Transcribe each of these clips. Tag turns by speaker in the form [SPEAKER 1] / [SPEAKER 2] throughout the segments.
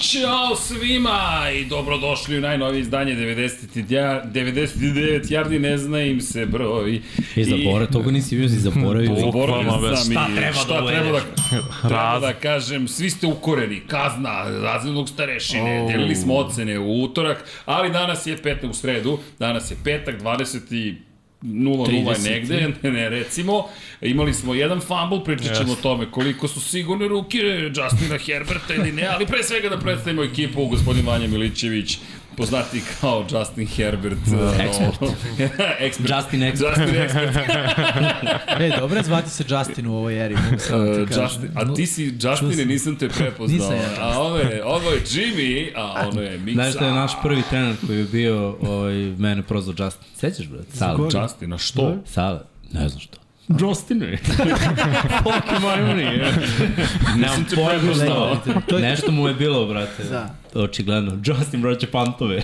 [SPEAKER 1] Ćao svima i dobrodošli u najnovije izdanje 90 99 Jardi, ne zna im se broj.
[SPEAKER 2] I zabora, E, toga nisi bio, si zaboravio.
[SPEAKER 1] Zaboravio
[SPEAKER 3] Bukvalno,
[SPEAKER 1] sam i
[SPEAKER 3] šta
[SPEAKER 2] treba da
[SPEAKER 1] šta treba da,
[SPEAKER 2] uvedeš?
[SPEAKER 1] treba
[SPEAKER 3] Raz-
[SPEAKER 1] da kažem, svi ste ukoreni, kazna, razrednog starešine, oh. delili smo ocene u utorak, ali danas je petak u sredu, danas je petak, 20 i 0-0
[SPEAKER 2] 30.
[SPEAKER 1] je negde, ne, ne recimo. Imali smo jedan fumble, pričat ćemo yes.
[SPEAKER 3] Jeste.
[SPEAKER 1] o tome koliko su sigurne ruke Justina Herberta ili ne, ali pre svega da predstavimo ekipu, gospodin Vanja Milićević, poznati kao Justin Herbert.
[SPEAKER 3] Da.
[SPEAKER 2] Ekspert.
[SPEAKER 1] No, ekspert.
[SPEAKER 2] Justin Expert.
[SPEAKER 1] Justin Expert.
[SPEAKER 4] E, dobro je zvati se Justin u ovoj eri, mogu sam
[SPEAKER 1] Uh,
[SPEAKER 4] ti kažem.
[SPEAKER 1] Justin, a ti si Justine,
[SPEAKER 4] sam.
[SPEAKER 1] nisam te prepoznao.
[SPEAKER 4] Nisam ja.
[SPEAKER 1] A ono je, ovo je Jimmy, a ono je Miksa.
[SPEAKER 2] Znaš da je naš prvi trener koji je bio, ovaj, mene prozvao Justin. Sećaš, brate? Sala.
[SPEAKER 4] koga?
[SPEAKER 1] Justin, a što?
[SPEAKER 2] Sala. Ne znam što.
[SPEAKER 3] Justin je. Fuck my money.
[SPEAKER 1] Nisam te
[SPEAKER 2] pojma
[SPEAKER 1] prepoznao.
[SPEAKER 2] šta je. Nešto mu je bilo, brate.
[SPEAKER 4] Da.
[SPEAKER 2] Očigledno. Justin vraća pantove.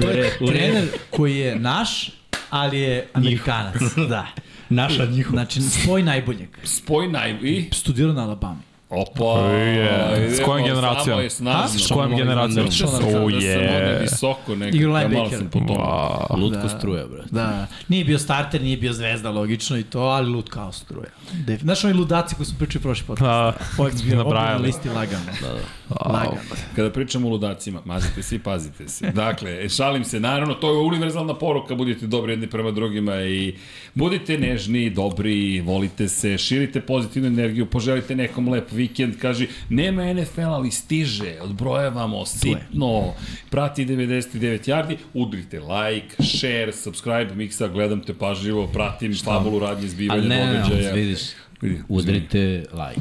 [SPEAKER 2] u re, u re,
[SPEAKER 4] Trener koji je naš, ali je Amerikanac. da.
[SPEAKER 2] naša njihova.
[SPEAKER 4] Znači, spoj najboljeg.
[SPEAKER 1] Spoj naj... I?
[SPEAKER 4] Studirao na Alabama.
[SPEAKER 1] Opa!
[SPEAKER 3] je. S
[SPEAKER 1] idemo,
[SPEAKER 3] kojom
[SPEAKER 1] Samo
[SPEAKER 3] generacijom?
[SPEAKER 1] je snažno.
[SPEAKER 4] A?
[SPEAKER 3] S kojom generacijom?
[SPEAKER 1] Pričao sam
[SPEAKER 3] Oh,
[SPEAKER 1] da sam ono
[SPEAKER 3] yeah.
[SPEAKER 1] visoko
[SPEAKER 4] Igru
[SPEAKER 1] nekako, malo
[SPEAKER 4] linebackera.
[SPEAKER 1] sam potom.
[SPEAKER 3] Wow.
[SPEAKER 2] Lutko struja, brate.
[SPEAKER 4] Da, nije bio starter, nije bio zvezda, logično i to, ali lud kao struja. Def... Znaš oni ludaci koji su pričali prošli
[SPEAKER 3] Da.
[SPEAKER 2] Pa,
[SPEAKER 4] podcast? Da, Ovdje bio opet na
[SPEAKER 3] Nabrajali.
[SPEAKER 4] listi lagano. Da, da. Lagano.
[SPEAKER 1] Kada pričamo o ludacima, mazite se i pazite se. Dakle, šalim se, naravno, to je univerzalna poruka, budite dobri jedni prema drugima i budite nežni, dobri, volite se, širite pozitivnu energiju, poželite nekom lep vikend, kaži, nema NFL, ali stiže, odbrojavamo, sitno, prati 99 yardi, udrite like, share, subscribe, miksa, gledam te pažljivo, pratim fabulu radnje zbivanja
[SPEAKER 2] Ali ne, ne, ne,
[SPEAKER 1] događaja.
[SPEAKER 2] vidiš.
[SPEAKER 1] Vidi,
[SPEAKER 2] Udrite like.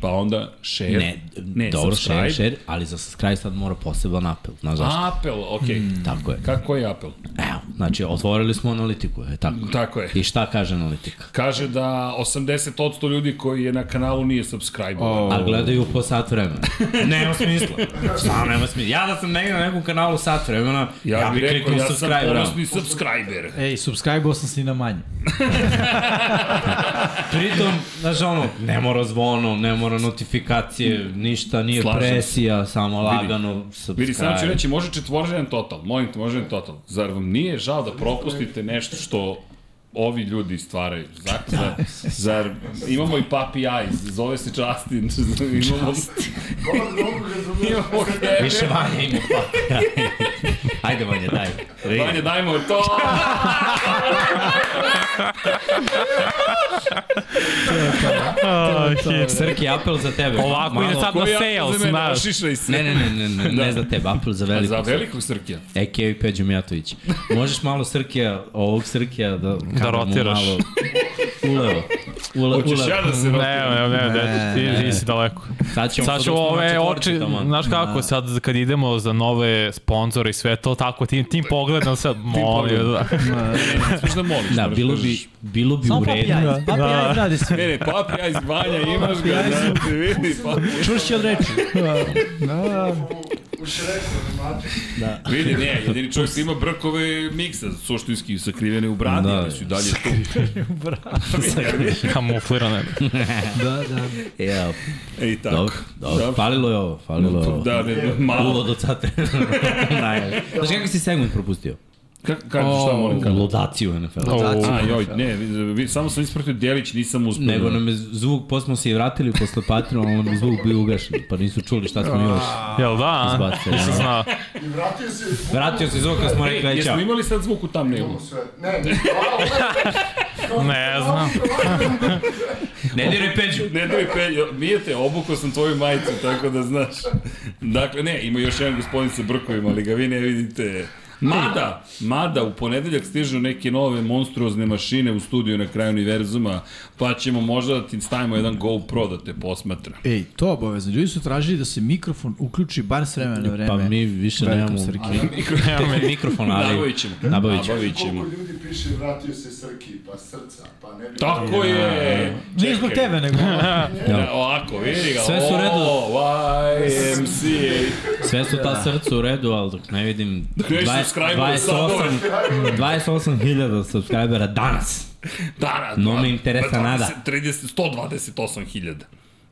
[SPEAKER 1] Pa onda share,
[SPEAKER 2] Ne, ne dobro,
[SPEAKER 1] subscribe.
[SPEAKER 2] share, share, ali za subscribe sad mora poseban apel. Znaš zašto?
[SPEAKER 1] Apel, okej. Okay. Mm.
[SPEAKER 2] Tako je.
[SPEAKER 1] Kako je Apple?
[SPEAKER 2] Evo, znači, otvorili smo analitiku, je tako?
[SPEAKER 1] Mm, Tako je.
[SPEAKER 2] I šta kaže analitika?
[SPEAKER 1] Kaže da 80% ljudi koji je na kanalu nije subscribe. Oh.
[SPEAKER 2] A gledaju po sat vremena. nema smisla. Šta nema smisla? Ja da sam negdje na nekom kanalu sat vremena,
[SPEAKER 1] Ja,
[SPEAKER 2] ja,
[SPEAKER 1] ja
[SPEAKER 2] bih
[SPEAKER 1] bih rekao,
[SPEAKER 2] kliknuo
[SPEAKER 1] ja sam
[SPEAKER 2] subscribe. Ja
[SPEAKER 1] ponosni subscriber.
[SPEAKER 4] Ej, subscribe-o sam si na manje.
[SPEAKER 2] Pritom, znaš ono, ne mora zvono, ne mora notifikacije, ništa, nije
[SPEAKER 1] Slažem se.
[SPEAKER 2] presija, samo lagano subscribe.
[SPEAKER 1] Vidi, samo ću reći, može četvoržen total, molim te, može total. Zar vam nije žao da propustite nešto što ovi ljudi stvaraju. Zar, zar, zar imamo i Papi Eyes, zove se Justin. imamo, imamo Kevin.
[SPEAKER 2] Više vanje ima pa. Ajde vanje, daj. Ej,
[SPEAKER 1] Vanja, dajmo to!
[SPEAKER 2] Srki, apel za tebe.
[SPEAKER 3] Ovako ide sad na
[SPEAKER 1] Koji je
[SPEAKER 3] sale,
[SPEAKER 1] za mene?
[SPEAKER 3] znaš.
[SPEAKER 1] Šišaj se.
[SPEAKER 2] Ne, ne, ne, ne, ne, ne za tebe, apel za veliko.
[SPEAKER 1] Da. Za velikog Srkija.
[SPEAKER 2] a.k.a. Peđo E, Mijatović. Možeš malo Srkija, ovog Srkija da, da
[SPEAKER 3] rotiraš.
[SPEAKER 2] Malo ulevo. Ule,
[SPEAKER 1] Hoćeš
[SPEAKER 2] ulevo.
[SPEAKER 1] ja da se rotim?
[SPEAKER 3] Ne, ne, ne, ne, ti, ti si daleko.
[SPEAKER 2] Sad ćemo
[SPEAKER 3] Sad
[SPEAKER 2] sad
[SPEAKER 3] ću ove oči,
[SPEAKER 2] Naš...
[SPEAKER 3] znaš kako, sad kad idemo za nove sponzore i sve to, tako, tim, tim pogledom sad, molim, da.
[SPEAKER 1] Smiješ da moliš.
[SPEAKER 2] Da,
[SPEAKER 1] moraš
[SPEAKER 2] bilo
[SPEAKER 1] kažeš.
[SPEAKER 2] bi, bilo bi
[SPEAKER 4] Samo
[SPEAKER 2] u
[SPEAKER 4] papi
[SPEAKER 2] redu. da.
[SPEAKER 4] ajz, papi ajz radi sve.
[SPEAKER 1] Ne, ne, papi, ja iz banja, imaš ga, da te vidi, papi.
[SPEAKER 4] Čvršće od reči.
[SPEAKER 1] Vidi, ne, jedini čovjek koji ima brkove miksa, suštinski sakrivene u bradi,
[SPEAKER 2] Da,
[SPEAKER 1] da, su i dalje tu.
[SPEAKER 3] kamuflirane.
[SPEAKER 4] Da, da.
[SPEAKER 2] Ja,
[SPEAKER 1] E, i tako.
[SPEAKER 2] dobro, dobro.
[SPEAKER 1] Dobro.
[SPEAKER 2] Falilo je ovo, falilo je ovo.
[SPEAKER 1] Da, ne, malo.
[SPEAKER 2] Ulo do cate. Najjače. Znaš kakav si segment propustio?
[SPEAKER 1] Kako šta molim kada?
[SPEAKER 2] Ludaciju NFL.
[SPEAKER 3] O,
[SPEAKER 1] A, joj, ne, vi- vi- samo sam ispratio Djelić, nisam uspio.
[SPEAKER 2] Nego nam je zvuk, posle smo se i vratili posle Patreon, ali nam je zvuk bio ugašen, pa nisu čuli šta smo još
[SPEAKER 3] Jel da?
[SPEAKER 2] izbacili.
[SPEAKER 3] Nisam
[SPEAKER 2] ono.
[SPEAKER 3] znao.
[SPEAKER 2] Vratio se zvuk kad smo rekli, aj,
[SPEAKER 1] Jesmo
[SPEAKER 2] čao.
[SPEAKER 1] imali sad zvuk u thumbnailu?
[SPEAKER 3] Ne znam.
[SPEAKER 2] Ne diraj Peđu.
[SPEAKER 1] Ne da mi pelje, nije te, obukao sam tvoju majicu, tako da znaš. Dakle, ne, ima još jedan gospodin sa brkovima, ali ga vi ne vidite. Mada, mada, u ponedeljak stižu neke nove monstruozne mašine u studiju na kraju univerzuma, pa ćemo možda da ti stavimo jedan GoPro da te posmatra.
[SPEAKER 4] Ej, to je obavezno. Ljudi su tražili da se mikrofon uključi bar s vremena na vreme.
[SPEAKER 2] Pa mi više
[SPEAKER 4] Velikom
[SPEAKER 2] nemamo
[SPEAKER 4] Srki.
[SPEAKER 2] nemamo mikrofon, ali
[SPEAKER 1] Nabavit ćemo.
[SPEAKER 2] Nabavit ćemo.
[SPEAKER 1] Nabavit ćemo.
[SPEAKER 5] Koliko ljudi piše vratio se Srki, pa srca, pa ne bi...
[SPEAKER 1] Tako je!
[SPEAKER 4] Nije zbog
[SPEAKER 1] Čekaj.
[SPEAKER 4] tebe, nego...
[SPEAKER 1] Da, ovako, vidi ga.
[SPEAKER 2] Sve su u redu.
[SPEAKER 1] O, YMCA.
[SPEAKER 2] Sve su
[SPEAKER 1] Da.
[SPEAKER 2] ta srca u redu, ali dok ne vidim
[SPEAKER 1] ne
[SPEAKER 2] 20
[SPEAKER 1] subscribe-ove, sad
[SPEAKER 2] 28 28.000 subscribera danas.
[SPEAKER 1] Da, Danas.
[SPEAKER 2] No me interesa nada.
[SPEAKER 1] 30, 128 hiljada.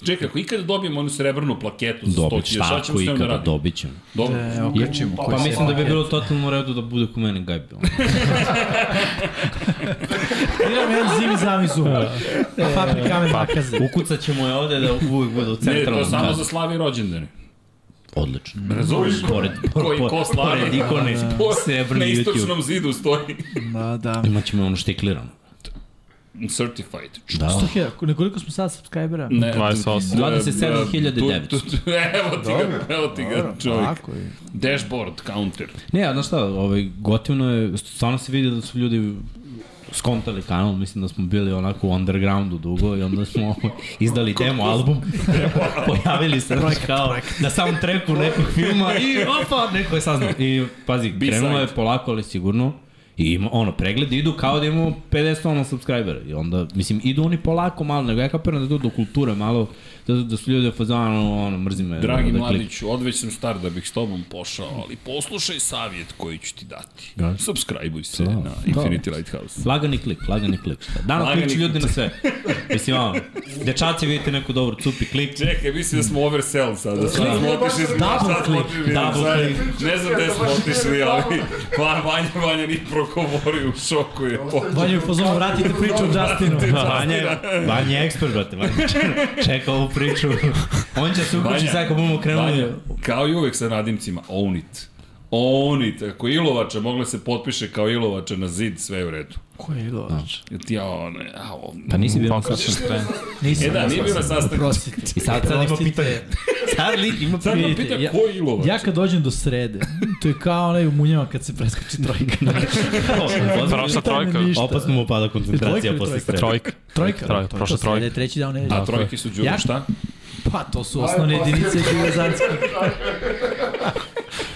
[SPEAKER 1] Čekaj, ako ikada dobijemo onu srebrnu plaketu za 100.000,
[SPEAKER 2] Dobit ću,
[SPEAKER 1] šta ćemo
[SPEAKER 2] tako
[SPEAKER 1] s njom da
[SPEAKER 2] ikada
[SPEAKER 1] radimo?
[SPEAKER 2] dobit ćemo.
[SPEAKER 1] Dobro.
[SPEAKER 4] okačimo.
[SPEAKER 2] Pa mislim da bi bilo totalno u redu da bude ko mene gajbi.
[SPEAKER 4] Imam jedan zimi zamizu. E, Papri kamen
[SPEAKER 3] Pa,
[SPEAKER 4] nakaze.
[SPEAKER 2] Ukucat ćemo je ovde da uvijek bude u
[SPEAKER 1] Ne, to
[SPEAKER 2] centralnom.
[SPEAKER 1] je samo
[SPEAKER 2] gradu.
[SPEAKER 1] za slavi rođendane.
[SPEAKER 2] Odlično.
[SPEAKER 1] Razumeš?
[SPEAKER 2] Pored,
[SPEAKER 1] Koji ko slavi?
[SPEAKER 2] Pored ikone,
[SPEAKER 1] Na
[SPEAKER 2] srebrni YouTube.
[SPEAKER 1] istočnom zidu stoji.
[SPEAKER 4] Da, da.
[SPEAKER 2] Imaćemo ono štiklirano.
[SPEAKER 1] Certified.
[SPEAKER 2] Da.
[SPEAKER 4] Što je, nekoliko smo sad subscribera?
[SPEAKER 1] Ne,
[SPEAKER 3] 28.
[SPEAKER 2] 27.900.
[SPEAKER 1] tu- tu- tu- Evo ti ga, evo ti ga čovjek.
[SPEAKER 4] Tako je.
[SPEAKER 1] Dashboard counter.
[SPEAKER 2] Ne, a znaš šta, ovaj, gotivno je, stvarno se vidi da su ljudi skontali kanal, mislim da smo bili onako u undergroundu dugo i onda smo izdali demo album, pojavili se znaš, kao na soundtracku nekog filma i opa, neko je saznao. I pazi,
[SPEAKER 1] B-side.
[SPEAKER 2] krenulo je polako, ali sigurno, I ima, ono, pregled idu kao da imamo 50 ono subscribera. I onda, mislim, idu oni polako malo, nego ja kapiram da idu do kulture malo, da, da su ljudi fazano, ono, mrzi me.
[SPEAKER 1] Dragi
[SPEAKER 2] ono, da klikam.
[SPEAKER 1] mladiću, odveć sam star da bih s tobom pošao, ali poslušaj savjet koji ću ti dati.
[SPEAKER 2] Da.
[SPEAKER 1] Subscribe-uj se
[SPEAKER 2] Da,
[SPEAKER 1] na
[SPEAKER 2] da.
[SPEAKER 1] Infinity Lighthouse.
[SPEAKER 2] Lagani klik, lagani klik. Šta? Danas
[SPEAKER 1] Lagani
[SPEAKER 2] kliče ljudi na sve. Mislim, ono, dečaci vidite neku dobru cupi klik.
[SPEAKER 1] Čekaj, mislim da smo oversell sada. Da sad smo otišli, sad smo otišli.
[SPEAKER 2] double
[SPEAKER 1] sad-
[SPEAKER 2] click.
[SPEAKER 1] Ne znam gde smo
[SPEAKER 5] Baš
[SPEAKER 1] otišli,
[SPEAKER 5] nije
[SPEAKER 1] ali Va- Vanja, Vanja nije prokovorio, u šoku je.
[SPEAKER 4] Vanja je u fazonu, vratite priču o Justinu.
[SPEAKER 2] Vanja, je- Vanja je ekspert, brate. Vanja čeka- čeka ovu priču. On će se uključiti
[SPEAKER 1] Vanja,
[SPEAKER 2] sad kad budemo Znači, krenuli.
[SPEAKER 1] Vanja, kao i uvek sa nadimcima, own it. Own it. Ako Ilovača mogla se potpiše kao Ilovača na zid, sve je u redu.
[SPEAKER 4] Ko je Ilovač?
[SPEAKER 1] Jer Ti ja, ono, ja, ovo...
[SPEAKER 2] Pa nisi bio na
[SPEAKER 3] Pokaz sam tren.
[SPEAKER 2] Pa
[SPEAKER 4] Nisam.
[SPEAKER 1] E da, nije bio na sastanku.
[SPEAKER 4] Prostite.
[SPEAKER 2] I sad, sad ima
[SPEAKER 4] Oprostite.
[SPEAKER 2] pitanje. Sad lik ima
[SPEAKER 1] Sad
[SPEAKER 2] pitanje.
[SPEAKER 1] nam
[SPEAKER 4] Vidite,
[SPEAKER 1] pita
[SPEAKER 4] ja-
[SPEAKER 1] ko je Ilovač.
[SPEAKER 4] Ja kad dođem do srede, to je kao onaj u munjama kad se preskoči trojka.
[SPEAKER 3] Prošla trojka.
[SPEAKER 4] Ništa.
[SPEAKER 2] Opasno mu pada
[SPEAKER 4] Trojka
[SPEAKER 2] koncentracija
[SPEAKER 4] ili
[SPEAKER 2] posle
[SPEAKER 4] trojka?
[SPEAKER 2] sreda.
[SPEAKER 3] Trojka.
[SPEAKER 4] Trojka,
[SPEAKER 3] Troj-
[SPEAKER 4] da, to je
[SPEAKER 3] prošla
[SPEAKER 4] to, srede,
[SPEAKER 3] trojka. Da,
[SPEAKER 4] treći dan u nedelju.
[SPEAKER 1] A trojke su džubre,
[SPEAKER 4] Ja-
[SPEAKER 1] šta?
[SPEAKER 4] Pa, to su osnovne jedinice Đurozanske.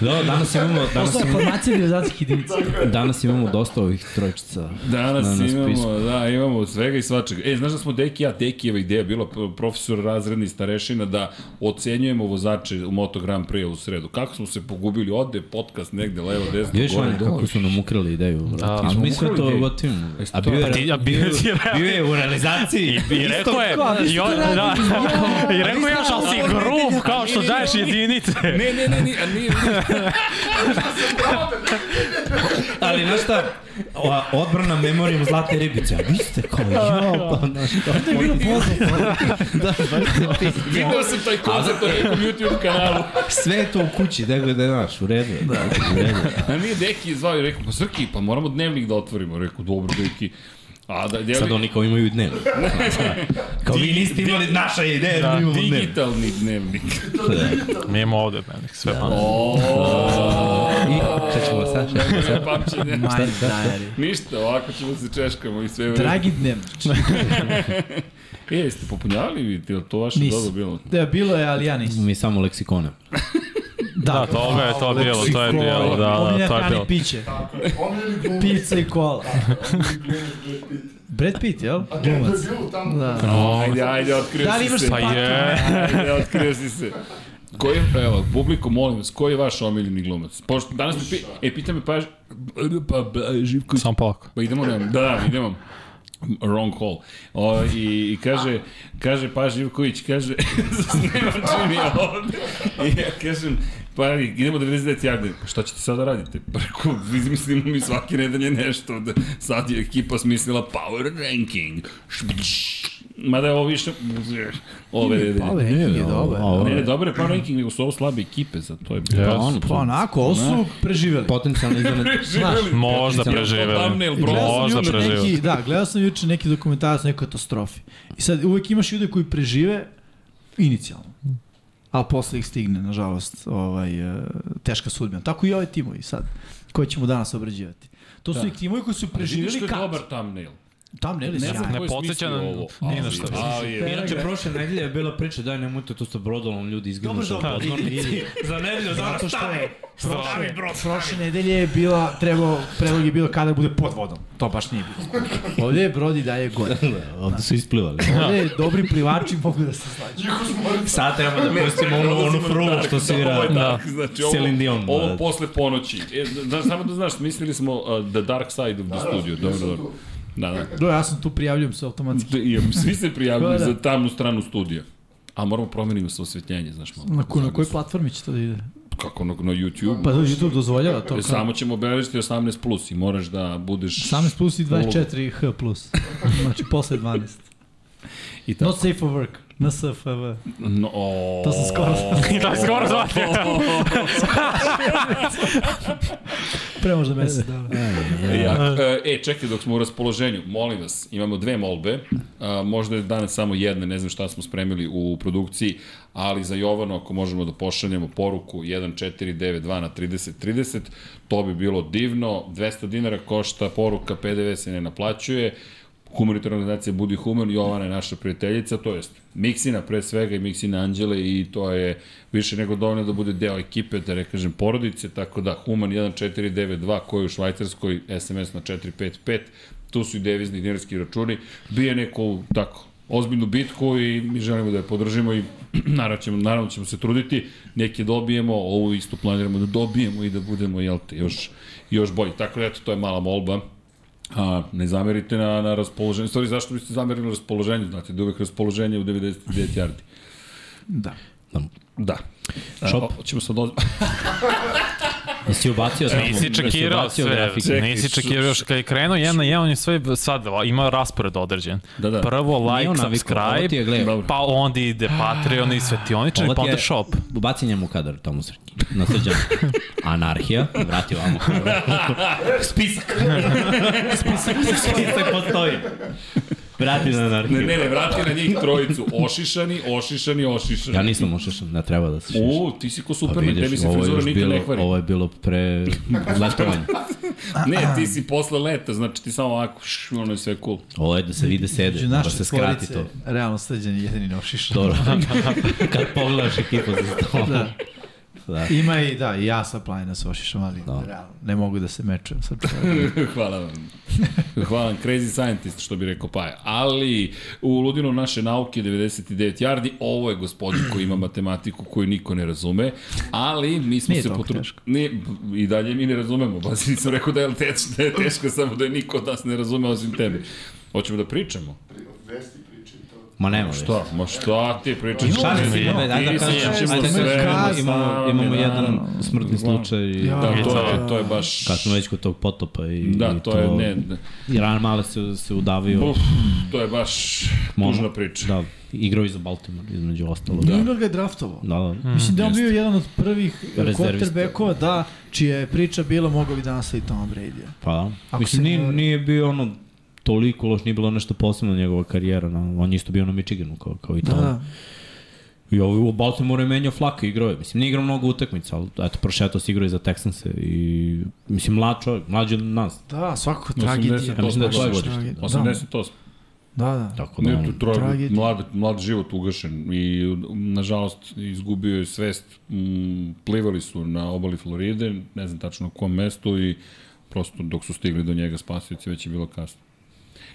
[SPEAKER 2] Da, danas imamo, danas
[SPEAKER 4] Osnovne
[SPEAKER 2] imamo,
[SPEAKER 4] formacije Đurozanskih jedinica.
[SPEAKER 2] danas imamo dosta ovih trojčica.
[SPEAKER 1] Danas
[SPEAKER 2] na
[SPEAKER 1] imamo,
[SPEAKER 2] spisku.
[SPEAKER 1] da, imamo svega i svačega. E, znaš da smo Deki i ja, Dekijeva ideja bila p- profesor razredni starešina da ocenjujemo vozače u Moto Grand Prix u sredu. Kako smo se pogubili, ode podcast negde levo, desno,
[SPEAKER 2] Vidiš
[SPEAKER 1] gore,
[SPEAKER 2] Vanja
[SPEAKER 1] dole.
[SPEAKER 2] kako su nam ukrali ideju. Da,
[SPEAKER 1] smo
[SPEAKER 2] mislim
[SPEAKER 1] ukrali
[SPEAKER 2] to
[SPEAKER 1] ideju.
[SPEAKER 2] gotivno. A bio
[SPEAKER 3] Pa ti-
[SPEAKER 2] je,
[SPEAKER 3] a bio je-
[SPEAKER 2] bio je u realizaciji.
[SPEAKER 3] I rekao je,
[SPEAKER 4] kao, vi ste
[SPEAKER 3] i on,
[SPEAKER 4] radili
[SPEAKER 3] da, i rekao je,
[SPEAKER 1] znaš,
[SPEAKER 3] ali
[SPEAKER 1] ovo
[SPEAKER 3] si
[SPEAKER 1] je
[SPEAKER 3] grub,
[SPEAKER 1] nedelja,
[SPEAKER 3] kao
[SPEAKER 1] a
[SPEAKER 3] što
[SPEAKER 1] mi
[SPEAKER 3] daješ
[SPEAKER 1] idemo mi."
[SPEAKER 3] jedinice.
[SPEAKER 1] Ne, ne, ne, ne, a nije,
[SPEAKER 2] Ali znaš šta, o- odbrana memorijom zlatne ribice, a vi ste kao, jo, pa znaš šta.
[SPEAKER 1] video sam taj koncept na nekom YouTube kanalu.
[SPEAKER 2] Sve je to u kući, da ga da znaš, u redu. je, u redu je.
[SPEAKER 1] A nije Deki je zvao i rekao, pa Srki, pa moramo dnevnik da otvorimo. Rekao, dobro, Deki. A da, deli,
[SPEAKER 2] Sad oni kao imaju i dnevno. Kao vi niste imali naša ideja, da, mi imamo dnevno.
[SPEAKER 1] digitalni dnevnik.
[SPEAKER 3] Mi imamo ovde, meni, sve malo.
[SPEAKER 2] I šta ćemo sad, šta ćemo sad?
[SPEAKER 1] Ne pamćenje.
[SPEAKER 4] Maj, dajari.
[SPEAKER 1] Ništa, ovako ćemo se češkamo i sve vreme.
[SPEAKER 4] Dragi dnem.
[SPEAKER 1] E, jeste popunjavali vidite, jel to vaše
[SPEAKER 4] Nisam.
[SPEAKER 1] dobro bilo?
[SPEAKER 4] Da, bilo je, ali ja nisam.
[SPEAKER 2] Mi samo leksikone.
[SPEAKER 3] Da, toga je to bilo, to je bilo, da, da, to je bilo.
[SPEAKER 4] piće.
[SPEAKER 5] Omljeni glumi.
[SPEAKER 4] Pizza i kola.
[SPEAKER 5] Pizza.
[SPEAKER 4] Brad Pitt, jel?
[SPEAKER 5] To je
[SPEAKER 4] Glumac.
[SPEAKER 5] bilo tamo.
[SPEAKER 4] Da.
[SPEAKER 1] Ajde, ajde, otkrio
[SPEAKER 4] Da li
[SPEAKER 1] si
[SPEAKER 4] imaš
[SPEAKER 1] se.
[SPEAKER 3] Pa je,
[SPEAKER 1] Ajde, otkrio si se. Koji, evo, publiku, molim vas, koji je vaš omiljeni glumac? Pošto danas me pi, e, pita me pa, pa, pa, Živko,
[SPEAKER 3] sam polako.
[SPEAKER 1] pa idemo da, da, da, idemo. Wrong call. O, i, I kaže, kaže pa Živković, kaže, nema čim ja ovde. I ja kažem, pa idemo 99 jarde. Pa Šta ćete sada radite? Pa rekao, izmislimo mi svake nedelje nešto. Da sad je ekipa smislila power ranking. Špš. Mada je ovo više... Ove nedelje.
[SPEAKER 4] Ovo je dobar.
[SPEAKER 2] Ovo
[SPEAKER 1] Ne, ne,
[SPEAKER 2] je
[SPEAKER 1] dobro je power ranking, nego su ovo slabe ekipe za to je bilo.
[SPEAKER 3] Yes.
[SPEAKER 2] ono,
[SPEAKER 4] Pa onako, ovo su preživeli.
[SPEAKER 2] potencijalni izdanak.
[SPEAKER 1] Živeli.
[SPEAKER 3] Možda
[SPEAKER 2] Nisam-
[SPEAKER 1] Thumbnail,
[SPEAKER 3] preživeli.
[SPEAKER 1] bro.
[SPEAKER 4] Gledao sam
[SPEAKER 3] Možda
[SPEAKER 4] juče
[SPEAKER 3] preživeli.
[SPEAKER 4] Neki, da, gledao sam juče neki dokumentarac o nekoj katastrofi. I sad uvek imaš ljude koji prežive inicijalno. A posle ih stigne, nažalost, ovaj, e, teška sudbina. Tako i ovaj timovi sad, koje ćemo danas obrađivati. To su da. i timovi koji su
[SPEAKER 1] Vidiš što
[SPEAKER 4] preživjeli
[SPEAKER 1] je
[SPEAKER 4] kad.
[SPEAKER 1] dobar thumbnail.
[SPEAKER 4] Tam ne li
[SPEAKER 1] Ne znam
[SPEAKER 3] Ne
[SPEAKER 1] ko je
[SPEAKER 3] podsjeća
[SPEAKER 1] smislio
[SPEAKER 3] na-
[SPEAKER 1] ovo,
[SPEAKER 3] ni na
[SPEAKER 1] ali-
[SPEAKER 3] šta.
[SPEAKER 1] ali je-
[SPEAKER 2] Inače, prošle nedelje je bila priča, daj nemojte to sa brodolom ljudi izgledali.
[SPEAKER 4] Dobro, dobro,
[SPEAKER 2] da, Za nedelju,
[SPEAKER 4] Zato što je prošle, prošle nedelje je bila, trebao, predlog je bilo kada bude pod vodom. To baš nije bilo. Ovdje je brod i daje gore.
[SPEAKER 2] Ovde Da, su isplivali.
[SPEAKER 4] Ovdje je dobri plivači mogu da se slađu.
[SPEAKER 5] Njihov smorica.
[SPEAKER 2] Sad treba da pustimo onu, onu frulu što svira.
[SPEAKER 3] da.
[SPEAKER 1] Dark, znači ovo,
[SPEAKER 2] Celine Dion, da,
[SPEAKER 1] ovo
[SPEAKER 4] da.
[SPEAKER 2] brate.
[SPEAKER 1] posle ponoći. E, da, samo da znaš, mislili smo uh, The Dark Side of the Studio. Dobro,
[SPEAKER 5] jesam
[SPEAKER 1] dobro.
[SPEAKER 5] tu.
[SPEAKER 1] Da, da.
[SPEAKER 4] Do, ja sam tu prijavljujem se automatski.
[SPEAKER 1] I, um, Svi se prijavili
[SPEAKER 4] Da, da.
[SPEAKER 1] za tamnu stranu studija. A moramo promenimo sa osvetljenje, znaš malo.
[SPEAKER 4] Na, ko, na kojoj platformi će to da ide?
[SPEAKER 1] Kako na, na YouTube?
[SPEAKER 4] Pa da YouTube dozvoljava to.
[SPEAKER 1] Pa,
[SPEAKER 2] E,
[SPEAKER 4] kao-
[SPEAKER 1] Samo ćemo obeležiti 18 plus i moraš da budeš...
[SPEAKER 4] 18 plus i 24H plus. Znači, posle 12.
[SPEAKER 1] I tako.
[SPEAKER 4] Not safe for work. NSFV.
[SPEAKER 1] No, o...
[SPEAKER 4] To sam skoro-
[SPEAKER 3] Da, skoro zvate.
[SPEAKER 4] Pre možda mesec dana.
[SPEAKER 1] Ja, e, čekaj dok smo u raspoloženju, molim vas, imamo dve molbe, a, možda je danas samo jedna, ne znam šta smo spremili u produkciji, ali za Jovano ako možemo da pošaljemo poruku 1492 na 3030, to bi bilo divno, 200 dinara košta poruka, PDV se ne naplaćuje, humanitarna organizacija Budi Human, Jovana je naša prijateljica, to jest Miksina pre svega i Miksina Anđele i to je više nego dovoljno da bude deo ekipe, da ne kažem porodice, tako da Human 1492 koji je u Švajcarskoj SMS na 455, tu su i devizni dinarski računi, bije neku tako ozbiljnu bitku i mi želimo da je podržimo i naravno ćemo, naravno ćemo se truditi, neke dobijemo, ovu isto planiramo da dobijemo i da budemo, jel te, još, još bolji. Tako da, eto, to je mala molba. A, ne zamerite na, na raspoloženje. Sorry, zašto biste zamerili na raspoloženje? Znate, da je uvek raspoloženje u 99 yardi.
[SPEAKER 4] Da.
[SPEAKER 1] Da.
[SPEAKER 2] Šop.
[SPEAKER 1] A, ćemo sad oz...
[SPEAKER 2] Jesi ubacio tamo?
[SPEAKER 3] Nisi čekirao
[SPEAKER 2] Jesi ubacio
[SPEAKER 3] sve.
[SPEAKER 2] da grafike?
[SPEAKER 1] Čekaj,
[SPEAKER 3] Nisi čekirao
[SPEAKER 1] š-
[SPEAKER 3] još kad je krenuo jedan na jedan, on je sve sad ima raspored određen.
[SPEAKER 1] Da, da.
[SPEAKER 3] Prvo
[SPEAKER 2] Nije on
[SPEAKER 3] like,
[SPEAKER 2] navikao, ovo ti je,
[SPEAKER 3] subscribe,
[SPEAKER 2] gle,
[SPEAKER 1] Dobro.
[SPEAKER 3] pa onda ide Patreon i svetioničar,
[SPEAKER 2] Ovo
[SPEAKER 3] pa
[SPEAKER 2] ti
[SPEAKER 3] onda
[SPEAKER 2] je-
[SPEAKER 3] shop.
[SPEAKER 2] Baci njemu kadar tamo srki. Na srđan. Anarhija. Vrati ovamo. Spisak. Spisak. Spisak postoji. Vrati na
[SPEAKER 1] Ne,
[SPEAKER 2] anarhiju.
[SPEAKER 1] ne, ne, vrati na njih trojicu. Ošišani, ošišani, ošišani.
[SPEAKER 2] Ja nisam ošešan, ne treba da se šešam.
[SPEAKER 1] U, ti si ko
[SPEAKER 2] Pa
[SPEAKER 1] Superman, tebi
[SPEAKER 2] vidiš,
[SPEAKER 1] se
[SPEAKER 2] ovo je,
[SPEAKER 1] frizura
[SPEAKER 2] još
[SPEAKER 1] nikad
[SPEAKER 2] bilo,
[SPEAKER 1] ne kvari.
[SPEAKER 2] ovo je bilo pre letovanja.
[SPEAKER 1] Ne, ti si posle leta, znači ti samo ovako, š, ono je sve cool.
[SPEAKER 2] Ovo je da se vide sede,
[SPEAKER 4] Među
[SPEAKER 2] da
[SPEAKER 4] Znači, naše
[SPEAKER 2] se skrati
[SPEAKER 4] tvorice,
[SPEAKER 2] to.
[SPEAKER 4] realno srđan je jedini nošiš.
[SPEAKER 2] Dobro. Kad pogledaš ekipu za to.
[SPEAKER 4] Da.
[SPEAKER 2] Da.
[SPEAKER 4] Ima i, da, i ja sa planina sa ošišom, ali
[SPEAKER 2] Da.
[SPEAKER 4] realno, ne mogu da se mečujem sa čovjekom.
[SPEAKER 1] Hvala vam. Hvala vam, crazy scientist, što bi rekao Paja. Ali, u ludinu naše nauke 99 jardi, ovo je gospodin koji ima matematiku koju niko ne razume, ali mi smo
[SPEAKER 4] Nije
[SPEAKER 1] se
[SPEAKER 4] toliko
[SPEAKER 1] potru-
[SPEAKER 4] teško.
[SPEAKER 1] Ne, I dalje mi ne razumemo, bazi nisam rekao da je, teško, da je teško, samo da je niko od nas ne razume osim tebe. Hoćemo da pričamo?
[SPEAKER 5] Vesti priče i to.
[SPEAKER 2] Ma nema veze.
[SPEAKER 1] Šta? Ma šta ti pričaš?
[SPEAKER 2] Šanse
[SPEAKER 1] Ti
[SPEAKER 2] imamo, ajde da
[SPEAKER 1] si-
[SPEAKER 2] kažemo,
[SPEAKER 1] ćemo
[SPEAKER 2] ajde da
[SPEAKER 1] sve
[SPEAKER 2] kažemo,
[SPEAKER 1] sami,
[SPEAKER 2] imamo, imamo
[SPEAKER 1] da.
[SPEAKER 2] jedan smrtni slučaj i
[SPEAKER 1] Da,
[SPEAKER 4] Ja.
[SPEAKER 1] to je, to je baš...
[SPEAKER 2] kad smo već kod tog potopa i,
[SPEAKER 1] Da,
[SPEAKER 2] i
[SPEAKER 1] to je, ne, ne.
[SPEAKER 2] i Ran Male se, se udavio,
[SPEAKER 1] Uf, to je baš
[SPEAKER 2] Momo.
[SPEAKER 1] tužna priča.
[SPEAKER 2] da, igrao i za Baltimore između ostalog. Da.
[SPEAKER 4] Njima ga je draftovao.
[SPEAKER 2] Da, da.
[SPEAKER 4] Mislim da je on bio jedan od prvih
[SPEAKER 2] Rezervista.
[SPEAKER 4] quarterbackova, da, čija je priča bila mogao bi danas i Tom Brady.
[SPEAKER 2] Pa da.
[SPEAKER 4] Ako
[SPEAKER 2] Mislim,
[SPEAKER 4] se
[SPEAKER 2] nije,
[SPEAKER 4] ne varam.
[SPEAKER 2] nije bio ono toliko loš, nije bilo nešto posebno njegova karijera. Na, on je isto bio na Michiganu kao, kao i
[SPEAKER 4] Da,
[SPEAKER 2] Tom.
[SPEAKER 4] da.
[SPEAKER 2] I ovo u Baltimore je menjao flaka igrao je. Mislim, nije igrao mnogo utakmica, ali eto, prošetao se igrao i za Texanse. I, mislim, mlad čovjek, mlađi od nas.
[SPEAKER 4] Da, svakako
[SPEAKER 1] 80
[SPEAKER 4] tragedija.
[SPEAKER 2] Ja mislim da je
[SPEAKER 1] Baš
[SPEAKER 2] tvoje
[SPEAKER 1] je
[SPEAKER 2] godište.
[SPEAKER 4] tragedija.
[SPEAKER 1] 88.
[SPEAKER 4] Da, da.
[SPEAKER 2] Tako da,
[SPEAKER 1] Ne,
[SPEAKER 2] on,
[SPEAKER 1] tu troje,
[SPEAKER 4] Tragedija.
[SPEAKER 1] mlad, mlad život ugašen i nažalost izgubio je svest. Mm, Plivali su na obali Floride, ne znam tačno na kom mestu i prosto dok su stigli do njega spasioci već je bilo kasno.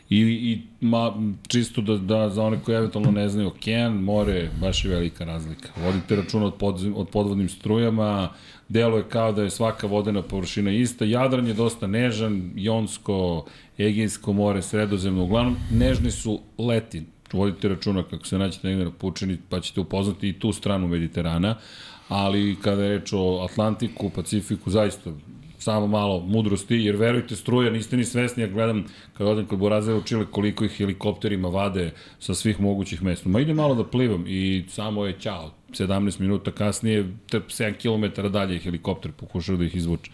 [SPEAKER 1] I, i ma, čisto da, da za one koji eventualno ne znaju okean, more, baš je velika razlika. Vodite računa od, podzem, od podvodnim strujama, delo je kao da je svaka vodena površina ista. Jadran je dosta nežan, Jonsko, Egejsko more, Sredozemno, uglavnom nežni su leti. Vodite računa kako se naćete negde na pučini, pa ćete upoznati i tu stranu Mediterana, ali kada je reč o Atlantiku, Pacifiku, zaista samo malo mudrosti, jer verujte struje, niste ni svesni, ja gledam kad odem kod Borazera u Čile koliko ih helikopterima vade sa svih mogućih mesta. Ma ide malo da plivam i samo je ćao. 17 minuta kasnije, te 7 km dalje je helikopter pokušao da ih izvuče.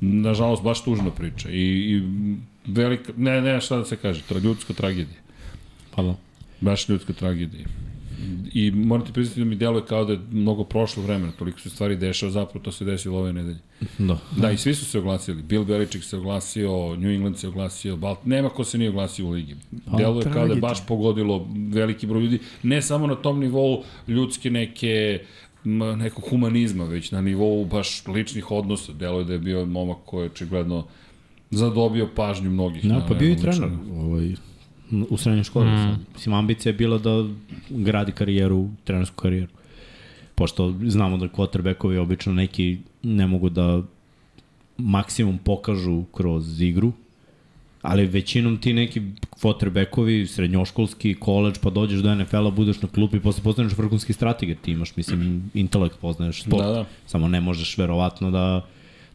[SPEAKER 1] Nažalost, baš tužna priča i, i velika, ne, ne, šta da se kaže, tra, ljudska tragedija.
[SPEAKER 2] pa da.
[SPEAKER 1] Baš ljudska tragedija. I moram ti priznati da mi djeluje kao da je mnogo prošlo vremena, toliko se stvari dešava, zapravo to se desilo ove nedelje.
[SPEAKER 2] da.
[SPEAKER 1] Da, i svi su se oglasili. Bill Belichick se oglasio, New England se oglasio, Balt... nema ko se nije oglasio u ligi. Delo je kao da je
[SPEAKER 4] tragedija.
[SPEAKER 1] baš pogodilo veliki broj ljudi, ne samo na tom nivou ljudske neke m, nekog humanizma, već na nivou baš ličnih odnosa. Delo je da je bio momak koji je očigledno zadobio pažnju mnogih.
[SPEAKER 2] Da,
[SPEAKER 1] na-
[SPEAKER 2] pa bio
[SPEAKER 1] na
[SPEAKER 2] i
[SPEAKER 1] ličnom-
[SPEAKER 2] trener ovaj, u srednjoj školi. Mm. Mislim, ambicija je bila da gradi karijeru, trenersku karijeru. Pošto znamo da quarterbackovi obično neki ne mogu da maksimum pokažu kroz igru, ali većinom ti neki quarterbackovi, srednjoškolski, koleđ, pa dođeš do NFL-a, budeš na klupi, posle postaneš vrhunski strategir, ti imaš, mislim, intelekt, poznaješ sport.
[SPEAKER 1] Da, da.
[SPEAKER 2] Samo ne možeš verovatno da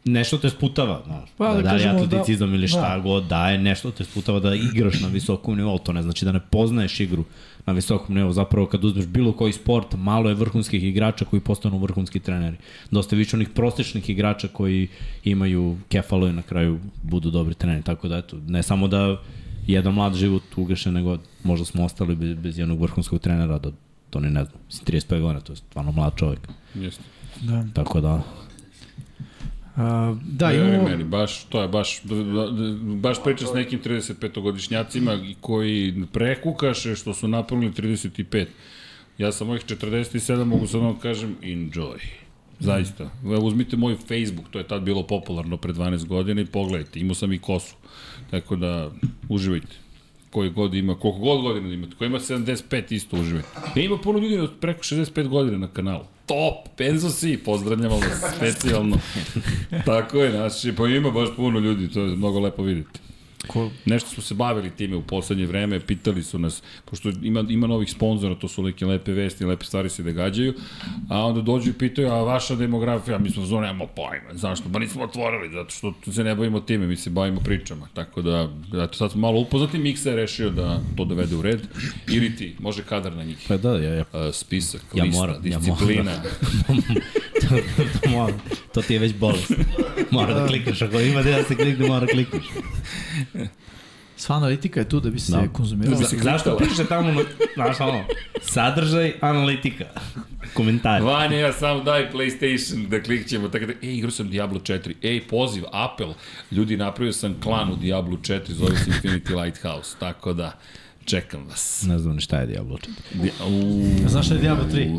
[SPEAKER 2] nešto te sputava, znaš.
[SPEAKER 4] Pa, da
[SPEAKER 2] da, da li
[SPEAKER 4] kažemo da-
[SPEAKER 2] atleticizam ili šta
[SPEAKER 4] da.
[SPEAKER 2] god daje, nešto te sputava da igraš na visokom nivou, to ne znači da ne poznaješ igru na visokom nivou, zapravo kad uzmeš bilo koji sport, malo je vrhunskih igrača koji postanu vrhunski treneri. Dosta je više onih prosječnih igrača koji imaju kefalo i na kraju budu dobri treneri, tako da eto, ne samo da jedan mlad život ugaše, nego možda smo ostali bez, bez jednog vrhunskog trenera, da to ni ne znam, mislim, 35 godina, to je stvarno mlad čovjek,
[SPEAKER 1] Jeste.
[SPEAKER 4] Da.
[SPEAKER 2] tako da...
[SPEAKER 4] A, da,
[SPEAKER 1] Da,
[SPEAKER 4] imamo...
[SPEAKER 1] meni, baš, to je baš, da, da, da, baš priča s nekim 35-godišnjacima i koji prekukaše što su napravili 35. Ja sam mojih 47, mogu sad vam kažem, enjoy. Zaista. Evo, Uzmite moj Facebook, to je tad bilo popularno pre 12 godina i pogledajte, imao sam i kosu. Tako da, uživajte. Koji god ima, koliko god godina da imate, koji ima 75 isto uživajte. Ne ima puno ljudi od preko 65 godina na kanalu. Top, penzo si, pozdravljamo vas specijalno. Tako je, znači, pa ima baš puno ljudi, to je mnogo lepo vidjeti. Ko? Nešto smo se bavili time u poslednje vreme, pitali su nas, pošto ima, ima novih sponzora, to su neke lepe vesti, lepe stvari se događaju, a onda dođu i pitaju, a vaša demografija, mi smo zvon, nemamo pojma, zašto? Ba nismo otvorili, zato što se ne bavimo time, mi se bavimo pričama, tako da, zato sad smo malo upoznati, Miksa je rešio da to dovede u red, ili ti, može kadar na njih.
[SPEAKER 2] Pa da, ja, ja
[SPEAKER 1] Uh, spisak,
[SPEAKER 2] Ja
[SPEAKER 1] lista,
[SPEAKER 2] moram, da- ja moram.
[SPEAKER 1] disciplina.
[SPEAKER 2] to, to, mora, to ti je već bolest. Mora da klikneš, ako ima gde da se klikne, mora da klikneš.
[SPEAKER 4] Sva analitika je tu da bi se
[SPEAKER 2] Da.
[SPEAKER 4] konzumirala.
[SPEAKER 1] Da bi se-
[SPEAKER 2] Zašto piše tamo, na- znaš ono, sadržaj, analitika, komentar.
[SPEAKER 1] Vanja, ja samo daj PlayStation da klikćemo. Tako da, ej, igrao sam Diablo 4. Ej, poziv, apel. Ljudi, napravio sam klan u Diablo 4, zove se Infinity Lighthouse. Tako da, čekam vas.
[SPEAKER 2] Ne znam ni šta je Diablo 4.
[SPEAKER 1] Di- Uuu.
[SPEAKER 4] Znaš šta je Diablo 3?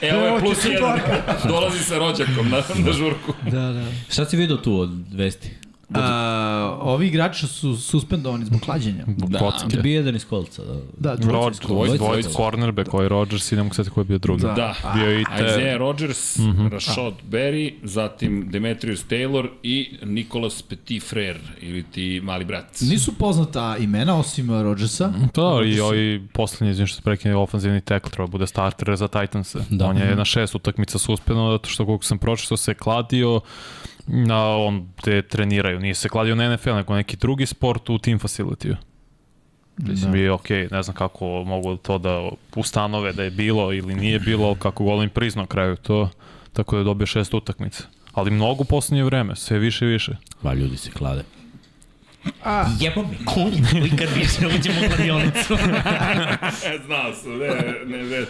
[SPEAKER 1] Evo
[SPEAKER 4] Evo
[SPEAKER 1] E, je
[SPEAKER 4] ti
[SPEAKER 1] plus
[SPEAKER 4] četvorka.
[SPEAKER 1] jedan. Dolazi sa rođakom na, na žurku.
[SPEAKER 4] Da, da.
[SPEAKER 2] Šta si vidio tu od vesti?
[SPEAKER 4] A, ovi igrači su suspendovani zbog klađenja.
[SPEAKER 1] Da.
[SPEAKER 3] Kocke.
[SPEAKER 2] Bi jedan iz kolca, da.
[SPEAKER 4] Da, dvojica.
[SPEAKER 3] Rodgers,
[SPEAKER 1] dvojica,
[SPEAKER 4] su-
[SPEAKER 1] dvojica.
[SPEAKER 3] dvojica, dvojica, cornerback, ovaj Rodgers i ne mogu sveti ko je bio drugi.
[SPEAKER 4] Da.
[SPEAKER 1] Da.
[SPEAKER 3] Bio je i te...
[SPEAKER 1] Isaiah Rodgers, mm Rashad Berry, zatim Demetrius Taylor i Nicolas Petitfrère, ili ti mali brat.
[SPEAKER 4] Nisu poznata imena osim uh, Rodgersa.
[SPEAKER 3] Pa da, i ovaj poslednji, izvim što se prekine, ofenzivni tackle treba da bude starter za Titans. Da. On je na šest utakmica suspeno, zato što koliko sam pročito se je kladio, na on te treniraju. Nije se kladio na NFL, nego neki drugi sport u team facility-u. Mislim, je okej, ne znam kako mogu to da ustanove da je bilo ili nije bilo, ali kako golim priznao kraju to, tako da je dobio šest utakmica. Ali mnogo u poslednje vreme, sve više i više.
[SPEAKER 2] Ba, ljudi se klade. A. Jebo mi, konji, nikad više uđemo u kladionicu.
[SPEAKER 1] E, Znao sam, ne, ne, ne.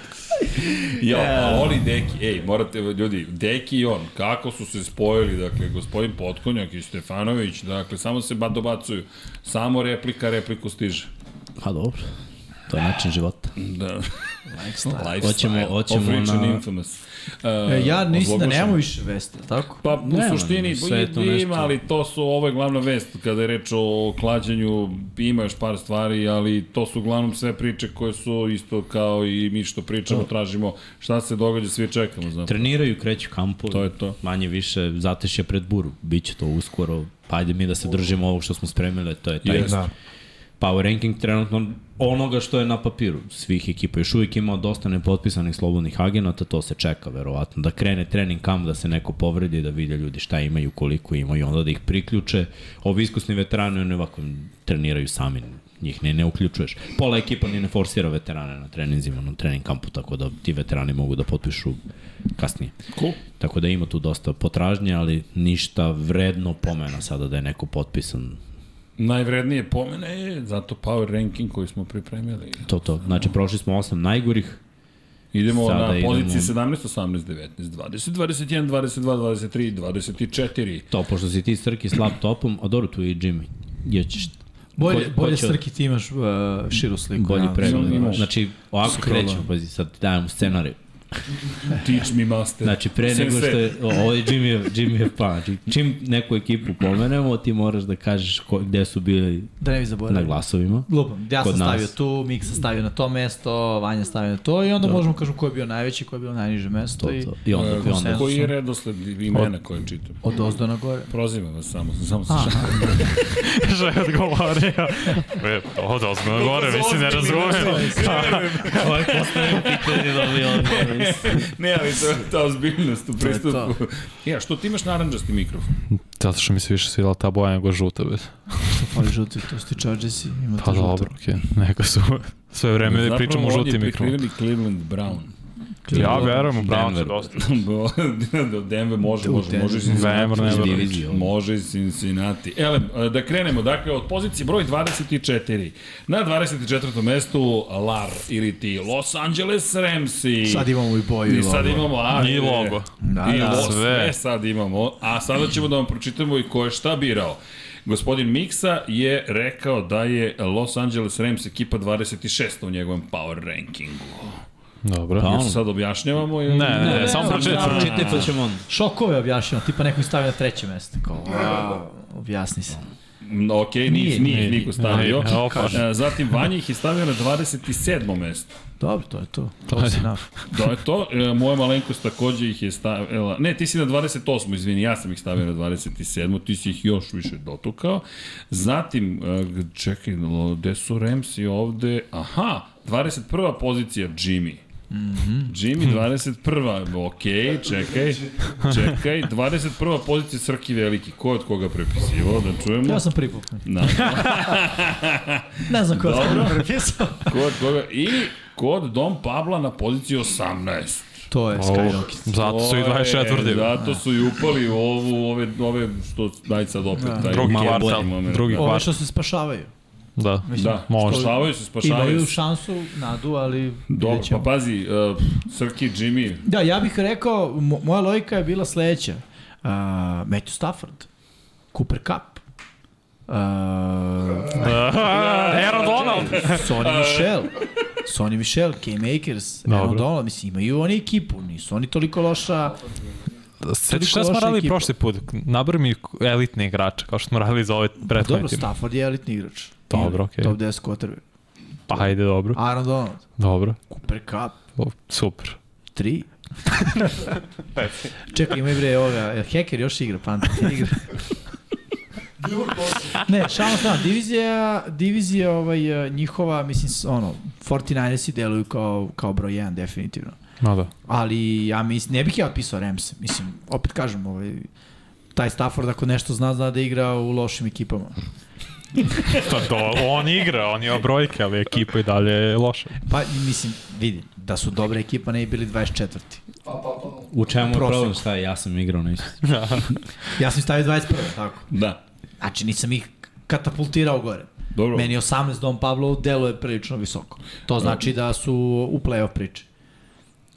[SPEAKER 1] Jo, a oni Deki, ej, morate, ljudi, Deki i on, kako su se spojili, dakle, gospodin Potkonjak i Stefanović, dakle, samo se ba dobacuju, samo replika, repliku stiže.
[SPEAKER 2] Pa dobro, to je način života.
[SPEAKER 1] Da. Lifestyle.
[SPEAKER 2] Hoćemo- hoćemo
[SPEAKER 1] Off-Rich and
[SPEAKER 2] na-
[SPEAKER 1] Infamous.
[SPEAKER 4] E,
[SPEAKER 1] Uh,
[SPEAKER 4] ja nisam da
[SPEAKER 1] ozloglašen.
[SPEAKER 4] nemamo više vesti, jel tako?
[SPEAKER 1] Pa u
[SPEAKER 2] Nema,
[SPEAKER 1] suštini
[SPEAKER 2] sve je to
[SPEAKER 1] ima,
[SPEAKER 2] nešto.
[SPEAKER 1] ali to su, ovo je glavna vest, kada je reč o klađenju, ima još par stvari, ali to su uglavnom sve priče koje su isto kao i mi što pričamo, tražimo šta se događa, svi čekamo, znam.
[SPEAKER 2] Treniraju, kreću kampovi.
[SPEAKER 1] To je to.
[SPEAKER 2] Manje više zatešje pred buru. Biće to uskoro. Pa ajde mi da se držimo ovog što smo spremili, to je taj
[SPEAKER 1] Jeste.
[SPEAKER 2] da. power ranking trenutno onoga što je na papiru svih ekipa. Još uvijek ima dosta nepotpisanih slobodnih agenata, to se čeka verovatno. Da krene trening kamp, da se neko povredi, da vide ljudi šta imaju, koliko imaju, onda da ih priključe. Ovi iskusni veterani, oni ovako treniraju sami, njih ne, ne uključuješ. Pola ekipa ni ne forsira veterane na treninzima, na trening kampu, tako da ti veterani mogu da potpišu kasnije.
[SPEAKER 1] Cool.
[SPEAKER 2] Tako da ima tu dosta potražnje, ali ništa vredno pomena sada da je neko potpisan.
[SPEAKER 1] Najvrednije pomene je zato power ranking koji smo pripremili.
[SPEAKER 2] To, to. Znači, prošli smo osam najgorih,
[SPEAKER 1] Idemo
[SPEAKER 2] Sada
[SPEAKER 1] na
[SPEAKER 2] idemo-
[SPEAKER 1] pozicije 17, 18, 19, 20, 21, 22, 23, 24.
[SPEAKER 2] to pošto si ti Srki s laptopom, a dobro tu je i Jimmy. Ja ćeš Ko-
[SPEAKER 4] Bolje,
[SPEAKER 2] ko
[SPEAKER 4] bolje
[SPEAKER 2] će-
[SPEAKER 4] Srki ti imaš uh, širu sliku.
[SPEAKER 2] bolji
[SPEAKER 4] ja.
[SPEAKER 2] pregled.
[SPEAKER 1] Imaš.
[SPEAKER 2] Znači, ovako
[SPEAKER 1] Scrolla.
[SPEAKER 2] krećemo, pazi, sad ti dajem scenarij.
[SPEAKER 1] Teach me master.
[SPEAKER 2] Znači, pre nego što je, o, ovo je Jimmy, Jimmy plan. Znači, čim neku ekipu pomenemo, ti moraš da kažeš ko, gde su bili
[SPEAKER 4] Da ne bi
[SPEAKER 2] na
[SPEAKER 4] zaboravio.
[SPEAKER 2] glasovima.
[SPEAKER 4] Lupam, ja sam
[SPEAKER 2] Kod nas.
[SPEAKER 4] stavio tu, Mik sam stavio na to mesto, Vanja stavio na to i onda možemo kažemo ko je bio najveći, ko je bio najniže mesto
[SPEAKER 2] To,
[SPEAKER 4] i
[SPEAKER 2] to. I onda, i onda.
[SPEAKER 1] E, Koji je redosled imena koje čitam?
[SPEAKER 4] od ozdo na gore.
[SPEAKER 1] Prozivam vas samo, samo se
[SPEAKER 4] Aha.
[SPEAKER 1] šalim.
[SPEAKER 3] Že odgovorio. E, od ozbiljno gore, mislim, ne razumem.
[SPEAKER 2] Ovo je postavljeno pitanje da bi odgovor.
[SPEAKER 1] ne, ali to je ta ozbiljnost u pristupu. Ja, što ti imaš naranđasti mikrofon?
[SPEAKER 3] Zato što mi se više svidjela ta boja nego žuta. Bez.
[SPEAKER 4] Što fali žuti, to su ti čađesi, ima
[SPEAKER 3] Pa
[SPEAKER 4] to
[SPEAKER 3] dobro, okej. Neka su sve vreme da pričamo o žutim
[SPEAKER 1] Zapravo
[SPEAKER 3] mikrofonu.
[SPEAKER 1] on je prikriveni Cleveland Brown.
[SPEAKER 3] Ja verujem u Brownce
[SPEAKER 2] Denver.
[SPEAKER 3] dosta.
[SPEAKER 1] Do Denver može, može, može i
[SPEAKER 2] da
[SPEAKER 3] Denver,
[SPEAKER 1] Cincinnati.
[SPEAKER 2] znači
[SPEAKER 3] Denver.
[SPEAKER 2] Divizije, ovo.
[SPEAKER 1] Može i Cincinnati. Ele, da krenemo, dakle, od pozicije broj 24. Na 24. mestu LAR ili ti Los Angeles Rams i...
[SPEAKER 4] Sad imamo i boju.
[SPEAKER 1] I sad imamo a,
[SPEAKER 3] I logo.
[SPEAKER 1] Da, I
[SPEAKER 4] da.
[SPEAKER 1] lo, sve.
[SPEAKER 3] Sve.
[SPEAKER 1] sve sad imamo. A sada ćemo da vam pročitamo i ko je šta birao. Gospodin Miksa je rekao da je Los Angeles Rams ekipa 26 u njegovom power rankingu.
[SPEAKER 3] Dobro.
[SPEAKER 2] Pa,
[SPEAKER 1] Jel sad objašnjavamo ili...
[SPEAKER 3] Ne, ne, ne, samo
[SPEAKER 2] Samo
[SPEAKER 3] pročitaj.
[SPEAKER 2] pročitaj pa ćemo onda.
[SPEAKER 4] Šokove objašnjeno, tipa neko ih stavio na treće mesto. Kao,
[SPEAKER 1] Da,
[SPEAKER 4] wow, objasni se.
[SPEAKER 1] Mm, Ok, nije, nije, nije ih niko stavio.
[SPEAKER 3] Nije, opa.
[SPEAKER 1] E, Zatim Vanja ih je stavio na 27. mesto.
[SPEAKER 4] Dobro, to je to. Close enough.
[SPEAKER 1] Da je to, e, moja malenkost takođe ih je stavila, ne ti si na 28. izvini, ja sam ih stavio na 27. ti si ih još više dotukao. Zatim, e, g- čekaj, lo- gde su Remsi ovde? Aha, 21. pozicija Jimmy. Jimmy 21. Ok, čekaj, čekaj. 21. pozicija Srki Veliki. Ko je od koga prepisivao? Da čujemo.
[SPEAKER 4] Ja sam pripuknut.
[SPEAKER 1] Na,
[SPEAKER 4] Ne znam ko je
[SPEAKER 1] Dobro.
[SPEAKER 4] to prepisao.
[SPEAKER 1] ko je od koga? I kod Dom Pabla na poziciji 18.
[SPEAKER 4] To je
[SPEAKER 3] Ovo,
[SPEAKER 4] Skyrocket.
[SPEAKER 3] Zato su i
[SPEAKER 1] To je, da.
[SPEAKER 3] 24.
[SPEAKER 1] Zato su i upali u ovu, ove, ove što, daj sad opet,
[SPEAKER 4] Da.
[SPEAKER 1] taj
[SPEAKER 3] Drugi
[SPEAKER 1] mali
[SPEAKER 3] kvartal.
[SPEAKER 1] moment.
[SPEAKER 3] Drugi
[SPEAKER 4] Ove
[SPEAKER 3] kvartal.
[SPEAKER 4] što se spašavaju.
[SPEAKER 3] Da.
[SPEAKER 1] Da,
[SPEAKER 3] Može.
[SPEAKER 1] spašavaju se,
[SPEAKER 4] I
[SPEAKER 1] spašavaju
[SPEAKER 4] daju
[SPEAKER 1] se.
[SPEAKER 4] šansu, nadu, ali
[SPEAKER 1] Dobro,
[SPEAKER 4] vidjet
[SPEAKER 1] pa
[SPEAKER 4] ćemo.
[SPEAKER 1] pazi, uh, Srki, Jimmy,
[SPEAKER 4] Da, ja bih rekao, mo- moja logika je bila sledeća. Uh, Matthew Stafford, Cooper Cup, uh, E,
[SPEAKER 3] Aaron Donald.
[SPEAKER 4] Sonny Michel, Sonny Michel, K-Makers, Aaron
[SPEAKER 3] Dobro.
[SPEAKER 4] Donald, mislim, imaju oni ekipu, nisu oni toliko loša.
[SPEAKER 3] Sjetiš
[SPEAKER 4] Toliko
[SPEAKER 3] šta smo
[SPEAKER 4] loša
[SPEAKER 3] radili
[SPEAKER 4] ekipa.
[SPEAKER 3] prošli put? Nabr mi elitne igrače, kao što smo radili za ovaj
[SPEAKER 1] Pa
[SPEAKER 3] prethodni
[SPEAKER 4] Dobro,
[SPEAKER 3] tim.
[SPEAKER 4] Stafford je elitni igrač.
[SPEAKER 3] Dobro, okej.
[SPEAKER 4] Top 10 quarterback.
[SPEAKER 3] Pa hajde, dobro.
[SPEAKER 4] Aaron Donald,
[SPEAKER 3] Dobro.
[SPEAKER 4] Cooper Cup,
[SPEAKER 3] O, super.
[SPEAKER 4] 3. Čekaj, ima i bre ovoga, jel Heker još igra, Panta igra. ne, šalno strana, divizija, divizija ovaj, eh, njihova, mislim, s- ono, 49ersi deluju kao, kao broj 1, definitivno.
[SPEAKER 3] No da.
[SPEAKER 4] Ali ja mislim, ne bih ja otpisao Remse, mislim, opet kažem, ovaj, taj Stafford ako nešto zna, zna da igra u lošim ekipama.
[SPEAKER 3] Pa do, on igra, on je brojke, ali ekipa i dalje je loša.
[SPEAKER 4] Pa, mislim, vidi, da su dobra ekipa, ne bi bili 24.
[SPEAKER 2] U čemu je
[SPEAKER 4] Prosek.
[SPEAKER 2] problem? Šta je? Ja sam igrao nešto.
[SPEAKER 4] Ja sam ih stavio 21, tako.
[SPEAKER 1] da,
[SPEAKER 4] Znači, nisam ih katapultirao gore.
[SPEAKER 1] dobro.
[SPEAKER 4] Meni 18 Dom Pavlov deluje prilično visoko. To znači da su u play-off priči.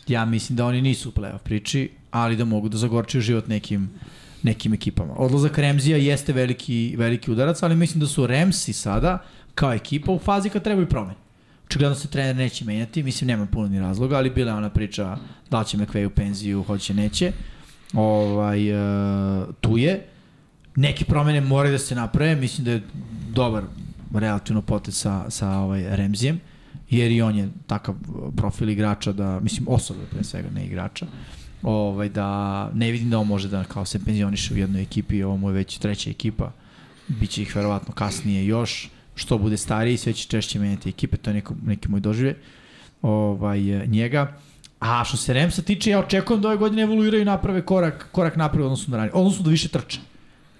[SPEAKER 4] Ja mislim da oni nisu u play-off priči, ali da mogu da zagorčuju život nekim nekim ekipama. Odlazak Remzija jeste veliki, veliki udarac, ali mislim da su Remsi sada, kao ekipa, u fazi kad trebaju promene. Očigledno se trener neće menjati, mislim nema puno ni razloga, ali bila je ona priča da li će McVay u penziju, hoće, neće. Ovaj, e, tu je. Neke promene moraju da se naprave, mislim da je dobar relativno potez sa, sa ovaj Remzijem, jer i on je takav uh, profil igrača da, mislim osobe pre svega, ne igrača, ovaj, da ne vidim da on može da kao se penzioniše u jednoj ekipi, ovo mu je već treća ekipa, bit će ih verovatno kasnije još, što bude stariji, sve će češće menjati ekipe, to je neko, neki moj doživlje ovaj, njega. A što se Remsa tiče, ja očekujem da ove godine evoluiraju i naprave korak, korak napred odnosno na ranije, odnosno da više trče.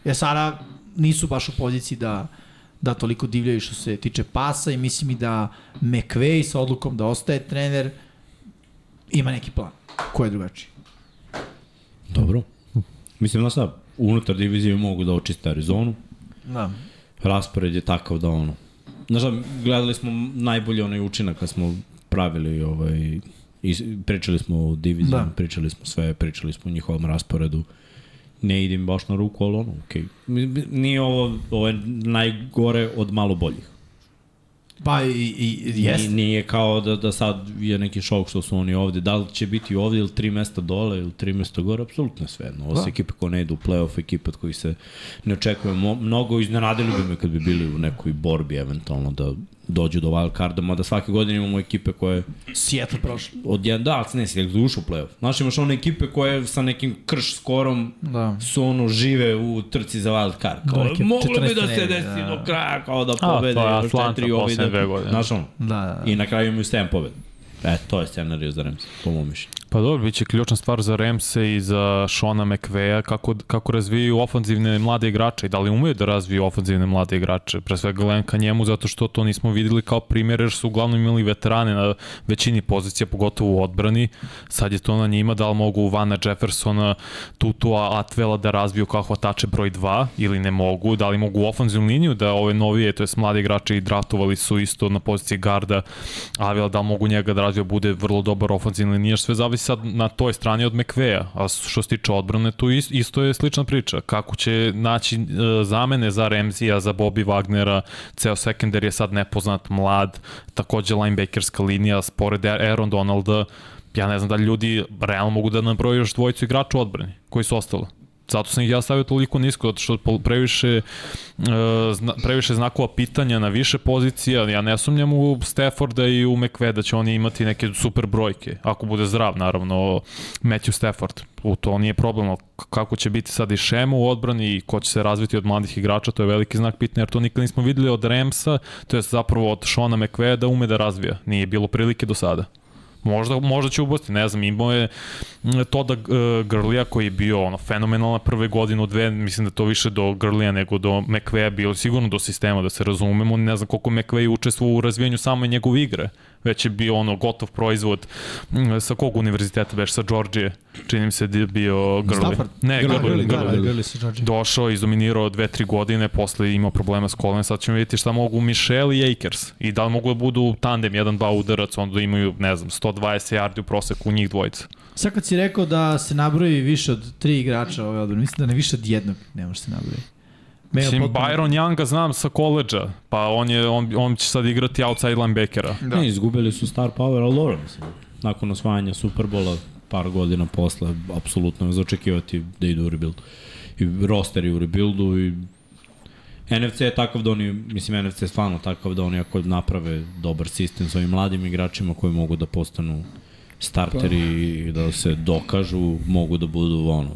[SPEAKER 4] Jer sada E, nisu baš u poziciji da, da toliko divljaju što se tiče pasa i mislim i da McVay sa odlukom da ostaje trener ima neki plan. Ko je drugačiji?
[SPEAKER 2] Dobro. Mislim, da sad, unutar divizije mogu da očiste Arizonu.
[SPEAKER 4] Da.
[SPEAKER 2] Raspored je takav da ono... Znaš da, gledali smo najbolji onaj učinak kad smo pravili ovaj... I pričali smo o divizijama,
[SPEAKER 4] Da.
[SPEAKER 2] da. pričali smo sve, pričali smo o njihovom rasporedu. Ne idem baš na ruku, ali ono, okej. Okay. Nije ovo, ovo je najgore od malo boljih.
[SPEAKER 4] Pa i, i,
[SPEAKER 2] Yes.
[SPEAKER 4] jest.
[SPEAKER 2] Nije kao da, da sad je neki šok što su oni ovde. Da li će biti ovde ili tri mesta dole ili tri mesta gore, apsolutno je svejedno. Ovo su
[SPEAKER 4] Da.
[SPEAKER 2] ekipe koje ne idu u play-off, ekipe od kojih se ne očekuje mo- mnogo. Iznenadili bi me kad bi bili u nekoj borbi eventualno da dođu do wild carda, mada svake godine imamo ekipe koje
[SPEAKER 4] Seattle prošlo.
[SPEAKER 2] od jedan, da, ali ne si, da ušu u play-off. Znaš, imaš one ekipe koje sa nekim krš skorom
[SPEAKER 4] Da.
[SPEAKER 2] su ono žive u trci za wild card. Kao,
[SPEAKER 4] Da, neke
[SPEAKER 2] moglo bi da
[SPEAKER 4] 14
[SPEAKER 2] se
[SPEAKER 4] nervi,
[SPEAKER 2] desi
[SPEAKER 4] da.
[SPEAKER 2] do kraja, kao da
[SPEAKER 3] to je
[SPEAKER 2] pobede još
[SPEAKER 3] Atlanta
[SPEAKER 2] četiri ovi
[SPEAKER 3] poslednje dve
[SPEAKER 2] da...
[SPEAKER 3] godine.
[SPEAKER 2] Znaš ono,
[SPEAKER 4] Da, da.
[SPEAKER 2] I na kraju imaju 7 pobjeda. E, to je scenario za Rams, po mom mišljenju.
[SPEAKER 3] Pa dobro, bit će ključna stvar za Remse i za Shona McVeja, kako, kako razvijaju ofanzivne mlade igrače i da li umeju da razviju ofanzivne mlade igrače. Pre svega gledam ka njemu zato što to nismo videli kao primjer jer su uglavnom imali veterane na većini pozicija, pogotovo u odbrani. Sad je to na njima da li mogu Vana Jeffersona, Tutua, Atvela da razviju kao hvatače broj 2 ili ne mogu, da li mogu u ofanzivnu liniju da ove novije, to je mlade igrače i draftovali su isto na poziciji garda Avila da li mogu njega da razvija bude vrlo dobar ofenzivni linijaš, sve zavisi sad na toj strani od McVeja, a što se tiče odbrane tu is- isto je slična priča, kako će naći e, zamene za Remzija, za Bobby Wagnera, ceo sekender je sad nepoznat, mlad, takođe linebackerska linija, spored E-, Aaron Donalda, ja ne znam da li ljudi realno mogu da nabroje još dvojicu igrača u odbrani, koji su ostali. Zato sam ih ja stavio toliko nisko, zato što pol- previše E, zna, previše znakova pitanja na više pozicija, ja ne sumnjam u Stafforda i u McVe da će oni imati neke super brojke, ako bude zdrav naravno Matthew Stafford u to nije problem, ali k- kako će biti sad i šema u odbrani i ko će se razviti od mladih igrača, to je veliki znak pitanja, jer to nikad nismo videli od Ramsa, to je zapravo od Shona McVe da ume da razvija, nije bilo prilike do sada. Možda, možda će ubasti, ne znam, imao je m, Toda uh, Grlija koji je bio ono, fenomenalna prve godinu, dve, mislim da to više do Grlija nego do McVeja bilo, sigurno do sistema, da se razumemo, ne znam koliko McVej učestvovao u razvijanju same njegove igre, već je bio ono gotov proizvod m, sa kog univerziteta, već sa Georgije, čini mi se da je bio Grlija.
[SPEAKER 4] Stafford?
[SPEAKER 3] Ne,
[SPEAKER 4] Grli,
[SPEAKER 3] Grlija,
[SPEAKER 4] grli, da, da,
[SPEAKER 3] Grlija.
[SPEAKER 4] grli se George.
[SPEAKER 3] Došao, izdominirao dve, tri godine, posle imao problema s kolenom, sad ćemo vidjeti šta mogu Michelle i Akers. I da li mogu da budu tandem, jedan, dva udarac, onda imaju, ne znam, 120 yardi u proseku njih dvojica.
[SPEAKER 4] Sad kad si rekao da se nabroji više od tri igrača ove odbrane, mislim da ne više od jednog ne može se nabroji. Me je
[SPEAKER 3] Mislim,
[SPEAKER 4] potpuno-
[SPEAKER 3] Byron Younga znam sa koleđa, pa on, je, on, on će sad igrati outside linebackera.
[SPEAKER 2] Da. Ne, izgubili su star power, ali dobro, mislim. Nakon osvajanja Superbola, par godina posle, apsolutno je za očekivati da idu u rebuild. I roster je u rebuildu i NFC je takav da oni, mislim NFC je stvarno takav da oni ako naprave dobar sistem s ovim mladim igračima koji mogu da postanu starteri i da se dokažu, mogu da budu ono,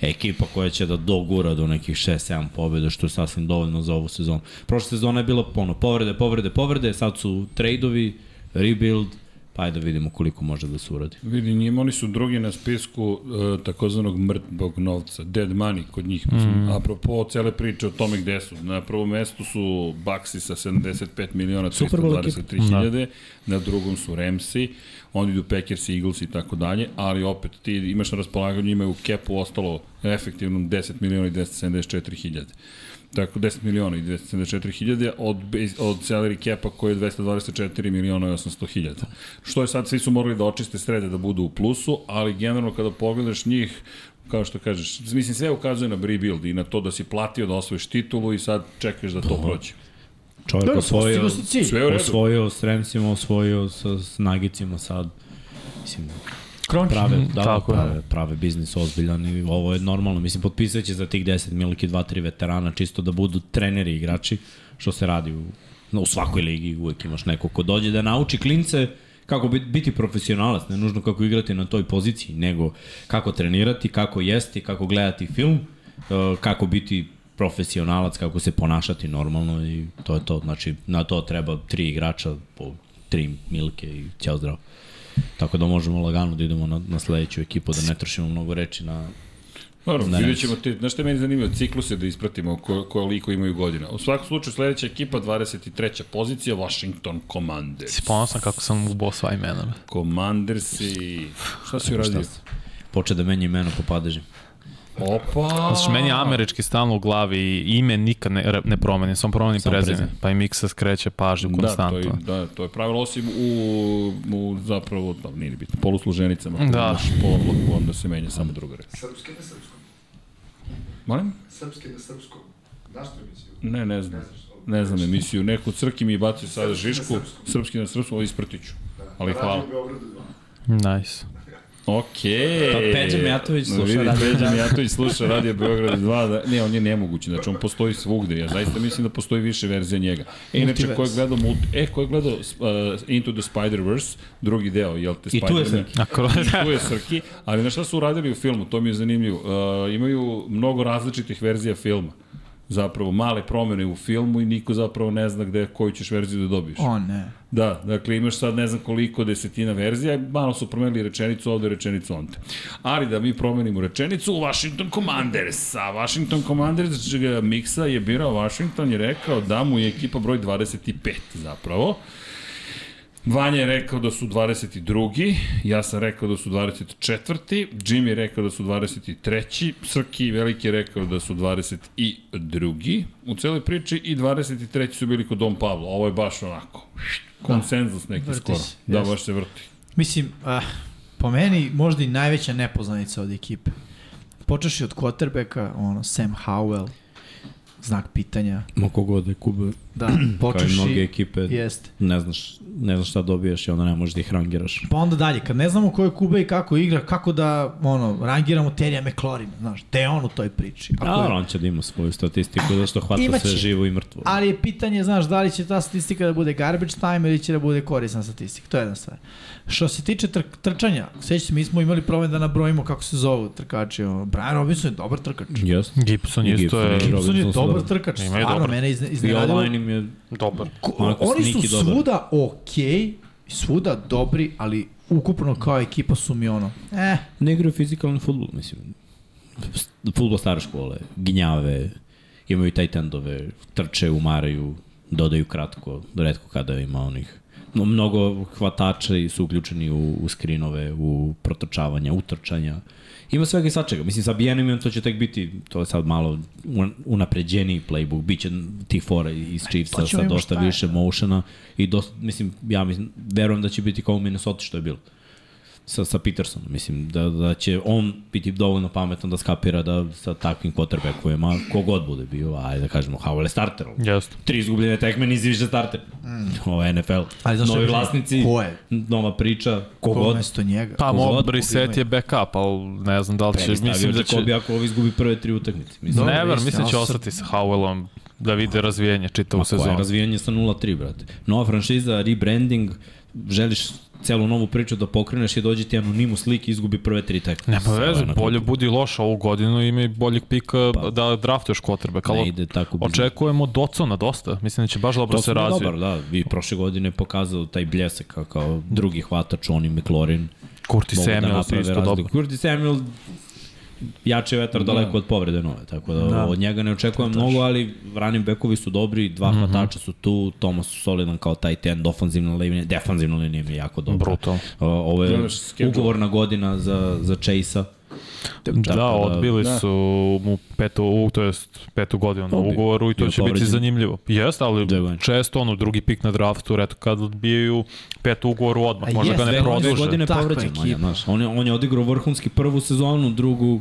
[SPEAKER 2] ekipa koja će da dogura do nekih 6-7 pobjeda, što je sasvim dovoljno za ovu sezonu. Prošla sezona je bila ono, povrede, povrede, povrede, sad su trade-ovi, rebuild, pa ajde da vidimo koliko može da se uradi.
[SPEAKER 1] Vidi, njima oni su drugi na spisku e, takozvanog mrtvog novca, dead money kod njih. Mislim, apropo cele priče o tome gde su. Na prvom mestu su Baxi sa 75 miliona
[SPEAKER 2] Super Bowl
[SPEAKER 1] 323 hiljade, na drugom su Ramsi, oni idu Packers, Eagles i tako dalje, ali opet ti imaš na raspolaganju, njima je u kepu ostalo efektivno 10 miliona i 274 hiljade. Tako 10 miliona i 274 hiljade od, base- od salary capa koji je 224 miliona i 800 hiljada. Što je sad, svi su morali da očiste srede da budu u plusu, ali generalno kada pogledaš njih, kao što kažeš, mislim sve ukazuje na rebuild i na to da si platio da osvojiš titulu i sad čekaš da to prođe.
[SPEAKER 2] Čovjek
[SPEAKER 4] Dobro,
[SPEAKER 2] osvojio,
[SPEAKER 4] postigo si cilj.
[SPEAKER 1] Sve u redu.
[SPEAKER 2] osvojio s Remsima, osvojio sa s Nagicima sad, mislim,
[SPEAKER 4] Kronk.
[SPEAKER 2] prave, da, tako
[SPEAKER 3] tako je.
[SPEAKER 2] prave, prave biznis ozbiljan i ovo je normalno. Mislim, potpisat će za tih 10 miliki 2-3 veterana, čisto da budu treneri igrači, što se radi u, no, u svakoj ligi, uvek imaš neko ko dođe da nauči klince kako bit- biti profesionalac, ne nužno kako igrati na toj poziciji, nego kako trenirati, kako jesti, kako gledati film, e, kako biti profesionalac, kako se ponašati normalno i to je to. Znači, na to treba tri igrača po tri milke i ćao zdravo. Tako da možemo lagano da idemo na, na sledeću ekipu, da ne trošimo mnogo reči na...
[SPEAKER 1] Naravno,
[SPEAKER 2] Da,
[SPEAKER 1] da,
[SPEAKER 2] ne.
[SPEAKER 1] vidjet ćemo te, znaš što je meni zanimljivo, cikluse da ispratimo ko, koliko imaju godina. U svakom slučaju sledeća ekipa, 23. pozicija, Washington Commanders.
[SPEAKER 3] Si ponosan kako sam ubao sva imena. be.
[SPEAKER 1] Commanders i... Šta si uradio?
[SPEAKER 2] Šta se- Poče da menja imena po padežima.
[SPEAKER 1] Opa!
[SPEAKER 3] Znači, meni je američki stalno u glavi i ime nikad ne, re- ne promeni, samo promeni
[SPEAKER 2] Samo
[SPEAKER 3] prezime.
[SPEAKER 2] prezime.
[SPEAKER 3] Pa i Miksa skreće pažnju
[SPEAKER 1] Da, to je,
[SPEAKER 3] konstantno.
[SPEAKER 1] da, to je pravilo, osim u, u zapravo, da, nije ni bitno, polusluženicama.
[SPEAKER 3] Da.
[SPEAKER 1] Da. Naš podlogu, onda se menja samo druga reč.
[SPEAKER 5] Srpske na srpskom.
[SPEAKER 1] Molim?
[SPEAKER 5] Srpske na srpskom. Znaš tu emisiju?
[SPEAKER 1] Ne, ne znam.
[SPEAKER 5] Ne znaš, ali-
[SPEAKER 1] Ne znam emisiju, neku crki mi bacio sada
[SPEAKER 5] Srpski na
[SPEAKER 1] žišku,
[SPEAKER 5] srpskom.
[SPEAKER 1] srpski na srpskom, ali isprtit ću.
[SPEAKER 5] Da.
[SPEAKER 1] Ali
[SPEAKER 5] Radio
[SPEAKER 1] hvala.
[SPEAKER 5] Beogradu 2.
[SPEAKER 3] Nice.
[SPEAKER 1] Okej.
[SPEAKER 2] Pa Peđa Mijatović sluša
[SPEAKER 1] Vidi,
[SPEAKER 2] Radio
[SPEAKER 1] Peđa
[SPEAKER 2] Beograd.
[SPEAKER 1] Mijatović sluša Radio Beograd 2. Da, ne, on je nemogući, znači on postoji svugde. Ja zaista mislim da postoji više verzija njega. E, inače,
[SPEAKER 4] Multiverse.
[SPEAKER 1] ko je gledao, multi, e, ko je gledao uh, Into the Spider-Verse, drugi deo, jel te
[SPEAKER 2] I tu
[SPEAKER 1] Spider-Man?
[SPEAKER 2] je Srki.
[SPEAKER 3] Na kroz...
[SPEAKER 1] I tu je Srki, ali na šta su uradili u filmu, to mi je zanimljivo. Uh, imaju mnogo različitih verzija filma. Zapravo, male promene u filmu i niko zapravo ne zna gde, koju ćeš verziju da dobiješ.
[SPEAKER 4] O ne.
[SPEAKER 1] Da, dakle imaš sad ne znam koliko desetina verzija, malo su promenili rečenicu ovde, rečenicu onda. Ali da mi promenimo rečenicu, Washington Commanders. A Washington Commanders čega Miksa je birao Washington i rekao da mu je ekipa broj 25 zapravo. Vanja je rekao da su 22. Ja sam rekao da su 24. Jimmy je rekao da su 23. Srki i Veliki je rekao da su 22. U celoj priči i 23. su bili kod Dom Pavla. Ovo je baš onako konsenzus neki
[SPEAKER 4] Da. vrti
[SPEAKER 1] skoro.
[SPEAKER 4] se,
[SPEAKER 1] Da,
[SPEAKER 4] jeste.
[SPEAKER 1] baš se vrti.
[SPEAKER 4] Mislim, ah, po meni možda i najveća nepoznanica od ekipe. Počeš i od quarterbacka, ono, Sam Howell, znak pitanja.
[SPEAKER 2] Ma kogod je Kuba,
[SPEAKER 4] Da,
[SPEAKER 2] kao i
[SPEAKER 4] počeš
[SPEAKER 2] mnoge
[SPEAKER 4] i...
[SPEAKER 2] ekipe,
[SPEAKER 4] Jeste.
[SPEAKER 2] ne znaš, ne znaš šta dobijaš i onda ne možeš da ih rangiraš.
[SPEAKER 4] Pa onda dalje, kad ne znamo ko je Kuba i kako igra, kako da, ono, rangiramo Terija McLaurina, znaš, te je on u toj priči.
[SPEAKER 2] A
[SPEAKER 4] je-
[SPEAKER 2] dobro, on će da ima svoju statistiku, zato što hvata
[SPEAKER 4] Imaće.
[SPEAKER 2] sve živo i mrtvo.
[SPEAKER 4] Ali je pitanje, znaš, da li će ta statistika da bude garbage time ili će da bude korisna statistika. To je jedna stvar. Što se tiče tr trčanja, sveći se, mi smo imali problem da nabrojimo kako se zovu trkači. ono. Brian Robinson je dobar trkač.
[SPEAKER 2] Jeste.
[SPEAKER 3] Gibson
[SPEAKER 2] I
[SPEAKER 3] isto je...
[SPEAKER 2] Gibson.
[SPEAKER 4] Robinson je
[SPEAKER 2] su
[SPEAKER 4] dobar
[SPEAKER 2] dobar.
[SPEAKER 4] trkač,
[SPEAKER 3] Ima je
[SPEAKER 4] stvarno
[SPEAKER 3] dobar.
[SPEAKER 4] mene izne,
[SPEAKER 2] I
[SPEAKER 4] iznenadilo.
[SPEAKER 2] online im je...
[SPEAKER 3] Dobar.
[SPEAKER 4] Ko-
[SPEAKER 2] onako
[SPEAKER 4] Oni su
[SPEAKER 2] sneaky dobar.
[SPEAKER 4] svuda okej, svuda dobri, ali ukupno kao ekipa su mi ono, eh,
[SPEAKER 2] Ne igraju fizikalni futbol, mislim. Futbol stare škole, ginjave, imaju tight endove, trče, umaraju, dodaju kratko, redko kada ima onih. No, mnogo hvatača i su uključeni u, u skrinove, u protrčavanja, utrčanja. Ima svega i svačega. Mislim, sa Bijenimom to će tek biti, to je sad malo un- unapređeniji playbook, bit će tih fora iz Chiefsa
[SPEAKER 4] pa ćemo
[SPEAKER 2] sa
[SPEAKER 4] vidimo
[SPEAKER 2] dosta
[SPEAKER 4] šta je.
[SPEAKER 2] više motiona i dosta, mislim, ja mislim, verujem da će biti kao u Minnesota što je bilo sa, sa Petersonom. Mislim da, da će on biti dovoljno pametan da skapira da sa takvim quarterbackovima, kogod bude bio, ajde da kažemo, Howell je starter.
[SPEAKER 3] Jeste.
[SPEAKER 2] Tri izgubljene tekme, nisi više starter. Mm. Ovo je NFL.
[SPEAKER 4] Ali znaš šta
[SPEAKER 2] Novi
[SPEAKER 4] je bilo?
[SPEAKER 2] vlasnici,
[SPEAKER 4] Ko je?
[SPEAKER 2] nova priča,
[SPEAKER 4] ko
[SPEAKER 2] kogod.
[SPEAKER 4] mesto njega.
[SPEAKER 3] Pa, mo,
[SPEAKER 2] Kogod
[SPEAKER 3] Brissett je backup, ali ne znam da li će, mislim da će...
[SPEAKER 2] Jakobi ako ovi izgubi prve tri utakmice. Mislim,
[SPEAKER 4] Dobro,
[SPEAKER 3] Never,
[SPEAKER 4] istina,
[SPEAKER 3] mislim da će
[SPEAKER 4] ali
[SPEAKER 3] ostati sa Howellom da vide razvijenje čitavu
[SPEAKER 2] Tako je,
[SPEAKER 3] sezonu.
[SPEAKER 2] razvijanje sa 0-3, brate. Nova franšiza, rebranding, želiš celu novu priču da pokreneš i dođe ti anonimus lik i izgubi prve tri tekme.
[SPEAKER 3] Nema
[SPEAKER 2] Sve
[SPEAKER 3] pa veze,
[SPEAKER 2] onako.
[SPEAKER 3] bolje budi loš ovu godinu, ima i boljeg pika
[SPEAKER 2] Pa.
[SPEAKER 3] da draftuješ quarterback,
[SPEAKER 2] Ne
[SPEAKER 3] ali
[SPEAKER 2] ide tako biznis.
[SPEAKER 3] očekujemo Docona dosta. Mislim da će baš dobro
[SPEAKER 2] To
[SPEAKER 3] se
[SPEAKER 2] smo
[SPEAKER 3] razvije.
[SPEAKER 2] dobar, da. Vi prošle godine je pokazao taj bljesak kao, kao drugi hvatač, on i McLaurin.
[SPEAKER 3] Curtis
[SPEAKER 2] mogu da
[SPEAKER 3] Samuel da
[SPEAKER 2] naprave
[SPEAKER 3] isto
[SPEAKER 2] razliku.
[SPEAKER 3] dobar.
[SPEAKER 2] Curtis Samuel jače vetar daleko od povrede nove, tako da, od njega ne očekujem mnogo, ali running backovi su dobri, dva mm
[SPEAKER 3] Mhm.
[SPEAKER 2] -hmm. hvatača su tu, Thomas su solidan kao taj ten, ofanzivna linija, defanzivna linija im je jako dobra.
[SPEAKER 3] Brutal.
[SPEAKER 2] O, Ovo je
[SPEAKER 1] Gledaš schedule.
[SPEAKER 2] ugovorna godina za, za Chase-a.
[SPEAKER 3] Da, da, odbili
[SPEAKER 1] da.
[SPEAKER 3] su mu petu, u, to jest petu godinu na
[SPEAKER 2] Odbio.
[SPEAKER 3] ugovoru i to
[SPEAKER 2] Bio
[SPEAKER 3] će biti
[SPEAKER 2] povređen.
[SPEAKER 3] zanimljivo. Jeste, ali
[SPEAKER 2] Da, da.
[SPEAKER 3] često ono drugi pik na draftu, redko kad odbijaju petu ugovoru odmah,
[SPEAKER 4] A
[SPEAKER 3] možda ga
[SPEAKER 4] jeste,
[SPEAKER 3] ne
[SPEAKER 4] dve godine-
[SPEAKER 3] produže.
[SPEAKER 2] godine
[SPEAKER 4] Takva
[SPEAKER 2] povređen,
[SPEAKER 4] ekipa.
[SPEAKER 2] Manja, znaš. On je, on je odigrao vrhunski prvu sezonu, drugu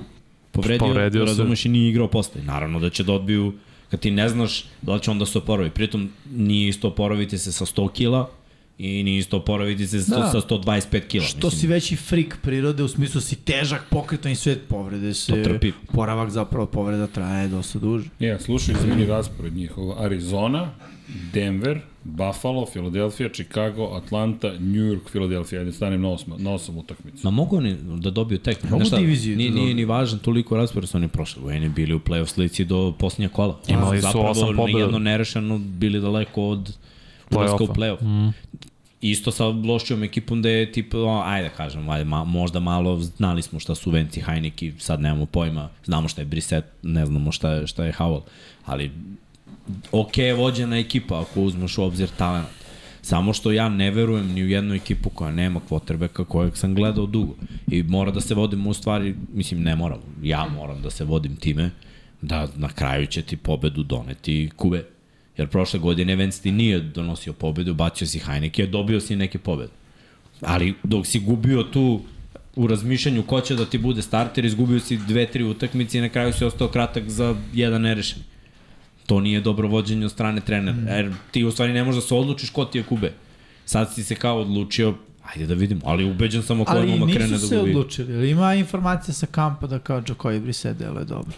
[SPEAKER 2] povredio,
[SPEAKER 3] Povredio
[SPEAKER 2] povredio
[SPEAKER 3] se.
[SPEAKER 2] razumeš, i nije igrao postaje. Naravno da će da odbiju, kad ti ne znaš da li će onda se oporavi. Pritom nije isto oporaviti se sa 100 kila i nije isto oporaviti se sa,
[SPEAKER 4] Da.
[SPEAKER 2] sa 125 kila.
[SPEAKER 4] Što si veći frik prirode, u smislu da si težak, pokretan i sve povrede se,
[SPEAKER 2] trpi.
[SPEAKER 4] poravak zapravo povreda traje dosta duže.
[SPEAKER 1] Ja, slušaj, izmeni raspored njihov. Arizona, Denver, Buffalo, Philadelphia, Chicago, Atlanta, New York, Philadelphia. Ajde, stanem na, osma, na osam utakmicu.
[SPEAKER 2] Ma mogu oni da dobiju tek,
[SPEAKER 4] Mogu
[SPEAKER 2] znaš šta,
[SPEAKER 4] diviziju
[SPEAKER 2] nije,
[SPEAKER 4] da
[SPEAKER 2] nije
[SPEAKER 4] dobiju.
[SPEAKER 2] ni važan toliko raspored su oni prošle godine bili u play-off slici do posljednja kola.
[SPEAKER 3] Imali su
[SPEAKER 2] Zapravo,
[SPEAKER 3] osam pobjeda.
[SPEAKER 2] nijedno nerešeno bili daleko od ulaska u
[SPEAKER 3] Play-offa. Mhm.
[SPEAKER 2] play-off. Mm. Isto sa lošijom ekipom da je tipa, o, ajde kažem, ajde, ma, možda malo znali smo šta su Venci Hajniki, sad nemamo pojma, znamo šta je Brissett, ne znamo šta je, šta je Howell, ali ok je vođena ekipa ako uzmeš u obzir talent. Samo što ja ne verujem ni u jednu ekipu koja nema quarterbacka kojeg sam gledao dugo. I mora da se vodim u stvari, mislim ne moram, ja moram da se vodim time da na kraju će ti pobedu doneti Kube. Jer prošle godine Vance ti nije donosio pobedu, bacio si Heineke, dobio si neke pobede. Ali dok si gubio tu u razmišljanju ko će da ti bude starter, izgubio si dve, tri utakmice i na kraju si ostao kratak za jedan nerešen To nije dobro vođenje od strane trenera.
[SPEAKER 4] Mm.
[SPEAKER 2] Jer ti u stvari ne možeš da se odlučiš ko ti je kube. Sad si se kao odlučio, ajde da vidimo. Ali ubeđen sam ako
[SPEAKER 4] Ali
[SPEAKER 2] odmoma krene da gubi.
[SPEAKER 4] nisu se odlučili. Jel Ima informacija sa kampa da kao Džokoj Brise delo je dobro.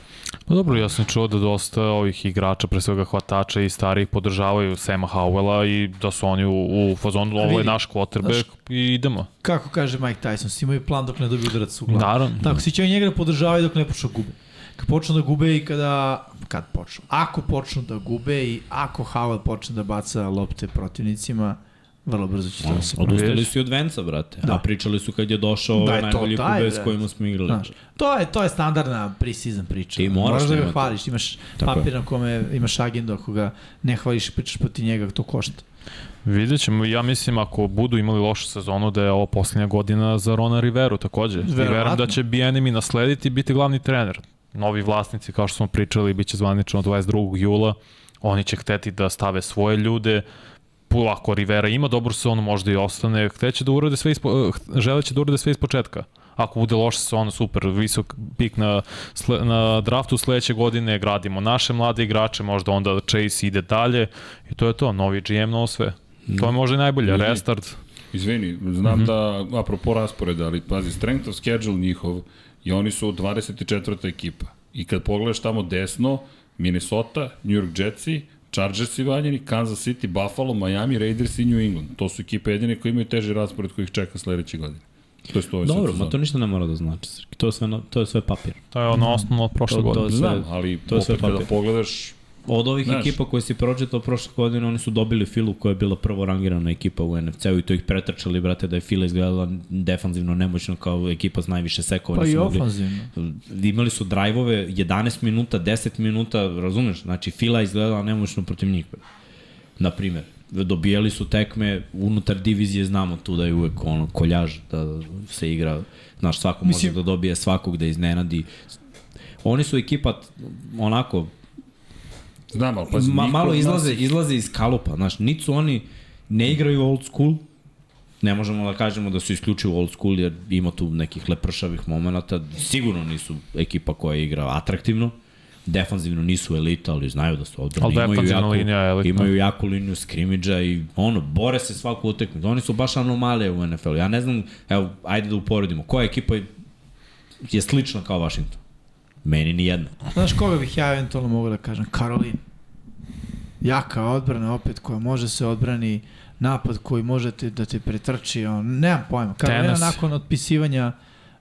[SPEAKER 3] Pa dobro, ja sam čuo da dosta ovih igrača, pre svega hvatača i starih, podržavaju Sema Howella i da su oni u, u fazonu, ovo je
[SPEAKER 4] vidi,
[SPEAKER 3] naš quarterback i idemo.
[SPEAKER 4] Kako kaže Mike Tyson, svi imaju plan dok ne dobiju udarac u glavu.
[SPEAKER 3] Naravno.
[SPEAKER 4] Tako, svi će njega da podržavaju dok ne počnu da gube. Kad počnu da gube i kada... Kad počnu? Ako počnu da gube i ako Howell počne da baca lopte protivnicima, vrlo brzo će to da se
[SPEAKER 2] Odustali su i od Venca, brate. Da.
[SPEAKER 4] Da.
[SPEAKER 2] A pričali su kad je došao
[SPEAKER 4] Da
[SPEAKER 2] da
[SPEAKER 4] je
[SPEAKER 2] je
[SPEAKER 4] to
[SPEAKER 2] najbolji
[SPEAKER 4] taj,
[SPEAKER 2] kube s
[SPEAKER 4] brate.
[SPEAKER 2] kojima smo igrali.
[SPEAKER 4] Znaš, to je, to je standardna pre-season priča.
[SPEAKER 2] Ti moraš
[SPEAKER 4] da ga
[SPEAKER 2] imati.
[SPEAKER 4] hvališ, imaš
[SPEAKER 2] Tako je.
[SPEAKER 4] papir na kome imaš agendu, ako ga ne hvališ i pričaš poti njega, to košta.
[SPEAKER 3] Vidjet ćemo, ja mislim ako budu imali lošu sezonu da je ovo posljednja godina za Rona Riveru takođe. Verovatno. I verujem
[SPEAKER 4] Verovatno.
[SPEAKER 3] da će BNM naslediti i biti glavni trener. Novi vlasnici, kao što smo pričali, bit će zvanično 22. jula. Oni će hteti da stave svoje ljude. Pu- Ako Rivera ima dobru sezonu, možda i ostane. Hteće da urade sve ispo, eh, ht- želeće da urade sve iz početka. Ako bude loša sezona, super, visok pik na, sle, na draftu sledeće godine, gradimo naše mlade igrače, možda onda Chase ide dalje i to je to, novi GM, novo sve. To
[SPEAKER 2] Mm.
[SPEAKER 3] je možda i najbolje,
[SPEAKER 1] Ljudi.
[SPEAKER 3] restart.
[SPEAKER 1] Izvini, znam
[SPEAKER 2] Mhm.
[SPEAKER 1] mm -hmm. da, apropo rasporeda, ali pazi, strength of schedule njihov i oni su 24. ekipa. I kad pogledaš tamo desno, Minnesota, New York Jetsi, Chargersi valjeni, Kansas City, Buffalo, Miami, Raiders i New England. To su ekipe jedine koje imaju teži raspored koji ih čeka sledeće godine. To je ovaj
[SPEAKER 2] Dobro,
[SPEAKER 1] sad
[SPEAKER 2] ma to
[SPEAKER 1] sezon.
[SPEAKER 2] ništa ne mora da znači, Srki. To je sve, na- to je sve papir.
[SPEAKER 3] To je ono osnovno od prošle
[SPEAKER 2] Mm. To- to-
[SPEAKER 3] godine.
[SPEAKER 1] Znam,
[SPEAKER 2] sve-
[SPEAKER 1] ali
[SPEAKER 2] to je sve
[SPEAKER 1] opet kada
[SPEAKER 2] papir.
[SPEAKER 1] pogledaš,
[SPEAKER 2] Od ovih
[SPEAKER 1] Znaš.
[SPEAKER 2] Znaš. ekipa koje si pročitao prošle godine, oni su dobili Filu koja je bila prvo rangirana ekipa u NFC-u i to ih pretrčali, brate, da je Fila izgledala defanzivno nemoćno kao ekipa s najviše sekova.
[SPEAKER 4] Pa i
[SPEAKER 2] nisu mogli-
[SPEAKER 4] ofanzivno.
[SPEAKER 2] imali su drajvove 11 minuta, 10 minuta, razumeš? Znači, Fila je izgledala nemoćno protiv njih. Na primer, dobijali su tekme, unutar divizije znamo tu da je uvek ono, koljaž, da se igra, znaš, svako Mislim...
[SPEAKER 4] Mislim-
[SPEAKER 2] može da dobije svakog, da iznenadi. Oni su ekipa t- onako,
[SPEAKER 1] znam, ali pazi,
[SPEAKER 2] ma,
[SPEAKER 1] niko
[SPEAKER 2] malo
[SPEAKER 1] od nas-
[SPEAKER 2] izlaze, izlaze iz kalupa, znaš, niti su oni, ne igraju old school, ne možemo da kažemo da su isključivo old school jer ima tu nekih lepršavih momenata, sigurno nisu ekipa koja igra atraktivno, defanzivno nisu elita, ali znaju da su odbrani,
[SPEAKER 3] Ali
[SPEAKER 2] imaju
[SPEAKER 3] defanzivna
[SPEAKER 2] jaku,
[SPEAKER 3] linija je elitna.
[SPEAKER 2] imaju jaku liniju skrimidža i ono, bore se svaku utekmicu, oni su baš anomalije u NFL-u, ja ne znam, evo, ajde da uporedimo, koja ekipa je- je slična kao Washington? Meni ni jedna.
[SPEAKER 4] Znaš koga bih ja eventualno mogao da kažem? Karolin. Jaka odbrana opet koja može se odbrani napad koji možete da te pretrči. On, nemam pojma. Karolina
[SPEAKER 3] Tennessee.
[SPEAKER 4] nakon otpisivanja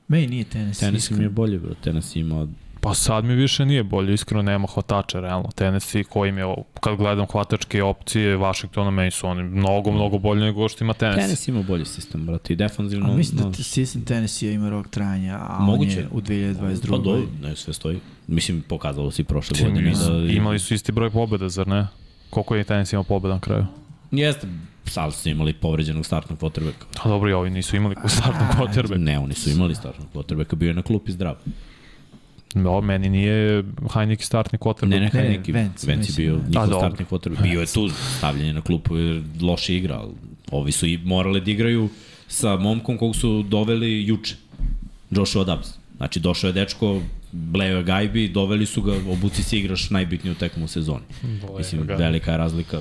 [SPEAKER 4] Meni nije tenis.
[SPEAKER 2] Tennessee mi je bolje, bro, Tennessee ima
[SPEAKER 3] Pa sad mi više nije bolje, iskreno nema hvatača, realno. Tennessee kojim je, kad gledam hvatačke opcije, Washingtona, meni su oni mnogo, mnogo bolje nego što ima Tennessee.
[SPEAKER 2] Tenis ima bolji sistem, brate, i defanzivno.
[SPEAKER 4] A mislim da
[SPEAKER 2] no,
[SPEAKER 4] te sistem tenisija ima rok trajanja, a Moguće. on
[SPEAKER 2] Moguće.
[SPEAKER 4] je u 2022.
[SPEAKER 2] Pa
[SPEAKER 4] Pa
[SPEAKER 2] do, ne, sve stoji. Mislim, pokazalo si prošle
[SPEAKER 3] Čini
[SPEAKER 2] godine.
[SPEAKER 3] mi se.
[SPEAKER 2] Da,
[SPEAKER 3] Imali su isti broj pobjeda, zar ne? Koliko je Tennessee imao pobjeda na kraju?
[SPEAKER 2] Jeste, sad su imali povređenog startnog potrebeka.
[SPEAKER 3] A dobro, i ovi nisu imali u startnom quarterback.
[SPEAKER 2] Ne, oni su imali startnog potrebeka, bio je na klupi zdrav.
[SPEAKER 3] No, Da, meni nije Heineken startni quarterback.
[SPEAKER 2] Ne, ne,
[SPEAKER 4] Ne,
[SPEAKER 2] ne, neki Vence,
[SPEAKER 4] Vance,
[SPEAKER 2] Vence je
[SPEAKER 4] mislim. da.
[SPEAKER 2] bio njihov
[SPEAKER 3] dobro.
[SPEAKER 2] startni quarterback. Bio je tu stavljen na klupu jer loše igra, ali ovi su i morali da igraju sa momkom kog su doveli juče, Joshua Dobbs. Znači, došao je dečko, bleo je gajbi, doveli su ga, obuci se igraš najbitniju tekmu u sezoni. Mislim,
[SPEAKER 3] da
[SPEAKER 2] da
[SPEAKER 3] ga.
[SPEAKER 2] velika je razlika.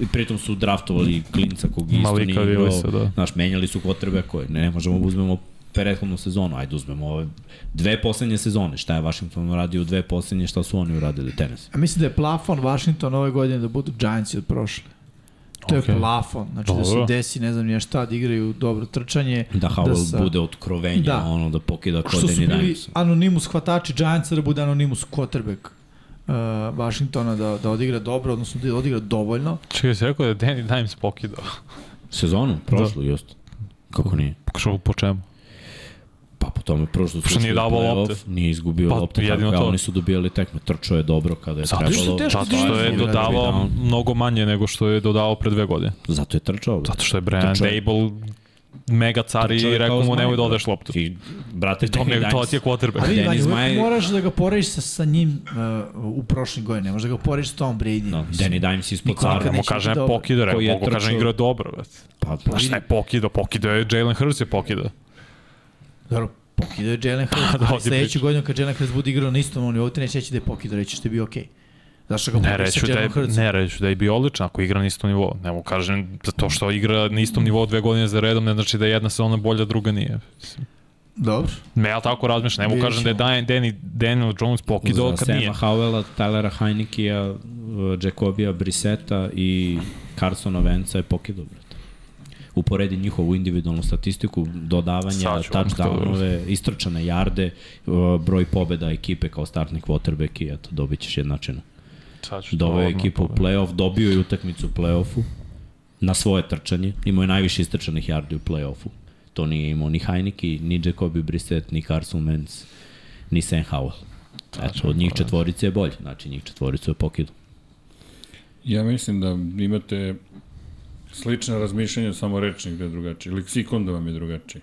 [SPEAKER 2] I pritom su draftovali klinca kog isto
[SPEAKER 3] Malika
[SPEAKER 2] nije igrao.
[SPEAKER 3] Willisa, da.
[SPEAKER 2] Znaš, menjali su kotrbe koje ne, ne možemo da uzmemo prethodnu sezonu, ajde uzmemo ove dve poslednje sezone, šta je Washington uradio u dve poslednje, šta su oni uradili tenis.
[SPEAKER 4] A mislim da je plafon Washington ove godine da budu Giantsi od prošle. To je
[SPEAKER 3] Okej.
[SPEAKER 4] plafon, znači da
[SPEAKER 3] Dobro.
[SPEAKER 4] se desi, ne znam nije šta, da igraju dobro trčanje.
[SPEAKER 2] Da Howell da
[SPEAKER 4] sa-
[SPEAKER 2] bude otkrovenje, da.
[SPEAKER 4] Da.
[SPEAKER 2] ono da pokida
[SPEAKER 4] Što su
[SPEAKER 2] Kodeni
[SPEAKER 4] bili
[SPEAKER 2] Dimes.
[SPEAKER 4] anonimus hvatači Giantsa da bude anonimus quarterback uh, Washingtona da, da odigra dobro, odnosno da odigra dovoljno.
[SPEAKER 3] Čekaj, si rekao da je Danny Dimes pokidao.
[SPEAKER 2] Sezonu, prošlu, da. just. Kako nije?
[SPEAKER 3] Što, po čemu?
[SPEAKER 2] Pa po tome prošlo su
[SPEAKER 3] Što
[SPEAKER 2] ušli
[SPEAKER 3] nije
[SPEAKER 2] u
[SPEAKER 3] davao
[SPEAKER 2] play-off,
[SPEAKER 3] lopte.
[SPEAKER 2] Nije izgubio
[SPEAKER 3] Pa,
[SPEAKER 2] pa, lopte,
[SPEAKER 3] jedino
[SPEAKER 2] tako, to.
[SPEAKER 3] to.
[SPEAKER 2] oni su dobijali tekme. Trčao je dobro kada je
[SPEAKER 3] Zato
[SPEAKER 2] trebalo.
[SPEAKER 3] što,
[SPEAKER 2] Zato
[SPEAKER 3] zato što je
[SPEAKER 2] Zato
[SPEAKER 3] dodavao
[SPEAKER 2] down.
[SPEAKER 3] mnogo manje nego što je dodavao pre dve godine.
[SPEAKER 2] Zato je trčao. bre.
[SPEAKER 3] Zato što je Brian
[SPEAKER 2] Trčao je-
[SPEAKER 3] Dable mega car
[SPEAKER 2] Trčao
[SPEAKER 3] i
[SPEAKER 2] je kao
[SPEAKER 3] rekao mu
[SPEAKER 2] zmaj,
[SPEAKER 3] nemoj da
[SPEAKER 2] brate.
[SPEAKER 3] odeš loptu.
[SPEAKER 2] I, brate,
[SPEAKER 3] To, mi, je- to ti je
[SPEAKER 4] A
[SPEAKER 3] quarterback.
[SPEAKER 4] vidi,
[SPEAKER 2] Denis
[SPEAKER 4] Vanja,
[SPEAKER 2] Maj-
[SPEAKER 4] uvek moraš da ga porediš sa, sa njim uh, u prošlim godine, ne možeš da ga porediš sa Tom Brady.
[SPEAKER 2] No,
[SPEAKER 4] mislim.
[SPEAKER 2] Danny Dimes ispod
[SPEAKER 4] Nikola
[SPEAKER 2] cara.
[SPEAKER 4] Kad
[SPEAKER 3] Kad mu
[SPEAKER 4] neće
[SPEAKER 3] kažem
[SPEAKER 4] biti dobro.
[SPEAKER 3] pokidao,
[SPEAKER 2] Koji je
[SPEAKER 3] rekao, mogu kažem
[SPEAKER 2] trčao-
[SPEAKER 3] igra dobro. brate.
[SPEAKER 2] Pa,
[SPEAKER 3] Pa
[SPEAKER 2] pa
[SPEAKER 3] šta je pokidao? Pokidao je Jalen Hurts je pokidao.
[SPEAKER 4] Dobro, pokidao je Jalen Hurts,
[SPEAKER 3] da,
[SPEAKER 4] ali
[SPEAKER 3] ovdje
[SPEAKER 4] sledeću
[SPEAKER 3] pričam.
[SPEAKER 4] godinu kad Jalen Hurts bude igrao na istom nivou, ti neće reći da je pokidao, reći što je da bio okej. Okay. Zašto ga
[SPEAKER 3] Ne
[SPEAKER 4] pomisliš
[SPEAKER 3] reću,
[SPEAKER 4] sa
[SPEAKER 3] da je,
[SPEAKER 4] Jeremom Hrcom?
[SPEAKER 3] ne reću da je bio odličan ako igra na istom nivou. Ne mu kažem da to što igra na istom nivou dve godine za redom ne znači da je jedna sezona bolja, druga nije.
[SPEAKER 4] Dobro.
[SPEAKER 3] Ne, ja tako razmišljam. Ne mu
[SPEAKER 4] Vidjet
[SPEAKER 3] kažem da je Dan,
[SPEAKER 4] ćemo.
[SPEAKER 3] Danny, Daniel Jones pokidao
[SPEAKER 2] Za
[SPEAKER 3] kad
[SPEAKER 2] Sama
[SPEAKER 3] nije.
[SPEAKER 2] Howella, Tylera Heinikija, Jacobija, Briseta i Carsona Venca je pokidao, brate. Uporedi njihovu individualnu statistiku, dodavanja,
[SPEAKER 3] Sad ću vam da
[SPEAKER 2] touchdownove, istrčane jarde, e, broj pobeda ekipe kao startni quarterback i eto, dobit ćeš jednačinu.
[SPEAKER 3] Sad ću to
[SPEAKER 2] Doveo je
[SPEAKER 3] odmah
[SPEAKER 2] ekipu da u
[SPEAKER 3] pogledati.
[SPEAKER 2] play-off, dobio je utakmicu u play-offu na svoje trčanje. Imao je najviše istrčanih yardi u play-offu. To nije imao ni Heineke, ni Jacobi Brissett, ni Carson Wentz, ni Sam Howell. Eto, od njih četvorice je bolje. Znači, njih četvoricu je pokidu.
[SPEAKER 1] Ja mislim da imate slična razmišljanja, samo rečnik da je drugačiji. Leksikon da vam je drugačiji.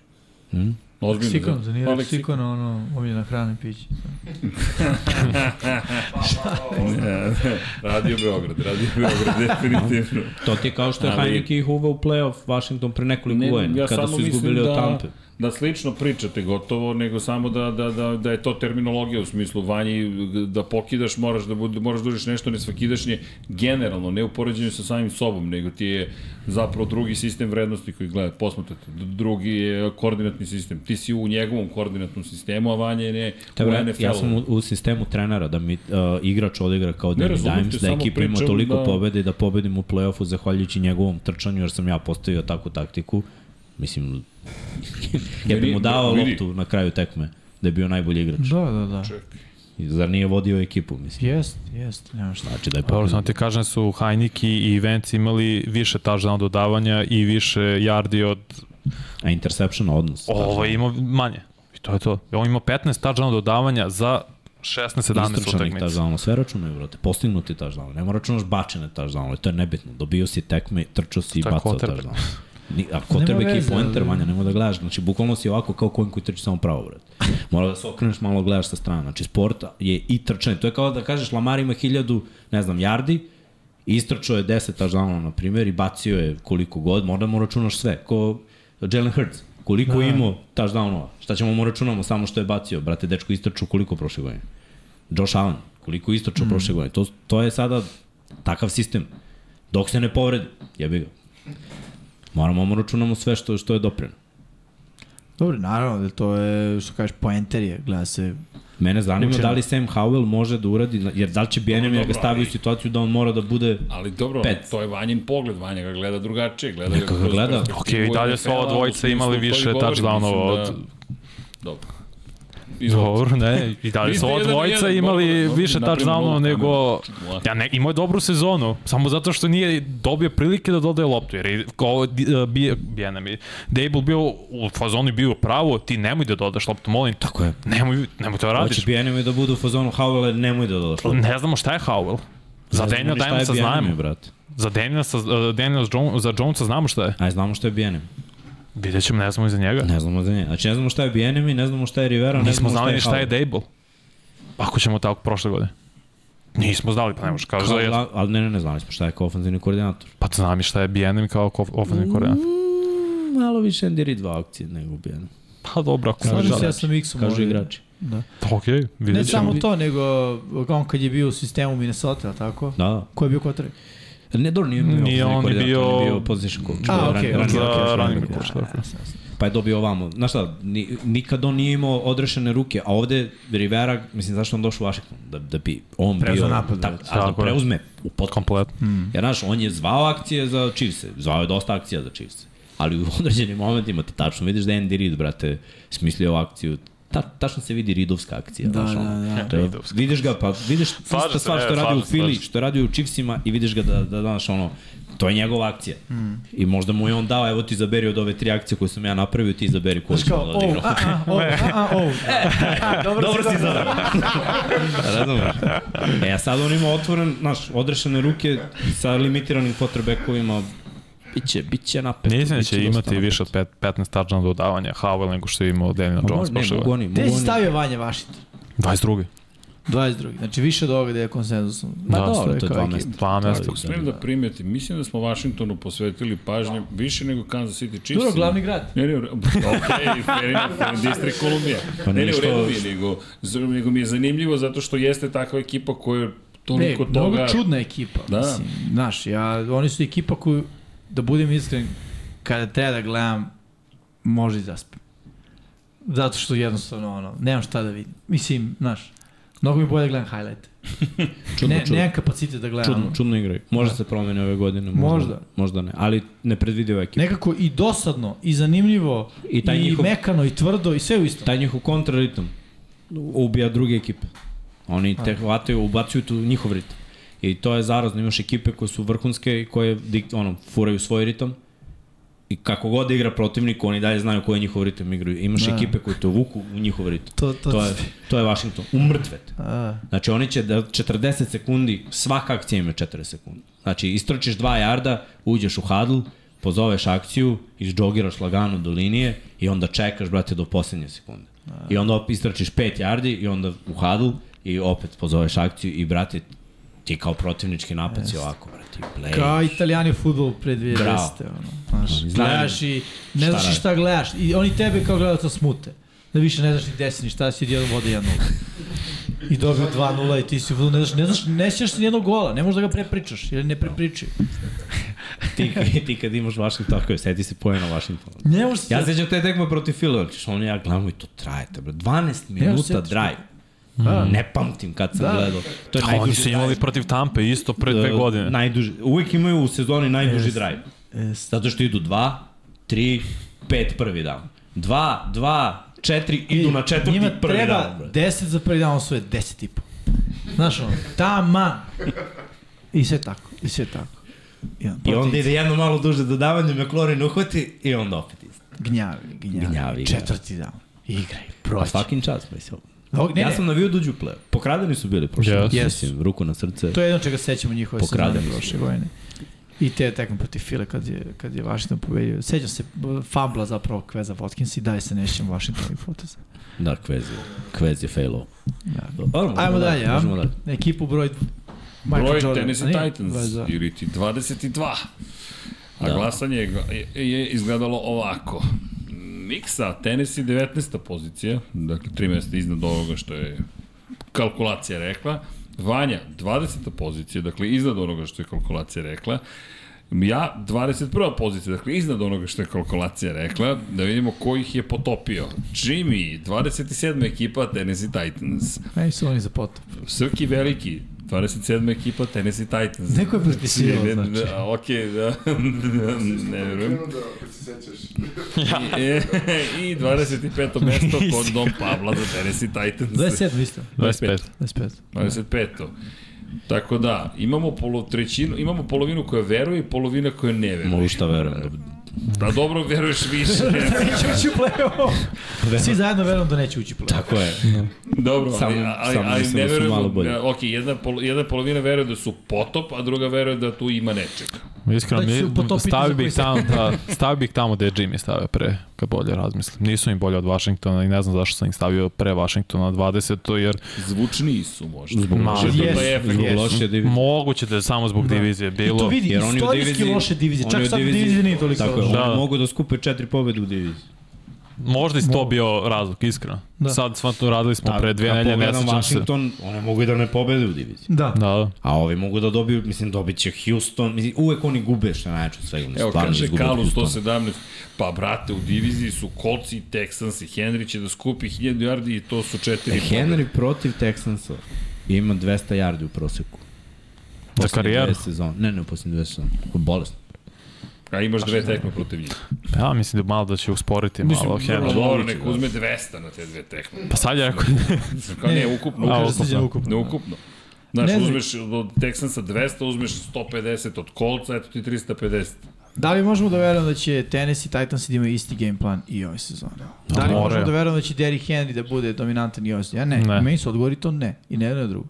[SPEAKER 2] Mhm.
[SPEAKER 1] Ozbiljno.
[SPEAKER 4] Leksikon,
[SPEAKER 1] zato.
[SPEAKER 4] za nije
[SPEAKER 1] Pa,
[SPEAKER 4] leksikon, ono, omiljena hrana i piće.
[SPEAKER 1] Ne, radio Beograd, radio Beograd, definitivno.
[SPEAKER 2] To ti je kao što je
[SPEAKER 1] Ali-
[SPEAKER 2] Heineke ih uveo u play-off Washington pre nekoliko
[SPEAKER 1] Ne,
[SPEAKER 2] godina,
[SPEAKER 1] ja
[SPEAKER 2] kada
[SPEAKER 1] samo
[SPEAKER 2] su izgubili
[SPEAKER 1] mislim
[SPEAKER 2] od
[SPEAKER 1] da-
[SPEAKER 2] Tampe.
[SPEAKER 1] da slično pričate gotovo, nego samo da, da, da, da je to terminologija u smislu vanji, da pokidaš, moraš da, bud, moraš da uriš nešto nesvakidašnje, generalno, ne u poređenju sa samim sobom, nego ti je zapravo drugi sistem vrednosti koji gleda, posmatrate, D- drugi je koordinatni sistem, ti si u njegovom koordinatnom sistemu, a vanje je ne
[SPEAKER 2] Te
[SPEAKER 1] u
[SPEAKER 2] vrat,
[SPEAKER 1] NFL-u.
[SPEAKER 2] ja sam u, u sistemu trenera da mi uh, igrač odigra kao
[SPEAKER 1] Ne,
[SPEAKER 2] Danny
[SPEAKER 1] razumem te,
[SPEAKER 2] Dimes, da
[SPEAKER 1] samo
[SPEAKER 2] ekipa ima
[SPEAKER 1] pričam
[SPEAKER 2] toliko
[SPEAKER 1] da-
[SPEAKER 2] da... pobede i da pobedim u play-offu zahvaljujući njegovom trčanju jer sam ja postavio takvu taktiku. Mislim, ja
[SPEAKER 1] Vidi,
[SPEAKER 2] bi mu dao
[SPEAKER 1] vidi.
[SPEAKER 2] loptu na kraju tekme da je bio najbolji igrač.
[SPEAKER 4] Da, da, da.
[SPEAKER 2] I Zar nije vodio ekipu, mislim.
[SPEAKER 4] Jest, jest, nema šta.
[SPEAKER 2] Znači da je
[SPEAKER 3] Dobro,
[SPEAKER 2] pobedao.
[SPEAKER 3] sam ti kažem da su Hajniki i Venci imali više touchdown dodavanja i više yardi od...
[SPEAKER 2] A interception odnos.
[SPEAKER 3] Ovo je imao manje. I to je to. On ima 15 touchdown dodavanja za 16-17
[SPEAKER 2] Istrčanih
[SPEAKER 3] utakmica.
[SPEAKER 2] touchdown, sve računaju, brate. Postignuti touchdown, ne mora računaš bačene touchdown, to je nebitno. Dobio si tekme, trčao si i
[SPEAKER 3] To je
[SPEAKER 2] bacao
[SPEAKER 3] quarterback.
[SPEAKER 2] touchdown. Ni, a quarterback
[SPEAKER 4] veze,
[SPEAKER 2] i pointer,
[SPEAKER 4] ali-
[SPEAKER 2] vanja, nemoj da gledaš. Znači, bukvalno si ovako kao konj koji trči samo pravo, brate. Mora da se okreneš malo, gledaš sa strane. Znači, sport je i trčanje. To je kao da kažeš, Lamar ima hiljadu, ne znam, jardi, istrčao je 10 touchdownova, na primjer, i bacio je koliko god, mora da mu računaš sve. Ko Jalen Hurts, koliko da. imao touchdownova? Šta ćemo mu računamo samo što je bacio? Brate, dečko istrčao koliko prošle godine? Josh Allen, koliko je istočao mm. prošle godine. To, to je sada takav sistem. Dok se ne povredi, jebi ga. Moramo da mu računamo sve što, što je dopreno.
[SPEAKER 4] Dobro, naravno, da to je, što kažeš, poenter je, gleda se.
[SPEAKER 2] Mene zanima
[SPEAKER 4] Učeno.
[SPEAKER 2] da li Sam Howell može da uradi, jer da li će Bijenem ja ga
[SPEAKER 1] dobro,
[SPEAKER 2] stavi u
[SPEAKER 1] ali-
[SPEAKER 2] situaciju da on mora da bude...
[SPEAKER 1] Ali dobro,
[SPEAKER 2] Pet.
[SPEAKER 1] to je Vanjin pogled, Vanja ga gleda drugačije, gleda
[SPEAKER 2] Neka ga
[SPEAKER 1] kroz
[SPEAKER 2] gleda.
[SPEAKER 1] perspektivu
[SPEAKER 3] Ok, i dalje su ova
[SPEAKER 1] NFL-a, u
[SPEAKER 3] dvojica
[SPEAKER 1] smislu
[SPEAKER 3] imali
[SPEAKER 1] to i
[SPEAKER 3] više
[SPEAKER 1] govorim,
[SPEAKER 3] touchdownova
[SPEAKER 1] mislim da-
[SPEAKER 3] od-
[SPEAKER 1] Dobro. Izvolite.
[SPEAKER 3] Dobro, ne. I dalje
[SPEAKER 1] Vi
[SPEAKER 3] su
[SPEAKER 1] ste
[SPEAKER 3] ova
[SPEAKER 1] jedan na
[SPEAKER 3] dvojica
[SPEAKER 1] jedan, dobro,
[SPEAKER 3] imali
[SPEAKER 1] dobro,
[SPEAKER 3] više
[SPEAKER 1] napravimo
[SPEAKER 3] touchdownova
[SPEAKER 1] novu
[SPEAKER 3] nego...
[SPEAKER 1] kameru.
[SPEAKER 3] Ja ne, imao je dobru sezonu, samo zato što nije dobio prilike da dodaje loptu, jer je ko, eh, bije, bije nam je. Dable bio u fazonu i bio pravo, ti nemoj da dodaš loptu, molim. Tako
[SPEAKER 2] je.
[SPEAKER 3] Nemoj, nemoj to
[SPEAKER 2] Hoće
[SPEAKER 3] radiš.
[SPEAKER 2] Bijenem da bude u fazonu Howell, nemoj da dodaš.
[SPEAKER 3] Pa Ne znamo šta je Howell. Za Daniel Dimesa znamo. Za Daniela, sa, uh, Daniela Jones, za Jonesa znamo šta je.
[SPEAKER 2] Aj, znamo što je Bijenem.
[SPEAKER 3] Vidjet ćemo, ne znamo iza njega.
[SPEAKER 2] Ne znamo za nje. Znači, ne znamo šta je Bijenem i ne znamo šta je Rivera, ne
[SPEAKER 3] Da. Nismo
[SPEAKER 2] znamo
[SPEAKER 3] znali ni šta je
[SPEAKER 2] Howell.
[SPEAKER 3] Dable. Ako ćemo tako prošle godine. Nismo znali, pa ne možeš kažeš
[SPEAKER 2] Kao,
[SPEAKER 3] da je.
[SPEAKER 2] gla- ali ne, ne, ne, znali smo šta je kao ofenzivni koordinator.
[SPEAKER 3] Pa znam i šta je BNM kao ofenzivni koordinator.
[SPEAKER 2] Mm, malo više Andy Reid dva akcije nego Bijenem.
[SPEAKER 3] Pa dobro, ako
[SPEAKER 4] Slažem
[SPEAKER 3] možeš
[SPEAKER 4] se,
[SPEAKER 3] da...
[SPEAKER 4] ja sam X-om.
[SPEAKER 2] Kažu
[SPEAKER 4] ovdje.
[SPEAKER 2] igrači.
[SPEAKER 4] Da.
[SPEAKER 3] Ok,
[SPEAKER 4] Ne
[SPEAKER 3] vidjet ćemo.
[SPEAKER 4] samo to, nego on kad je bio u sistemu Minnesota, jel tako?
[SPEAKER 2] Da, da.
[SPEAKER 4] Ko je bio kotrek?
[SPEAKER 2] Ne, dobro, nije bio
[SPEAKER 3] Nije
[SPEAKER 2] ofenzivni
[SPEAKER 3] on
[SPEAKER 2] koordinator,
[SPEAKER 3] bio-
[SPEAKER 2] on je bio position coach.
[SPEAKER 4] A,
[SPEAKER 2] Bio running-
[SPEAKER 4] okej, okej,
[SPEAKER 2] running
[SPEAKER 3] Za
[SPEAKER 2] back,
[SPEAKER 4] okej,
[SPEAKER 3] running
[SPEAKER 4] okej,
[SPEAKER 3] coach,
[SPEAKER 4] okej.
[SPEAKER 3] tako.
[SPEAKER 2] Pa je dobio ovamo. Znaš šta, ni, nikad on nije imao odrešene ruke, a ovde Rivera, mislim, zašto on došao u Washington? Da, da bi on
[SPEAKER 4] Preuzeo
[SPEAKER 2] bio...
[SPEAKER 4] napad,
[SPEAKER 2] tak,
[SPEAKER 4] već.
[SPEAKER 2] a da
[SPEAKER 3] Tako je.
[SPEAKER 2] preuzme u potkom.
[SPEAKER 3] Kompletno.
[SPEAKER 4] Mhm.
[SPEAKER 2] Jer, znaš, on je zvao akcije za Chiefs-e. Zvao je dosta akcija za Chiefs-e. Ali u određenim momentima ti tačno vidiš da je Andy Reid, brate, smislio akciju. Ta, tačno se vidi Ridovska akcija.
[SPEAKER 4] Da,
[SPEAKER 2] znaš,
[SPEAKER 4] da,
[SPEAKER 2] ono.
[SPEAKER 4] da.
[SPEAKER 2] Da, vidiš ga, pa vidiš ista
[SPEAKER 3] se,
[SPEAKER 2] stvar
[SPEAKER 3] ne,
[SPEAKER 2] što radi
[SPEAKER 3] slažem
[SPEAKER 2] u
[SPEAKER 3] se, slažem
[SPEAKER 2] Philly,
[SPEAKER 3] se.
[SPEAKER 2] što radi u Chiefsima i vidiš ga da, da danas ono, to je njegova akcija.
[SPEAKER 4] Mhm.
[SPEAKER 2] Mm. I možda mu je on dao, evo ti izaberi od ove tri akcije koje sam ja napravio, ti izaberi koju
[SPEAKER 4] Znaš
[SPEAKER 2] ćemo
[SPEAKER 4] kao,
[SPEAKER 2] da
[SPEAKER 4] o, a,
[SPEAKER 2] odigrao.
[SPEAKER 4] a, o, a, a, o.
[SPEAKER 2] Dobro si izabrao.
[SPEAKER 3] Pa
[SPEAKER 2] Razumeš? E, a sad on ima otvoren, znaš, odrešene ruke sa limitiranim potrebekovima. Biće, biće napet.
[SPEAKER 3] Nisam da će imati više od pet- 15 touchdown dodavanja Howell nego što je imao Daniel Jones
[SPEAKER 2] Ne,
[SPEAKER 3] prošle
[SPEAKER 2] mogu
[SPEAKER 3] godine.
[SPEAKER 2] oni, mogu
[SPEAKER 4] Gde si
[SPEAKER 2] oni.
[SPEAKER 4] stavio Vanja Vašington?
[SPEAKER 3] 22.
[SPEAKER 4] 22. Znači više od ovoga gde je konsenzusom.
[SPEAKER 2] Ma
[SPEAKER 3] Da,
[SPEAKER 2] dobro,
[SPEAKER 4] sve
[SPEAKER 2] to je
[SPEAKER 4] kao
[SPEAKER 2] dva
[SPEAKER 4] ekipa.
[SPEAKER 2] mesta.
[SPEAKER 3] Dva mesta.
[SPEAKER 1] Smijem da primetim, mislim da smo Washingtonu posvetili pažnje više nego Kansas City Chiefs.
[SPEAKER 4] Dobro, glavni grad.
[SPEAKER 1] Ne, ne, u re- ok, fair enough, distrikt Kolumbija.
[SPEAKER 2] Pa
[SPEAKER 1] ne, ne, u
[SPEAKER 2] ništa-
[SPEAKER 1] е- redu mi je, nego, z- nego mi je zanimljivo zato što jeste takva ekipa koja toliko
[SPEAKER 4] e,
[SPEAKER 1] toga.
[SPEAKER 4] Mnogo čudna ekipa.
[SPEAKER 1] Da.
[SPEAKER 4] Da. Mislim, znaš, ja, oni su ekipa koju, da budem iskren, kada treba da gledam, može i zaspim. Zato što jednostavno, ono, nemam šta da vidim. Mislim, znaš, mnogo mi je bolje da gledam highlight.
[SPEAKER 2] Čudno,
[SPEAKER 4] ne,
[SPEAKER 2] čudno.
[SPEAKER 4] Nemam kapacitet da gledam.
[SPEAKER 2] Čudno, čudno igraju. Možda se promene ove godine. Možda.
[SPEAKER 4] Možda.
[SPEAKER 2] Možda ne. Ali nepredvidiva ekipa.
[SPEAKER 4] Nekako i dosadno, i zanimljivo,
[SPEAKER 2] I
[SPEAKER 4] i,
[SPEAKER 2] taj
[SPEAKER 4] i
[SPEAKER 2] njihov-
[SPEAKER 4] mekano, i tvrdo, i sve u istom.
[SPEAKER 2] Taj njihov kontraritam ubija druge ekipe. Oni te hvataju, ubacuju tu njihov ritam. I to je zarazno. Imaš ekipe koje su vrhunske i koje dik- ono, furaju svoj ritam. I kako god da igra protivnik, oni dalje znaju koji je njihov ritam igraju. Imaš
[SPEAKER 4] Da.
[SPEAKER 2] ekipe koje te vuku u njihov ritam.
[SPEAKER 4] To, to,
[SPEAKER 2] To je, to je Washington. Umrtvete.
[SPEAKER 4] A,
[SPEAKER 2] Znači oni će da 40 sekundi, svaka akcija ima 40 sekundi. Znači istrčiš 2 jarda, uđeš u hadl, pozoveš akciju, izđogiraš lagano do linije i onda čekaš, brate, do poslednje sekunde. I onda op- istrčiš 5 jardi i onda u hadl i opet pozoveš akciju i, brate, ti kao protivnički napad si ovako, brate, i play.
[SPEAKER 4] Kao italijani futbol pre 2010.
[SPEAKER 2] Bravo.
[SPEAKER 4] Ono, znaš,
[SPEAKER 2] Oni znaju
[SPEAKER 4] gledaš i
[SPEAKER 2] šta
[SPEAKER 4] ne znaš i
[SPEAKER 2] rade.
[SPEAKER 4] šta gledaš. I oni tebe kao gledalca smute. Da više ne znaš ni gde si, ni šta si, jedan vode 1-0. I dobio 2-0 i ti si u fudbalu, ne znaš, ne znaš, ne sjećaš se ni jednog gola, ne možeš da ga prepričaš, jer ne prepričaju.
[SPEAKER 2] ti, ti kad imaš Washington, tako je, seti se pojena Washington.
[SPEAKER 4] Ne možeš se...
[SPEAKER 2] Ja sećam te tekme protiv Philadelphia, ono ja gledam i to trajete, bre. 12 minuta
[SPEAKER 4] setiš.
[SPEAKER 2] drive.
[SPEAKER 4] Da.
[SPEAKER 2] Ne pamtim kad sam da.
[SPEAKER 4] Da.
[SPEAKER 2] gledao. To je
[SPEAKER 3] Oni
[SPEAKER 2] najduži
[SPEAKER 3] su imali
[SPEAKER 2] drive.
[SPEAKER 3] protiv Tampe isto pre dve
[SPEAKER 2] Uh,
[SPEAKER 3] godine.
[SPEAKER 2] Najduži. Uvijek imaju u sezoni najduži
[SPEAKER 4] Jest.
[SPEAKER 2] drive. Zato što idu 2, 3, 5 prvi dan. 2, 2, 4, idu na četvrti
[SPEAKER 4] znači, Njima
[SPEAKER 2] prvi
[SPEAKER 4] treba
[SPEAKER 2] dan. brate.
[SPEAKER 4] 10 za prvi dan, osvoje 10 i po. Znaš ono, taman. I sve tako, i sve tako. Jedan
[SPEAKER 2] I onda
[SPEAKER 4] protiv-
[SPEAKER 2] ide jedno malo duže dodavanje, McLaurin uhvati i onda opet isto.
[SPEAKER 4] Gnjavi, gnjavi.
[SPEAKER 2] Gnjavi,
[SPEAKER 4] gnjavi
[SPEAKER 2] da.
[SPEAKER 4] Četvrti dan. Igraj,
[SPEAKER 2] Pa
[SPEAKER 4] proći.
[SPEAKER 2] svakim čas, mislim.
[SPEAKER 4] Dok, Znači, ne,
[SPEAKER 2] ja
[SPEAKER 4] ne,
[SPEAKER 2] sam navio dođu play. Pokradeni su bili prošli.
[SPEAKER 3] Yes.
[SPEAKER 2] Yes.
[SPEAKER 4] Yes.
[SPEAKER 2] Mislim, ruku na srce.
[SPEAKER 4] To je jedno čega se sećamo njihove
[SPEAKER 2] Pokradeni
[SPEAKER 4] sezone
[SPEAKER 2] su.
[SPEAKER 4] prošle godine. I te tekme protiv File kad je, kad je Washington pobedio. Sećam se b- fabla zapravo Kveza Watkins i daj se nešćem Washingtonovih poteza.
[SPEAKER 2] Da, Kvez je, Kvez je failo.
[SPEAKER 4] Da.
[SPEAKER 2] Dobro,
[SPEAKER 4] Ajmo
[SPEAKER 2] možemo
[SPEAKER 4] dalje, a?
[SPEAKER 2] možemo da. dalje.
[SPEAKER 4] Ekipu broj d- Michael
[SPEAKER 1] Broj
[SPEAKER 4] Jordan.
[SPEAKER 1] Tennessee
[SPEAKER 4] A nije?
[SPEAKER 1] Titans
[SPEAKER 4] 22.
[SPEAKER 1] ili ti 22. A
[SPEAKER 2] Da.
[SPEAKER 1] da. glasanje je, je, je izgledalo ovako. Miksa, Tennessee 19. pozicija, dakle 3 mesta iznad ovoga što je kalkulacija rekla. Vanja, 20. pozicija, dakle iznad onoga što je kalkulacija rekla. Ja, 21. pozicija, dakle iznad onoga što je kalkulacija rekla, da vidimo ko ih je potopio. Jimmy, 27. ekipa Tennessee Titans.
[SPEAKER 4] Meni su oni za potop.
[SPEAKER 1] Srki Veliki, 27. ekipa Tennessee Titans.
[SPEAKER 4] Neko je prepisivao,
[SPEAKER 1] Ne, ne,
[SPEAKER 4] znači.
[SPEAKER 1] a, Okej, da, ne verujem.
[SPEAKER 5] Krenuo da, kad se sećaš.
[SPEAKER 1] I, I 25. mesto kod Dom Pavla za Tennessee Titans.
[SPEAKER 4] 27 isto.
[SPEAKER 3] 25.
[SPEAKER 4] 25.
[SPEAKER 1] 25. Tako da, imamo polo, trećinu, imamo polovinu koja veruje i polovina koja ne veruje.
[SPEAKER 2] Mogu šta verujem. da-
[SPEAKER 1] Da dobro veruješ više.
[SPEAKER 4] Neće ući u play-off. Svi zajedno verujem da neće ući u play-off.
[SPEAKER 2] Tako je.
[SPEAKER 1] Dobro,
[SPEAKER 2] Samo-
[SPEAKER 1] ali, ali,
[SPEAKER 2] samo
[SPEAKER 1] ali
[SPEAKER 2] mislim
[SPEAKER 1] ne
[SPEAKER 2] da su
[SPEAKER 1] verujemo.
[SPEAKER 2] malo bolji.
[SPEAKER 1] Ok, jedna, pol, jedna polovina veruje da su potop, a druga veruje da tu ima nečega.
[SPEAKER 3] Iskreno,
[SPEAKER 4] Da će se
[SPEAKER 3] mi,
[SPEAKER 4] potopiti
[SPEAKER 3] stavio
[SPEAKER 4] za koji
[SPEAKER 3] bih tamo, da, stavio bih tamo gde je Jimmy stavio pre, kad bolje razmislim. Nisu im bolje od Washingtona i ne znam zašto sam ih stavio pre Washingtona 20. jer
[SPEAKER 1] Zvučniji su možda.
[SPEAKER 2] Zbog
[SPEAKER 3] Ma,
[SPEAKER 1] Možda
[SPEAKER 4] jes,
[SPEAKER 1] to je efekt.
[SPEAKER 2] Zbog
[SPEAKER 4] Yes.
[SPEAKER 2] loše divizije.
[SPEAKER 3] moguće da je samo zbog divizije
[SPEAKER 4] I to
[SPEAKER 3] bilo.
[SPEAKER 4] vidi,
[SPEAKER 2] Jer oni u
[SPEAKER 4] istorijski
[SPEAKER 2] diviziji-
[SPEAKER 4] loše divizije.
[SPEAKER 2] oni
[SPEAKER 4] Čak
[SPEAKER 2] u
[SPEAKER 4] sad
[SPEAKER 2] diviziji-
[SPEAKER 4] divizije nije toliko
[SPEAKER 2] Tako je,
[SPEAKER 4] loše.
[SPEAKER 2] da.
[SPEAKER 3] Da.
[SPEAKER 2] oni mogu da Pa skupe četiri pobede u diviziji.
[SPEAKER 3] Možda i to bio razlog, iskreno.
[SPEAKER 4] Da.
[SPEAKER 3] Sad svatno radili smo
[SPEAKER 2] Ta-
[SPEAKER 3] pre dve
[SPEAKER 2] kad
[SPEAKER 3] nelje,
[SPEAKER 2] Da,
[SPEAKER 3] ne
[SPEAKER 2] pogledam
[SPEAKER 3] sećam se.
[SPEAKER 2] Washington, one mogu i da ne pobede u diviziji.
[SPEAKER 4] Da.
[SPEAKER 3] Da, da.
[SPEAKER 2] A ovi mogu da dobiju, mislim, dobit će Houston. Mislim, uvek oni gube što je najveće od svega. Mislim,
[SPEAKER 1] Evo,
[SPEAKER 2] stvarno
[SPEAKER 1] kaže
[SPEAKER 2] izgube od
[SPEAKER 1] Kalu
[SPEAKER 2] Houstona. E,
[SPEAKER 1] 117, pa brate, u diviziji su Colts i Texans i Henry će da skupi 1000 yardi i to su četiri.
[SPEAKER 2] E,
[SPEAKER 1] pobede.
[SPEAKER 2] Henry protiv Texansa ima 200 yardi u proseku.
[SPEAKER 3] Za
[SPEAKER 2] Poslednje
[SPEAKER 3] karijeru?
[SPEAKER 2] dve sezone. Ne, ne, u posljednje dve sezone. Bolesno.
[SPEAKER 1] A imaš dve tekme protiv njih.
[SPEAKER 3] Ja mislim da malo da će usporiti malo
[SPEAKER 1] Pa
[SPEAKER 3] Henry.
[SPEAKER 1] dobro, nek uzme 200 na te dve tekme.
[SPEAKER 3] Pa sad je rekao,
[SPEAKER 1] Kao ne,
[SPEAKER 4] Ne,
[SPEAKER 1] ukupno. ukupno.
[SPEAKER 3] A,
[SPEAKER 4] Kaže
[SPEAKER 3] ukupno.
[SPEAKER 4] sliđe ukupno.
[SPEAKER 1] Ne, ukupno. Znaš,
[SPEAKER 4] Ne znam.
[SPEAKER 1] uzmeš od Texansa 200, uzmeš 150 od Colca, eto ti 350.
[SPEAKER 4] Da li možemo da verujemo da će Tennessee Titans da imaju isti game plan i ove sezone? Da li
[SPEAKER 3] Moraju.
[SPEAKER 4] možemo da verujemo da će Derrick Henry da bude dominantan i ove sezone? Ja ne.
[SPEAKER 3] Ne.
[SPEAKER 4] ne. Meni su odgovori to ne. I ne jedno i drugo.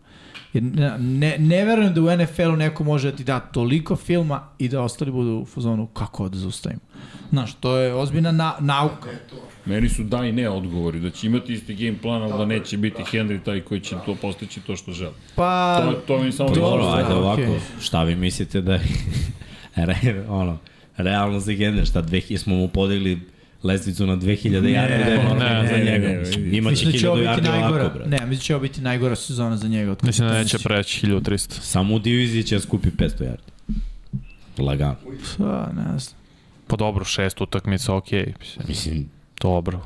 [SPEAKER 4] Jer ne, ne, ne verujem da u NFL-u neko može da ti da toliko filma i da ostali budu u fazonu kako da zaustavimo. Znaš, to je ozbiljna na, nauka.
[SPEAKER 1] Meni su da i ne odgovori, da će imati isti game plan, ali da neće biti Henry taj koji će to postići to što želi.
[SPEAKER 4] Pa,
[SPEAKER 1] To, to mi samo...
[SPEAKER 2] Dobro,
[SPEAKER 4] Dobro,
[SPEAKER 2] ajde
[SPEAKER 4] da,
[SPEAKER 2] ovako,
[SPEAKER 4] okej.
[SPEAKER 2] šta vi mislite da je, re, ono, realno za gender, šta, dve, smo mu podigli lestvicu na 2000 yardi da je
[SPEAKER 3] ne,
[SPEAKER 2] normalno za
[SPEAKER 1] ne,
[SPEAKER 2] njega.
[SPEAKER 1] ne,
[SPEAKER 2] mislim.
[SPEAKER 1] ne.
[SPEAKER 2] Imaće
[SPEAKER 4] Mislim da će
[SPEAKER 2] 1000
[SPEAKER 4] ovo biti
[SPEAKER 2] yardi
[SPEAKER 4] najgora.
[SPEAKER 2] ovako, brate.
[SPEAKER 4] Ne, mislim da će ovo biti najgora sezona za njega. od
[SPEAKER 3] Mislim da neće
[SPEAKER 4] Kansas City.
[SPEAKER 3] preći 1300.
[SPEAKER 2] Samo u diviziji će skupi 500 yardi. Lagano.
[SPEAKER 4] Pa, ne znam.
[SPEAKER 3] Pa dobro, šest utakmica, okej. Okay.
[SPEAKER 2] Mislim,
[SPEAKER 3] Dobro.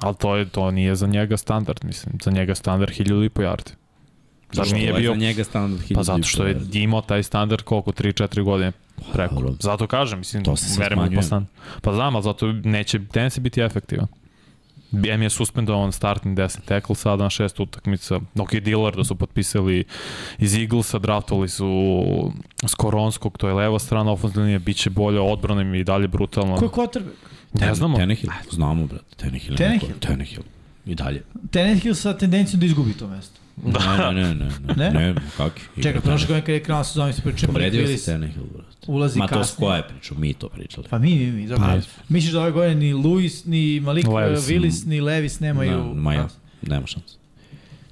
[SPEAKER 3] Ali to, je, to nije za njega standard, mislim. Za njega standard 1000 i po yardi. Zato
[SPEAKER 2] što
[SPEAKER 3] nije
[SPEAKER 2] je
[SPEAKER 3] bio...
[SPEAKER 2] Za njega standard 1000
[SPEAKER 3] Pa zato što je imao taj standard koliko, 3-4 godine preko.
[SPEAKER 2] dobro.
[SPEAKER 3] Zato kažem, mislim,
[SPEAKER 2] To se sad
[SPEAKER 3] merimo
[SPEAKER 2] smanjuje.
[SPEAKER 3] po standard. Pa znam, ali zato neće Tennessee biti efektivan. BM je suspendovan startni desni tackle sada na šest utakmica. Ok, Dillard da su potpisali iz Eaglesa, draftovali su Skoronskog, to je leva strana ofenzivne linije, bit će bolje, odbrana im je i dalje brutalna.
[SPEAKER 4] Ko je quarterback?
[SPEAKER 3] Ne znamo.
[SPEAKER 2] Tenehill, znamo, brate. Tenehill.
[SPEAKER 4] Tannehill?
[SPEAKER 2] Tenehill. Tenehill. I dalje.
[SPEAKER 4] Tenet sa tendencijom da izgubi to mesto.
[SPEAKER 2] Da. Ne, ne, ne, ne.
[SPEAKER 4] Ne?
[SPEAKER 2] Ne, ne kak? je.
[SPEAKER 4] Čekaj, prošle godine kad je krenula sezona, mi smo
[SPEAKER 2] da.
[SPEAKER 4] pričali Malik
[SPEAKER 2] Povredio
[SPEAKER 4] Willis
[SPEAKER 2] se Tenehill, brate.
[SPEAKER 4] ulazi
[SPEAKER 2] Ma to s
[SPEAKER 4] kasnije.
[SPEAKER 2] koja je pričao, mi to pričali.
[SPEAKER 4] Pa mi, mi, mi. Dobro.
[SPEAKER 2] Pa.
[SPEAKER 4] Misliš da ove godine ni Luis, ni Malik
[SPEAKER 3] Levis.
[SPEAKER 4] Levis, Willis, ni Levis nemaju...
[SPEAKER 2] Ne, ma ja,
[SPEAKER 4] A,
[SPEAKER 2] nema šanse.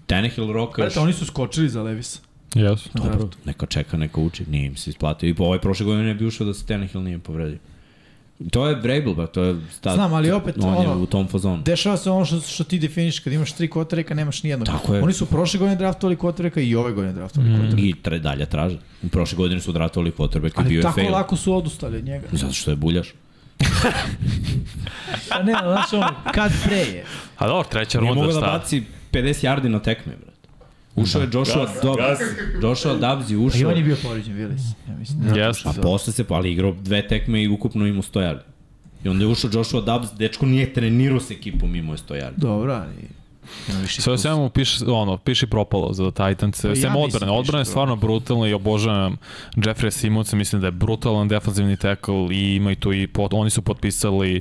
[SPEAKER 2] Tenehill rokaš,
[SPEAKER 4] Brate, oni su skočili za Levisa.
[SPEAKER 3] Jesu.
[SPEAKER 2] dobro, neka čeka, neka uči, nije im se isplatio. I po ovaj prošle godine ne bi ušao da se Tenehill nije povredio. To je Vrabel, ba, to je... Sta,
[SPEAKER 4] Znam, ali opet,
[SPEAKER 2] on je
[SPEAKER 4] ono-
[SPEAKER 2] u tom fazonu.
[SPEAKER 4] Dešava se ono što, što ti definiš, kad imaš tri kotareka, nemaš nijednog.
[SPEAKER 2] Tako je.
[SPEAKER 4] Oni su prošle godine draftovali kotareka i ove godine draftovali mm. kotareka.
[SPEAKER 2] Mm-hmm. I tre, dalje traže. U prošle godine su odratovali quarterback i
[SPEAKER 4] Ali
[SPEAKER 2] bio je
[SPEAKER 4] tako
[SPEAKER 2] fail.
[SPEAKER 4] lako su odustali od njega.
[SPEAKER 2] Zato što je buljaš.
[SPEAKER 4] Pa ne, znači ono, kad pre je.
[SPEAKER 3] A dobro, treća
[SPEAKER 2] Nije
[SPEAKER 3] runda,
[SPEAKER 2] mogao da
[SPEAKER 3] šta?
[SPEAKER 2] baci 50 yardi na tekme, brate. Ušao je Joshua Dobbs.
[SPEAKER 1] gasi.
[SPEAKER 2] Joshua Dobbs Pa je
[SPEAKER 4] Pa I
[SPEAKER 2] ušao.
[SPEAKER 4] on je bio povređen, Willis. Ja mislim. Da.
[SPEAKER 3] Jeste.
[SPEAKER 2] A posle se, ali igrao dve tekme i ukupno imao 100 yardi. I onda je ušao Joshua Dobbs, dečko nije trenirao s ekipom, imao je 100 yardi.
[SPEAKER 4] Dobro, ali... Ima više
[SPEAKER 3] Sve o
[SPEAKER 4] iskustva.
[SPEAKER 3] svemu piše, ono, piše propalo za Titans.
[SPEAKER 4] ja
[SPEAKER 3] Pa Sem
[SPEAKER 4] mislim
[SPEAKER 3] odbrane.
[SPEAKER 4] piše
[SPEAKER 3] Odbrana je stvarno brutalna i obožavam Jeffrey Simonsa. Mislim da je brutalan defanzivni tackle i imaju tu i pot, oni su potpisali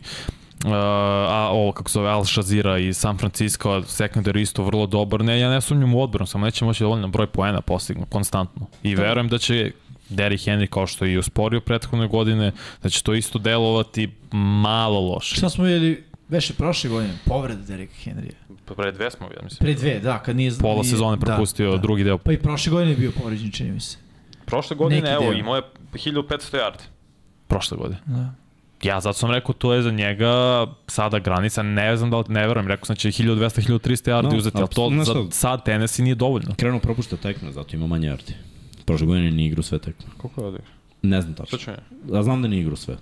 [SPEAKER 3] Uh, a ovo kako se zove Al Shazira i San Francisco, secondary isto vrlo dobar. Ne, ja ne sumnjam u odbranu, samo neće moći dovoljno broj poena postignu konstantno. I verujem da će Derrick Henry kao što je i usporio prethodne godine, da će to isto delovati malo loše.
[SPEAKER 4] Šta smo vidjeli veše prošle godine? Povreda Derek Henrya.
[SPEAKER 3] Pa Pre dve smo, ja mislim.
[SPEAKER 4] Pre dve, da, kad nije...
[SPEAKER 3] Pola
[SPEAKER 4] nije-
[SPEAKER 3] sezone propustio da, da. drugi deo
[SPEAKER 4] Pa i prošle godine je bio povređen, čini mi se.
[SPEAKER 3] Prošle
[SPEAKER 4] godine, Neki evo, deo.
[SPEAKER 3] imao je 1500 yardi. Prošle godine.
[SPEAKER 4] Da.
[SPEAKER 3] Ja zato sam rekao, to je za njega sada granica, ne znam da li, ne verujem, rekao sam će 1200-1300 yardi
[SPEAKER 2] No,
[SPEAKER 3] uzeti, ali to
[SPEAKER 2] apsolutno,
[SPEAKER 3] za
[SPEAKER 2] znaš šta?
[SPEAKER 3] sad Tennessee nije dovoljno.
[SPEAKER 2] Krenuo propušta tekme, zato ima manje yardi. Prošle godine nije igrao sve tekme.
[SPEAKER 3] Koliko je odio?
[SPEAKER 2] Ne znam tačno.
[SPEAKER 3] Srčanje.
[SPEAKER 2] Ja znam da nije igrao sve.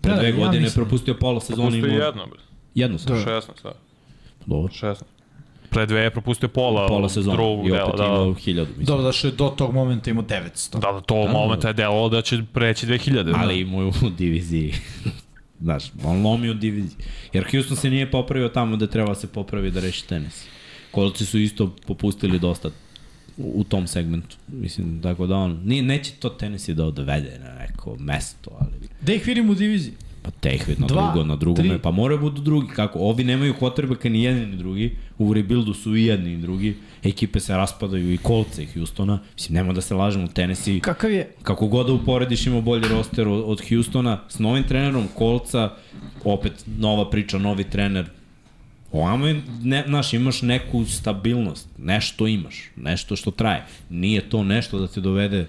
[SPEAKER 2] Pre
[SPEAKER 4] Da,
[SPEAKER 2] dve
[SPEAKER 4] ja
[SPEAKER 2] godine je
[SPEAKER 4] mislim.
[SPEAKER 2] propustio pola sezona. imao-
[SPEAKER 3] bre.
[SPEAKER 2] Jednu sam.
[SPEAKER 4] Da.
[SPEAKER 3] 16, da.
[SPEAKER 2] Dobro.
[SPEAKER 3] 16. Pre dve je propustio pola,
[SPEAKER 2] Pola sezona.
[SPEAKER 3] drugog
[SPEAKER 2] I
[SPEAKER 3] dela,
[SPEAKER 2] opet
[SPEAKER 3] da.
[SPEAKER 2] imao 1000, mislim.
[SPEAKER 4] Dobro, da što je do tog momenta imao 900.
[SPEAKER 3] Da, da, to u
[SPEAKER 2] Da,
[SPEAKER 3] momenta je delo da će preći da. 2000.
[SPEAKER 2] ali imao je u diviziji. Znaš, on lomi u diviziji. Jer Houston se nije popravio tamo da treba se popravi da reši tenis. Kolci su isto popustili dosta u, u tom segmentu. Mislim, tako da on... Nije, neće to tenis da odvede na neko mesto, ali...
[SPEAKER 4] Da ih vidim u diviziji.
[SPEAKER 2] Pa Tehvid na
[SPEAKER 4] Dva,
[SPEAKER 2] drugo, na drugome,
[SPEAKER 4] tri.
[SPEAKER 2] pa moraju budu drugi. Kako? Ovi nemaju quarterbacka ni jedni ni drugi, u rebuildu su i jedni i drugi, ekipe se raspadaju i kolce i Houstona. Mislim, nema da se lažemo, Tennessee
[SPEAKER 4] Kakav je?
[SPEAKER 2] Kako god da uporediš ima bolji roster od, od Houstona, s novim trenerom Kolca, opet nova priča, novi trener. Ovamo je, ne, znaš, imaš neku stabilnost, nešto imaš, nešto što traje. Nije to nešto da te dovede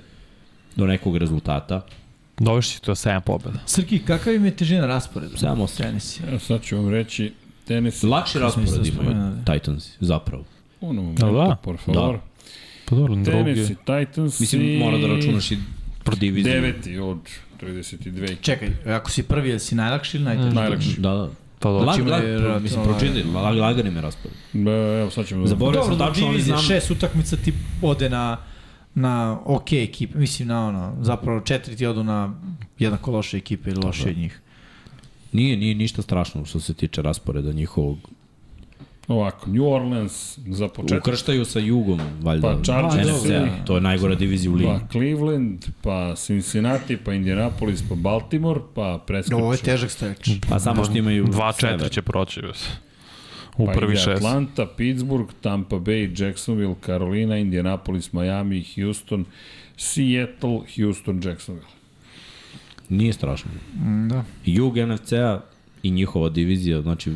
[SPEAKER 2] do nekog rezultata.
[SPEAKER 3] Dovešći to 7 pobjeda.
[SPEAKER 4] Srki, kakav im je težina rasporeda?
[SPEAKER 2] Samo osam.
[SPEAKER 4] Tennessee.
[SPEAKER 1] Evo sad ću vam reći, tenis,
[SPEAKER 2] Lakši raspored
[SPEAKER 4] Mislim,
[SPEAKER 2] imaju
[SPEAKER 4] spomenuli.
[SPEAKER 2] Titans, zapravo.
[SPEAKER 1] ono momentu,
[SPEAKER 3] da?
[SPEAKER 1] da? por favor.
[SPEAKER 2] Da.
[SPEAKER 1] Da.
[SPEAKER 3] Pa dobro, drugi.
[SPEAKER 1] Tenis i Titans
[SPEAKER 2] Mislim,
[SPEAKER 1] i...
[SPEAKER 2] mora da računaš i diviziju.
[SPEAKER 1] Deveti od 32.
[SPEAKER 4] Čekaj, ako si prvi, jel si najlakši ili najteži?
[SPEAKER 1] Najlakši.
[SPEAKER 2] Da, da.
[SPEAKER 3] Pa dobro.
[SPEAKER 2] Lag,
[SPEAKER 4] Čime
[SPEAKER 2] lag,
[SPEAKER 4] je računala-
[SPEAKER 2] mislim, pročiti, lag, lagan im je raspored.
[SPEAKER 1] Ba, Evo, sad ćemo... da...
[SPEAKER 2] Zaboravio
[SPEAKER 4] Dobro,
[SPEAKER 2] sam
[SPEAKER 4] da
[SPEAKER 2] tačno, ali
[SPEAKER 4] divizije,
[SPEAKER 2] znam.
[SPEAKER 4] šest utakmica ti ode na na ok ekipe, mislim na ono, zapravo četiri ti odu na jednako loše ekipe ili loše od njih.
[SPEAKER 2] Nije, nije ništa strašno što se tiče rasporeda njihovog
[SPEAKER 1] Ovako, New Orleans za početak.
[SPEAKER 2] Ukrštaju sa jugom, valjda.
[SPEAKER 1] Pa Chargers
[SPEAKER 2] NFC,
[SPEAKER 1] ili-
[SPEAKER 2] to je najgora divizija u ligi.
[SPEAKER 1] Pa Cleveland, pa Cincinnati, pa Indianapolis, pa Baltimore, pa preskoču.
[SPEAKER 4] Ovo je težak streč.
[SPEAKER 2] Pa samo što imaju...
[SPEAKER 3] 2-4
[SPEAKER 2] sever.
[SPEAKER 3] će proći. bre. U
[SPEAKER 1] pa
[SPEAKER 3] prvi
[SPEAKER 1] ide
[SPEAKER 3] šest.
[SPEAKER 1] Atlanta, Pittsburgh, Tampa Bay, Jacksonville, Carolina, Indianapolis, Miami, Houston, Seattle, Houston, Jacksonville.
[SPEAKER 2] Nije strašno.
[SPEAKER 4] Da.
[SPEAKER 2] Jug NFC-a i njihova divizija, znači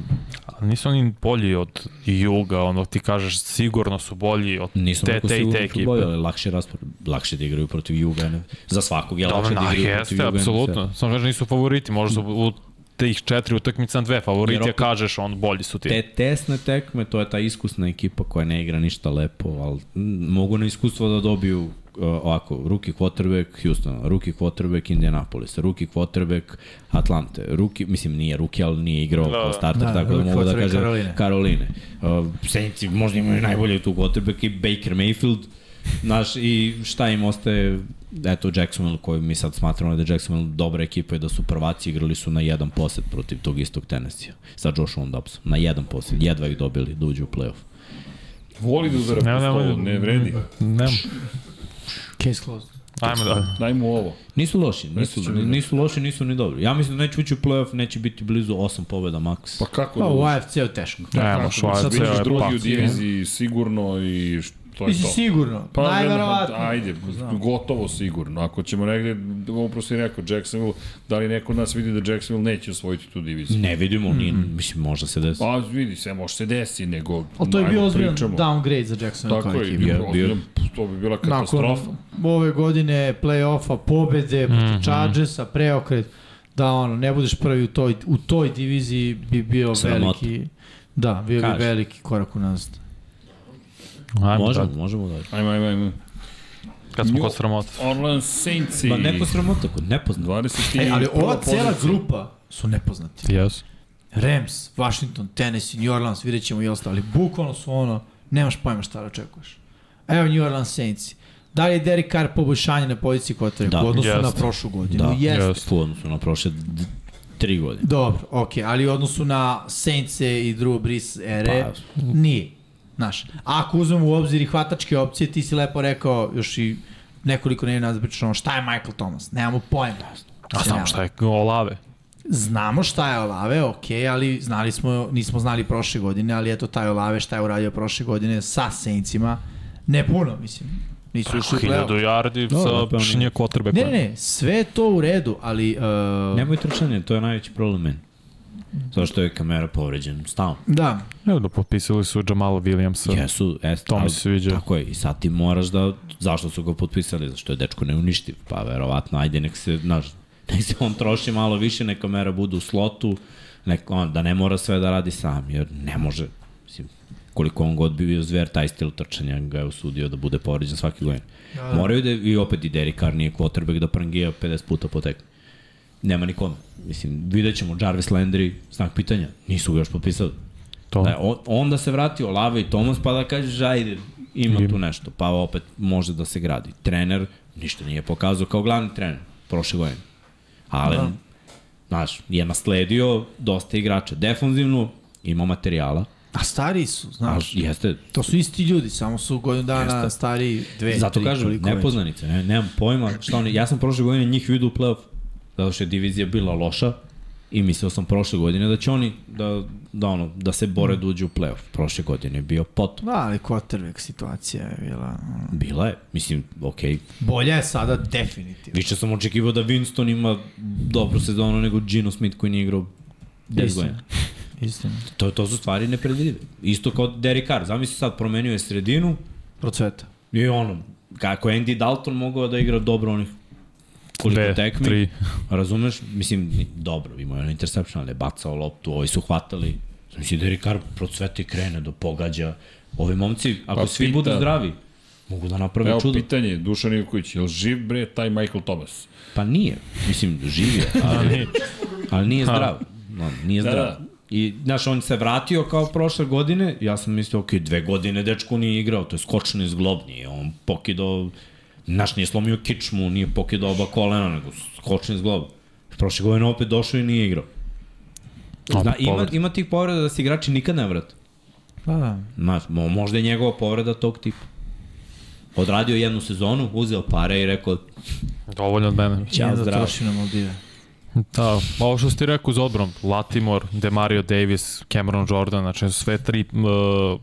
[SPEAKER 3] Ali nisu oni bolji od Juga, ono ti kažeš sigurno su bolji od
[SPEAKER 2] nisam
[SPEAKER 3] te,
[SPEAKER 2] rekao
[SPEAKER 3] te i te
[SPEAKER 2] sigurno
[SPEAKER 3] ekipe.
[SPEAKER 2] futbol, ali lakše raspored, lakše da igraju protiv Juga. Ne? Za svakog je
[SPEAKER 3] Dobro,
[SPEAKER 2] lakše da
[SPEAKER 3] na,
[SPEAKER 2] igraju protiv
[SPEAKER 3] jeste,
[SPEAKER 2] Juga.
[SPEAKER 3] apsolutno. Samo kažem nisu favoriti, možda su u tih četiri utakmica na dve favorite,
[SPEAKER 2] Jer
[SPEAKER 3] opet,
[SPEAKER 2] opet-
[SPEAKER 3] kažeš on bolji su ti.
[SPEAKER 2] Te tesne tekme, to je ta iskusna ekipa koja ne igra ništa lepo, ali m, mogu na iskustvo da dobiju uh, ovako, ruki quarterback Houstona, ruki quarterback Indianapolis, ruki quarterback Atlante, ruki, mislim nije ruki, ali nije igrao
[SPEAKER 3] Da,
[SPEAKER 2] kao
[SPEAKER 3] da.
[SPEAKER 2] starter,
[SPEAKER 4] Da,
[SPEAKER 2] tako da
[SPEAKER 4] rookie
[SPEAKER 2] mogu da
[SPEAKER 4] quarterback
[SPEAKER 2] kažem
[SPEAKER 4] Karoline.
[SPEAKER 2] Karoline. Karoline. Uh, Saintsi možda imaju najbolje tu quarterback i Baker Mayfield, Znaš, i šta im ostaje, eto Jacksonville koju mi sad smatramo da je Jacksonville dobra ekipa i da su prvaci igrali su na jedan posed protiv tog istog Tennessee sa Joshuom Dobbsom, na jedan posed, jedva ih dobili da uđu u playoff.
[SPEAKER 1] Voli da udara
[SPEAKER 3] Ne,
[SPEAKER 1] po
[SPEAKER 3] ne,
[SPEAKER 1] stolu,
[SPEAKER 3] ne.
[SPEAKER 1] ne vredi.
[SPEAKER 3] Nemo.
[SPEAKER 4] Case closed.
[SPEAKER 3] Ajmo da.
[SPEAKER 1] Daj mu ovo.
[SPEAKER 2] Nisu loši, nisu, nisu loši, nisu ni dobri. Ja mislim da neće ući u playoff, neće biti blizu 8 pobjeda maks.
[SPEAKER 1] Pa kako
[SPEAKER 4] Pa
[SPEAKER 1] da
[SPEAKER 4] u
[SPEAKER 1] uzme?
[SPEAKER 4] AFC-u teško.
[SPEAKER 3] Nemo,
[SPEAKER 1] Kako da
[SPEAKER 3] Švajca
[SPEAKER 1] uzme? Bićeš
[SPEAKER 3] je
[SPEAKER 1] drugi u
[SPEAKER 3] pak.
[SPEAKER 1] diviziji sigurno i š- to je
[SPEAKER 4] Mislim,
[SPEAKER 1] to.
[SPEAKER 4] sigurno. Pa,
[SPEAKER 1] verovatno,
[SPEAKER 4] Najverovatno.
[SPEAKER 1] Ajde, gotovo sigurno. Ako ćemo negde, upravo si rekao, Jacksonville, da li neko od nas vidi da Jacksonville neće osvojiti tu diviziju?
[SPEAKER 2] Ne vidimo, ni, mislim, možda se desi.
[SPEAKER 1] Pa vidi, sve može se desi, nego...
[SPEAKER 4] Ali to je
[SPEAKER 1] ajmo,
[SPEAKER 4] bio ozbiljan
[SPEAKER 1] pričamo.
[SPEAKER 4] downgrade za Jacksonville
[SPEAKER 1] Tako
[SPEAKER 4] kao
[SPEAKER 1] je,
[SPEAKER 4] ekipu.
[SPEAKER 1] bio,
[SPEAKER 2] bio-
[SPEAKER 1] ozbiljan, to bi bila
[SPEAKER 4] Nakon
[SPEAKER 1] katastrofa.
[SPEAKER 4] ove godine play-offa, pobede, mm -hmm. Chargersa, preokret, da ono, ne budeš prvi u toj, u toj diviziji bi bio
[SPEAKER 2] Sramota.
[SPEAKER 4] veliki... Da, bio bi
[SPEAKER 2] Kaži.
[SPEAKER 4] veliki korak u nazad.
[SPEAKER 3] Ajmo da.
[SPEAKER 2] Možemo, možemo da.
[SPEAKER 1] Ajmo, ajmo, ajmo.
[SPEAKER 3] Kad smo
[SPEAKER 1] Nju-
[SPEAKER 3] kod sramota.
[SPEAKER 1] Orleans Saints i...
[SPEAKER 2] Pa neko sramota kod nepoznat.
[SPEAKER 1] 20.
[SPEAKER 4] E, ali
[SPEAKER 1] prva
[SPEAKER 4] ova cela
[SPEAKER 1] pozicija.
[SPEAKER 4] grupa su nepoznati.
[SPEAKER 3] Yes.
[SPEAKER 4] Rams, Washington, Tennessee, New Orleans, vidjet ćemo i ostali. Bukvalno su ono, nemaš pojma šta da očekuješ. Evo New Orleans Saints. Da li je Derek Carr poboljšanje na poziciji Kotara da,
[SPEAKER 2] Da,
[SPEAKER 4] u odnosu
[SPEAKER 3] jest.
[SPEAKER 4] na prošlu godinu?
[SPEAKER 2] Da,
[SPEAKER 4] Jeste.
[SPEAKER 2] jeste. U odnosu na prošle d- tri godine.
[SPEAKER 4] Dobro, okej, ali u odnosu na Saints-e i Drew Brees ere,
[SPEAKER 2] Pa,
[SPEAKER 4] pa. nije. Znaš, ako uzmemo u obzir i hvatačke opcije, ti si lepo rekao još i nekoliko nevi nas pričano, šta je Michael Thomas? Nemamo pojma. Znači,
[SPEAKER 3] A samo šta je Olave.
[SPEAKER 4] Znamo šta je Olave, ok, ali znali smo, nismo znali prošle godine, ali eto taj Olave šta je uradio prošle godine sa Saintsima, ne puno, mislim. Nisu ušli u
[SPEAKER 3] Hiljadu
[SPEAKER 4] play-off.
[SPEAKER 3] jardi
[SPEAKER 2] Dobro,
[SPEAKER 3] sa
[SPEAKER 2] pa ne.
[SPEAKER 3] šinje kotrbe.
[SPEAKER 4] Ne, ne, ne, sve je to u redu, ali... Uh,
[SPEAKER 2] Nemoj trčanje, to je najveći problem meni. Zato što je kamera povređen, stalno.
[SPEAKER 4] da,
[SPEAKER 3] Evo da potpisali su Jamala Williamsa.
[SPEAKER 2] Jesu, jest,
[SPEAKER 3] To mi
[SPEAKER 2] ali-
[SPEAKER 3] se sviđa.
[SPEAKER 2] Tako je, i sad ti moraš da, zašto su ga potpisali, zašto je dečko neuništiv, pa verovatno, ajde, nek se, znaš, nek se on troši malo više, neka mera bude u slotu, nek, on, da ne mora sve da radi sam, jer ne može, mislim, koliko on god bi bio zver, taj stil trčanja ga je usudio da bude povređen svaki godin. Moraju da, i opet i Derek Carr nije quarterback da prangija 50 puta po tekmi. Nema nikome. Mislim, vidjet ćemo Jarvis Landry, znak pitanja, nisu ga još potpisali.
[SPEAKER 3] To.
[SPEAKER 2] Da,
[SPEAKER 4] Pa.
[SPEAKER 2] je on, onda se vrati Olave i Tomas pa da kažeš ajde, ima tu nešto. Pa opet može da se gradi. Trener ništa nije pokazao kao glavni trener prošle godine. Ali, da. znaš, je nasledio dosta igrača. Defanzivno ima materijala,
[SPEAKER 4] a stariji su,
[SPEAKER 2] ali
[SPEAKER 4] znaš.
[SPEAKER 2] jeste
[SPEAKER 4] To su isti ljudi, samo su godinu dana Jeste. stariji dve,
[SPEAKER 2] Zato
[SPEAKER 4] tri,
[SPEAKER 2] kažem,
[SPEAKER 4] koliko već.
[SPEAKER 2] nepoznanice, ne, nemam pojma šta oni, ja sam prošle godine njih vidio u play-off, zato što je divizija bila loša i mislio sam prošle godine da će oni da, da, ono, da se bore da uđu u play-off. Prošle godine je bio potom.
[SPEAKER 4] Da, ali quarterback situacija je bila... ono.
[SPEAKER 2] Bila je, mislim, okej, okay.
[SPEAKER 4] Bolja je sada definitivno.
[SPEAKER 2] više sam očekivao da Winston ima dobru sezonu nego Gino Smith koji nije igrao 10
[SPEAKER 4] Istina.
[SPEAKER 2] godina.
[SPEAKER 4] Istina.
[SPEAKER 2] To, to su stvari nepredvidive. Isto kao Derek Carr, zamisli sad, promenio je sredinu
[SPEAKER 4] Procveta.
[SPEAKER 2] i ono, kako je Andy Dalton mogao da igra dobro onih koliko
[SPEAKER 3] Dve,
[SPEAKER 2] tekmi.
[SPEAKER 3] tri.
[SPEAKER 2] Razumeš? Mislim, ni- dobro, imao je ono interception, ali je bacao loptu, ovi su hvatali. Mislim, Derek Carr procveti krene do pogađa. Ovi momci, ako
[SPEAKER 1] Pa
[SPEAKER 2] pa, svi
[SPEAKER 1] pita-
[SPEAKER 2] budu zdravi, mogu da naprave
[SPEAKER 1] Evo
[SPEAKER 2] čudo.
[SPEAKER 1] pitanje, Dušan Ivković, je li živ bre taj Michael Thomas?
[SPEAKER 2] Pa nije. Mislim, živ je, ali, ali nije zdrav. No, nije
[SPEAKER 1] Da,
[SPEAKER 2] zdrav.
[SPEAKER 1] da.
[SPEAKER 2] I, znaš, on se vratio kao prošle godine, ja sam mislio, ok, dve godine dečko nije igrao, to je skočno iz globnje, on pokidao, znaš, nije slomio kičmu, nije pokidao oba kolena, nego skočno iz globa. Prošle godine opet došao i nije igrao. Zna,
[SPEAKER 3] Opet
[SPEAKER 2] ima,
[SPEAKER 3] povreda.
[SPEAKER 2] ima tih povreda da se igrači nikad ne vrate.
[SPEAKER 4] Pa da.
[SPEAKER 2] Znaš, mo- možda je njegova povreda tog tipa. Odradio jednu sezonu, uzeo pare i rekao,
[SPEAKER 3] Dovoljno od mene.
[SPEAKER 2] Ćao,
[SPEAKER 4] Ćao, da
[SPEAKER 2] zdravo.
[SPEAKER 4] troši na Maldive.
[SPEAKER 3] Da, ovo što ste rekao za odbrom, Latimore, Demario Davis, Cameron Jordan, znači sve tri uh,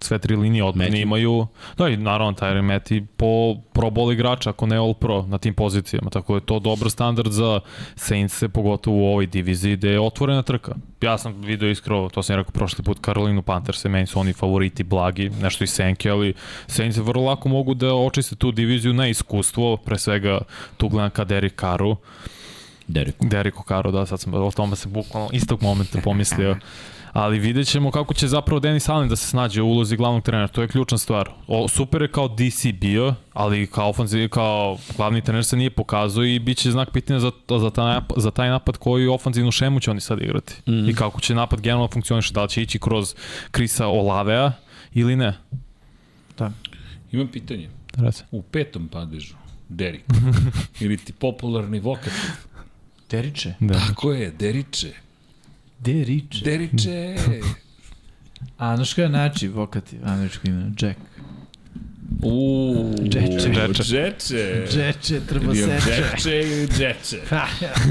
[SPEAKER 3] sve tri linije odbrane
[SPEAKER 2] Matthew.
[SPEAKER 3] imaju, da i naravno Tyron Meti po pro bol igrača, ako ne all pro na tim pozicijama, tako da je to dobar standard za Saints, pogotovo u ovoj diviziji gde je otvorena trka. Ja sam video iskro, to sam i rekao prošli put, Carolinu Panthers, meni su oni favoriti blagi, nešto i Senke, ali Saints vrlo lako mogu da očiste tu diviziju na iskustvo, pre svega tu gledam ka Derek Carru,
[SPEAKER 2] Derek.
[SPEAKER 3] Derek Okaro, da, sad sam o tome se bukvalno istog momenta pomislio. Ali vidjet ćemo kako će zapravo Denis Allen da se snađe u ulozi glavnog trenera, to je ključna stvar. O, super je kao DC bio, ali kao, ofenziv, kao glavni trener se nije pokazao i bit će znak pitanja za, za, taj, napad, za taj napad koju ofenzivnu šemu će oni sad igrati. Mm -hmm. I kako će napad generalno funkcioniše, da li će ići kroz Krisa Olavea ili ne.
[SPEAKER 4] Da.
[SPEAKER 1] Imam pitanje.
[SPEAKER 3] Reci.
[SPEAKER 1] U petom padežu, Derek, ili ti popularni vokativ.
[SPEAKER 4] Deriče?
[SPEAKER 3] Da.
[SPEAKER 1] Tako je, Deriče.
[SPEAKER 4] Deriče.
[SPEAKER 1] Deriče.
[SPEAKER 4] A, znaš kada je način vokati američko ime? Jack.
[SPEAKER 1] Uuu,
[SPEAKER 4] Dječe.
[SPEAKER 1] Dječe. Dječe.
[SPEAKER 4] Džeče, treba
[SPEAKER 1] Ili je
[SPEAKER 4] seče.
[SPEAKER 1] Dječe ili Dječe.
[SPEAKER 4] Pa,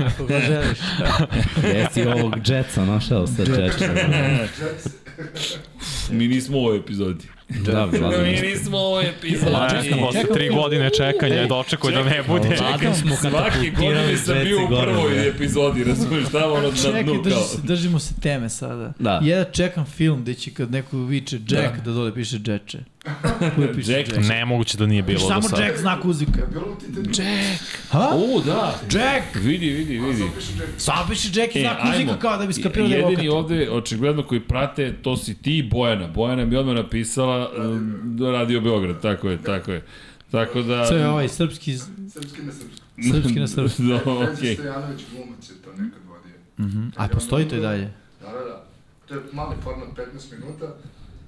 [SPEAKER 4] ako ga želiš.
[SPEAKER 2] Gde si ovog Jetsa našao sa Jetsa?
[SPEAKER 1] Mi nismo u ovoj epizodi.
[SPEAKER 2] Da, Vlada.
[SPEAKER 1] Mi nismo u ovoj epizodi.
[SPEAKER 3] Čekam, posle tri godine čekanja je dočekao da ne bude.
[SPEAKER 2] Vlada smo
[SPEAKER 1] Svake godine
[SPEAKER 2] katapultirali
[SPEAKER 1] sam bio u
[SPEAKER 2] Jetsa gore.
[SPEAKER 1] prvoj epizodi, razumiješ, tamo ono na
[SPEAKER 4] Čekaj,
[SPEAKER 1] dnu
[SPEAKER 4] drži
[SPEAKER 1] kao.
[SPEAKER 4] se, držimo se teme sada.
[SPEAKER 2] Da.
[SPEAKER 4] Ja čekam film gde će kad neko viče Jack, da, da dole piše Džeče. Koji piše
[SPEAKER 1] Jack,
[SPEAKER 4] Jack?
[SPEAKER 3] Nemoguće da nije bilo do
[SPEAKER 4] Samo
[SPEAKER 3] sada.
[SPEAKER 4] Jack znak uzvika.
[SPEAKER 5] Bilo ti te
[SPEAKER 1] U, da. Jack! Vidi, vidi, vidi.
[SPEAKER 4] Samo piše Jack i
[SPEAKER 1] E,
[SPEAKER 4] znak uzvika kao da bi skapirao da je
[SPEAKER 1] jedini
[SPEAKER 4] vokat.
[SPEAKER 1] ovde, očigledno, koji prate, to si ti i Bojana. Bojana mi je odmah napisala um, Radio Beograd, tako je, tako je. Tako da...
[SPEAKER 4] To je ovaj srpski,
[SPEAKER 5] srpski na srpski.
[SPEAKER 4] srpski na srpski.
[SPEAKER 1] da,
[SPEAKER 5] Franci
[SPEAKER 1] okej.
[SPEAKER 5] Stojanović glumac je to nekad vodio.
[SPEAKER 4] A postoji to i dalje.
[SPEAKER 5] Da, da, da. To je mali format 15 minuta,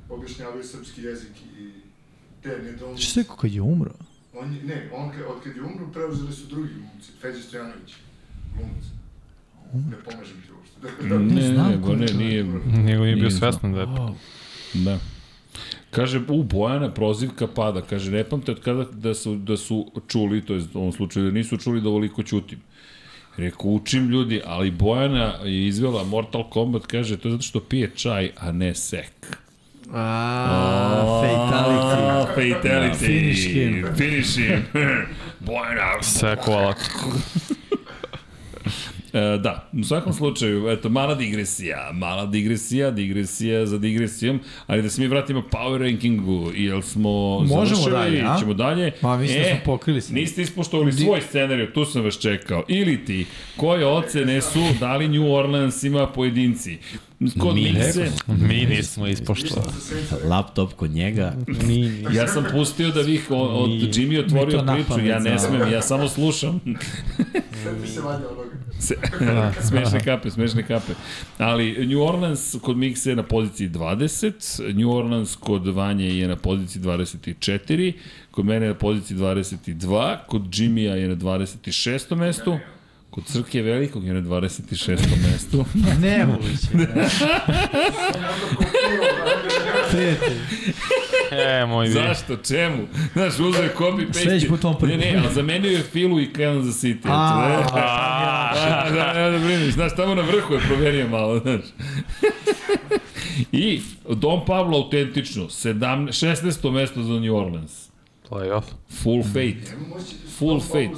[SPEAKER 5] objašnjavaju srpski jezik i te nedoumice.
[SPEAKER 4] Što se rekao kad je umro?
[SPEAKER 5] On je, ne, on kad, od kad je umro, preuzeli su drugi glumci, Feđa Stojanović, glumac. Ne pomažem ti uopšte. Da,
[SPEAKER 1] Ne, ne,
[SPEAKER 4] znam
[SPEAKER 1] ne,
[SPEAKER 4] ko je
[SPEAKER 1] ne,
[SPEAKER 4] to.
[SPEAKER 1] nije,
[SPEAKER 3] Nego nije bio
[SPEAKER 1] Nije znao.
[SPEAKER 3] svestan da je
[SPEAKER 4] Wow.
[SPEAKER 1] Da. Kaže, u Bojana prozivka pada. Kaže, ne pamte od kada da su, da su čuli, to je u ovom slučaju da nisu čuli da ovoliko ćutim. Reku, učim ljudi, ali Bojana je izvela Mortal Kombat, kaže, to je zato što pije čaj, a ne sek.
[SPEAKER 4] A, fatality.
[SPEAKER 1] A, fatality.
[SPEAKER 4] Pa, Finish him.
[SPEAKER 1] Finish him. Bojana.
[SPEAKER 3] sekao ovako.
[SPEAKER 1] E, da, u svakom slučaju, eto, mala digresija, mala digresija, digresija za digresijom, ali da se mi vratimo Power Rankingu, jel smo
[SPEAKER 4] Možemo
[SPEAKER 1] završili,
[SPEAKER 4] dalje, a?
[SPEAKER 1] ćemo dalje. E,
[SPEAKER 4] Ma, mislim da smo pokrili se.
[SPEAKER 1] Niste ispoštovali svoj scenarij, tu sam vas čekao. Ili ti, koje ocene su dali New Orleans ima pojedinci? Kod mi se,
[SPEAKER 3] Mi nismo ispoštovali.
[SPEAKER 2] Laptop kod njega. Nije.
[SPEAKER 1] ja sam pustio da vi, o- od Jimmy
[SPEAKER 4] mi
[SPEAKER 1] otvorio
[SPEAKER 4] to
[SPEAKER 1] priču, ja
[SPEAKER 4] napamet
[SPEAKER 1] ne
[SPEAKER 4] znamo.
[SPEAKER 1] smem, ja samo slušam.
[SPEAKER 5] Sveti se valjda onoga.
[SPEAKER 1] Se,
[SPEAKER 4] Da.
[SPEAKER 1] smešne kape, smešne kape. Ali New Orleans kod Mikse je na poziciji 20, New Orleans kod Vanje je na poziciji 24, kod mene je na poziciji 22, kod Jimmya je na 26. mestu, kod Crke Velikog je na 26. mestu.
[SPEAKER 4] Ne moguće. Prijatelj.
[SPEAKER 3] E, moj vi.
[SPEAKER 1] Zašto? Čemu? Znaš, uzeo je copy paste.
[SPEAKER 4] Sledeći put on
[SPEAKER 1] Ne,
[SPEAKER 4] prvi.
[SPEAKER 1] ne, ali zamenio je Filu i Kansas City. eto, e.
[SPEAKER 4] A,
[SPEAKER 1] ne? da, da, da, da brineš, znaš, tamo na vrhu je proverio malo, znaš. I Don Pablo autentično, 17, 16. mesto za New Orleans.
[SPEAKER 3] Playoff.
[SPEAKER 1] Full fate. Full fate.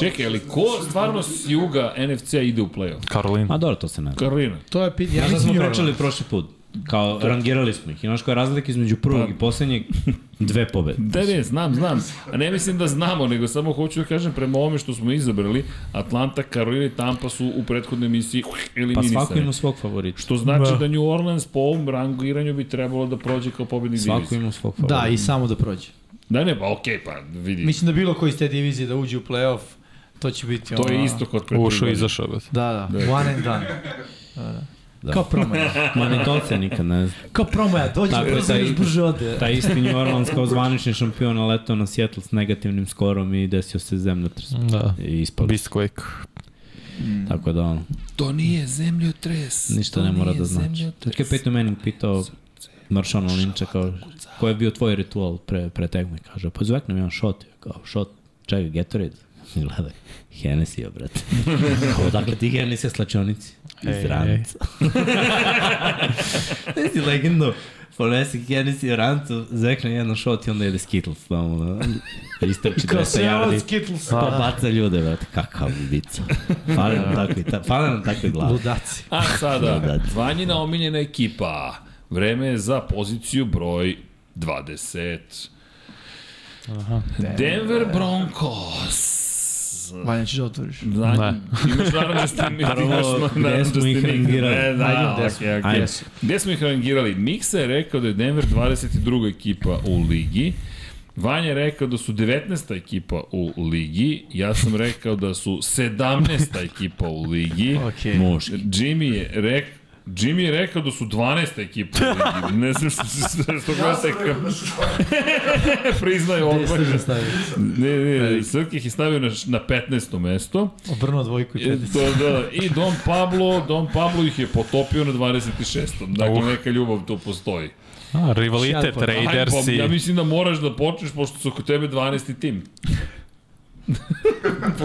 [SPEAKER 1] Čekaj, ali ko stvarno s juga NFC-a ide u play-off?
[SPEAKER 3] Karolina.
[SPEAKER 2] Ma Pa dobro, to se ne.
[SPEAKER 1] Karolina.
[SPEAKER 4] to je pitanje.
[SPEAKER 2] Ja sad smo
[SPEAKER 4] New
[SPEAKER 2] pričali
[SPEAKER 4] Orleans.
[SPEAKER 2] prošli put. Kao, rangirali smo ih. I znaš koja je razlika između prvog i poslednjeg? Dve pobede.
[SPEAKER 1] Da, ne, znam, znam. A ne mislim da znamo, nego samo hoću da kažem prema ovome što smo izabrali, Atlanta, Karolina i Tampa su u prethodnoj emisiji
[SPEAKER 2] Pa
[SPEAKER 1] eliminisane.
[SPEAKER 2] svako ima svog favorita.
[SPEAKER 1] Što znači da. New Orleans po ovom rangiranju bi trebalo da prođe kao pobednik
[SPEAKER 2] Svako
[SPEAKER 1] divizije.
[SPEAKER 2] ima svog favorita.
[SPEAKER 4] Da, i samo da prođe.
[SPEAKER 1] Da ne, pa okej, pa vidi.
[SPEAKER 4] Mislim da bilo koji iz te divizije da uđe u play-off, to će biti
[SPEAKER 1] to
[SPEAKER 4] ono-
[SPEAKER 1] je isto kod pre
[SPEAKER 3] Ušao i izašao. bet.
[SPEAKER 4] Da, da, one and done. Da.
[SPEAKER 2] Da.
[SPEAKER 4] Kao promaja.
[SPEAKER 2] Ma ni to se nikad ne zna.
[SPEAKER 4] Kao promaja, dođe,
[SPEAKER 2] Tako je,
[SPEAKER 4] brzo,
[SPEAKER 2] taj-
[SPEAKER 4] još brže ode.
[SPEAKER 2] Taj isti New Orleans kao zvanični šampion naletao na Seattle s negativnim skorom i desio se zemljotres.
[SPEAKER 3] Da.
[SPEAKER 2] I ispali.
[SPEAKER 3] Beastquake.
[SPEAKER 2] Tako da ono,
[SPEAKER 1] To nije zemljotres.
[SPEAKER 2] ništa ne mora da znači. Tako je Peyton Manning pitao Maršana Linča kao, koji je bio tvoj ritual pre, pre tegme? Kaže, pa zveknem jedan shot. Ja Kao, shot, čega, Gatorade? I gledaj, Hennessy, brate. Kao, dakle ti Hennessy slačionici? Iz
[SPEAKER 3] Ej,
[SPEAKER 2] ranca. Ti si legendu. Ponesi Hennessy u rancu, zvekne jedan shot i onda jede Skittles. Tamo, da. Istrči
[SPEAKER 4] Kao
[SPEAKER 2] 200
[SPEAKER 4] sve ovo
[SPEAKER 2] yardi.
[SPEAKER 4] Skittles.
[SPEAKER 2] Pa baca ljude, brate, kakav ubica. Fale nam takvi, ta, fale nam takve glave.
[SPEAKER 4] Ludaci.
[SPEAKER 1] A sada,
[SPEAKER 2] Da,
[SPEAKER 1] Vanjina omiljena ekipa. Vreme je za poziciju broj 20. Denver Broncos. Stars.
[SPEAKER 4] Valja ćeš da otvoriš.
[SPEAKER 1] Da,
[SPEAKER 3] Ne.
[SPEAKER 1] imaš narandžasti mix.
[SPEAKER 2] Prvo,
[SPEAKER 1] imaš da
[SPEAKER 2] gde
[SPEAKER 1] narandžasti
[SPEAKER 2] smo ih
[SPEAKER 1] mix.
[SPEAKER 2] rangirali?
[SPEAKER 1] E, da,
[SPEAKER 2] Ajde, gde smo?
[SPEAKER 1] okej, okej.
[SPEAKER 2] Ajde.
[SPEAKER 1] Gde smo ih rangirali? Miksa je rekao da je Denver 22. ekipa u ligi. Vanja je rekao da su 19. ekipa u ligi, ja sam rekao da su 17. ekipa u ligi.
[SPEAKER 4] Okej.
[SPEAKER 1] Muški. Jimmy je rekao Jimmy je rekao da su 12. ekipa u ligi. Ne znam što se što
[SPEAKER 5] Ja
[SPEAKER 1] gleda
[SPEAKER 5] sam rekao da su
[SPEAKER 1] priznaju odmah.
[SPEAKER 4] Slično stavio.
[SPEAKER 1] Ne, ne, ne, Srkih je stavio na, na 15. mesto.
[SPEAKER 4] Obrnuo dvojku i
[SPEAKER 1] E,
[SPEAKER 4] četnicu.
[SPEAKER 1] To, da, I Don Pablo, Don Pablo ih je potopio na 26. Dakle,
[SPEAKER 3] Uh.
[SPEAKER 1] neka ljubav tu postoji.
[SPEAKER 3] A, rivalitet,
[SPEAKER 4] Sjajno.
[SPEAKER 1] Aj,
[SPEAKER 3] Raidersi.
[SPEAKER 1] pa, ja mislim da moraš da počneš, pošto su kod tebe 12. tim.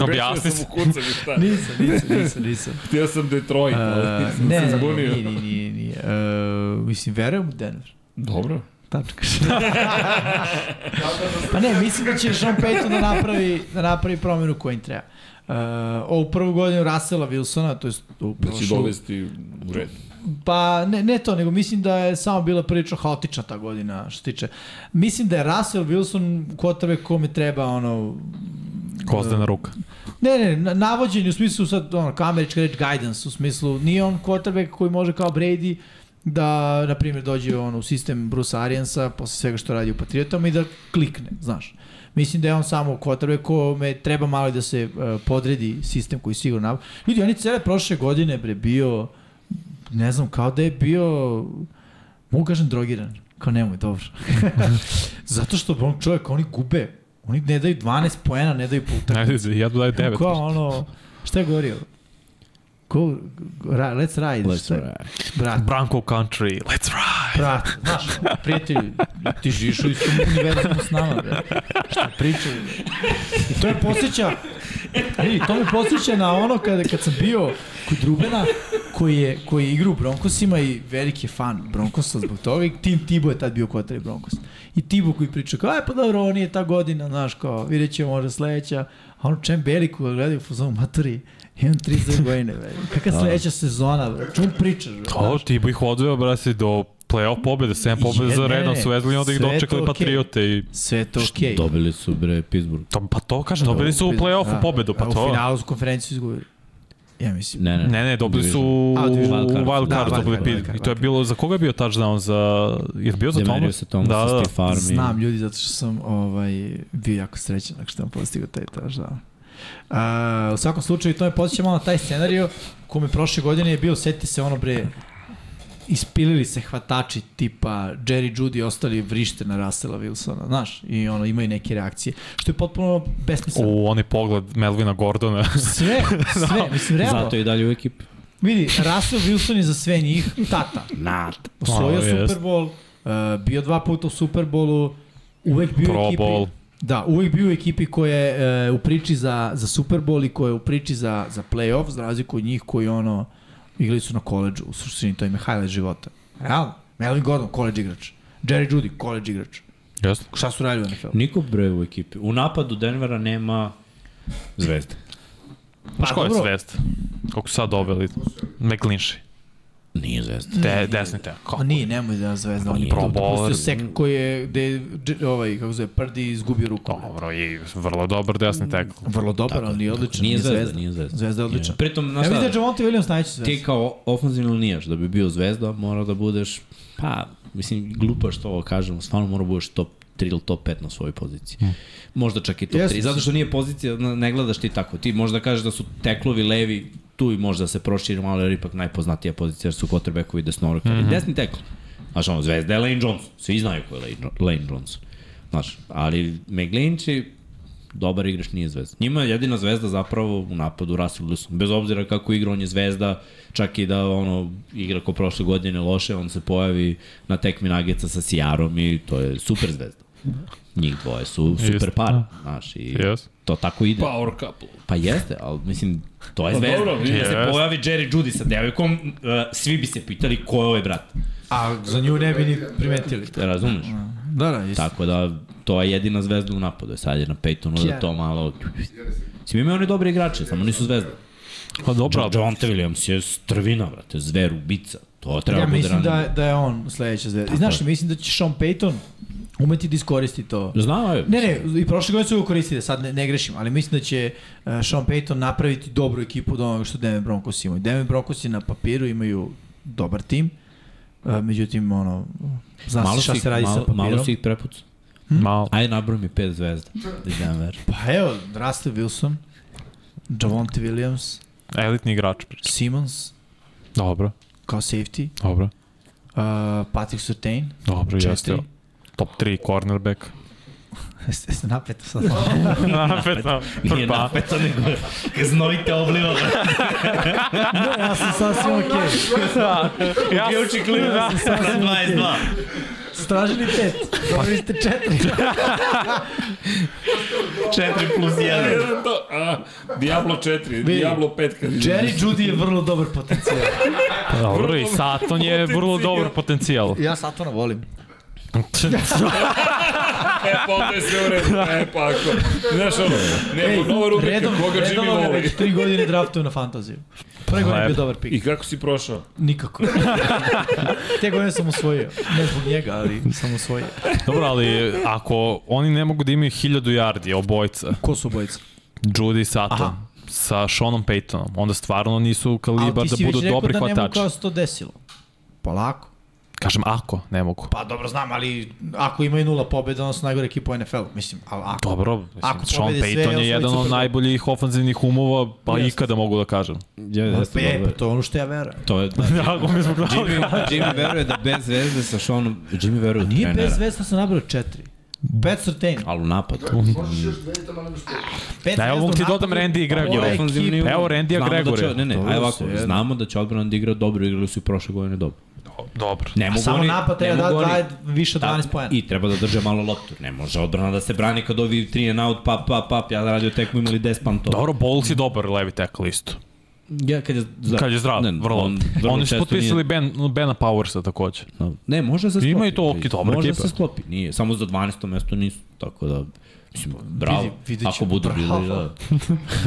[SPEAKER 3] Objasni
[SPEAKER 1] se.
[SPEAKER 3] se.
[SPEAKER 1] Kucam, šta.
[SPEAKER 4] Nisam, nisam, nisam, nisam.
[SPEAKER 1] Htio sam Detroit, ali
[SPEAKER 4] Uh,
[SPEAKER 1] nisam
[SPEAKER 4] ne,
[SPEAKER 1] se
[SPEAKER 4] ne,
[SPEAKER 1] zbunio.
[SPEAKER 4] nije, nije, nije, nije. Uh, mislim, verujem u Denver.
[SPEAKER 1] Dobro.
[SPEAKER 4] Tačno kaže. pa ne, mislim da će Sean Payton da napravi, da napravi promenu koju im treba. Uh, ovu prvu godinu Rasela Wilsona, to je
[SPEAKER 1] Da će dovesti u red.
[SPEAKER 4] Pa ne, ne to, nego mislim da je samo bila prilično haotična ta godina što se tiče. Mislim da je Russell Wilson quarterback kome treba ono
[SPEAKER 3] Kozdena ruka.
[SPEAKER 4] Ne, ne, na- navođenje u smislu sad ono, kao američka reč guidance, u smislu nije on quarterback koji može kao Brady da, na primjer, dođe on u sistem Bruce Ariansa posle svega što radi u Patriotama i da klikne, znaš. Mislim da je on samo quarterback kome treba malo i da se uh, podredi sistem koji sigurno nav... Ljudi, on je cele prošle godine bre bio, ne znam, kao da je bio, mogu da kažem, drogiran. Kao nemoj, dobro. Zato što on čovjek, oni gube, oni ne daju 12 poena, ne daju po utakmici.
[SPEAKER 3] Ajde, ja dodaj devet.
[SPEAKER 4] Ko ono, šta je govorio? Go, ra, let's ride.
[SPEAKER 2] Let's
[SPEAKER 4] šta je?
[SPEAKER 2] ride.
[SPEAKER 4] Brat,
[SPEAKER 3] Branko Country, let's ride.
[SPEAKER 4] brat, znaš, ono, prijatelju, ti živiš u istom univerzumu s nama, bre. Šta pričaju? bre? I to me posjeća, vidi, to me posjeća na ono kada, kad sam bio kod Rubena, koji je, koji je igra u Broncosima i veliki je fan Broncosa zbog toga i tim Tibo je tad bio kotari Broncos. I Tibo koji priča kao, aj pa dobro, ovo nije ta godina, znaš, kao, vidjet ćemo možda sledeća. A ono čem Beliku ga gledaju u fazonu maturi, imam 32 godine, bre. Kakva sledeća sezona, bre, čemu pričaš, bre?
[SPEAKER 3] To, ti bi ih odveo, brasi, do playoff pobjede, 7 pobjede za
[SPEAKER 4] Je, ne,
[SPEAKER 3] redom,
[SPEAKER 4] ne,
[SPEAKER 3] su vezli i onda ih
[SPEAKER 4] sve je
[SPEAKER 3] dočekali
[SPEAKER 4] to okej.
[SPEAKER 3] Patriote i...
[SPEAKER 4] Sve je to okej. Okay.
[SPEAKER 2] Dobili su bre Pittsburgh.
[SPEAKER 3] To, pa to kažem, dobili su u play-offu pobedu, pa
[SPEAKER 4] Da. U
[SPEAKER 3] to...
[SPEAKER 4] finalu su konferenciju izgubili. Ja mislim.
[SPEAKER 2] Ne, ne.
[SPEAKER 3] Ne, ne, dobili su u
[SPEAKER 4] A, division.
[SPEAKER 2] Wild card.
[SPEAKER 3] Wild
[SPEAKER 4] Da,
[SPEAKER 3] Card,
[SPEAKER 4] wild
[SPEAKER 3] dobili
[SPEAKER 4] card, wild
[SPEAKER 3] Pit.
[SPEAKER 4] card,
[SPEAKER 3] I to je
[SPEAKER 4] wild
[SPEAKER 3] bilo, za koga je bio touchdown? Za, je bio za
[SPEAKER 2] Demario
[SPEAKER 3] Tomas?
[SPEAKER 2] sa Tomasa, da,
[SPEAKER 3] da, da.
[SPEAKER 2] Steve Farm i...
[SPEAKER 4] Znam ljudi zato što sam ovaj, bio jako srećan ako što sam postigao taj etaž. Da. A, u svakom slučaju to me posjeća malo na taj scenario kome prošle godine je bio, seti se ono bre, ispilili se hvatači tipa Jerry Judy i ostali vrište na Russella Wilsona, znaš, i ono imaju neke reakcije, što je potpuno besmisleno.
[SPEAKER 3] U onaj pogled Melvina Gordona.
[SPEAKER 4] Sve,
[SPEAKER 3] Da.
[SPEAKER 4] sve, mislim, realno.
[SPEAKER 2] Zato je i dalje u ekipi.
[SPEAKER 4] Vidi, Russell Wilson je za sve njih tata.
[SPEAKER 2] Nat.
[SPEAKER 4] Osvojio
[SPEAKER 3] Malo, jest.
[SPEAKER 4] Super Bowl, uh, bio dva puta u Super Bowlu, uvek bio u
[SPEAKER 3] Pro
[SPEAKER 4] ekipi.
[SPEAKER 3] Bowl.
[SPEAKER 4] Da, uvek bio u ekipi koja je uh, u priči za, za Super Bowl i koja je u priči za, za playoff, za razliku od njih koji ono, igrali su na koleđu, u suštini to im je highlight života. Realno, Melvin Gordon, koleđ igrač. Jerry Judy, koleđ igrač.
[SPEAKER 3] Jeste.
[SPEAKER 4] Šta su radili u NFL-u?
[SPEAKER 2] Niko bre u ekipi. U napadu Denvera nema zvezde.
[SPEAKER 3] Pa Znaš ko je
[SPEAKER 4] dobro.
[SPEAKER 3] svest? Kako su sad doveli? McLinši.
[SPEAKER 2] Nije zvezda.
[SPEAKER 3] De, desni te. Kako?
[SPEAKER 4] Ma nije, nemoj da zvezda.
[SPEAKER 2] Pa
[SPEAKER 4] On je
[SPEAKER 2] nije.
[SPEAKER 4] to
[SPEAKER 3] Pro
[SPEAKER 4] dopustio
[SPEAKER 3] bowler.
[SPEAKER 4] sek koji je, gde je, dž- ovaj, kako se zove, Prdi izgubio ruku.
[SPEAKER 3] Dobro, i vrlo dobar desni tekl.
[SPEAKER 4] Vrlo dobar, ali nije odličan.
[SPEAKER 2] Nije zvezda, nije zvezda.
[SPEAKER 4] Zvezda je odličan.
[SPEAKER 2] Pritom, znaš
[SPEAKER 4] Ja
[SPEAKER 2] šta,
[SPEAKER 4] mislim da je Javonte Williams najveći zvezda.
[SPEAKER 2] ti kao ofenzivni linijaš, da bi bio zvezda, mora da budeš, pa, mislim, glupa što ovo kažem, stvarno mora da budeš top 3 ili top 5 na svojoj poziciji. Možda čak i top
[SPEAKER 4] Jeste.
[SPEAKER 2] 3, zato što nije pozicija, na- ne gledaš ti tako. Ti možda kažeš da su teklovi levi, tu i možda se proširi malo, jer ipak najpoznatija pozicija jer su quarterbackovi i desnoruki. Mm -hmm. Desni tekl. Znaš, ono, zvezda je Lane Johnson. Svi znaju ko je Lane, Jo- Lane Johnson. Znaš, ali McGlinchey, dobar igrač nije zvezda. Njima je jedina zvezda zapravo u napadu Russell Wilson. Bez obzira kako igra, on je zvezda, čak i da ono, igra ko prošle godine loše, on se pojavi na tekmi nageca sa Sijarom i to je super zvezda. Njih dvoje su super
[SPEAKER 3] Jeste.
[SPEAKER 2] par, znaš, i
[SPEAKER 3] Jes.
[SPEAKER 2] to tako ide. Pa,
[SPEAKER 1] Power couple.
[SPEAKER 2] pa jeste, ali mislim, to je
[SPEAKER 1] Pa
[SPEAKER 2] zvezda.
[SPEAKER 1] dobro,
[SPEAKER 2] Da se
[SPEAKER 3] jeste.
[SPEAKER 2] pojavi Jerry Judy sa devojkom, uh, svi bi se pitali ko je ovaj brat.
[SPEAKER 4] A za nju ne bi ni primetili.
[SPEAKER 2] Razumeš?
[SPEAKER 4] Da, da, isto.
[SPEAKER 2] Tako da, to je jedina zvezda u napadu. Sad je na Peytonu da to malo... Svi imaju oni dobre igrače, samo nisu zvezde.
[SPEAKER 3] Pa dobro,
[SPEAKER 2] Jo-
[SPEAKER 3] ali
[SPEAKER 2] Javonte Williams je strvina, brate, zver, ubica. To treba
[SPEAKER 4] Ja
[SPEAKER 2] bude
[SPEAKER 4] mislim
[SPEAKER 2] ranije.
[SPEAKER 4] da, da je on sledeća zvezda. I znaš, šta, mislim da će Sean Payton umeti da iskoristi to.
[SPEAKER 2] Znam, aj.
[SPEAKER 4] Ne, ne, i prošle godine su ga koristili, sad ne, ne grešim, ali mislim da će uh, Sean Payton napraviti dobru ekipu od onoga što Denver Broncos imaju. Denver Broncos je na papiru imaju dobar tim, uh, međutim, ono, zna se
[SPEAKER 2] malo
[SPEAKER 4] šta
[SPEAKER 2] si,
[SPEAKER 4] se radi
[SPEAKER 2] malo,
[SPEAKER 4] sa papirom.
[SPEAKER 2] malo si ih prepucao.
[SPEAKER 3] Malo.
[SPEAKER 2] Ajde, nabroj mi pet zvezda iz Denver.
[SPEAKER 4] Pa evo, Russell Wilson, Javonte Williams,
[SPEAKER 3] Elitni igrač. pričam.
[SPEAKER 4] Simmons
[SPEAKER 3] Dobro,
[SPEAKER 4] kao safety,
[SPEAKER 3] dobro,
[SPEAKER 4] uh, Patrick Surtain,
[SPEAKER 3] dobro, jeste.
[SPEAKER 4] četiri.
[SPEAKER 3] Top 3 cornerback.
[SPEAKER 4] Jeste, jeste napeto sad.
[SPEAKER 3] Napetno.
[SPEAKER 2] Nije
[SPEAKER 3] pa,
[SPEAKER 2] napeto, nego znojite obliva.
[SPEAKER 4] ja sam sasvim okej.
[SPEAKER 3] Ja,
[SPEAKER 2] Da, na 22.
[SPEAKER 4] Stražili pet, dobili ste četiri.
[SPEAKER 2] 4 plus
[SPEAKER 4] E,
[SPEAKER 2] 1.
[SPEAKER 1] Jedan E, to, a, Diablo 4, Diablo 5 kad
[SPEAKER 4] Jerry Judy je vrlo dobar potencijal.
[SPEAKER 3] dobro, i Saton je vrlo dobar potencijal.
[SPEAKER 4] Ja Satona volim.
[SPEAKER 1] E, pa onda je sve u redu. E, pa ako. Znaš ono, neko nova rubrika,
[SPEAKER 4] redom, ovaj-
[SPEAKER 1] koga
[SPEAKER 4] redovno
[SPEAKER 1] Jimmy
[SPEAKER 4] ga
[SPEAKER 1] voli.
[SPEAKER 4] već tri godine draftuju na fantaziju. Prve godine je bio
[SPEAKER 3] Lepo.
[SPEAKER 4] dobar pik.
[SPEAKER 1] I kako si prošao?
[SPEAKER 4] Nikako. Te godine sam osvojio. Ne zbog njega, ali sam osvojio.
[SPEAKER 3] Dobro, ali ako oni ne mogu da imaju 1000 yardi obojica,
[SPEAKER 4] Ko su obojica?
[SPEAKER 3] Judy i Saton, sa Seanom Paytonom, onda stvarno nisu kalibar da budu dobri
[SPEAKER 4] da ne mogu
[SPEAKER 3] hvatači.
[SPEAKER 4] kao se to desilo. Polako.
[SPEAKER 3] Kažem, ako ne mogu.
[SPEAKER 4] Pa dobro znam, ali ako imaju nula pobjeda, onda su najgore ekipa u NFL-u. Mislim, ali ako...
[SPEAKER 3] Dobro, mislim,
[SPEAKER 4] Ako
[SPEAKER 3] Sean
[SPEAKER 4] pobede sve,
[SPEAKER 3] Payton
[SPEAKER 4] osvoji
[SPEAKER 3] je jedan
[SPEAKER 4] Super
[SPEAKER 3] od
[SPEAKER 4] Bowl.
[SPEAKER 3] najboljih ofanzivnih umova, pa
[SPEAKER 4] Jeste.
[SPEAKER 3] ikada mogu da kažem.
[SPEAKER 2] Ja, jeste
[SPEAKER 4] Pa je,
[SPEAKER 2] dobro.
[SPEAKER 4] pa to je ono što ja verujem.
[SPEAKER 2] To je, da,
[SPEAKER 3] Da, mi smo gledali.
[SPEAKER 2] Jimmy, Jimmy veruje da bez zvezde sa Seanom, Jimmy veruje u
[SPEAKER 4] Nije
[SPEAKER 2] trenera.
[SPEAKER 4] bez vesno sam nabrao četiri. Pet surtain.
[SPEAKER 2] Ali u napadu.
[SPEAKER 5] Možeš još dve i tamo nemaš pet.
[SPEAKER 4] Pet
[SPEAKER 3] Da, evo mogu ti dodam Randy i Gregor.
[SPEAKER 4] Ovo je
[SPEAKER 2] Ofanzivni
[SPEAKER 4] ekipa.
[SPEAKER 2] udar.
[SPEAKER 3] Evo, Randy-a
[SPEAKER 2] Znamo da
[SPEAKER 3] Gregorija.
[SPEAKER 2] će- Ne, ne,
[SPEAKER 4] Dobro
[SPEAKER 2] ajde
[SPEAKER 4] su,
[SPEAKER 2] ovako,
[SPEAKER 4] jedno.
[SPEAKER 2] znamo da će odbrana da igra dobro, igrali su i prošle godine dobro.
[SPEAKER 3] Dobro.
[SPEAKER 2] Ne mogu
[SPEAKER 4] Samo
[SPEAKER 2] oni-
[SPEAKER 4] napad treba
[SPEAKER 2] ne
[SPEAKER 4] da
[SPEAKER 2] mogu oni-
[SPEAKER 4] daje više od 12 poena.
[SPEAKER 2] I treba da drže malo loptu, ne može odbrana da se brani kad ovi 3 and out, pap, pap, pap, ja radio tekmu imali 10 pantova.
[SPEAKER 3] Dobro, Bowles je dobar levi tackle isto.
[SPEAKER 2] Ja kad je
[SPEAKER 4] Da.
[SPEAKER 2] zdrav.
[SPEAKER 3] Kad je zdrav,
[SPEAKER 2] Ne,
[SPEAKER 3] vrlo.
[SPEAKER 2] on
[SPEAKER 3] On,
[SPEAKER 2] vrlo
[SPEAKER 3] Oni su
[SPEAKER 2] često
[SPEAKER 3] potpisali ben, Bena Powersa takođe.
[SPEAKER 2] nije- Ne, može se sklopi.
[SPEAKER 3] Ima i to, ok, dobra
[SPEAKER 2] Može
[SPEAKER 3] ekipa.
[SPEAKER 2] se sklopi, nije. Samo za 12. mesto nisu, tako da... Mislim, bravo,
[SPEAKER 4] Vidi- vidit
[SPEAKER 2] ako
[SPEAKER 4] ćemo.
[SPEAKER 2] budu
[SPEAKER 4] Bravo.
[SPEAKER 2] bili, da.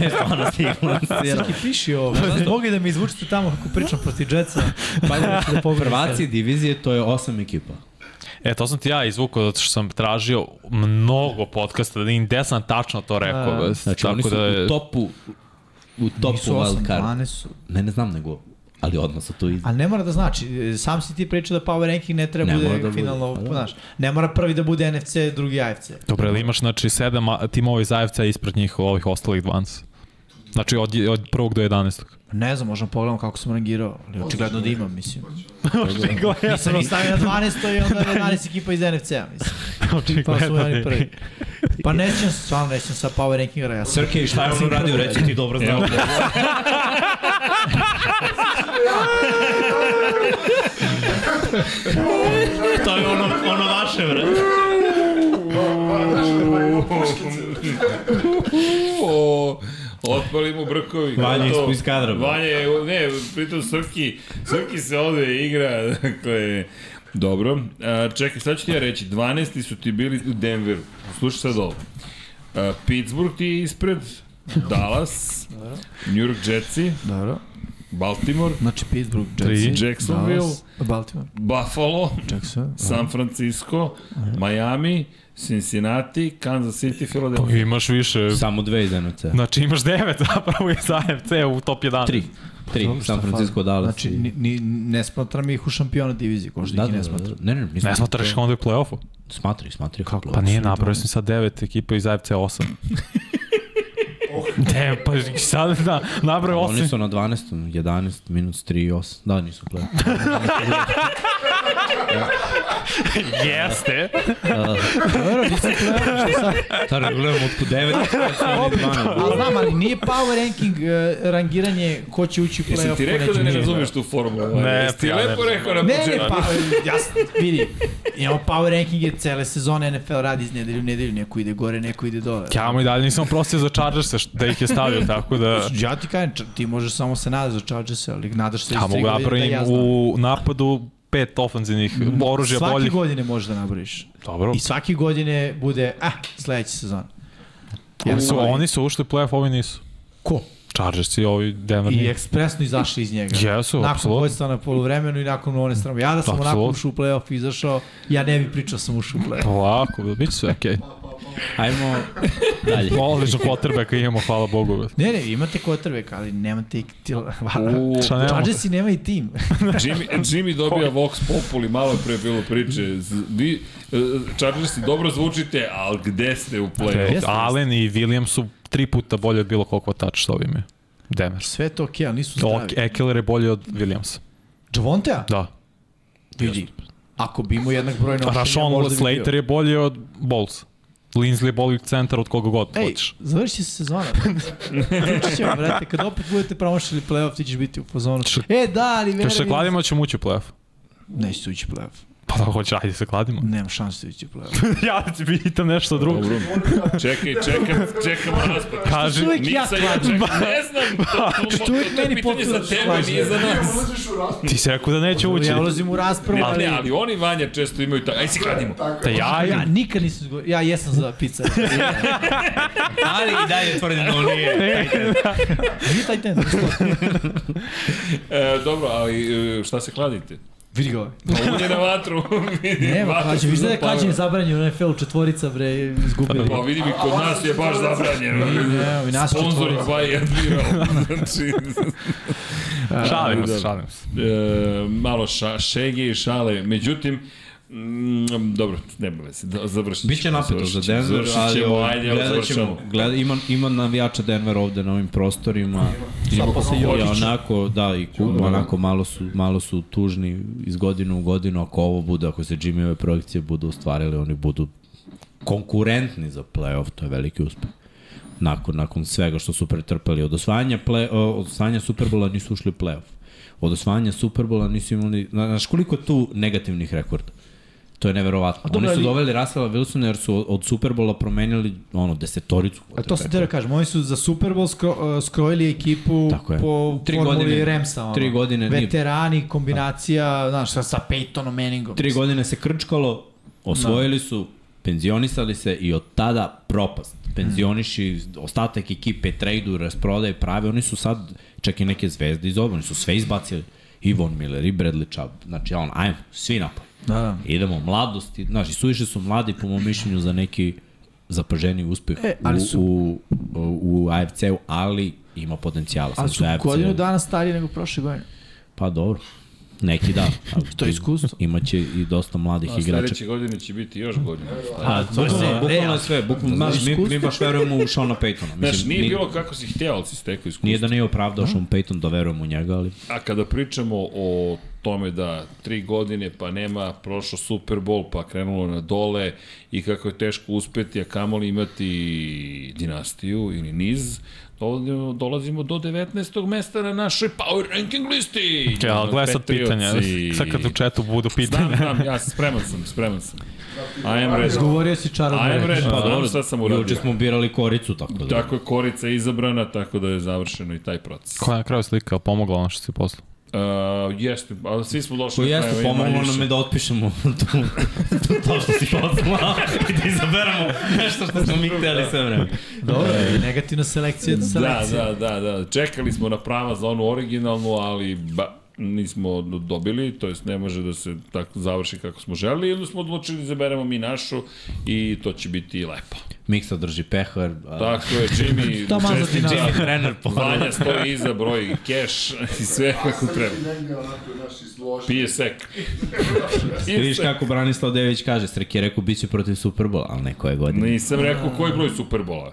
[SPEAKER 2] ne, stvarno sigurno.
[SPEAKER 4] Srki, piši ovo. Mogu da mi izvučete tamo kako pričam proti Jetsa. Pa da ću da pobedim.
[SPEAKER 2] Prvaci divizije, to je osam ekipa.
[SPEAKER 3] E, to sam ti ja izvukao zato što sam tražio mnogo podcasta, da im gde sam tačno to rekao.
[SPEAKER 4] A,
[SPEAKER 3] A,
[SPEAKER 2] Znači, Tako oni su
[SPEAKER 3] da,
[SPEAKER 2] da
[SPEAKER 3] je-
[SPEAKER 2] u topu, u topu
[SPEAKER 4] Nisu 8,
[SPEAKER 2] wild card.
[SPEAKER 4] 12 su.
[SPEAKER 2] Ne, ne znam nego, ali odmah su tu iz...
[SPEAKER 4] Ali ne mora da znači, e, sam si ti pričao da power ranking ne treba
[SPEAKER 2] Ne
[SPEAKER 4] bude
[SPEAKER 2] mora da bude,
[SPEAKER 4] finalno,
[SPEAKER 2] pa da.
[SPEAKER 4] znaš, ne mora prvi da bude NFC, drugi AFC.
[SPEAKER 3] Dobro, ali imaš znači sedam a- timova iz AFC ispred njih ovih ostalih 12. Znači od, je- od prvog do 11.
[SPEAKER 4] Ne znam, možemo pogledamo kako sam rangirao, ali očigledno da imam, mislim.
[SPEAKER 1] da
[SPEAKER 2] da
[SPEAKER 4] Nisam ih stavio na 12. i onda je 11 ekipa iz NFC-a, mislim. Pa su
[SPEAKER 2] da
[SPEAKER 4] oni prvi. Pa ne sjećam se, stvarno ne sjećam sa power rankinga, ja sam
[SPEAKER 2] Srke, šta je on uradio, reći ti dobro znam. to je ono, ono vaše, bre.
[SPEAKER 1] O, Otpali mu brkovi.
[SPEAKER 2] Vanja
[SPEAKER 1] Gotovo.
[SPEAKER 2] ispu iz kadra, bro.
[SPEAKER 1] Vanja je, ne, pritom Srki, Srki se ovde igra, dakle, Dobro, a, čekaj, šta ću ti ja reći, 12. su ti bili u Denveru, slušaj sad ovo. A, Pittsburgh ti je ispred, Dallas, New York Jetsi,
[SPEAKER 4] Dobro.
[SPEAKER 1] Baltimore,
[SPEAKER 4] Znači Pittsburgh,
[SPEAKER 3] Tri.
[SPEAKER 4] Jetsi,
[SPEAKER 1] Jacksonville.
[SPEAKER 4] Dallas, Baltimore,
[SPEAKER 1] Buffalo,
[SPEAKER 4] Jackson,
[SPEAKER 1] San Francisco, Miami, Cincinnati, Kansas City,
[SPEAKER 4] Pa
[SPEAKER 2] Pa
[SPEAKER 1] Philadelphia.
[SPEAKER 3] Imaš više.
[SPEAKER 2] Samo dve iz NFC-a.
[SPEAKER 3] Znači imaš 9 zapravo iz AFC u top 11.
[SPEAKER 2] Tri. Tri,
[SPEAKER 4] Dobro,
[SPEAKER 2] San
[SPEAKER 4] šta
[SPEAKER 2] Francisco,
[SPEAKER 4] fali?
[SPEAKER 2] Dallas.
[SPEAKER 4] Znači, ni, ni, ne smatram ih u šampiona divizije, ko što
[SPEAKER 2] da,
[SPEAKER 4] ih i
[SPEAKER 2] da,
[SPEAKER 4] ne
[SPEAKER 2] da,
[SPEAKER 4] smatram.
[SPEAKER 2] da. ne, ne, nisam.
[SPEAKER 3] Ne smatraš ih onda u play-offu?
[SPEAKER 2] Smatri, smatri. Kako?
[SPEAKER 3] Pa nije, napravio sam sad 9 ekipa iz AFC 8. ne, pa sad da, napravio
[SPEAKER 2] Oni
[SPEAKER 3] 8.
[SPEAKER 2] su na 12. 11 minus 3 i 8. Da, nisu play.
[SPEAKER 3] Jeste.
[SPEAKER 4] Dobro, nisam gledao što sad.
[SPEAKER 2] Sada gledamo otkud 9.
[SPEAKER 4] Ali znam, ali nije power ranking e, rangiranje ko će ući u play-off.
[SPEAKER 1] Jesam ti
[SPEAKER 4] ko
[SPEAKER 1] rekao
[SPEAKER 4] neće
[SPEAKER 1] da ne
[SPEAKER 4] ući.
[SPEAKER 1] razumeš tu formulu?
[SPEAKER 3] Ne,
[SPEAKER 1] Jesi ti
[SPEAKER 3] ja ne
[SPEAKER 1] lepo
[SPEAKER 3] znam.
[SPEAKER 1] rekao na
[SPEAKER 4] Ne, ne,
[SPEAKER 1] početku?
[SPEAKER 4] pa, jasno, vidi, imamo power rankinge cele sezone, NFL radi iz nedelju u nedelju, neko ide gore, neko ide dole.
[SPEAKER 3] Ja mu i dalje nisam prostio za Chargers-e što- da ih je stavio, tako da...
[SPEAKER 2] Znači,
[SPEAKER 4] Ja ti kažem, ča- ti možeš samo se nadati za Chargers, ali nadaš se iz
[SPEAKER 3] Ja
[SPEAKER 4] tri
[SPEAKER 3] mogu da
[SPEAKER 4] godine da
[SPEAKER 3] napravim
[SPEAKER 4] ja znam. Mhm.
[SPEAKER 3] u napadu pet ofenzivnih oružja
[SPEAKER 4] Svake
[SPEAKER 3] boljih.
[SPEAKER 4] godine možeš da nabriš.
[SPEAKER 3] Dobro.
[SPEAKER 4] I svake godine bude, ah, sledeća sezona.
[SPEAKER 3] Jer su, oni su ušli u play-off, ovi nisu.
[SPEAKER 4] Ko?
[SPEAKER 3] Chargers i ovi Denver.
[SPEAKER 4] I ekspresno izašli iz njega.
[SPEAKER 3] Pa Jesu,
[SPEAKER 4] nakon
[SPEAKER 3] apsolutno.
[SPEAKER 4] vojstva na polovremenu i nakon one strane. Ja da sam onako
[SPEAKER 3] Apsolutno. Pa-
[SPEAKER 4] ušao u play-off i izašao, ja ne bi pričao da sam ušao u play-off.
[SPEAKER 3] Polako, bit će sve okej.
[SPEAKER 2] Ajmo dalje.
[SPEAKER 3] Odlično potrebe kad imamo, hvala Bogu.
[SPEAKER 4] Ne, ne, imate kotrbek, ali nemate i til...
[SPEAKER 3] Šta nemamo?
[SPEAKER 4] Chargersi nema i tim.
[SPEAKER 1] Jimmy, Jimmy dobija Vox Populi, malo je pre bilo priče. Z- Vi, e, Chargersi, dobro zvučite, ali gde ste u play-off?
[SPEAKER 3] Te, Allen i Williams su tri puta bolje od bilo kog hvatača sa ovime. Demers.
[SPEAKER 4] Sve je to okej, ali nisu zdravi.
[SPEAKER 3] Ok,
[SPEAKER 4] Okay.
[SPEAKER 3] Ekeler je bolji od Williamsa.
[SPEAKER 4] Javontea?
[SPEAKER 3] Da.
[SPEAKER 4] Vidi, ako bi imao jednak broj nošenja,
[SPEAKER 3] Rashawn
[SPEAKER 4] Pa možda bi bio.
[SPEAKER 3] Slater je bolji od Bowles. Linsley je bolji centar od koga god
[SPEAKER 4] Ej,
[SPEAKER 3] hoćeš.
[SPEAKER 4] završi se sezona. Pričat ćemo, brate, kad opet budete promašili play-off, ti ćeš biti u fazonu.
[SPEAKER 3] Č-
[SPEAKER 4] E, da, ali
[SPEAKER 3] Kad
[SPEAKER 4] vera...
[SPEAKER 3] se kladimo ćemo ući u play-off.
[SPEAKER 4] Nećete ući u play-off.
[SPEAKER 3] Pa da hoće, ajde se kladimo.
[SPEAKER 4] Nemam šanse da ući u play-off.
[SPEAKER 3] ja ti pitam nešto drugo.
[SPEAKER 1] Dobro. Čekaj, čekam, čekam raspad.
[SPEAKER 3] Kaži,
[SPEAKER 4] Uvijek ja
[SPEAKER 1] Nisam ja
[SPEAKER 4] kladim.
[SPEAKER 1] čekam, ne znam. To, to, to, to,
[SPEAKER 4] uvijek
[SPEAKER 1] je
[SPEAKER 4] meni
[SPEAKER 1] pitanje za
[SPEAKER 4] potpuno
[SPEAKER 1] tebe,
[SPEAKER 4] slažem.
[SPEAKER 1] nije za nas.
[SPEAKER 5] Ulaziš u raspravu.
[SPEAKER 3] ti si rekao da neće ući.
[SPEAKER 4] Ja ulazim u raspravu,
[SPEAKER 1] Ali
[SPEAKER 4] ali...
[SPEAKER 1] ne, ali oni Vanja često imaju tako, aj si kladimo.
[SPEAKER 5] Tako
[SPEAKER 3] Te
[SPEAKER 5] je.
[SPEAKER 3] ja,
[SPEAKER 4] Ja nikad nisam zgovorio, ja jesam za pizza.
[SPEAKER 2] Ali i dalje tvrdim da on nije.
[SPEAKER 4] Nije taj ten.
[SPEAKER 1] E, dobro, ali e, šta se kladite?
[SPEAKER 4] Vidi ga ovaj.
[SPEAKER 1] Pa on je na vatru. vidi,
[SPEAKER 4] Nema,
[SPEAKER 1] vatra
[SPEAKER 4] klađe,
[SPEAKER 1] se
[SPEAKER 4] viš da je
[SPEAKER 1] zapalila.
[SPEAKER 4] klađenje zabranjeno u NFL-u, četvorica, bre, izgubili.
[SPEAKER 1] Pa vidi mi, kod nas je baš zabranjeno.
[SPEAKER 4] Ne, i nas
[SPEAKER 1] Sponzor
[SPEAKER 4] četvorica.
[SPEAKER 1] by Admiral. Znači,
[SPEAKER 3] šalimo
[SPEAKER 1] Da.
[SPEAKER 3] se, šalimo se.
[SPEAKER 1] e, malo ša, šege i šale. Međutim, Mm, dobro, nema veze, da, završit ćemo.
[SPEAKER 2] Biće napeto za
[SPEAKER 1] završit ćemo,
[SPEAKER 2] Denver,
[SPEAKER 1] završit
[SPEAKER 2] ali
[SPEAKER 1] ćemo,
[SPEAKER 2] ovaj,
[SPEAKER 1] ajde, evo,
[SPEAKER 2] gledat ćemo.
[SPEAKER 1] završavamo.
[SPEAKER 2] Gleda, ima, ima navijača Denver ovde na ovim prostorima.
[SPEAKER 4] Šta posle
[SPEAKER 2] I
[SPEAKER 4] Jokića?
[SPEAKER 2] onako, da, i Kuba, onako malo su, malo su tužni iz godine u godinu, ako ovo bude, ako se Jimmyove projekcije budu ostvarile, oni budu konkurentni za playoff, to je veliki uspeh. Nakon, nakon svega što su pretrpali od osvajanja, play, od osvajanja Superbola nisu ušli u playoff. Od osvajanja Superbola nisu imali, zna- znaš koliko je tu negativnih rekorda? To je neverovatno. Oni
[SPEAKER 4] dobro,
[SPEAKER 2] su
[SPEAKER 4] ali-
[SPEAKER 2] doveli Rasela Wilsona jer su od- od Superbola promenili ono desetoricu.
[SPEAKER 4] A to sam te da kažem, oni su za Super Bowl skro, uh, skrojili ekipu
[SPEAKER 2] Tako je.
[SPEAKER 4] po
[SPEAKER 2] Tri
[SPEAKER 4] formuli
[SPEAKER 2] godine-
[SPEAKER 4] Remsa. Ono.
[SPEAKER 2] tri godine nije- Da.
[SPEAKER 4] Veterani, kombinacija, znaš, sa, sa Peytonom Manningom.
[SPEAKER 2] Tri godine se krčkalo, osvojili su, penzionisali se i od tada propast. Penzioniši, ostatak ekipe, trejdu, rasprodaje, prave, oni su sad čak i neke zvezde iz obrani, su sve izbacili. I Von Miller, i Bradley Chubb, znači on, ajmo, svi napad.
[SPEAKER 4] Da, da.
[SPEAKER 2] Idemo, mladosti, znači suviše su mladi po mom mišljenju za neki zapaženi uspeh
[SPEAKER 4] E, ali su-
[SPEAKER 2] u, u, u AFC-u, ali ima potencijala.
[SPEAKER 4] Ali
[SPEAKER 2] Sad
[SPEAKER 4] su da,
[SPEAKER 2] za AFC
[SPEAKER 4] godinu dana stariji nego prošle godine.
[SPEAKER 2] Pa dobro, neki da. ali
[SPEAKER 4] To je iskustvo.
[SPEAKER 2] Imaće i dosta mladih
[SPEAKER 1] A
[SPEAKER 2] igrača
[SPEAKER 1] sledeće godine će biti još godina.
[SPEAKER 2] Pa, bukvalno, bukvalno je Da, sve, bukvalno, znaš, mi, mi baš verujemo u Shona Paytona. Mislim,
[SPEAKER 1] Znaš, nije
[SPEAKER 2] ni-
[SPEAKER 1] bilo kako si hteo, ali si stekao iskustvo.
[SPEAKER 2] Nije da nije opravdao Sean Payton da verujemo u njega, ali
[SPEAKER 1] A kada pričamo o tome da tri godine pa nema prošao Super Bowl pa krenulo na dole i kako je teško uspeti, a kamoli imati dinastiju ili niz, dolazimo, dolazimo do 19. mesta na našoj Power Ranking listi.
[SPEAKER 3] Čekaj, ali gledaj sad
[SPEAKER 1] Patriotsi.
[SPEAKER 3] pitanja. Sad kad u četu budu
[SPEAKER 1] Znam,
[SPEAKER 3] pitanja.
[SPEAKER 1] znam, ja sam spreman sam, spreman sam. I am ready.
[SPEAKER 4] Govorio si čarobno
[SPEAKER 1] I am
[SPEAKER 4] reč.
[SPEAKER 1] ready, pa
[SPEAKER 2] dobro,
[SPEAKER 1] dobro, sad sam uradio.
[SPEAKER 2] juče smo birali koricu, tako da.
[SPEAKER 1] Tako je korica izabrana, tako da je završeno i taj proces.
[SPEAKER 3] Koja je na kraju slika, pomogla ono što si poslao.
[SPEAKER 1] Uh, jeste, ali svi smo došli.
[SPEAKER 2] Ko
[SPEAKER 1] do
[SPEAKER 2] Pa jeste,
[SPEAKER 1] kraja,
[SPEAKER 2] pomoglo
[SPEAKER 1] manje-više.
[SPEAKER 2] nam je da otpišemo tu, tu, to što si poslao i da izaberemo nešto da. što smo mi hteli sve vreme.
[SPEAKER 4] Dobro,
[SPEAKER 2] Da.
[SPEAKER 4] negativna selekcija od
[SPEAKER 1] Da,
[SPEAKER 4] selekcije.
[SPEAKER 1] da, da, da. Čekali smo na prava za onu originalnu, ali ba, nismo dobili, to jest ne može da se tako završi kako smo želeli, ili smo odlučili da izaberemo mi našu i to će biti lepo.
[SPEAKER 2] Miksa drži pehar, a
[SPEAKER 1] Tako je, Jimmy,
[SPEAKER 4] Taman za
[SPEAKER 1] čestitam.
[SPEAKER 4] dinastiju.
[SPEAKER 2] trener pa po...
[SPEAKER 1] Vanja stoji iza, broji keš i sve kako treba.
[SPEAKER 5] Sad negde onako, znaš, izložen.
[SPEAKER 1] Pije sek.
[SPEAKER 2] Vidiš kako Branislav Dević kaže, Sreki je rekao bit će protiv Superbola, ali ne koje godine.
[SPEAKER 1] Nisam rekao koji broj Superbola.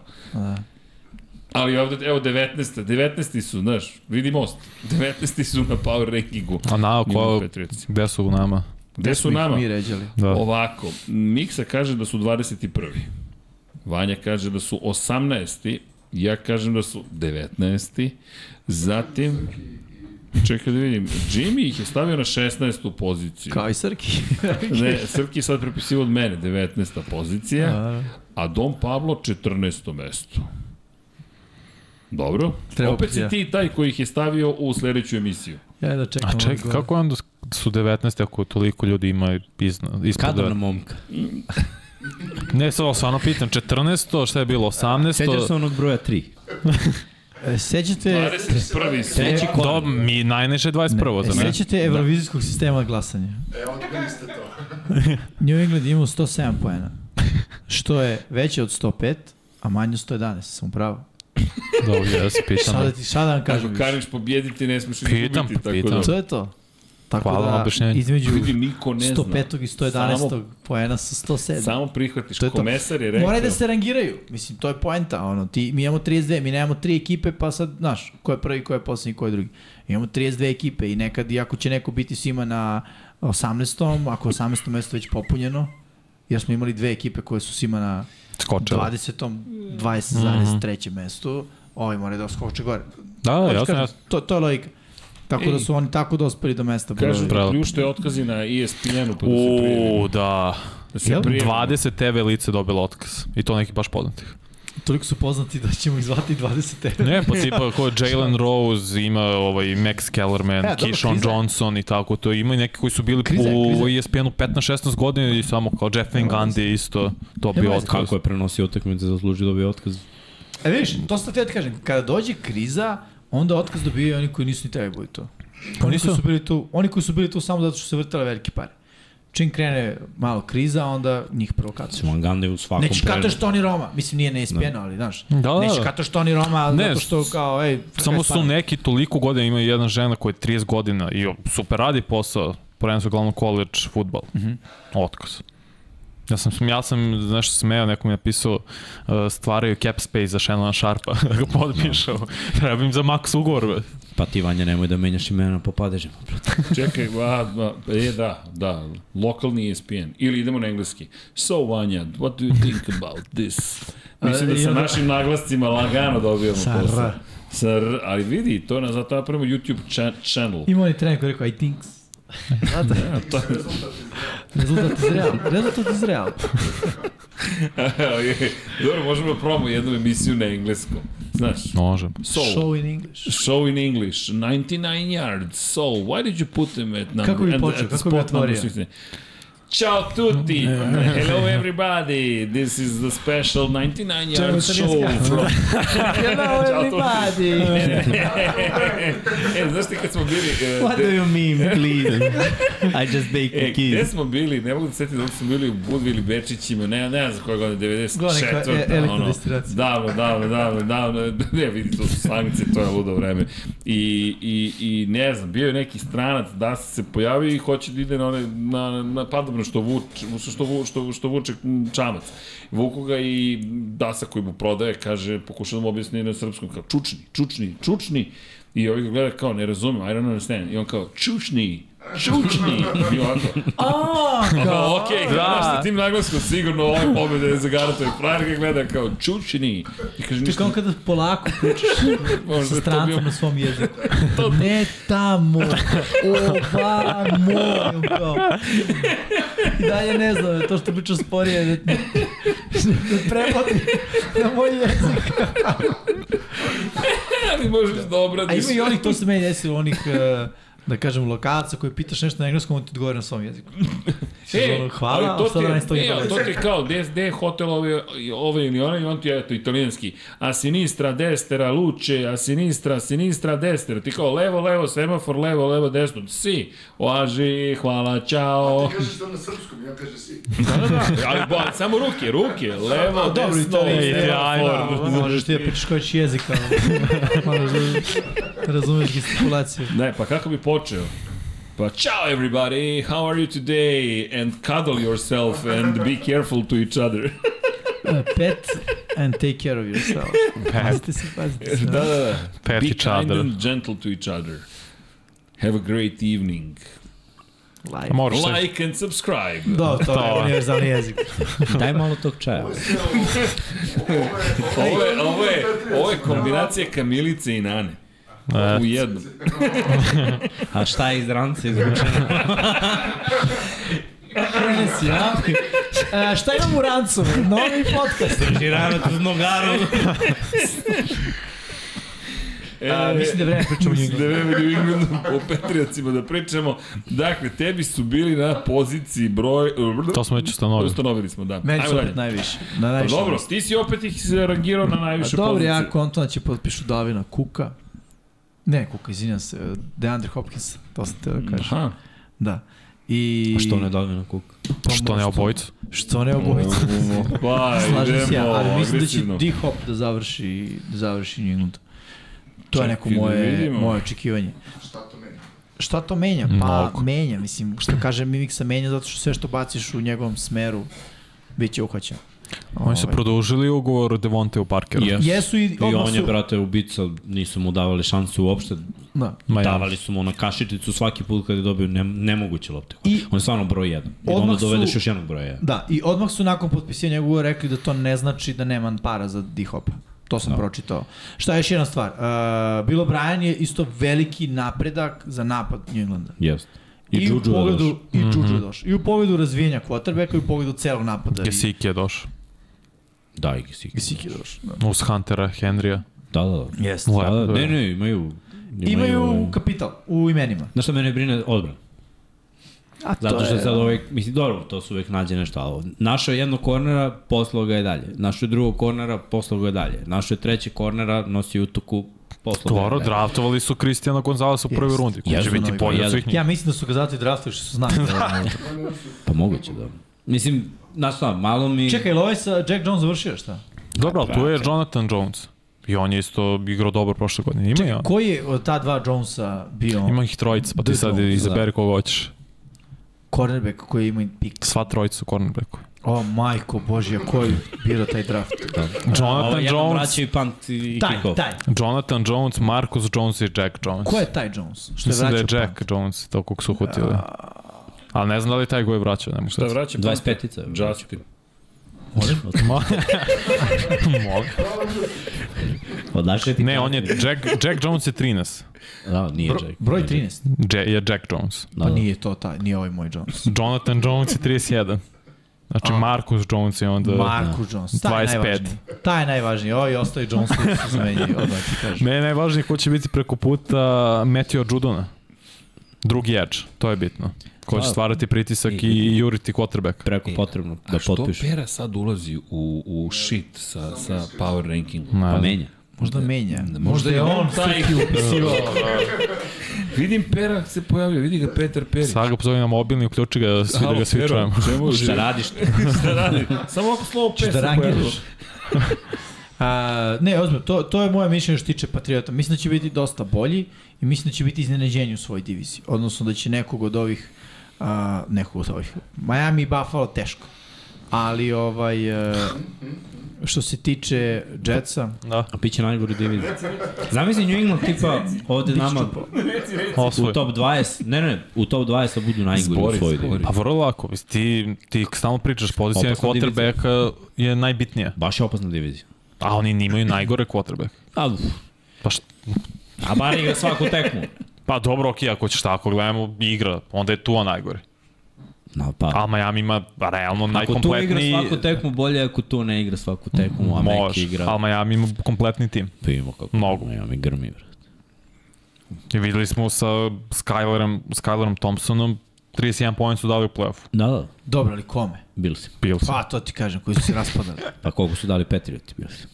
[SPEAKER 1] Ali ovde, evo 19. 19. su, znaš, vidi most. 19. su na power rankingu.
[SPEAKER 3] A na,
[SPEAKER 1] Imamo
[SPEAKER 3] ko,
[SPEAKER 1] Patriots.
[SPEAKER 3] gde su u nama?
[SPEAKER 1] Gde su nama?
[SPEAKER 4] Mi ređali.
[SPEAKER 3] Da.
[SPEAKER 1] Ovako, Miksa kaže da su 21. Vanja kaže da su 18. Ja kažem da su 19. Zatim, čekaj da vidim, Jimmy ih je stavio na 16. poziciju.
[SPEAKER 4] Kao i Srki.
[SPEAKER 1] Ne, Srki je sad prepisivo od mene, 19. pozicija, a Dom Pablo 14. mesto. Dobro.
[SPEAKER 4] Treba
[SPEAKER 1] Opet si
[SPEAKER 4] opcija.
[SPEAKER 1] ti taj koji ih je stavio u sledeću emisiju.
[SPEAKER 4] ja da čekam.
[SPEAKER 3] A čekaj, kako onda su 19 ako toliko ljudi ima izna, ispod
[SPEAKER 2] Kadovna
[SPEAKER 3] 19?
[SPEAKER 2] momka.
[SPEAKER 3] Ne, samo stvarno pitam, 14, šta je bilo,
[SPEAKER 2] Sećaš
[SPEAKER 3] 18?
[SPEAKER 2] se onog broja 3?
[SPEAKER 4] E, Sećate,
[SPEAKER 1] 21.
[SPEAKER 2] Treći Da.
[SPEAKER 1] su.
[SPEAKER 2] korak.
[SPEAKER 3] Do, mi najniže 21.
[SPEAKER 4] e,
[SPEAKER 3] za mene.
[SPEAKER 4] sećate evrovizijskog sistema glasanja.
[SPEAKER 5] E, onda bili ste to.
[SPEAKER 4] New England je imao 107 poena, što je veće od 105, a manje od 111, sam pravo.
[SPEAKER 3] Dobro, ja se pitam.
[SPEAKER 4] Šta da ti, šta da vam
[SPEAKER 1] Kažu,
[SPEAKER 4] kažem više?
[SPEAKER 1] kariš pobjediti, ne smeš izgubiti.
[SPEAKER 3] Pitam,
[SPEAKER 1] tako
[SPEAKER 3] pitam.
[SPEAKER 1] Da.
[SPEAKER 4] To je to. Tako
[SPEAKER 3] Hvala na
[SPEAKER 4] da,
[SPEAKER 3] objašnjenju.
[SPEAKER 4] između
[SPEAKER 1] Ljudi, niko ne zna.
[SPEAKER 4] 105. i 111. poena sa 107.
[SPEAKER 1] Samo prihvatiš.
[SPEAKER 4] To je to.
[SPEAKER 1] Komesar je rekao.
[SPEAKER 4] Moraju da se rangiraju. Mislim, to je poenta. Ono, ti, mi imamo 32, mi nemamo tri ekipe, pa sad, znaš, ko je prvi, ko je poslednji, ko je drugi. Imamo 32 ekipe i nekad, iako će neko biti svima na 18. ako je 18. mesto već popunjeno, jer smo imali dve ekipe koje su svima na
[SPEAKER 3] Skočela.
[SPEAKER 4] 20.
[SPEAKER 1] Mhm.
[SPEAKER 4] 20,3. mestu, ovi moraju da oskoče gore.
[SPEAKER 3] Da, da,
[SPEAKER 4] Hoću
[SPEAKER 3] jasno,
[SPEAKER 4] kažem,
[SPEAKER 3] jasno.
[SPEAKER 4] To, to je logika. Tako da su oni tako dospeli do mesta.
[SPEAKER 1] Kažu
[SPEAKER 4] broja.
[SPEAKER 1] da
[SPEAKER 3] Bravo.
[SPEAKER 1] ključ je otkazi na ESPN-u pa da se prijavimo.
[SPEAKER 3] Uuu, da.
[SPEAKER 1] Da se
[SPEAKER 4] Jel?
[SPEAKER 1] prijavimo.
[SPEAKER 3] 20 TV lice dobilo otkaz. I to neki baš poznatih.
[SPEAKER 4] Toliko su poznati da ćemo ih zvati 20 evra.
[SPEAKER 3] Ne, pa tipa ko je Jalen Rose, ima ovaj Max Kellerman,
[SPEAKER 4] E,
[SPEAKER 3] e,
[SPEAKER 4] dobro,
[SPEAKER 3] Kishon
[SPEAKER 4] kriza je.
[SPEAKER 3] Johnson i tako to. Ima i neki koji su bili
[SPEAKER 4] Kriza je, kriza
[SPEAKER 3] u E ESPN-u 15-16 godina i samo kao Jeff Van Gundy isto dobio
[SPEAKER 4] Nema veze.
[SPEAKER 3] otkaz.
[SPEAKER 2] Kako je prenosio utakmice, zaslužio dobio otkaz.
[SPEAKER 4] E vidiš, to sam te da kažem, kada dođe kriza, onda otkaz dobijaju oni koji nisu ni trebali budi tu. Oni koji su bili tu, oni koji su bili tu samo zato što su se vrtale velike pare. Čim krene malo kriza, onda njih prvo kataš.
[SPEAKER 2] Mislim, Angande u svakom
[SPEAKER 4] Nećeš kataš Toni Roma, mislim nije neispjeno, ali znaš.
[SPEAKER 3] Da, da,
[SPEAKER 4] Nećeš
[SPEAKER 3] da.
[SPEAKER 4] kataš Toni Roma
[SPEAKER 3] Ne,
[SPEAKER 4] zato što kao, ej,
[SPEAKER 3] Samo su neki toliko godina, ima jedna žena koja je 30 godina i super radi posao, prvenstvo glavno college futbal. Mm -hmm. Otkaz. Ja sam, ja sam nešto smeo, neko mi je napisao uh, stvaraju cap space za Shannon Sharpa, da ga potpišao. Treba im za max ugovor. be.
[SPEAKER 2] Pa ti, Vanja, nemoj da menjaš imena po padežima. brate.
[SPEAKER 1] Čekaj, ba, ba, e, da, da, lokalni ESPN. Ili idemo na engleski. So, Vanja, what do you think about this? Mislim da sa našim naglascima lagano dobijamo
[SPEAKER 4] Sa
[SPEAKER 1] posao.
[SPEAKER 4] R.
[SPEAKER 1] Sa R. Ali vidi, to je na zato napravimo YouTube cha channel.
[SPEAKER 4] Ima oni trener koji je rekao, I thinks. Znate,
[SPEAKER 1] Ja, to je
[SPEAKER 4] rezultat iz real. Rezultat iz real.
[SPEAKER 1] Dobro, možemo da probamo jednu emisiju na engleskom. Znaš,
[SPEAKER 3] Može.
[SPEAKER 1] so, show.
[SPEAKER 4] Show in English.
[SPEAKER 1] show in English, 99 yards, so, why did you put them at number...
[SPEAKER 4] Kako bi
[SPEAKER 1] at the-
[SPEAKER 4] počeo,
[SPEAKER 1] at the
[SPEAKER 4] kako bi
[SPEAKER 1] spot number
[SPEAKER 4] otvorio?
[SPEAKER 1] 16? Ciao tutti! Hello everybody! This is the special 99
[SPEAKER 4] Čemu
[SPEAKER 1] yards
[SPEAKER 4] sam
[SPEAKER 1] show
[SPEAKER 4] ja skakao?
[SPEAKER 1] from...
[SPEAKER 4] Hello everybody.
[SPEAKER 1] e, znaš ti kad smo bili... e,
[SPEAKER 2] What do you mean, please? I just bake
[SPEAKER 1] E, gde
[SPEAKER 2] the kids.
[SPEAKER 1] smo bili, ne mogu da se setim da li smo bili u Budvi ili Bečićima, ne, ne znam koje godine, 94.
[SPEAKER 4] Bila neka e- elektrodestilacija.
[SPEAKER 1] davno, davno, davno, davno, ne vidi, to su sankcije, to je ludo vreme. I, i, i ne znam, bio je neki stranac, da se pojavio i hoće da ide na, one, na, na padobno što, vuč, što, vu, što, što vuče mm, čamac. Vuku ga i Dasa koji mu prodaje, kaže, pokuša da mu objasni na srpskom, kao čučni, čučni, čučni. I ovaj ga gleda kao, ne razumem, I don't understand. I on kao, čučni, čučni. I ovako,
[SPEAKER 4] Pa,
[SPEAKER 1] Aha, okej, okay, da. sa tim naglaskom sigurno ove pobjede je zagarantuje. Frajer ga gleda kao čučini. I kaže
[SPEAKER 4] To je kao
[SPEAKER 1] ništa,
[SPEAKER 4] kada polako pričaš
[SPEAKER 1] možda
[SPEAKER 4] sa
[SPEAKER 1] je to bio...
[SPEAKER 4] strancem na svom jeziku. Ne tamo, ovamo. kao. I dalje ne znam, to što pričam sporije, da, da prevodi na moj jezik.
[SPEAKER 1] Ali možeš da
[SPEAKER 4] A
[SPEAKER 1] obradiš.
[SPEAKER 4] ima i onih, to se meni desilo, onih, eh, da kažem, lokalaca koji pitaš nešto na engleskom, on ti odgovori na svom jeziku. Znači, ono, hvala,
[SPEAKER 1] ali to
[SPEAKER 4] a šta
[SPEAKER 1] ti je-
[SPEAKER 4] da ne stoji
[SPEAKER 1] ne,
[SPEAKER 4] dole?
[SPEAKER 1] ali to ti je kao, gde gde je hotel ove, ove ili one, i on ti je, eto, italijanski. A sinistra, destera, luče, a sinistra, sinistra, destera. Ti kao, levo, levo, semafor, levo, levo, desno. Si, oaži, hvala, čao.
[SPEAKER 5] Ti kažeš to na srpskom, ja kažem si.
[SPEAKER 1] Da, da, da. Ali, bo, samo ruke, ruke, levo,
[SPEAKER 4] Dobro,
[SPEAKER 1] desno,
[SPEAKER 4] italijanski,
[SPEAKER 1] semafor.
[SPEAKER 4] Da, možeš ti da pričaš koji će jezik, ali moraš da razumeš gestikulaciju.
[SPEAKER 1] Ne, pa kako bi počeo? Pa ciao everybody, how are you today? And cuddle yourself and be careful to each other.
[SPEAKER 4] Uh, pet and take care of yourself.
[SPEAKER 3] Pa
[SPEAKER 4] Pazite se, pazite se.
[SPEAKER 1] da, da, da.
[SPEAKER 3] Pet
[SPEAKER 1] be
[SPEAKER 3] each
[SPEAKER 1] kind
[SPEAKER 3] other.
[SPEAKER 1] and gentle to each other. Have a great evening.
[SPEAKER 4] Like.
[SPEAKER 3] Moraš se.
[SPEAKER 1] Like and subscribe.
[SPEAKER 4] Da, to je
[SPEAKER 3] To.
[SPEAKER 4] univerzalni jezik.
[SPEAKER 2] Daj malo tog čaja.
[SPEAKER 1] Ovo je, ovo je, ovo je kombinacija kamilice i nane.
[SPEAKER 3] E.
[SPEAKER 1] U jednom.
[SPEAKER 2] A šta je iz rance izvučeno?
[SPEAKER 4] Krene si, a? E, šta imam u rancu? Novi podcast.
[SPEAKER 2] Žiranac uz nogaru.
[SPEAKER 1] E,
[SPEAKER 6] A, mislim da je vreme pričamo o New
[SPEAKER 1] Mislim da je vreme New Englandu o Patriotsima da pričamo. Dakle, tebi su bili na poziciji broj...
[SPEAKER 3] To smo već ustanovili.
[SPEAKER 1] Ustanovili smo, da.
[SPEAKER 4] Meni
[SPEAKER 1] Ajmo
[SPEAKER 4] su opet
[SPEAKER 1] dalje.
[SPEAKER 4] najviše. Na
[SPEAKER 1] Pa
[SPEAKER 4] najviše
[SPEAKER 1] dobro, ti si opet ih rangirao na najviše
[SPEAKER 4] dobro,
[SPEAKER 1] poziciju.
[SPEAKER 4] ja kontam da će potpišu Davina Kuka. Ne, Kuka, izvinjam se, Deandre Hopkins, to sam teo da kažem.
[SPEAKER 1] Aha.
[SPEAKER 4] Da. I...
[SPEAKER 2] A što ne davi na kuk?
[SPEAKER 4] Pa
[SPEAKER 3] Što ne
[SPEAKER 4] možda-
[SPEAKER 3] obojicu?
[SPEAKER 4] Što ne obojica?
[SPEAKER 1] Pa,
[SPEAKER 4] Slažem se ja,
[SPEAKER 1] idemo
[SPEAKER 4] ali mislim
[SPEAKER 1] agresivno.
[SPEAKER 4] da će D-Hop da završi, da završi New England. To je neko
[SPEAKER 1] Čekaj da
[SPEAKER 4] moje,
[SPEAKER 1] vidimo.
[SPEAKER 4] moje očekivanje.
[SPEAKER 5] Šta to meni?
[SPEAKER 4] Šta to menja? Pa
[SPEAKER 3] Mnogo.
[SPEAKER 4] menja, mislim, što kaže Mimiksa menja zato što sve što baciš u njegovom smeru bit će uhvaćeno.
[SPEAKER 3] Oni su
[SPEAKER 4] Ovaj.
[SPEAKER 3] produžili ugovor Devonte u Parkeru.
[SPEAKER 2] Jesu.
[SPEAKER 4] Jesu i
[SPEAKER 2] I
[SPEAKER 4] odmah
[SPEAKER 2] on je,
[SPEAKER 4] su...
[SPEAKER 2] brate, ubica, nisu mu davali šansu uopšte.
[SPEAKER 4] Da.
[SPEAKER 3] Ma ja.
[SPEAKER 2] Davali su mu na kašiticu svaki put kada je dobio ne, nemoguće lopte.
[SPEAKER 4] I-
[SPEAKER 2] On je stvarno broj jedan. I
[SPEAKER 4] Odmah
[SPEAKER 2] onda
[SPEAKER 4] su-
[SPEAKER 2] dovedeš još jednog broja jedan.
[SPEAKER 4] Da, i odmah su nakon potpisivanja ugovora rekli da to ne znači da nema para za D-Hopa. To sam pročitao. Šta je još jedna stvar? Uh, Bilo Brian je isto veliki napredak za napad New Englanda.
[SPEAKER 2] Jeste. I,
[SPEAKER 4] u
[SPEAKER 2] Juju je
[SPEAKER 4] pogledu,
[SPEAKER 2] došao.
[SPEAKER 4] I Juju je došao. I u pogledu razvijenja quarterbacka i u pogledu celog napada. I,
[SPEAKER 3] Gesicki je došao.
[SPEAKER 2] Da, i Gesicki.
[SPEAKER 4] i Siki je došao. Da.
[SPEAKER 3] Uz Huntera, Henrya.
[SPEAKER 2] Da, da, da.
[SPEAKER 4] Yes.
[SPEAKER 3] Lepo.
[SPEAKER 2] Da, da, ne,
[SPEAKER 3] je.
[SPEAKER 2] ne, imaju...
[SPEAKER 4] Imaju kapital u imenima.
[SPEAKER 2] Znaš šta mene brine odbran?
[SPEAKER 4] A to
[SPEAKER 2] Zato što
[SPEAKER 4] je,
[SPEAKER 2] sad uvek, mislim, dobro, to su uvek nađe nešto, ali našao je jednog kornera, poslao ga je dalje. Našao je drugog kornera, poslao ga je dalje. Našao je trećeg kornera, nosi utoku, poslao ga je
[SPEAKER 3] Dobro,
[SPEAKER 2] dalje.
[SPEAKER 3] draftovali su Kristijana Gonzalesa u prvoj
[SPEAKER 4] Jest.
[SPEAKER 3] rundi. Koji će
[SPEAKER 2] Jesu
[SPEAKER 3] biti
[SPEAKER 2] novi
[SPEAKER 3] bolji od
[SPEAKER 2] broj.
[SPEAKER 3] svih njih.
[SPEAKER 4] Ja mislim da su ga zato i draftovi što su znali.
[SPEAKER 2] Pa moguće, da. Mislim, znaš šta, malo mi...
[SPEAKER 4] Čekaj, ili ovaj sa Jack Jones završio šta?
[SPEAKER 3] Dobro, ali tu je Jonathan Jones. I on je isto igrao dobro prošle godine. Ima, i on.
[SPEAKER 4] Koji je od ta dva Jonesa bio
[SPEAKER 3] Ima ih trojica, pa ti
[SPEAKER 4] The
[SPEAKER 3] sad
[SPEAKER 4] Jones,
[SPEAKER 3] izaberi koga hoćeš.
[SPEAKER 4] cornerback koji ima pik?
[SPEAKER 3] Sva trojica u cornerbacku.
[SPEAKER 4] O, majko božja, koji bira taj draft?
[SPEAKER 2] Ovo
[SPEAKER 3] Jonathan
[SPEAKER 2] jednom
[SPEAKER 3] Jones,
[SPEAKER 2] vraća i punt i
[SPEAKER 4] taj,
[SPEAKER 2] kick-off.
[SPEAKER 4] taj.
[SPEAKER 3] Jonathan Jones, Marcus Jones i Jack Jones.
[SPEAKER 4] Ko je pa? taj Jones? Što je
[SPEAKER 3] Mislim da je
[SPEAKER 4] vraćao
[SPEAKER 3] Jack
[SPEAKER 4] punt?
[SPEAKER 3] Jones, to kog su uhvatili. Ali ne znam da li je taj go je vraćao, ne
[SPEAKER 1] Da
[SPEAKER 3] mogu sad.
[SPEAKER 1] vraća
[SPEAKER 2] 25-ica je vraća.
[SPEAKER 1] Justin.
[SPEAKER 3] Ma- Molim.
[SPEAKER 2] Odakle ti
[SPEAKER 3] ne,
[SPEAKER 2] to?
[SPEAKER 3] on je, Jack, Jack Jones je 13.
[SPEAKER 2] Da, nije Jack.
[SPEAKER 4] Broj 13.
[SPEAKER 3] Je, je Jack Jones.
[SPEAKER 2] Da,
[SPEAKER 4] Pa
[SPEAKER 2] da.
[SPEAKER 4] nije to taj, nije ovaj moj Jones.
[SPEAKER 3] Jonathan Jones je 31. Znači, Marcus Jones je
[SPEAKER 1] Da,
[SPEAKER 3] onda...
[SPEAKER 4] Marku Jones, taj je
[SPEAKER 3] 25.
[SPEAKER 4] najvažniji. Taj je najvažniji, ovaj ostaje Jones koji su zamenjeni, odmah ti kažem.
[SPEAKER 3] Mene je najvažnije ko će biti preko puta Meteo Judona. Drugi edge, to je bitno. Ko će
[SPEAKER 2] Da.
[SPEAKER 3] stvarati pritisak i,
[SPEAKER 2] I-
[SPEAKER 3] i juriti quarterback.
[SPEAKER 2] Preko potrebno da
[SPEAKER 1] A što
[SPEAKER 2] potpišu.
[SPEAKER 1] Pera sad ulazi u, u shit sa, sa power rankingom?
[SPEAKER 2] Pa
[SPEAKER 3] Na,
[SPEAKER 2] menja.
[SPEAKER 4] Možda menja.
[SPEAKER 1] Možda je on taj
[SPEAKER 4] upisivao.
[SPEAKER 1] Vidim Pera se pojavlja, vidi ga Petar Perić.
[SPEAKER 3] sad ga pozove na mobilni, uključi ga, svi da
[SPEAKER 1] Alo,
[SPEAKER 3] ga svi
[SPEAKER 1] Pero,
[SPEAKER 3] čujemo.
[SPEAKER 1] Čemu
[SPEAKER 2] Šta radiš?
[SPEAKER 1] Šta radi? Samo ako slovo P
[SPEAKER 4] Češ da
[SPEAKER 1] se pojavilo.
[SPEAKER 4] rangiraš. A, ne, ozbiljno, to, to je moje mišljenje što se tiče Patriota. Mislim da će biti dosta bolji i mislim da će biti iznenađenje u svojoj diviziji. Odnosno da će nekog od ovih, a, nekog od ovih, Miami i Buffalo teško. Ali ovaj, e, što se tiče Jetsa,
[SPEAKER 3] Da,
[SPEAKER 2] A bit će najgori divizija. Zamisli New England tipa ovde nama u
[SPEAKER 3] osvoj.
[SPEAKER 2] top 20, ne ne, u top 20 da budu najgori
[SPEAKER 1] Zbori,
[SPEAKER 2] u svojoj
[SPEAKER 1] zbori.
[SPEAKER 2] diviziji.
[SPEAKER 3] Pa vrlo lako, mislim, ti, ti stalno pričaš, pozicija
[SPEAKER 2] Opasna
[SPEAKER 3] quarterbacka je najbitnija.
[SPEAKER 2] Baš je opasna divizija.
[SPEAKER 3] A oni nimaju najgore quarterback.
[SPEAKER 2] A, uf,
[SPEAKER 3] Pa, št,
[SPEAKER 2] a bar igra svaku tekmu.
[SPEAKER 3] pa dobro, okej, ako ćeš tako, gledamo igra, onda je Tua najgore.
[SPEAKER 2] No, pa.
[SPEAKER 3] A Miami ima realno
[SPEAKER 2] Ako tu igra
[SPEAKER 3] najkompletniji...
[SPEAKER 2] svaku tekmu, bolje ako tu ne igra svaku tekmu, a neki
[SPEAKER 3] Može,
[SPEAKER 2] igra.
[SPEAKER 3] ali Miami ima kompletni tim.
[SPEAKER 2] Pa imamo kako.
[SPEAKER 3] Mnogo.
[SPEAKER 2] Miami grmi, brate.
[SPEAKER 3] I videli smo sa Skylerom, Skylerom Thompsonom, 31 poen su dali u play-offu.
[SPEAKER 2] Da, da,
[SPEAKER 4] dobro, ali kome?
[SPEAKER 2] bili si.
[SPEAKER 3] Bills.
[SPEAKER 4] Pa, to ti kažem, koji su se raspadali.
[SPEAKER 2] Pa koliko su dali Patrioti, bili si.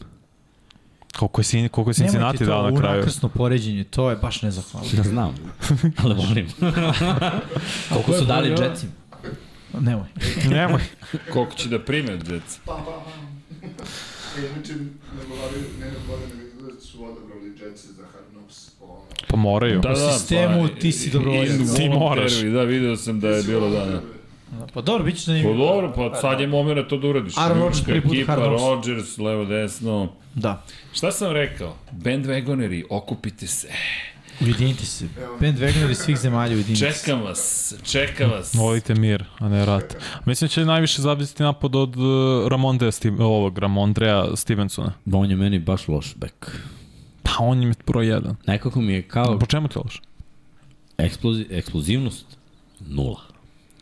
[SPEAKER 3] Koliko je, sin, koliko je Cincinnati dao na kraju?
[SPEAKER 4] unakrsno poređenje, to je baš nezahvalno.
[SPEAKER 2] Da znam, ali volim. koliko su dali
[SPEAKER 1] bolje?
[SPEAKER 2] Jetsima?
[SPEAKER 4] Nemoj.
[SPEAKER 3] Nemoj.
[SPEAKER 1] Koliko će da prime, djeca?
[SPEAKER 5] Pa, pa, pa. E, inače, ne govori, ne govori, ne govori, da su odabrali Jetsi za Hard Knocks po ono.
[SPEAKER 3] Pa moraju.
[SPEAKER 1] Da, da,
[SPEAKER 4] sistemu ti si dobrovoljac.
[SPEAKER 1] i-
[SPEAKER 3] Ti moraš.
[SPEAKER 1] volontervi, Da, video sam da je bilo da. da.
[SPEAKER 4] Pa dobro, bit će
[SPEAKER 1] Pa
[SPEAKER 4] zanimljivo.
[SPEAKER 1] dobro, pa sad je moment to da uradiš.
[SPEAKER 4] Aaron Rodgers
[SPEAKER 1] Ljudska
[SPEAKER 4] prvi put
[SPEAKER 1] ekipa,
[SPEAKER 4] Hard Knocks.
[SPEAKER 1] Rodgers, levo, desno.
[SPEAKER 4] Da.
[SPEAKER 1] Šta sam rekao? Bandwagoneri, okupite se.
[SPEAKER 4] Ujedinite se. Bandwagoneri svih zemalja ujedinite se.
[SPEAKER 1] Čekam vas, čekam vas.
[SPEAKER 3] Volite mir, a ne rat. Mislim će najviše zavisiti napad od uh, Ramondreja, Sti- ovog, Ramondreja Stevensona.
[SPEAKER 2] Ba, on je meni baš loš bek.
[SPEAKER 3] Pa on im je broj jedan.
[SPEAKER 2] Nekako mi je kao
[SPEAKER 3] Po čemu ti loš?
[SPEAKER 2] eksplozi, eksplozivnost nula.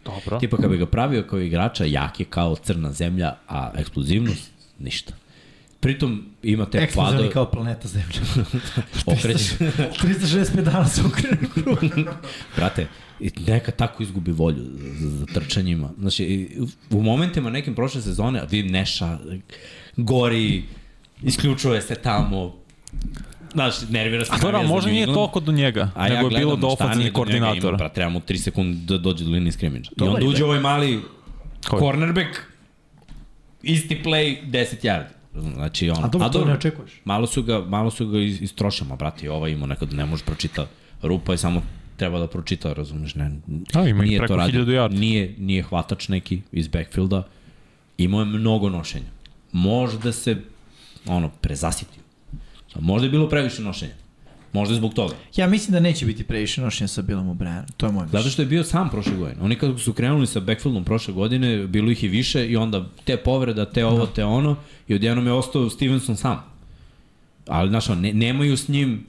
[SPEAKER 3] Dobro.
[SPEAKER 2] Tipa kad bi ga pravio kao igrača, jak je kao crna zemlja, a eksplozivnost ništa. Pritom ima te
[SPEAKER 4] Eksplozivni
[SPEAKER 2] padove,
[SPEAKER 4] kao planeta Zemlja.
[SPEAKER 2] okreće,
[SPEAKER 4] 365 dana se okrenu.
[SPEAKER 2] brate, i neka tako izgubi volju za, za trčanjima. Znači, i u momentima nekim prošle sezone, a vidim Neša, gori, isključuje se tamo, znaš, nervira se.
[SPEAKER 3] A dobro,
[SPEAKER 2] navija za
[SPEAKER 3] možda
[SPEAKER 2] New
[SPEAKER 3] nije
[SPEAKER 2] England.
[SPEAKER 3] toliko do njega,
[SPEAKER 2] A ja
[SPEAKER 3] nego je
[SPEAKER 2] gledam
[SPEAKER 3] bilo do
[SPEAKER 2] šta nije
[SPEAKER 3] ofenzivnih
[SPEAKER 2] do njega Ima,
[SPEAKER 3] koordinatora.
[SPEAKER 2] pa treba mu 3 sekunde da dođe do linije skrimidža. I
[SPEAKER 4] Dobar
[SPEAKER 2] onda
[SPEAKER 4] je
[SPEAKER 2] uđe
[SPEAKER 4] bek.
[SPEAKER 2] ovaj mali
[SPEAKER 3] Koji?
[SPEAKER 2] cornerback, isti play, 10 yardi. Znači, ono,
[SPEAKER 4] A dobro, to ne očekuješ.
[SPEAKER 2] Malo su ga, malo su ga iz, istrošama, brate, i ova ima nekad ne može pročita. Rupa je samo treba da pročita, razumeš, ne.
[SPEAKER 3] A, ima ih
[SPEAKER 2] nije to
[SPEAKER 3] preko
[SPEAKER 2] radio.
[SPEAKER 3] 1000 yardi.
[SPEAKER 2] Nije, nije hvatač neki iz backfielda. Imao je mnogo nošenja. Možda se, ono, prezasitio. Možda je bilo previše nošenja. Možda je zbog toga.
[SPEAKER 4] Ja mislim da neće biti previše nošenja sa Bilom O'Brienom. To je moj
[SPEAKER 2] Zato
[SPEAKER 4] mišljenje.
[SPEAKER 2] što je bio sam prošle godine. Oni kako su krenuli sa backfieldom prošle godine, bilo ih i više i onda te povreda, te ovo, te ono i odjednom je ostao Stevenson sam. Ali, znaš, on, ne, nemaju s njim,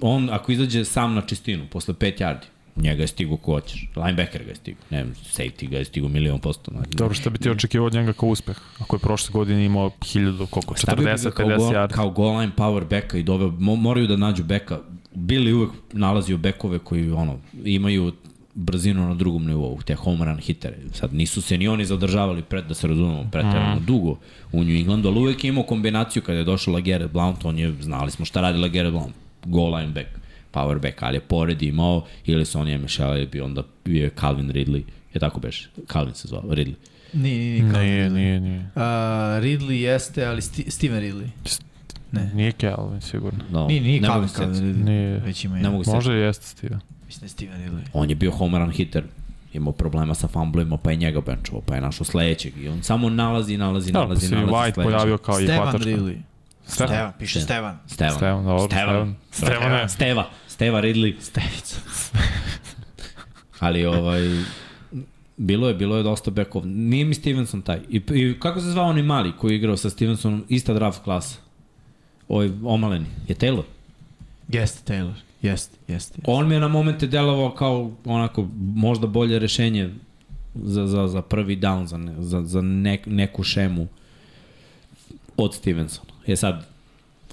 [SPEAKER 2] on ako izađe sam na čistinu, posle pet yardi, njega je stigo ko hoćeš. Linebacker ga je stigo, ne znam, safety ga je stigo milion posto. Znači,
[SPEAKER 3] Dobro, šta
[SPEAKER 2] Mm.
[SPEAKER 3] bi ti očekivao od njega kao uspeh? Ako je prošle godine imao 1000, koliko,
[SPEAKER 2] Šta Da bi bilo
[SPEAKER 3] 40,
[SPEAKER 2] kao
[SPEAKER 3] 50
[SPEAKER 2] goal,
[SPEAKER 3] yardi.
[SPEAKER 2] Kao goal line power backa i doveo, mo, moraju da nađu beka. Bili uvek nalazio bekove koji ono, imaju brzinu na drugom nivou, te home run hitere. Sad nisu se ni oni zadržavali pred, da se razumemo,
[SPEAKER 4] Mhm.
[SPEAKER 2] pretjerano mm. dugo u New Englandu, ali uvek je imao kombinaciju kada je došao Lagere Blount, on je, znali smo šta radi Lagere Blount, goal line back, power back, ali je pored imao, ili se on je mešao, ili bi onda bio je Calvin Ridley, je tako beš, Calvin se zvao, Ridley.
[SPEAKER 4] Nije, nije,
[SPEAKER 3] Nije,
[SPEAKER 4] nije.
[SPEAKER 3] nije, nije.
[SPEAKER 4] Uh, Ridley jeste, ali Sti Steven Ridley. Ne.
[SPEAKER 3] Nije Calvin, sigurno.
[SPEAKER 2] No,
[SPEAKER 4] Nije, nije
[SPEAKER 2] ne mogu
[SPEAKER 4] Calvin
[SPEAKER 2] se
[SPEAKER 4] Calvin
[SPEAKER 2] setiti.
[SPEAKER 4] Ridley.
[SPEAKER 3] Nije.
[SPEAKER 4] Već ima
[SPEAKER 2] Ne
[SPEAKER 4] jedan.
[SPEAKER 2] mogu se
[SPEAKER 3] Možda i jeste Steven.
[SPEAKER 4] Mislim da je Steven Ridley.
[SPEAKER 2] on je bio home run hitter, imao problema sa fumblovima, pa je njega benčovao, pa je našao sledećeg i on samo nalazi, nalazi,
[SPEAKER 3] Da, pa
[SPEAKER 2] nalazi,
[SPEAKER 3] se i
[SPEAKER 2] nalazi
[SPEAKER 3] White
[SPEAKER 2] sledećeg.
[SPEAKER 3] pojavio kao i
[SPEAKER 4] Stevan
[SPEAKER 3] hvatačka.
[SPEAKER 4] Ridley. Stevan, piše Stevan.
[SPEAKER 2] Stevan.
[SPEAKER 3] Stevan, dobro,
[SPEAKER 2] Stevan.
[SPEAKER 3] Stevan. Stevane.
[SPEAKER 2] Steva, Steva Ridley.
[SPEAKER 4] Stevica.
[SPEAKER 2] Ali ovaj, bilo je, bilo je dosta bekov. Nije mi Stevenson taj. I, i kako se zvao onaj mali koji je igrao sa Stevensonom, ista draft klasa? Ovaj omaleni, je Taylor.
[SPEAKER 4] Jeste Taylor. Jeste, jeste.
[SPEAKER 2] On mi je na momente delovao kao onako možda bolje rešenje za, za, za prvi down, za, ne, za, za nek, neku šemu od Stevensona. Je sad,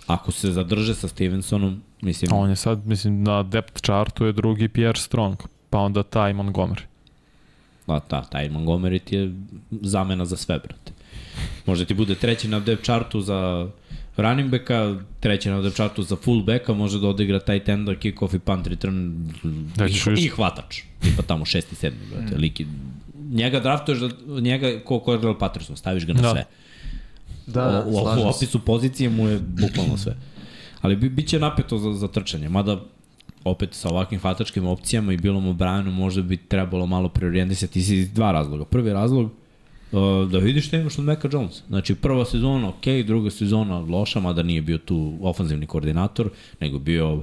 [SPEAKER 2] ako se zadrže sa Stevensonom, mislim,
[SPEAKER 3] A On je sad, mislim, na depth chartu je drugi Pierre Strong, pa onda taj Montgomery.
[SPEAKER 2] da, da, taj Montgomery ti je zamena za sve, brate. Možda ti bude treći na depth chartu za running backa, treći na depth chartu za full backa, može da odigra taj tenda, kick-off i punt return
[SPEAKER 3] Da
[SPEAKER 2] i,
[SPEAKER 3] ćeš više.
[SPEAKER 2] i hvatač. Tipa tamo šesti, sedmi, brate. Mm. Liki, njega draftuješ, da, njega ko Cordell Patterson, staviš ga na da.
[SPEAKER 3] Da.
[SPEAKER 2] sve.
[SPEAKER 4] Da,
[SPEAKER 2] u, u, u opisu pozicije mu je bukvalno sve. Ali bi, bit će napeto za, za trčanje, mada opet sa ovakvim hvatačkim opcijama i bilom obranu možda bi trebalo malo preorijentisati iz dva razloga. Prvi razlog, uh, da vidiš šta imaš od Meka Jones. Znači, prva sezona ok, druga sezona loša, mada nije bio tu ofanzivni koordinator, nego bio uh,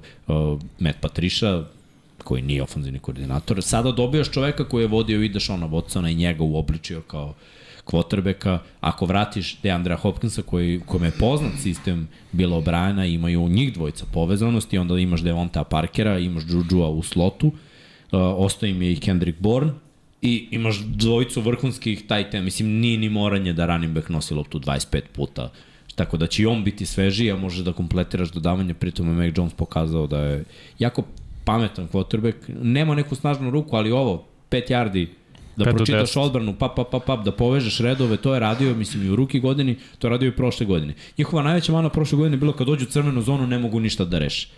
[SPEAKER 2] Matt Patricia, koji nije ofanzivni koordinator. Sada dobijaš čoveka koji je vodio i Dešona Watsona i njega uobličio kao kvotrbeka. Ako vratiš Deandra Hopkinsa, koji, kome je poznat sistem Bila Obrana, imaju njih dvojica povezanosti, onda imaš Devonta Parkera, imaš Juju-a u slotu, uh, ostao im je i Kendrick Bourne, i imaš dvojicu vrhunskih tajte, mislim nije ni moranje da running back nosi loptu 25 puta, tako da će i on biti svežiji, a može da kompletiraš dodavanje, pritom je Mac Jones pokazao da je jako pametan quarterback, nema neku snažnu ruku, ali ovo, 5 yardi, da
[SPEAKER 3] Pet do
[SPEAKER 2] pročitaš
[SPEAKER 3] deset.
[SPEAKER 2] odbranu, pap, pap, pap, pap, da povežeš redove, to je radio, mislim, i u ruki godini, to je radio i prošle godine. Njihova najveća mana prošle godine je bilo kad dođu u crvenu zonu, ne mogu ništa da reše.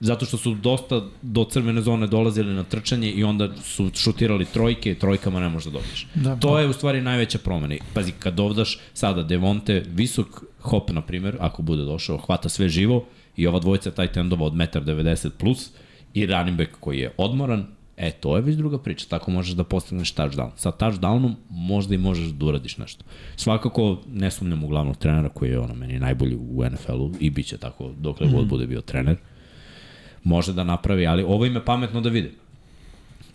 [SPEAKER 2] Zato što su dosta do crvene zone dolazili na trčanje i onda su šutirali trojke, trojkama ne možda dobiješ.
[SPEAKER 4] Da,
[SPEAKER 2] to je u stvari najveća promena. Pazi, kad dovdaš sada Devonte, visok hop, na primjer, ako bude došao, hvata sve živo i ova dvojica taj tendova od 1,90 m plus i running back koji je odmoran, e, to je već druga priča. Tako možeš da postaneš touchdown. Sa touchdownom možda i možeš da uradiš nešto. Svakako, ne sumnjam u glavnog trenera koji je ono meni najbolji u NFL-u i bit će tako dokle god bude bio trener. Može da napravi, ali ovo im je pametno da vide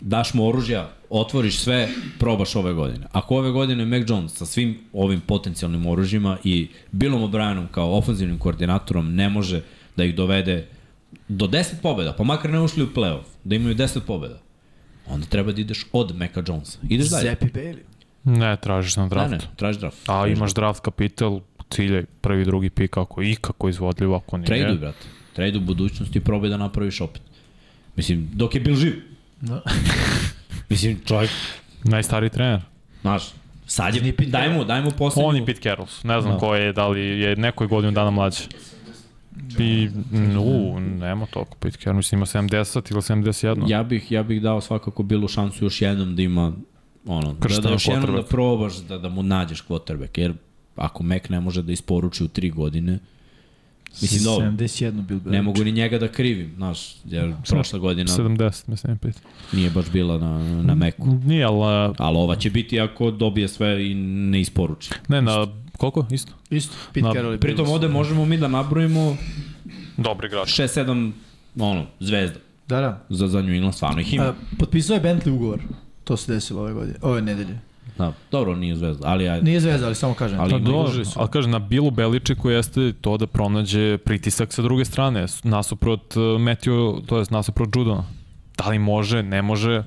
[SPEAKER 2] daš mu oružja, otvoriš sve, probaš ove godine. Ako ove godine Mac Jones sa svim ovim potencijalnim oružjima i Billom O'Brienom kao ofenzivnim koordinatorom ne može da ih dovede do 10 pobjeda, pa makar ne ušli u playoff, da imaju 10 pobjeda, onda treba da ideš od Maca Jonesa. Ideš dalje.
[SPEAKER 4] Zepi Bailey.
[SPEAKER 3] Ne, tražiš na
[SPEAKER 2] Ne,
[SPEAKER 3] draftu.
[SPEAKER 2] ne, traži draft.
[SPEAKER 3] A imaš draft kapital ciljaj prvi, drugi pik, ako je ikako izvodljivo, ako nije.
[SPEAKER 2] Trade-u, brate. Trade-u budućnosti i probaj da napraviš opet. Mislim, dok je bil živ.
[SPEAKER 4] Da.
[SPEAKER 2] Mislim, čovjek,
[SPEAKER 3] Najstariji trener.
[SPEAKER 2] znaš, sad je, daj mu, daj mu poslednju.
[SPEAKER 3] On i Pete Carrolls. Ne znam
[SPEAKER 2] Da.
[SPEAKER 3] no. ko je, da li je nekoj godinu dana mlađi. I, n- u, nema toliko Pete Carroll. Mislim, ima 70 ili 71.
[SPEAKER 2] Ja bih, ja bih dao svakako Bilu šansu još jednom da ima ono, da, da
[SPEAKER 3] Kršteno
[SPEAKER 2] još jednom da
[SPEAKER 3] quarterback.
[SPEAKER 2] probaš da, da mu nađeš quarterback, jer ako Mac ne može da isporuči u tri godine, mislim, dobro,
[SPEAKER 4] 71 Bill
[SPEAKER 2] ne mogu ni njega da krivim, znaš, jer prošla godina
[SPEAKER 3] 70, mislim, Pete.
[SPEAKER 2] nije baš bila na, na Macu.
[SPEAKER 3] Nije, ali... uh,
[SPEAKER 2] Ali ova će biti ako dobije sve i ne isporuči.
[SPEAKER 3] Ne, na... Koliko? Isto?
[SPEAKER 4] Isto, Pete
[SPEAKER 3] Na-
[SPEAKER 4] Carroll je
[SPEAKER 2] Pritom
[SPEAKER 4] Bills.
[SPEAKER 2] ovde možemo mi da nabrojimo
[SPEAKER 3] Dobri igrač.
[SPEAKER 2] 6-7 ono, zvezda.
[SPEAKER 4] Da, da.
[SPEAKER 2] Za, za New England stvarno ih ima.
[SPEAKER 4] A, potpisao je Bentley ugovor. To se desilo ove godine, ove nedelje.
[SPEAKER 2] Da, dobro, nije zvezda, ali ajde.
[SPEAKER 4] Nije zvezda, ali samo kažem.
[SPEAKER 2] Ali
[SPEAKER 3] Pa
[SPEAKER 2] ima
[SPEAKER 3] dobro,
[SPEAKER 2] užas.
[SPEAKER 3] ali kažem, na Bilu Beličiku jeste to da pronađe pritisak sa druge strane, s- nasuprot uh, Matthew, to je nasuprot Judona. Da li može, ne može,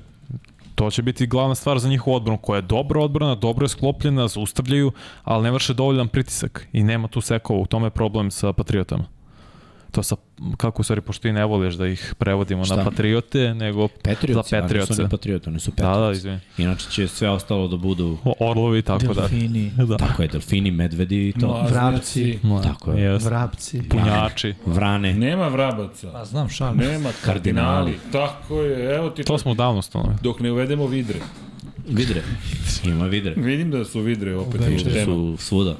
[SPEAKER 3] to će biti glavna stvar za njihovu odbranu, koja je dobra odbrana, dobro je sklopljena, zaustavljaju, ali ne vrše dovoljan pritisak i nema tu sekova, u tome je problem sa Patriotama. To sa, kako u stvari, pošto ti ne voliš da ih prevodimo
[SPEAKER 2] Šta?
[SPEAKER 3] na Patriote, nego
[SPEAKER 2] Patriots,
[SPEAKER 3] za
[SPEAKER 2] Oni su
[SPEAKER 3] Patriotse.
[SPEAKER 2] ne Patriot, oni su
[SPEAKER 3] Da,
[SPEAKER 2] Patriots.
[SPEAKER 3] da, izvini.
[SPEAKER 2] Inače će sve ostalo da budu,
[SPEAKER 3] O- Orlovi i tako da.
[SPEAKER 4] Delfini,
[SPEAKER 3] Da.
[SPEAKER 2] tako je, delfini, medvedi i to.
[SPEAKER 1] Mlaznjaci.
[SPEAKER 4] vrapci.
[SPEAKER 2] Tako je.
[SPEAKER 3] Jes.
[SPEAKER 4] vrapci.
[SPEAKER 3] Punjači.
[SPEAKER 2] Vrane.
[SPEAKER 1] Nema vrabaca.
[SPEAKER 4] Pa znam, šalim.
[SPEAKER 1] Nema kardinali. Tako je, evo ti
[SPEAKER 3] da. To smo davno stanovali.
[SPEAKER 1] Dok ne uvedemo vidre.
[SPEAKER 2] Vidre. Ima vidre.
[SPEAKER 1] Vidim da su vidre opet u
[SPEAKER 2] Vidre
[SPEAKER 1] temu.
[SPEAKER 2] su svuda.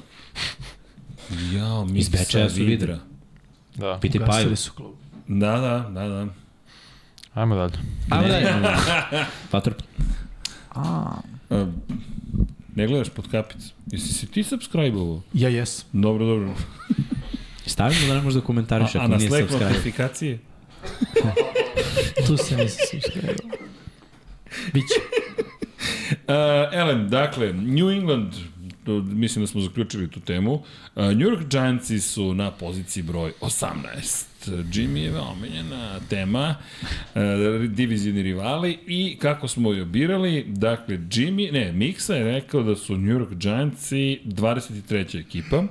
[SPEAKER 1] Jao, mi
[SPEAKER 2] Iz Bečeja su vidra.
[SPEAKER 3] Da.
[SPEAKER 2] Piti paju.
[SPEAKER 4] Gasili su klub.
[SPEAKER 1] Da, da, da, da.
[SPEAKER 3] Ajmo dalje.
[SPEAKER 2] Ajmo dalje. Vatrp.
[SPEAKER 1] E, Ne gledaš pod kapicu. Jesi si ti subscribe-ovo?
[SPEAKER 4] Ja jesam.
[SPEAKER 1] Dobro, dobro.
[SPEAKER 2] Stavimo da ne možeš da
[SPEAKER 1] A,
[SPEAKER 2] komentariš
[SPEAKER 1] a
[SPEAKER 2] ako
[SPEAKER 1] na
[SPEAKER 2] nije
[SPEAKER 1] Slack
[SPEAKER 2] subscribe.
[SPEAKER 1] notifikacije?
[SPEAKER 4] Tu se nisam subscribe. Biće.
[SPEAKER 1] Uh, Elem, dakle, New England, to, mislim da smo zaključili tu temu, uh, New York Giantsi su na poziciji broj 18. Jimmy je veoma omiljena tema, uh, divizijni rivali i kako smo joj birali, dakle, Jimmy, ne, Miksa je rekao da su New York Giantsi 23. ekipa,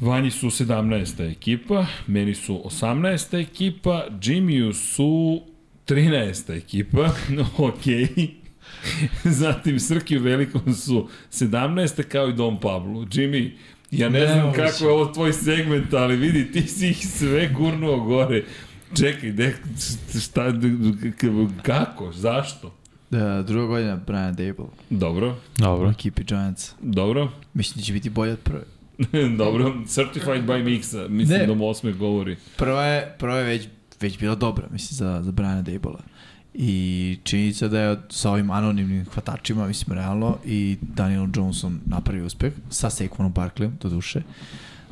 [SPEAKER 1] Vanji su 17. ekipa, meni su 18. ekipa, Jimmyu su 13. ekipa, okej. Zatim Srki u Velikom su 17. kao i Don Pablo. Jimmy, ja ne,
[SPEAKER 4] Ne
[SPEAKER 1] znam
[SPEAKER 4] mogu
[SPEAKER 1] kako
[SPEAKER 4] se.
[SPEAKER 1] je ovo tvoj segment, ali vidi, ti si ih sve gurnuo gore. Čekaj, de, šta, k- kako, zašto?
[SPEAKER 4] Da, druga godina Brian Dable
[SPEAKER 1] Dobro,
[SPEAKER 4] u
[SPEAKER 3] Dobro.
[SPEAKER 4] ekipi Giants.
[SPEAKER 1] dobro,
[SPEAKER 4] Mislim da će biti bolje od prve.
[SPEAKER 1] dobro. Certified by Mixa, mislim
[SPEAKER 4] Ne.
[SPEAKER 1] da mu osme govori.
[SPEAKER 4] Prva je, prva je već, već bila dobra, mislim, za, za Briana Dable-a. I činjenica da je od- sa ovim anonimnim hvatačima, mislim, realno, i Daniel Johnson napravio uspeh, sa Saquonom Barkleyom, do duše,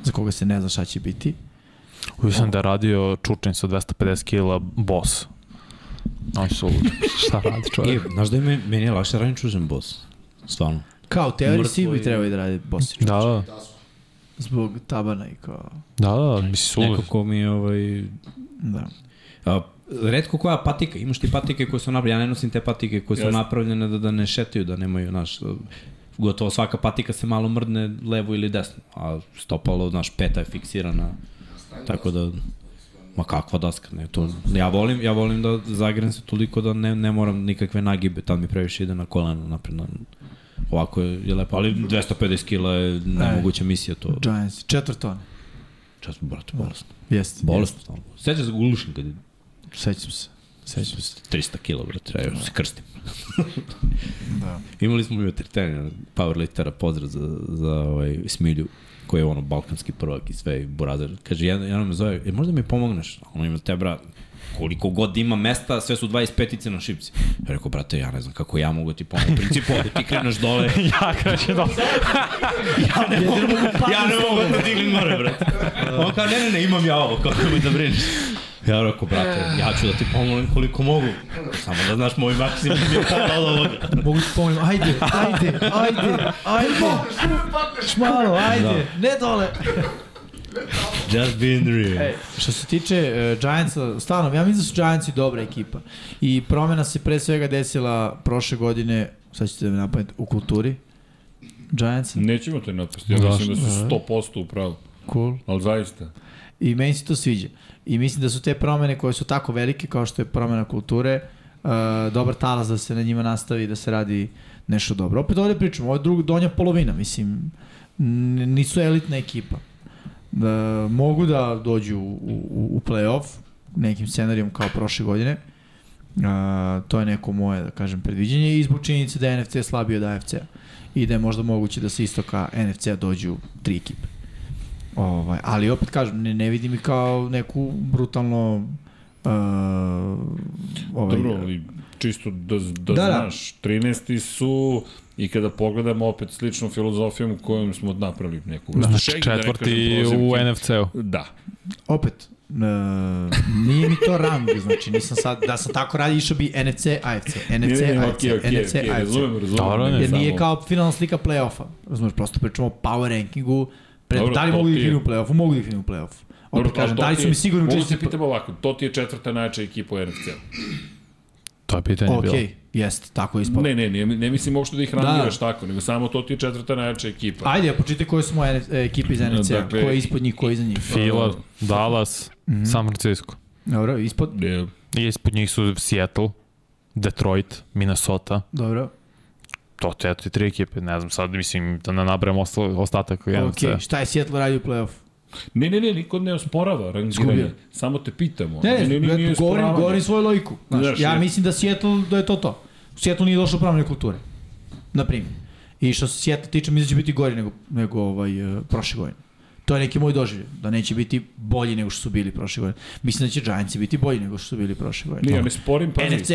[SPEAKER 4] za koga se ne zna šta će biti.
[SPEAKER 3] Uvijek sam da je radio Čučin sa 250 kila boss. On su lud. Šta radi
[SPEAKER 2] E,
[SPEAKER 3] čovjek?
[SPEAKER 2] znaš da je me- meni je lakše radim čužen boss. Stvarno.
[SPEAKER 4] Kao teoriji svi
[SPEAKER 2] Mrtvo
[SPEAKER 4] bi
[SPEAKER 2] i-
[SPEAKER 4] trebali da radi Bosić.
[SPEAKER 3] Da, da,
[SPEAKER 4] Zbog tabana i kao...
[SPEAKER 3] da, da, misli su
[SPEAKER 2] Neko
[SPEAKER 3] lud.
[SPEAKER 2] ko mi je ovaj...
[SPEAKER 4] Da.
[SPEAKER 2] A, redko koja patika, imaš ti patike koje su napravljene, ja ne nosim te patike koje su
[SPEAKER 1] Jasno.
[SPEAKER 2] napravljene da, da ne šetaju, da nemaju, znaš, gotovo svaka patika se malo mrdne levo ili desno, a stopalo, znaš, peta je fiksirana, tako da, ma kakva daska, ne, to, ja volim, ja volim da zagrem se toliko da ne, ne moram nikakve nagibe, tad mi previše ide na koleno, napred, na, ovako je, je lepo, ali 250 kila je nemoguća misija, to,
[SPEAKER 4] Giants, četvrtone.
[SPEAKER 2] čas, brate, bolest,
[SPEAKER 4] Jeste.
[SPEAKER 2] bolest, stalno. Sećaš se Gulušin kad je
[SPEAKER 4] jeste. Sećam se. Sećam se.
[SPEAKER 2] 300 kilo, bre, treba se krstim.
[SPEAKER 4] Da.
[SPEAKER 2] Imali smo jutri trener, powerliftera, pozdrav za, za ovaj, Smilju, koji je ono balkanski prvak i sve, i burazer. Kaže, jedan, jedan me zove, e, možda mi pomogneš? A Ono ima te, bra, koliko god ima mesta, sve su 25-ice na šipci. Ja rekao, brate, ja ne znam kako ja mogu da ti pomoći. U principu, ovde ti kreneš dole,
[SPEAKER 3] ja kreće da...
[SPEAKER 2] ja ne mogu da dignem gore, brate. On kao, ne, ne, ne, imam ja ovo, kao nemoj da brineš. Ja rekao, brate,
[SPEAKER 1] E.
[SPEAKER 2] ja ću da ti pomolim koliko mogu. Samo da znaš, moj maksimum je pola od ovoga.
[SPEAKER 4] Mogu ti pomoći, ajde, ajde, ajde, ajde, šmalo, ajde, da. ne dole.
[SPEAKER 2] Just being real.
[SPEAKER 4] Ej, što se tiče uh, Giantsa, stvarno, ja mislim da su Giantsi dobra ekipa. I promena se pre svega desila prošle godine, sad ćete da me napamet, u kulturi. Giants.
[SPEAKER 1] Nećemo te napasti, ja
[SPEAKER 3] Zašto?
[SPEAKER 1] mislim da su 100% u pravu.
[SPEAKER 4] Cool.
[SPEAKER 1] Ali zaista.
[SPEAKER 4] I meni se to sviđa. I mislim da su te promene koje su tako velike kao što je promena kulture, uh, dobar talas da se na njima nastavi, da se radi nešto dobro. Opet ovde pričamo, ovo je druga donja polovina, mislim, n- nisu elitna ekipa. Da, mogu da dođu u, u, u play-off nekim scenarijom kao prošle godine. A, to je neko moje, da kažem, predviđenje i zbog činjenice da je NFC slabiji od AFC-a i da je možda moguće da se istoka NFC-a dođu tri ekipe. Ovaj, ali opet kažem, ne, ne vidim i kao neku brutalno uh, ovaj,
[SPEAKER 1] Dobro, ali čisto da, da,
[SPEAKER 4] Da,
[SPEAKER 1] da
[SPEAKER 4] da.
[SPEAKER 1] znaš, 13. su i kada pogledamo opet sličnom filozofijom kojom smo napravili neku vrstu
[SPEAKER 3] Znači,
[SPEAKER 1] šege, da ne kažem
[SPEAKER 3] četvrti u
[SPEAKER 1] prozivke.
[SPEAKER 3] NFC-u.
[SPEAKER 1] Da.
[SPEAKER 4] opet uh, nije mi to rang, znači nisam sad, da sam tako radi išao bi NFC, AFC, NFC,
[SPEAKER 1] Nije, nije,
[SPEAKER 4] AFC,
[SPEAKER 1] okej, okej,
[SPEAKER 4] NFC,
[SPEAKER 1] okej,
[SPEAKER 4] AFC.
[SPEAKER 1] razumem, razumem.
[SPEAKER 3] Dobro,
[SPEAKER 1] nego
[SPEAKER 3] ne,
[SPEAKER 4] Jer nije
[SPEAKER 1] samo-
[SPEAKER 4] kao finalna slika play-offa. Razumeš, prosto pričamo o power rankingu. Pred,
[SPEAKER 1] Dobro,
[SPEAKER 4] da li
[SPEAKER 1] to
[SPEAKER 4] mogu da
[SPEAKER 1] ti
[SPEAKER 4] ih
[SPEAKER 1] je-
[SPEAKER 4] krenu u play-offu? Mogu da ih krenu u play-offu. Opet
[SPEAKER 1] to-
[SPEAKER 4] kažem,
[SPEAKER 1] to
[SPEAKER 4] da li
[SPEAKER 1] ti
[SPEAKER 4] su
[SPEAKER 1] je-
[SPEAKER 4] mi sigurni
[SPEAKER 1] Mogu se
[SPEAKER 4] učesnici...
[SPEAKER 1] pitam ovako, to ti je četvrta najjača ekipa u NFC-u.
[SPEAKER 3] To je pitanje
[SPEAKER 4] Ok,
[SPEAKER 3] bilo.
[SPEAKER 4] jeste, tako je ispalo.
[SPEAKER 1] Ne, ne, ne, ne mislim uopšte da ih rangiraš
[SPEAKER 4] Da.
[SPEAKER 1] tako, nego samo to ti je četvrta najjača ekipa.
[SPEAKER 4] Ajde, počite koje su moje e, ekipe iz NFC-a,
[SPEAKER 1] Dakle-
[SPEAKER 4] ko je ispod njih, ko je iza njih.
[SPEAKER 3] Fila, Dallas, San Francisco.
[SPEAKER 4] Dobro, ispod,
[SPEAKER 1] Ne,
[SPEAKER 3] I ispod njih su Seattle, Detroit, Minnesota.
[SPEAKER 4] dobro.
[SPEAKER 3] To te eto ti tri ekipe, ne znam, sad mislim da ne nabrem ostal, ostatak
[SPEAKER 4] Ok,
[SPEAKER 3] NFC.
[SPEAKER 4] šta je Seattle radio u play-off?
[SPEAKER 1] Ne, ne, ne, niko ne osporava rangiranje.
[SPEAKER 4] Izgubio.
[SPEAKER 1] Samo te pitamo.
[SPEAKER 4] Ne, ne, ne,
[SPEAKER 1] nije
[SPEAKER 4] govorim,
[SPEAKER 1] osporavanje.
[SPEAKER 4] govorim svoju logiku. Znaš,
[SPEAKER 1] Znaš,
[SPEAKER 4] ja
[SPEAKER 1] je-
[SPEAKER 4] mislim da Seattle, da je to to. Seattle nije došao promene kulture. Na primjer. I što se Seattle tiče, mislim da će biti gori nego, nego ovaj, e, prošle godine. To je neki moj doživljaj, da neće biti bolji nego što su bili prošle godine. Mislim da će Giantsi biti bolji nego što su bili prošle
[SPEAKER 1] Ne,
[SPEAKER 4] godine.
[SPEAKER 1] ja ne sporim, pazi.
[SPEAKER 4] NFC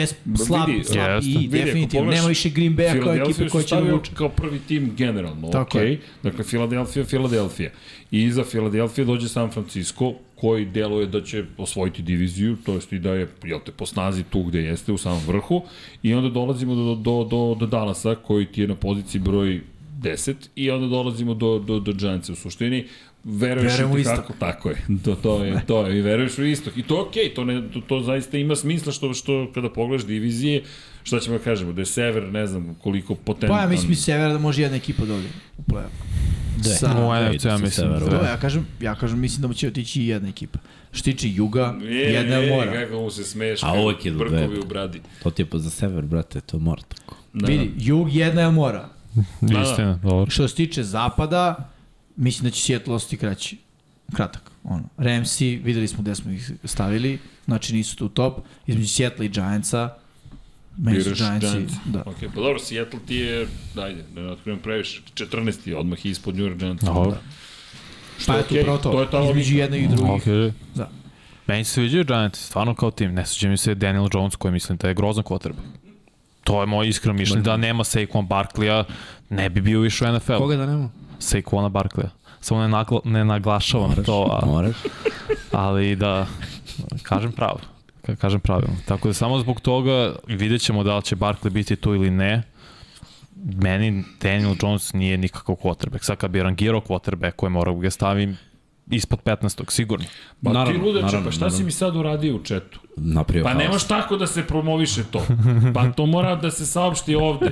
[SPEAKER 4] slab,
[SPEAKER 1] Vidi,
[SPEAKER 4] slab
[SPEAKER 3] jeste.
[SPEAKER 4] i
[SPEAKER 1] Vidi, ako
[SPEAKER 4] definitivno.
[SPEAKER 1] pogledaš,
[SPEAKER 4] Nema više Green Bay-a kao
[SPEAKER 1] Filadelfiju
[SPEAKER 4] ekipe
[SPEAKER 1] su
[SPEAKER 4] koja će da
[SPEAKER 1] stavio
[SPEAKER 4] vuče.
[SPEAKER 1] Znači, Kao prvi tim generalno,
[SPEAKER 4] Tako
[SPEAKER 1] Tako
[SPEAKER 4] je.
[SPEAKER 1] okay. Dakle, Filadelfija, Filadelfija. I iza Filadelfije dođe San Francisco, koji deluje da će osvojiti diviziju, to jest i da je, jel te, po snazi tu gde jeste, u samom vrhu. I onda dolazimo do, do, do, do Dallasa, koji ti je na poziciji broj 10 i onda dolazimo do, do, do Giantsa u suštini. Veruješ
[SPEAKER 4] Verujem u
[SPEAKER 1] i
[SPEAKER 4] istok.
[SPEAKER 1] kako, tako je. To, to je, to je. I veruješ u istok. I to je okej, okay, to, ne, to, to zaista ima smisla što, što kada pogledaš divizije, šta ćemo da kažemo, da je sever, ne znam koliko potentan.
[SPEAKER 4] Pa ja mislim iz Severa da može jedna ekipa dođe u play-off.
[SPEAKER 2] De.
[SPEAKER 4] Sa-
[SPEAKER 3] U NFC, ja
[SPEAKER 2] Sa
[SPEAKER 3] mislim.
[SPEAKER 2] severa.
[SPEAKER 4] Da, ja kažem, ja kažem, mislim da će otići i jedna ekipa. Što se tiče juga,
[SPEAKER 1] E,
[SPEAKER 4] jedna
[SPEAKER 1] e,
[SPEAKER 4] je mora.
[SPEAKER 1] Kako mu se smeš,
[SPEAKER 2] A
[SPEAKER 1] kako
[SPEAKER 2] uvek idu
[SPEAKER 1] brkovi
[SPEAKER 2] dve.
[SPEAKER 1] u bradi.
[SPEAKER 2] To ti je pa za sever, brate, to mora tako.
[SPEAKER 1] Da.
[SPEAKER 4] Vidi, jug jedna je mora.
[SPEAKER 1] da.
[SPEAKER 3] Istina, dobro.
[SPEAKER 4] Što se tiče zapada, mislim da će Seattle ostati kraći. Kratak, ono. Ramsey, videli smo gde smo ih stavili, znači nisu tu top. Između Seattle i Giantsa, meni su
[SPEAKER 1] Biraš
[SPEAKER 4] Giantsi,
[SPEAKER 1] Giants.
[SPEAKER 4] da.
[SPEAKER 1] Ok, pa dobro, Seattle ti je, dajde, da ne otkrivam previše, 14. je odmah ispod New York Giants.
[SPEAKER 3] Dobro.
[SPEAKER 4] Pa je tu
[SPEAKER 1] okej,
[SPEAKER 4] upravo
[SPEAKER 1] to
[SPEAKER 4] to,
[SPEAKER 1] je ta logika.
[SPEAKER 4] između jedne i drugih.
[SPEAKER 3] Ok.
[SPEAKER 4] Da.
[SPEAKER 3] e. Meni se sviđaju Giants, stvarno kao tim. Ne sviđa mi se Daniel Jones koji mislim da je grozan quarterback. To je moj iskren mišljenje da nema Saquon Barkley-a, ne bi bio više u NFL.
[SPEAKER 2] Koga da nema?
[SPEAKER 3] Saquona Barkley-a. Samo ne, nagla, ne naglašavam to, a,
[SPEAKER 2] Moraš.
[SPEAKER 3] ali da, kažem pravo. Ka- kažem pravilno. Tako da samo zbog toga vidjet ćemo da li će Barkley biti tu ili ne. Meni Daniel Jones nije nikakav quarterback. Sad kad bi rangirao quarterback koje moram da ga stavim ispod 15. sigurno.
[SPEAKER 1] Pa
[SPEAKER 2] Naravno,
[SPEAKER 1] ti ludače,
[SPEAKER 2] naravno,
[SPEAKER 1] pa šta
[SPEAKER 2] naravno.
[SPEAKER 1] si mi sad uradio u četu?
[SPEAKER 2] Napravio
[SPEAKER 1] Pa
[SPEAKER 2] haos.
[SPEAKER 1] ne možeš tako da se promoviše to. Pa to mora da se saopšti ovde.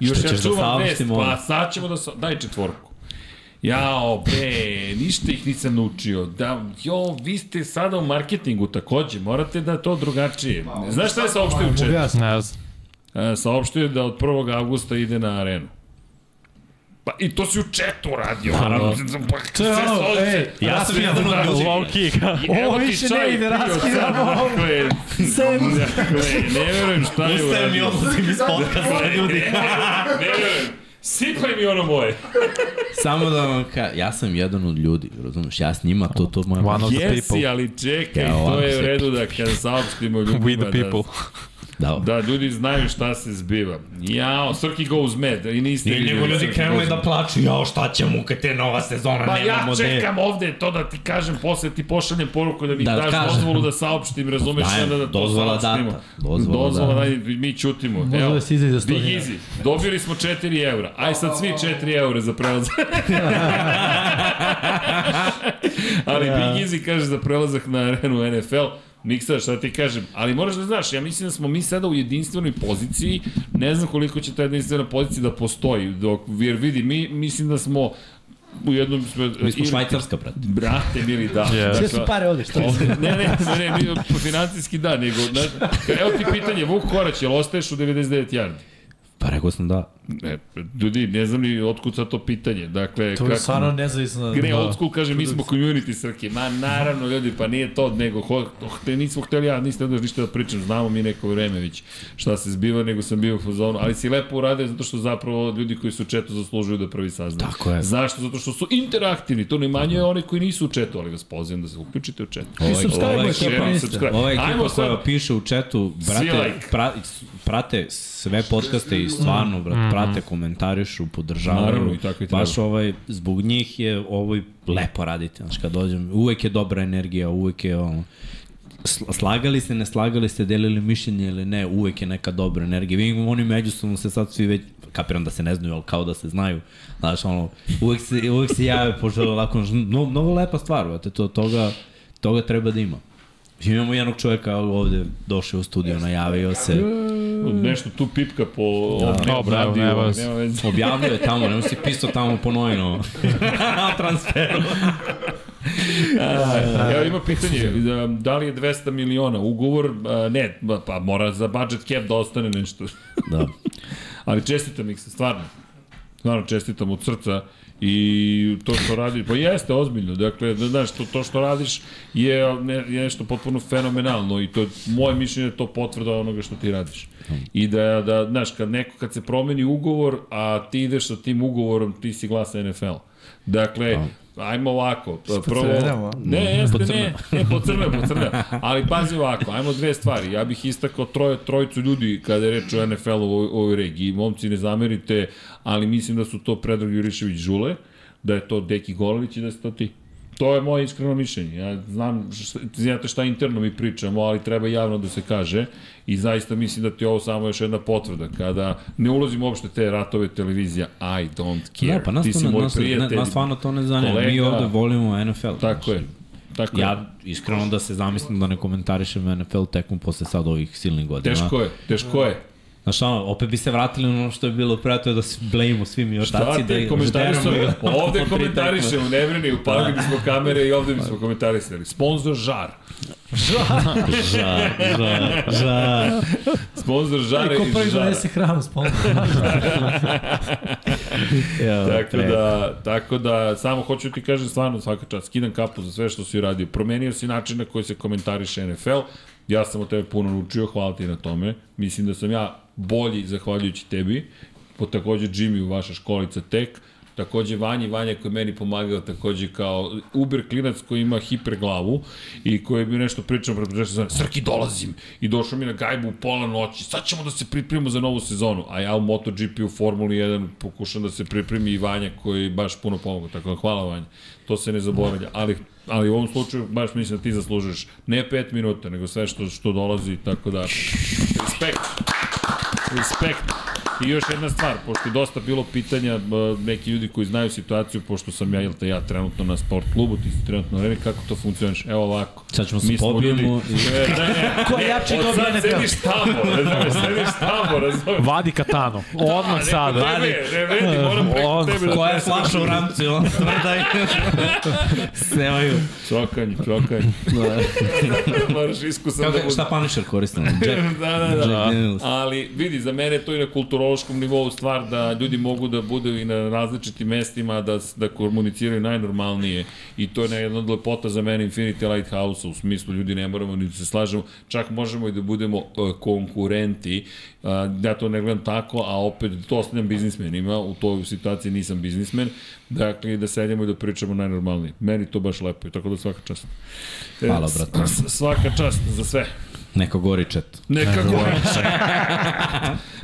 [SPEAKER 1] I Još
[SPEAKER 2] Što
[SPEAKER 1] ja
[SPEAKER 2] ćeš da
[SPEAKER 1] čuvam vest,
[SPEAKER 2] saopštimo
[SPEAKER 1] pa
[SPEAKER 2] ono?
[SPEAKER 1] sad ćemo da... Sa... Daj četvorku. Jao, bre, ništa ih nisam naučio. Da, jo, vi ste sada u marketingu takođe, morate da to drugačije. Znaš šta je saopštio u
[SPEAKER 4] Mogu
[SPEAKER 1] četu?
[SPEAKER 4] ja sam.
[SPEAKER 3] Ne znam.
[SPEAKER 1] E, Saopštio je da od 1. augusta ide na arenu. Pa i to si u četu radio.
[SPEAKER 3] Naravno.
[SPEAKER 1] Pa, sve
[SPEAKER 4] ono,
[SPEAKER 1] solce.
[SPEAKER 4] ej,
[SPEAKER 1] Ja sam ja
[SPEAKER 3] Low kick.
[SPEAKER 1] Evo
[SPEAKER 4] Ovo
[SPEAKER 1] ti
[SPEAKER 4] više
[SPEAKER 1] čaj,
[SPEAKER 4] ne ide,
[SPEAKER 1] pio
[SPEAKER 4] raskidamo
[SPEAKER 1] sad,
[SPEAKER 4] ovo.
[SPEAKER 1] Dakle,
[SPEAKER 4] Sem.
[SPEAKER 1] dakle, ne verujem šta
[SPEAKER 2] da
[SPEAKER 1] je uradio.
[SPEAKER 2] odlazim iz podcasta, ljudi.
[SPEAKER 1] Ne verujem. Sipaj mi ono moje.
[SPEAKER 2] Samo da vam ka... Ja sam jedan od ljudi, razumiješ? Ja s njima, to, to moja...
[SPEAKER 3] One of the
[SPEAKER 1] Jesi,
[SPEAKER 3] people.
[SPEAKER 1] ali čekaj,
[SPEAKER 2] Ja,
[SPEAKER 1] to
[SPEAKER 2] ovako
[SPEAKER 1] je u
[SPEAKER 2] se-
[SPEAKER 1] redu da kad saopštimo
[SPEAKER 3] We
[SPEAKER 1] ljudima
[SPEAKER 3] the people.
[SPEAKER 2] Da,
[SPEAKER 1] da, da ljudi znaju šta se zbiva. Jao, Srki goes mad i niste vidjeli. Srki goes
[SPEAKER 3] da
[SPEAKER 1] mad.
[SPEAKER 2] plaću, da jao šta će mu kad je nova sezona,
[SPEAKER 1] Pa ja čekam ovde to da ti kažem, posle ti pošaljem poruku da mi
[SPEAKER 2] Da,
[SPEAKER 1] daš
[SPEAKER 2] kažem.
[SPEAKER 1] dozvolu da saopštim, razumeš
[SPEAKER 2] Dajem,
[SPEAKER 1] onda da to
[SPEAKER 2] dozvola
[SPEAKER 1] saopštimo.
[SPEAKER 2] data, dozvola data.
[SPEAKER 1] data. mi ćutimo.
[SPEAKER 4] Može da se izađe za sto
[SPEAKER 1] Big
[SPEAKER 4] dinara.
[SPEAKER 1] Easy, dobili smo 4 evra, aj sad svi 4 evra za prelazak. Ali Big Easy kaže za prelazak na arenu NFL, Miksa, šta ti kažem, ali moraš da znaš, ja mislim da smo mi sada u jedinstvenoj poziciji, ne znam koliko će ta jedinstvena pozicija da postoji, dok, jer vidi, mi mislim da smo u jednom smo...
[SPEAKER 2] Mi smo
[SPEAKER 1] ili-
[SPEAKER 2] švajcarska, brate.
[SPEAKER 1] Brate, mili, da.
[SPEAKER 3] Je.
[SPEAKER 1] Dakle,
[SPEAKER 6] Sve su pare ovde, što?
[SPEAKER 1] Ne, ne, ne, ne, mi po financijski da, nego, na, evo ti pitanje, Vuk Korać, jel ostaješ u 99 jardi?
[SPEAKER 2] Pa rekao sam da.
[SPEAKER 1] Ne, ljudi, ne znam ni otkud sad to pitanje, dakle,
[SPEAKER 4] To je stvarno nezavisno.
[SPEAKER 2] Pa
[SPEAKER 1] Gre da. old school, kaže, mi smo community Srke. Ma naravno, ljudi, pa nije to, nego ho, oh, te nismo hteli, ja niste onda ništa da pričam, znamo mi neko vreme već šta se zbiva, nego sam bio u fazonu, ali si lepo uradio zato što zapravo ljudi koji su u četu zaslužuju da prvi saznaju.
[SPEAKER 2] Tako je.
[SPEAKER 1] Zašto? Zato što su interaktivni, to ne manjuje one koji nisu u četu, ali vas pozivam da se uključite u četu.
[SPEAKER 2] Ovaj-
[SPEAKER 4] subscribe-ujte,
[SPEAKER 2] ovaj-
[SPEAKER 4] ekipa,
[SPEAKER 1] Share,
[SPEAKER 4] niste.
[SPEAKER 1] subscribe.
[SPEAKER 2] Ova
[SPEAKER 1] Ajmo
[SPEAKER 2] ekipa
[SPEAKER 1] sad,
[SPEAKER 2] koja piše u četu, brate,
[SPEAKER 1] like.
[SPEAKER 2] pra, prate sve podcaste i stvarno, brate, prate, komentarišu, podržavaju.
[SPEAKER 1] Naravno, i tako i treba.
[SPEAKER 2] Baš ovaj, zbog njih je ovo i lepo raditi, znaš, kad dođem, uvek je dobra energija, uvek je ono, sl- slagali se, ne slagali se, delili mišljenje ili ne, uvek je neka dobra energija. Vidim, oni međusobno se sad svi već, kapiram da se ne znaju, ali kao da se znaju. Znaš, ono, uvek se, uvek se jave, požele lako, no, mnogo lepa stvar, vate, to, toga, toga treba da ima. Imamo jednog čoveka evo, ovde, došao je u studio, najavio se,
[SPEAKER 1] nešto tu pipka po
[SPEAKER 2] Da.
[SPEAKER 1] ovom
[SPEAKER 3] Dobro,
[SPEAKER 1] nekom
[SPEAKER 3] evo,
[SPEAKER 1] radiju,
[SPEAKER 3] nema
[SPEAKER 1] ali
[SPEAKER 3] veze.
[SPEAKER 1] nema veze.
[SPEAKER 2] objavio je tamo, nemo si pisao tamo po novinu. Na transferu.
[SPEAKER 1] Da, Evo ima pitanje, da, da li je 200 miliona ugovor, a, ne, ba- pa mora za budget cap da ostane nešto.
[SPEAKER 2] Da.
[SPEAKER 1] Ali čestitam ih se, stvarno. Stvarno čestitam od srca i to što radi, pa jeste ozbiljno, dakle, da znaš, to, to što radiš je, ne, je nešto potpuno fenomenalno i to je, moje mišljenje da je to potvrda onoga što ti radiš. I da, da znaš, kad neko, kad se promeni ugovor, a ti ideš sa tim ugovorom, ti si glas NFL. Dakle, ajmo ovako, prvo,
[SPEAKER 4] crvenelo, a?
[SPEAKER 1] ne, jeste, ne, ne, po crne, po crne, ali pazi ovako, ajmo dve stvari, ja bih istakao troje, trojicu ljudi kada je reč o NFL u ovoj, ovoj regiji, momci ne zamerite, ali mislim da su to Predrag Jurišević Žule, da je to Deki Golović i da ste to ti. To je moje iskreno mišljenje. Ja znam, šta, znate šta interno mi pričamo, ali treba javno da se kaže i zaista mislim da ti je ovo samo još jedna potvrda. Kada ne ulazim uopšte te ratove televizija, I don't care.
[SPEAKER 2] Da, pa nas,
[SPEAKER 1] ti si
[SPEAKER 2] to, ne-
[SPEAKER 1] moj
[SPEAKER 2] nas, ne,
[SPEAKER 1] prijatelj.
[SPEAKER 2] nas stvarno to ne zanima. Mi
[SPEAKER 1] kolega.
[SPEAKER 2] ovde volimo NFL.
[SPEAKER 1] Tako je. Tako je.
[SPEAKER 2] Ja iskreno da se zamislim da ne komentarišem NFL tekmu posle sad ovih silnih godina.
[SPEAKER 1] Teško je, teško je.
[SPEAKER 2] Znaš, ono, opet bi se vratili na ono što je bilo pre, to je da se blejimo svi mi
[SPEAKER 1] Šta
[SPEAKER 2] otaci.
[SPEAKER 1] ti da komentarišemo? Ovde komentarišemo, ne brini, upalili bismo kamere i ovde bismo komentarisali. Da. Sponzor Žar.
[SPEAKER 2] Ža, ža, ža.
[SPEAKER 1] Sponzor Žare
[SPEAKER 4] Ko
[SPEAKER 1] iz
[SPEAKER 4] prvi
[SPEAKER 1] Žara.
[SPEAKER 4] donese hranu s pomoći?
[SPEAKER 2] Evo,
[SPEAKER 1] Tako
[SPEAKER 2] pre.
[SPEAKER 1] da, tako da, samo hoću ti kažem stvarno svaka čast, skidam kapu za sve što si uradio. Promenio si način na koji se komentariše NFL, ja sam od tebe puno naučio, hvala ti na tome. Mislim da sam ja bolji zahvaljujući tebi, po takođe Jimmy u vaša školica tek, takođe Vanji, Vanja koji je meni pomagao takođe kao uber klinac koji ima hiper glavu i koji mi nešto pričao pred početkom sezone, Srki dolazim i došao mi na gajbu u pola noći, sad ćemo da se pripremimo za novu sezonu, a ja u MotoGP u Formuli 1 pokušam da se pripremi i Vanja koji baš puno pomogao, tako da hvala Vanja, to se ne zaboravlja, ali ali u ovom slučaju baš mislim da ti zaslužuješ ne 5 minuta, nego sve što, što dolazi, tako da, respekt. Respekt. I još jedna stvar, pošto je dosta bilo pitanja, e, neki ljudi koji znaju situaciju, pošto sam ja, jel te ja, trenutno na sport klubu, ti si trenutno na areni, kako to funkcioniš? Evo ovako.
[SPEAKER 2] Sad ćemo se
[SPEAKER 1] Mi smo
[SPEAKER 2] pobijemo
[SPEAKER 1] Ljudi, e, ne, ne,
[SPEAKER 4] Ko je jači
[SPEAKER 1] od
[SPEAKER 4] dobio
[SPEAKER 1] sad
[SPEAKER 4] NFL?
[SPEAKER 1] sediš tamo, razumeš, sediš tamo, razumeš.
[SPEAKER 3] Vadi katano, odmah
[SPEAKER 1] Da,
[SPEAKER 3] sada.
[SPEAKER 1] Vadi. Ne, ne, ne, moram preko
[SPEAKER 3] On-
[SPEAKER 1] tebe da
[SPEAKER 2] Koja je
[SPEAKER 1] tresem.
[SPEAKER 2] flaša u ramcu, jel? Predaj. Snemaju.
[SPEAKER 1] Čokanj, čokanj. Moraš iskusan da
[SPEAKER 2] Kako,
[SPEAKER 1] budeš.
[SPEAKER 2] šta Punisher koristim? Jack,
[SPEAKER 1] da, da, da.
[SPEAKER 2] Jack Daniels.
[SPEAKER 1] Ali vidi, za mene je to i na kulturološkom nivou stvar da ljudi mogu da budu i na različitim mestima, da, s- da komuniciraju najnormalnije. I to je na- jedna od lepota za mene Infinity Lighthouse, u smislu ljudi ne moramo ni da se slažemo, čak možemo i da budemo e, konkurenti. E, ja to ne gledam tako, a opet to ostavljam biznismenima, u toj situaciji nisam biznismen. Dakle, da sedemo i da pričamo najnormalnije. Meni to baš lepo je, tako da svaka čast. E,
[SPEAKER 2] Hvala,
[SPEAKER 1] s-
[SPEAKER 2] brate.
[SPEAKER 1] s- Svaka čast za sve.
[SPEAKER 2] Neko gori čet.
[SPEAKER 1] Neka goriča.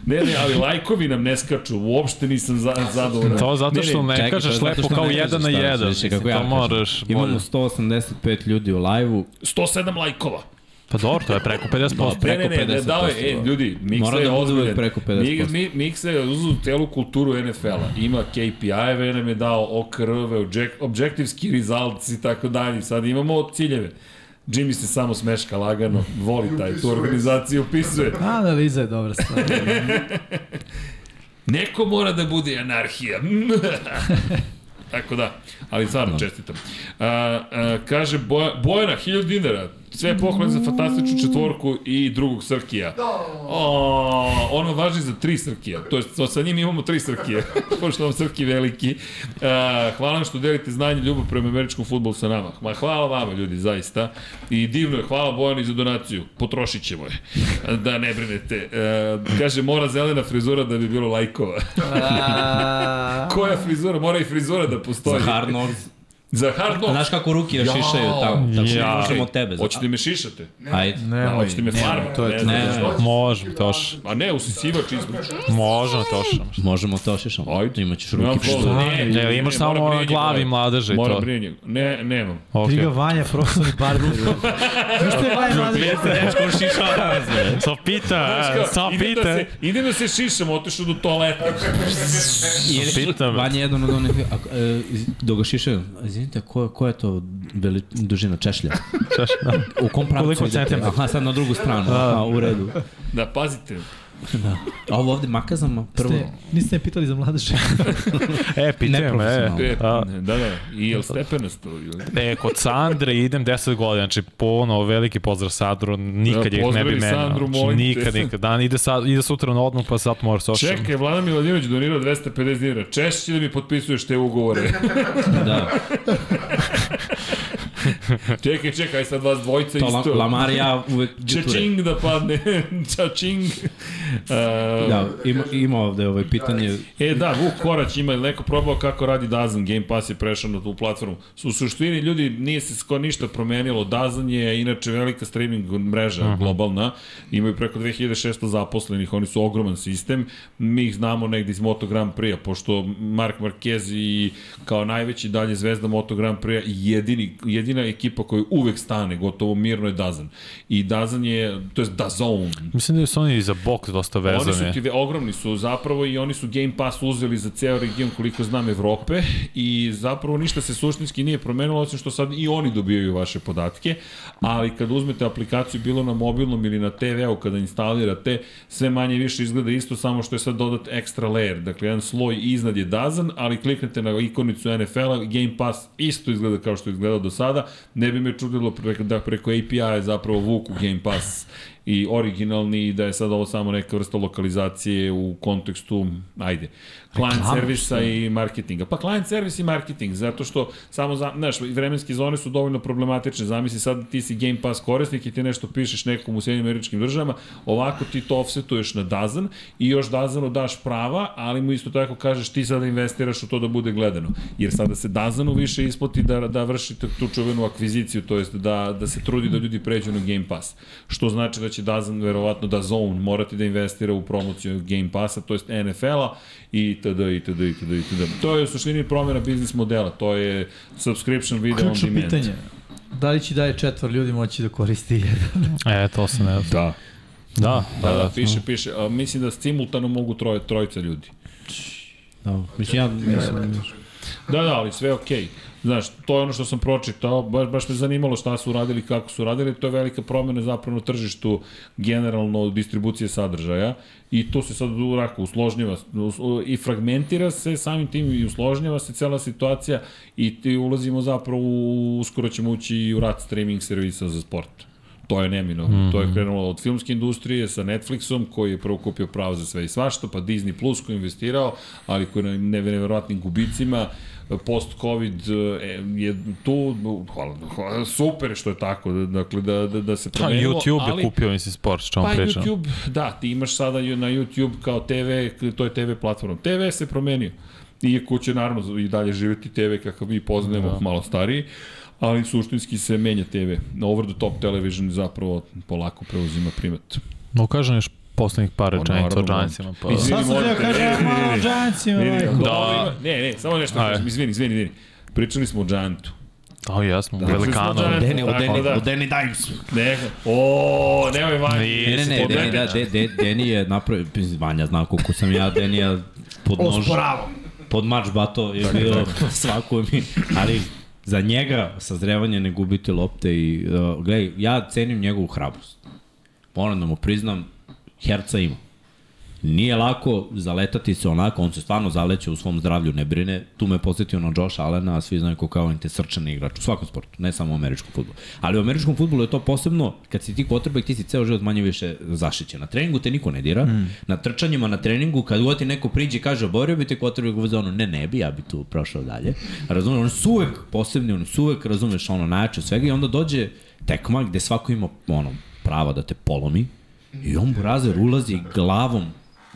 [SPEAKER 1] ne, ne, ali lajkovi nam ne skaču, uopšte nisam za, zadovoljan.
[SPEAKER 3] To zato što
[SPEAKER 2] Čekaj,
[SPEAKER 3] ne
[SPEAKER 2] to je
[SPEAKER 3] kažeš
[SPEAKER 2] zato
[SPEAKER 3] lepo
[SPEAKER 2] što
[SPEAKER 3] kao
[SPEAKER 2] ne
[SPEAKER 3] jedan na
[SPEAKER 2] kažeš,
[SPEAKER 3] jedan.
[SPEAKER 2] šta,
[SPEAKER 3] mislim,
[SPEAKER 2] kako ja
[SPEAKER 3] To
[SPEAKER 2] kažem.
[SPEAKER 3] moraš
[SPEAKER 2] Imamo
[SPEAKER 3] bolje.
[SPEAKER 2] 185 ljudi u live-u.
[SPEAKER 1] 107 lajkova.
[SPEAKER 3] Pa dobro, to je preko 50%.
[SPEAKER 1] Ne, ne, ne, ne,
[SPEAKER 2] 50%,
[SPEAKER 1] dao je, e,
[SPEAKER 2] da.
[SPEAKER 1] ljudi, Miksa
[SPEAKER 2] Mora
[SPEAKER 1] je
[SPEAKER 2] da bude
[SPEAKER 1] ozbiljen.
[SPEAKER 2] preko 50%.
[SPEAKER 1] Mi, mi, Miksa je uzu celu kulturu NFL-a. Ima KPI-eve, nam je dao OKR-eve, objek- objectives key results i tako dalje. Sad imamo ciljeve. Jimmy se samo smeška lagano, voli taj tu organizaciju, upisuje.
[SPEAKER 4] Analiza je dobra stvar. Da,
[SPEAKER 1] Neko mora da bude anarhija. Tako da, ali stvarno čestitam. A, a, kaže Boja, Bojana, 1000 dinara, sve pohvale za fantastičnu četvorku i drugog Srkija. O, ono važi za tri Srkija, to je, to sa njim imamo tri Srkija, pošto vam Srki veliki. A, hvala vam što delite znanje i ljubav prema američkom futbolu sa nama. Ma hvala vama ljudi, zaista. I divno je, hvala Bojani za donaciju, potrošit ćemo je, da ne brinete. A, kaže, mora zelena frizura da bi bilo lajkova.
[SPEAKER 4] da.
[SPEAKER 1] Koja frizura? Mora i frizura da
[SPEAKER 2] Za
[SPEAKER 1] postoji.
[SPEAKER 2] hard knocks.
[SPEAKER 1] Za hard
[SPEAKER 2] A
[SPEAKER 1] knock.
[SPEAKER 2] Znaš kako ruke još
[SPEAKER 1] Jao.
[SPEAKER 2] šišaju tamo? Tako
[SPEAKER 3] Ja.
[SPEAKER 2] ja. možemo od tebe.
[SPEAKER 1] Hoćete me šišate?
[SPEAKER 2] Ajde.
[SPEAKER 1] Ne, ovaj,
[SPEAKER 3] Nemoj.
[SPEAKER 1] hoćete me farmati?
[SPEAKER 4] to je-
[SPEAKER 1] Ne, znam
[SPEAKER 2] ne,
[SPEAKER 1] da što-
[SPEAKER 3] Možemo, Toša.
[SPEAKER 1] A ne, usisivač između.
[SPEAKER 3] Možemo, Toša.
[SPEAKER 2] Možemo to šišamo.
[SPEAKER 1] Ajde.
[SPEAKER 2] Imaćeš
[SPEAKER 1] Nemam
[SPEAKER 2] ruke
[SPEAKER 1] problem.
[SPEAKER 2] što...
[SPEAKER 1] Ne,
[SPEAKER 3] Ne, imaš samo
[SPEAKER 1] moram
[SPEAKER 3] na
[SPEAKER 1] brinje
[SPEAKER 3] glavi
[SPEAKER 1] gore.
[SPEAKER 3] mladeže i
[SPEAKER 1] Moram
[SPEAKER 3] to.
[SPEAKER 1] brinje. Ne, nemam.
[SPEAKER 4] Briga
[SPEAKER 3] Okay.
[SPEAKER 4] Vanja, profesor i barber. Znaš što je Vanja Mladen?
[SPEAKER 2] Dečko šišava.
[SPEAKER 3] Sa pita,
[SPEAKER 1] Znaš
[SPEAKER 3] sa
[SPEAKER 1] kao, idem, da
[SPEAKER 3] pita.
[SPEAKER 1] se, idem da se šišam, otišu do toaleta.
[SPEAKER 3] Pitam.
[SPEAKER 2] Vanja je jedan od onih... a, e, iz- Dok ga šišaju, a izvinite, koja ko je to veli, dužina češlja? U kom pravcu
[SPEAKER 3] Koliko
[SPEAKER 2] idete?
[SPEAKER 3] centimetara?
[SPEAKER 2] Aha, sad na drugu stranu. Aha, u redu.
[SPEAKER 1] Da, pazite.
[SPEAKER 2] A ovo ovde makazama prvo...
[SPEAKER 4] Ste, niste me pitali za mladeže.
[SPEAKER 3] E, pitam, e.
[SPEAKER 2] Neprofesionalno.
[SPEAKER 1] E,
[SPEAKER 3] A.
[SPEAKER 1] da, da, i jel stepenasto? ili-
[SPEAKER 3] E, kod Sandre idem 10 godina, znači po ono, veliki pozdrav Sandru, nikad
[SPEAKER 1] Da,
[SPEAKER 3] ih ne
[SPEAKER 1] pozdravi
[SPEAKER 3] bi menao.
[SPEAKER 1] Sandru,
[SPEAKER 3] Znači,
[SPEAKER 1] molim te.
[SPEAKER 3] nikad, nikad. Dan ide, sad, ide sutra na odmah, pa sad mora se ošem.
[SPEAKER 1] Čekaj, Vlada Miladinović donirao 250 dinara. Češće da mi potpisuješ te ugovore.
[SPEAKER 2] Da,
[SPEAKER 1] čekaj, čekaj, aj sad vas dvojica
[SPEAKER 2] to la,
[SPEAKER 1] isto.
[SPEAKER 2] Lamar i ja uvek džeture.
[SPEAKER 1] Čačing da padne. Čačing. Uh,
[SPEAKER 2] Da, ima, ima ovde ovaj pitanje.
[SPEAKER 1] E da, Vuk Korać ima ili neko probao kako radi Dazan, Game Pass je prešao na tu platformu. U suštini ljudi nije se skoro ništa promenilo, Dazan je inače velika streaming mreža globalna, imaju preko 2600 zaposlenih, oni su ogroman sistem, mi ih znamo negde iz Moto Grand Prix-a, pošto Mark Marquez i kao najveći dalje zvezda Moto Grand Prix-a i jedini, jedina ekipa koja uvek stane, gotovo mirno je Dazan. I Dazan je, to je Dazon,
[SPEAKER 3] Mislim da su oni i za boks dosta
[SPEAKER 1] Oni su
[SPEAKER 3] vezani.
[SPEAKER 1] ti ve- ogromni su zapravo i oni su Game Pass uzeli za ceo region koliko znam Evrope i zapravo ništa se suštinski nije promenilo osim što sad i oni dobijaju vaše podatke, ali kad uzmete aplikaciju bilo na mobilnom ili na TV-u kada instalirate, sve manje i više izgleda isto samo što je sad dodat ekstra layer, dakle jedan sloj iznad je dazan, ali kliknete na ikonicu NFL-a, Game Pass isto izgleda kao što je izgledao do sada, ne bi me čudilo preko, da preko API-a je zapravo vuku Game Pass i originalni i da je sad ovo samo neka vrsta lokalizacije u kontekstu, ajde, client servisa i marketinga. Pa client servis i marketing, zato što samo, za, znaš, vremenske zone su dovoljno problematične. Zamisli sad ti si Game Pass korisnik i ti nešto pišeš nekom u Sjedinim američkim državama, ovako ti to offsetuješ na Dazan i još Dazanu daš prava, ali mu isto tako kažeš ti sada investiraš u to da bude gledano. Jer sada se Dazanu više isplati da, da vršite tu čuvenu akviziciju, to jest da, da se trudi da ljudi pređu na Game Pass. Što znači da će Dazan verovatno da Zone morati da investira u promociju Game Passa, to jest NFL-a i td. itd. itd. itd. To je u suštini promjena biznis modela, to je subscription video on
[SPEAKER 4] Ključno
[SPEAKER 1] demand.
[SPEAKER 4] pitanje. Da li će dalje četvor ljudi moći da koristi jedan?
[SPEAKER 3] E, to se ne zna.
[SPEAKER 1] Da.
[SPEAKER 3] Da,
[SPEAKER 1] Da, da, piše, piše. A, mislim da simultano mogu troje, trojica ljudi.
[SPEAKER 2] Da, mislim, ja mislim...
[SPEAKER 1] Da, da, ali sve je okej. Okay. Znaš, to je ono što sam pročitao, baš, baš me zanimalo šta su uradili, kako su uradili, to je velika promena zapravo na tržištu generalno distribucije sadržaja i to se sad urako usložnjava us- i fragmentira se samim tim i usložnjava se cela situacija i ti ulazimo zapravo, u, uskoro ćemo ući i u rad streaming servisa za sport. To je neminovno. Mm -hmm. To
[SPEAKER 3] Mhm.
[SPEAKER 1] je krenulo od filmske industrije sa Netflixom koji je prvo kupio pravo za sve i svašta, pa Disney Plus koji je investirao, ali koji je na neve- neverovatnim gubicima post-covid e, je tu, hvala, hvala, super što je tako, dakle da, da, da se
[SPEAKER 3] Da,
[SPEAKER 1] promenilo,
[SPEAKER 3] YouTube
[SPEAKER 1] ali-
[SPEAKER 3] je kupio, mislim, sport, što
[SPEAKER 1] Pa
[SPEAKER 3] vam pričam.
[SPEAKER 1] YouTube, da, ti imaš sada ju- na YouTube kao TV, to je TV platforma. TV se promenio. Iako će naravno i dalje živeti TV kakav mi poznajemo, da. malo stariji, ali suštinski se menja TV. Over the top television zapravo polako preuzima primat.
[SPEAKER 3] No, kažem još poslednjih par
[SPEAKER 1] Ono,
[SPEAKER 3] rečenica o
[SPEAKER 1] Pa naravno,
[SPEAKER 3] Giantsima, pa... Da.
[SPEAKER 1] Mislim-
[SPEAKER 4] Sad sam
[SPEAKER 1] morate-
[SPEAKER 4] teo kažem,
[SPEAKER 1] ne, ne, ne,
[SPEAKER 4] malo
[SPEAKER 1] ne.
[SPEAKER 4] džancima,
[SPEAKER 1] Vidi,
[SPEAKER 4] majko.
[SPEAKER 1] dobro, ne, ne, samo nešto
[SPEAKER 3] Ajde.
[SPEAKER 1] kažem, izvini, izvini, izvini. Pričali smo o Giantu.
[SPEAKER 3] A, jesmo, da,
[SPEAKER 1] Pričali Znači, smo o
[SPEAKER 3] velikano.
[SPEAKER 1] Giantu,
[SPEAKER 2] Deni, u
[SPEAKER 1] tako
[SPEAKER 2] Deni,
[SPEAKER 1] da.
[SPEAKER 2] u Deni Dimesu.
[SPEAKER 1] Ne, o, nemoj vanji.
[SPEAKER 2] Ne, ne, ne,
[SPEAKER 1] Odvede.
[SPEAKER 2] Deni, da, de, de, Deni je napravio, mislim, Vanja zna koliko sam ja, Denija pod nož, pod mač bato je bio svako mi, ali za njega sazrevanje ne gubiti lopte i uh, gledaj, ja cenim njegovu hrabrost. Moram da mu priznam, herca ima. Nije lako zaletati se onako, on se stvarno zaleće u svom zdravlju, ne brine. Tu me podsjetio na Josh Allena, a svi znaju kako je on te srčan igrač u svakom sportu, ne samo u američkom futbolu. Ali u američkom futbolu je to posebno, kad si ti quarterback, ti si ceo život manje više zaštićen. Na treningu te niko ne dira, mm. na trčanjima, na treningu, kad god ti neko priđe i kaže oborio bi te quarterback u zonu, ne, ne bi, ja bi tu prošao dalje. Razumeš, oni su uvek posebni, oni su uvek, razumeš, ono, najjače od svega i onda dođe tekma gde svako ima, ono, prava da te polomi, I on Burazer ulazi glavom,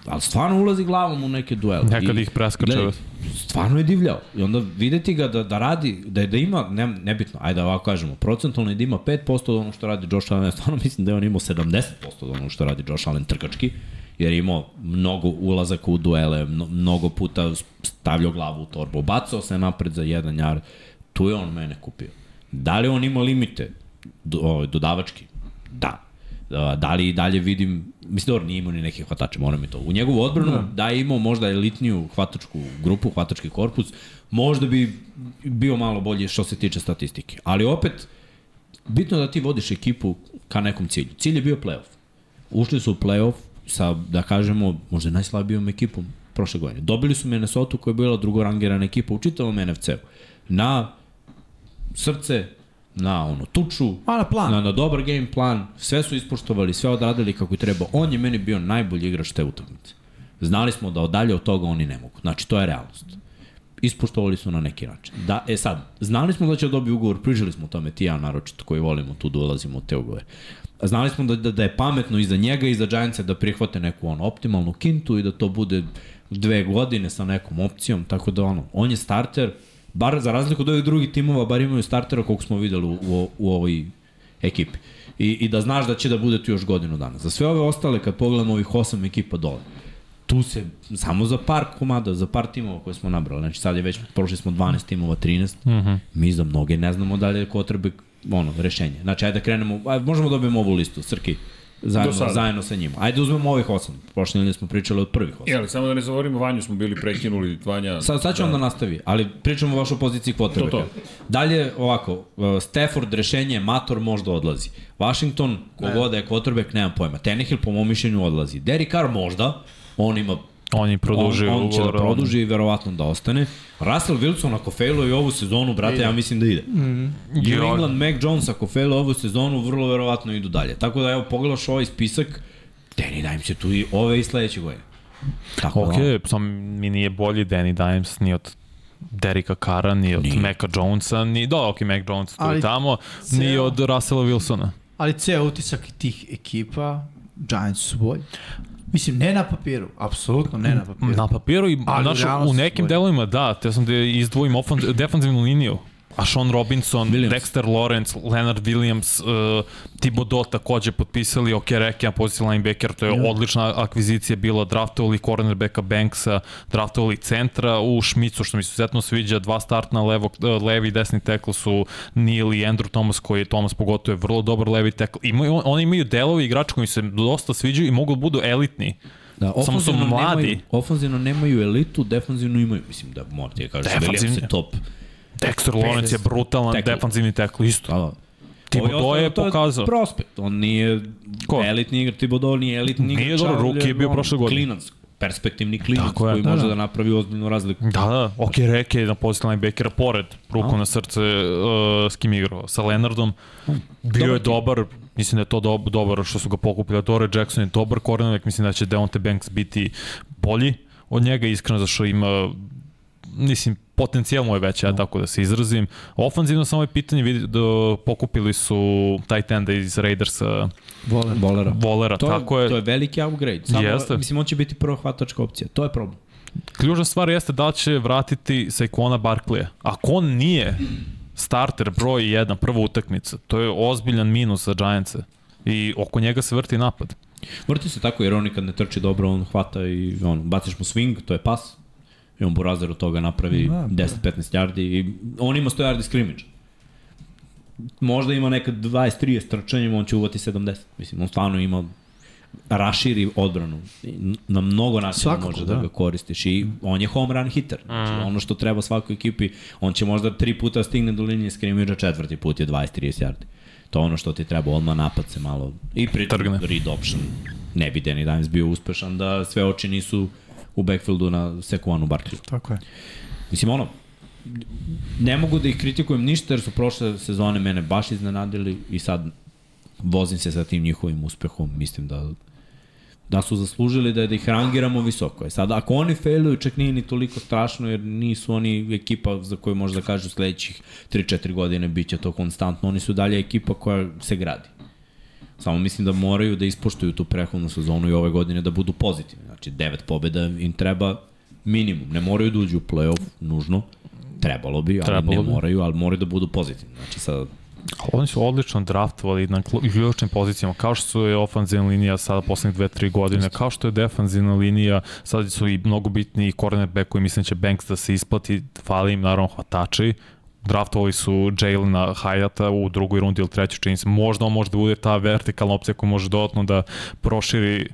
[SPEAKER 2] ali stvarno ulazi glavom u neke duele.
[SPEAKER 3] Nekad
[SPEAKER 2] I,
[SPEAKER 3] ih preskače.
[SPEAKER 2] gledaj, Stvarno je divljao. I onda videti ga da, da radi, da, je- da ima, ne, nebitno, ajde ovako kažemo, procentualno je da ima 5% od onog što radi Josh Allen. Ja stvarno mislim da je on imao 70% od onog što radi Josh Allen trkački, jer je imao mnogo ulazaka u duele, mno, mnogo puta stavljao glavu u torbu, bacao se napred za jedan jar, tu je on mene kupio. Da li on ima limite do, ovaj, dodavački? Da. Da, da li i dalje vidim, mislim dobro, nije imao ni neke hvatače, moram i to. U njegovu odbranu da, da je imao možda elitniju hvatačku grupu, hvatački korpus, možda bi bio malo bolji što se tiče statistike. Ali opet, bitno je da ti vodiš ekipu ka nekom cilju. Cilj je bio playoff. Ušli su u playoff sa, da kažemo, možda najslabijom ekipom prošle godine. Dobili su Minnesota koja je bila drugorangirana ekipa u čitavom NFC-u. Na srce, na ono tuču,
[SPEAKER 4] Ma, na plan.
[SPEAKER 2] na, na dobar game plan, sve su ispoštovali, sve odradili kako treba. On je meni bio najbolji igrač te utakmice. Znali smo da odalje od toga oni ne mogu. Znači, to je realnost. Ispoštovali su na neki način. Da, e sad, znali smo da će dobiti ugovor, prižili smo o tome, ti i ja naročito koji volimo tu da ulazimo u te ugovore. Znali smo da, da, da je pametno i za njega i za Giantsa da prihvate neku ono, optimalnu kintu i da to bude dve godine sa nekom opcijom, tako da ono, on je starter, bar za razliku od ovih drugih timova, bar imaju startera koliko smo videli u, u, u ovoj ekipi. I, I da znaš da će da bude tu još godinu dana. Za sve ove ostale, kad pogledamo ovih osam ekipa dole, tu se samo za par komada, za par timova koje smo nabrali, znači sad je već, prošli smo 12 timova, 13, mm
[SPEAKER 1] Mhm.
[SPEAKER 2] -hmm. mi za mnoge ne znamo da li je kotrbek ono, rešenje. Znači, ajde da krenemo, ajde, možemo da dobijemo ovu listu, Srki,
[SPEAKER 1] Do
[SPEAKER 2] zajedno,
[SPEAKER 1] sada.
[SPEAKER 2] zajedno sa njima. Ajde da uzmemo ovih osam, prošle nedelje smo pričali od prvih osam.
[SPEAKER 1] Jel, samo da ne zavorimo, Vanju smo bili prekinuli, Vanja...
[SPEAKER 2] Sad, sad ću da. onda nastavi, ali pričamo o vašoj poziciji quarterbacka.
[SPEAKER 1] To, to.
[SPEAKER 2] Dalje, ovako, uh, Stafford rešenje, Mator možda odlazi. Washington, kogoda je quarterback, nemam pojma. Tenehill, po mom mišljenju, odlazi. Derek Carr možda, on ima
[SPEAKER 3] On je produžio
[SPEAKER 2] on, on će da
[SPEAKER 3] ugovor, on-
[SPEAKER 2] produži i verovatno da ostane. Russell Wilson ako failuje ovu sezonu, brate, ja mislim da ide.
[SPEAKER 3] Mhm.
[SPEAKER 2] New
[SPEAKER 3] Ja-
[SPEAKER 2] England, Mac Jones ako failuje ovu sezonu, vrlo verovatno idu dalje. Tako da, evo, pogledaš ovaj spisak, Danny Dime će tu i ove i sledeće godine. Tako da,
[SPEAKER 3] Ok, sam mi nije bolji Danny Dimes ni od Derika Kara, ni od
[SPEAKER 2] Nije.
[SPEAKER 3] Meka Jonesa, ni, da, ok, Mac Jones tu
[SPEAKER 4] Ali
[SPEAKER 3] i tamo, ni
[SPEAKER 4] ceo-
[SPEAKER 3] od Russella Wilsona.
[SPEAKER 4] Ali ceo utisak tih ekipa, Giants su bolji. Mislim, ne na papiru, apsolutno ne na papiru.
[SPEAKER 3] Mm, Na papiru i
[SPEAKER 4] Ali
[SPEAKER 3] znaš,
[SPEAKER 4] realno
[SPEAKER 3] u
[SPEAKER 4] su
[SPEAKER 3] nekim
[SPEAKER 4] bolji.
[SPEAKER 3] delovima, da, te sam da izdvojim ofan, defanzivnu liniju. A Sean Robinson,
[SPEAKER 2] Williams.
[SPEAKER 3] Williams. Dexter Lawrence, Leonard Williams, uh, Thibodeau takođe potpisali, ok, Rekijan, pozitiv linebacker, to je odlična akvizicija bila, draftovali cornerbacka Banksa, draftovali centra u Šmicu, što mi se izuzetno sviđa, dva startna levo, uh, levi i desni tekl su Neil i Andrew Thomas, koji je Thomas pogotovo je vrlo dobar levi tekl. Imaju, oni imaju delovi igrača koji mi se dosta sviđaju i mogu da budu elitni.
[SPEAKER 2] Da,
[SPEAKER 3] Samo su
[SPEAKER 2] ofanzivno
[SPEAKER 3] mladi.
[SPEAKER 2] Nemaju, ofanzivno nemaju elitu, defanzivno imaju. Mislim da morate ja kažem,
[SPEAKER 3] Defanzivno.
[SPEAKER 2] Williams je top.
[SPEAKER 3] Dexter Lawrence je brutalan
[SPEAKER 2] Tekl.
[SPEAKER 3] tekl. defanzivni tekl, isto.
[SPEAKER 2] Da, da.
[SPEAKER 3] Thibodeau
[SPEAKER 2] Ovo
[SPEAKER 3] je
[SPEAKER 2] ostalo, to
[SPEAKER 3] pokazao.
[SPEAKER 2] prospekt, on nije Ko?
[SPEAKER 3] Ko?
[SPEAKER 2] elitni igrač, Thibodeau nije elitni igrač.
[SPEAKER 3] Nije dobro,
[SPEAKER 2] ali
[SPEAKER 3] rookie je bio
[SPEAKER 2] on
[SPEAKER 3] prošle godine.
[SPEAKER 2] Klinac, perspektivni klinac
[SPEAKER 3] Tako je.
[SPEAKER 2] koji
[SPEAKER 3] Da,
[SPEAKER 2] može
[SPEAKER 4] da.
[SPEAKER 2] da napravi ozbiljnu razliku.
[SPEAKER 3] Da, da, ok, Reke je na poziciju linebackera pored, ruku
[SPEAKER 2] A.
[SPEAKER 3] na srce uh, s kim je igrao, sa Leonardom. Bio je dobar, mislim da je to dob, dobar što su ga pokupili, Dore Jackson je dobar kornerback, mislim da će Deonte Banks biti bolji od njega, iskreno zašto ima mislim, potencijal mu je veći, ja tako da se izrazim. Ofanzivno samo je pitanje, vidi, da pokupili su tight enda iz Raidersa,
[SPEAKER 4] Voler.
[SPEAKER 2] Bolera.
[SPEAKER 3] Volera,
[SPEAKER 2] Da. To,
[SPEAKER 3] tako
[SPEAKER 2] je, to je veliki upgrade. Samo,
[SPEAKER 3] Jeste.
[SPEAKER 2] Mislim, on će biti prva hvatačka opcija. To je problem.
[SPEAKER 3] Ključna stvar jeste da li će vratiti Saquona Barkleya. Ako on nije starter broj 1, prva utakmica, to je ozbiljan minus za Giantse. I oko njega se vrti napad.
[SPEAKER 2] Vrti se tako jer on i kad ne trči dobro, on hvata i on, baciš mu swing, to je pas. I on burazer od toga napravi
[SPEAKER 4] Da, da.
[SPEAKER 2] 10-15 yardi i on ima 100 yardi scrimmage. Možda ima neka 20-30 trčanjem, on će uvati 70. Mislim, on stvarno ima raširi odbranu. Na mnogo načina
[SPEAKER 4] Svakako,
[SPEAKER 2] može da,
[SPEAKER 4] da.
[SPEAKER 2] ga koristiš i on je home run hitter. Znači, ono što treba svakoj ekipi, on će možda tri puta stigne do linije skrimidža, četvrti put je 20-30 yardi. To je ono što ti treba, odmah napad se malo i pri
[SPEAKER 3] Trgne.
[SPEAKER 2] read option. Ne bi Danny Dimes bio uspešan da sve oči nisu u backfieldu na Sekuanu Barkliju.
[SPEAKER 4] Tako je.
[SPEAKER 2] Mislim, ono, ne mogu da ih kritikujem ništa jer su prošle sezone mene baš iznenadili i sad vozim se sa tim njihovim uspehom. Mislim da da su zaslužili da, da ih rangiramo visoko. E sad, ako oni failuju, čak nije ni toliko strašno, jer nisu oni ekipa za koju možda kažu sledećih 3-4 godine bit će to konstantno. Oni su dalje ekipa koja se gradi. Samo mislim da moraju da ispoštuju tu prehodnu sezonu i ove godine da budu pozitivni. Znači, devet pobjeda im treba minimum. Ne moraju da uđu u play-off, nužno. Trebalo bi, ali
[SPEAKER 3] Trebalo
[SPEAKER 2] ne
[SPEAKER 3] bi.
[SPEAKER 2] moraju, ali moraju da budu pozitivni. Znači, sa
[SPEAKER 3] Oni su odlično draftovali na klu- ključnim pozicijama, kao što su je ofanzivna linija sada poslednjih 2-3 godine, kao što je defanzivna linija, sad su i mnogo bitni i cornerback koji mislim da će Banks da se isplati, fali im naravno hvatači, draftovali su Jaylena Hayata u drugoj rundi ili trećoj čini se. Možda on može da bude ta vertikalna opcija koja može dodatno da proširi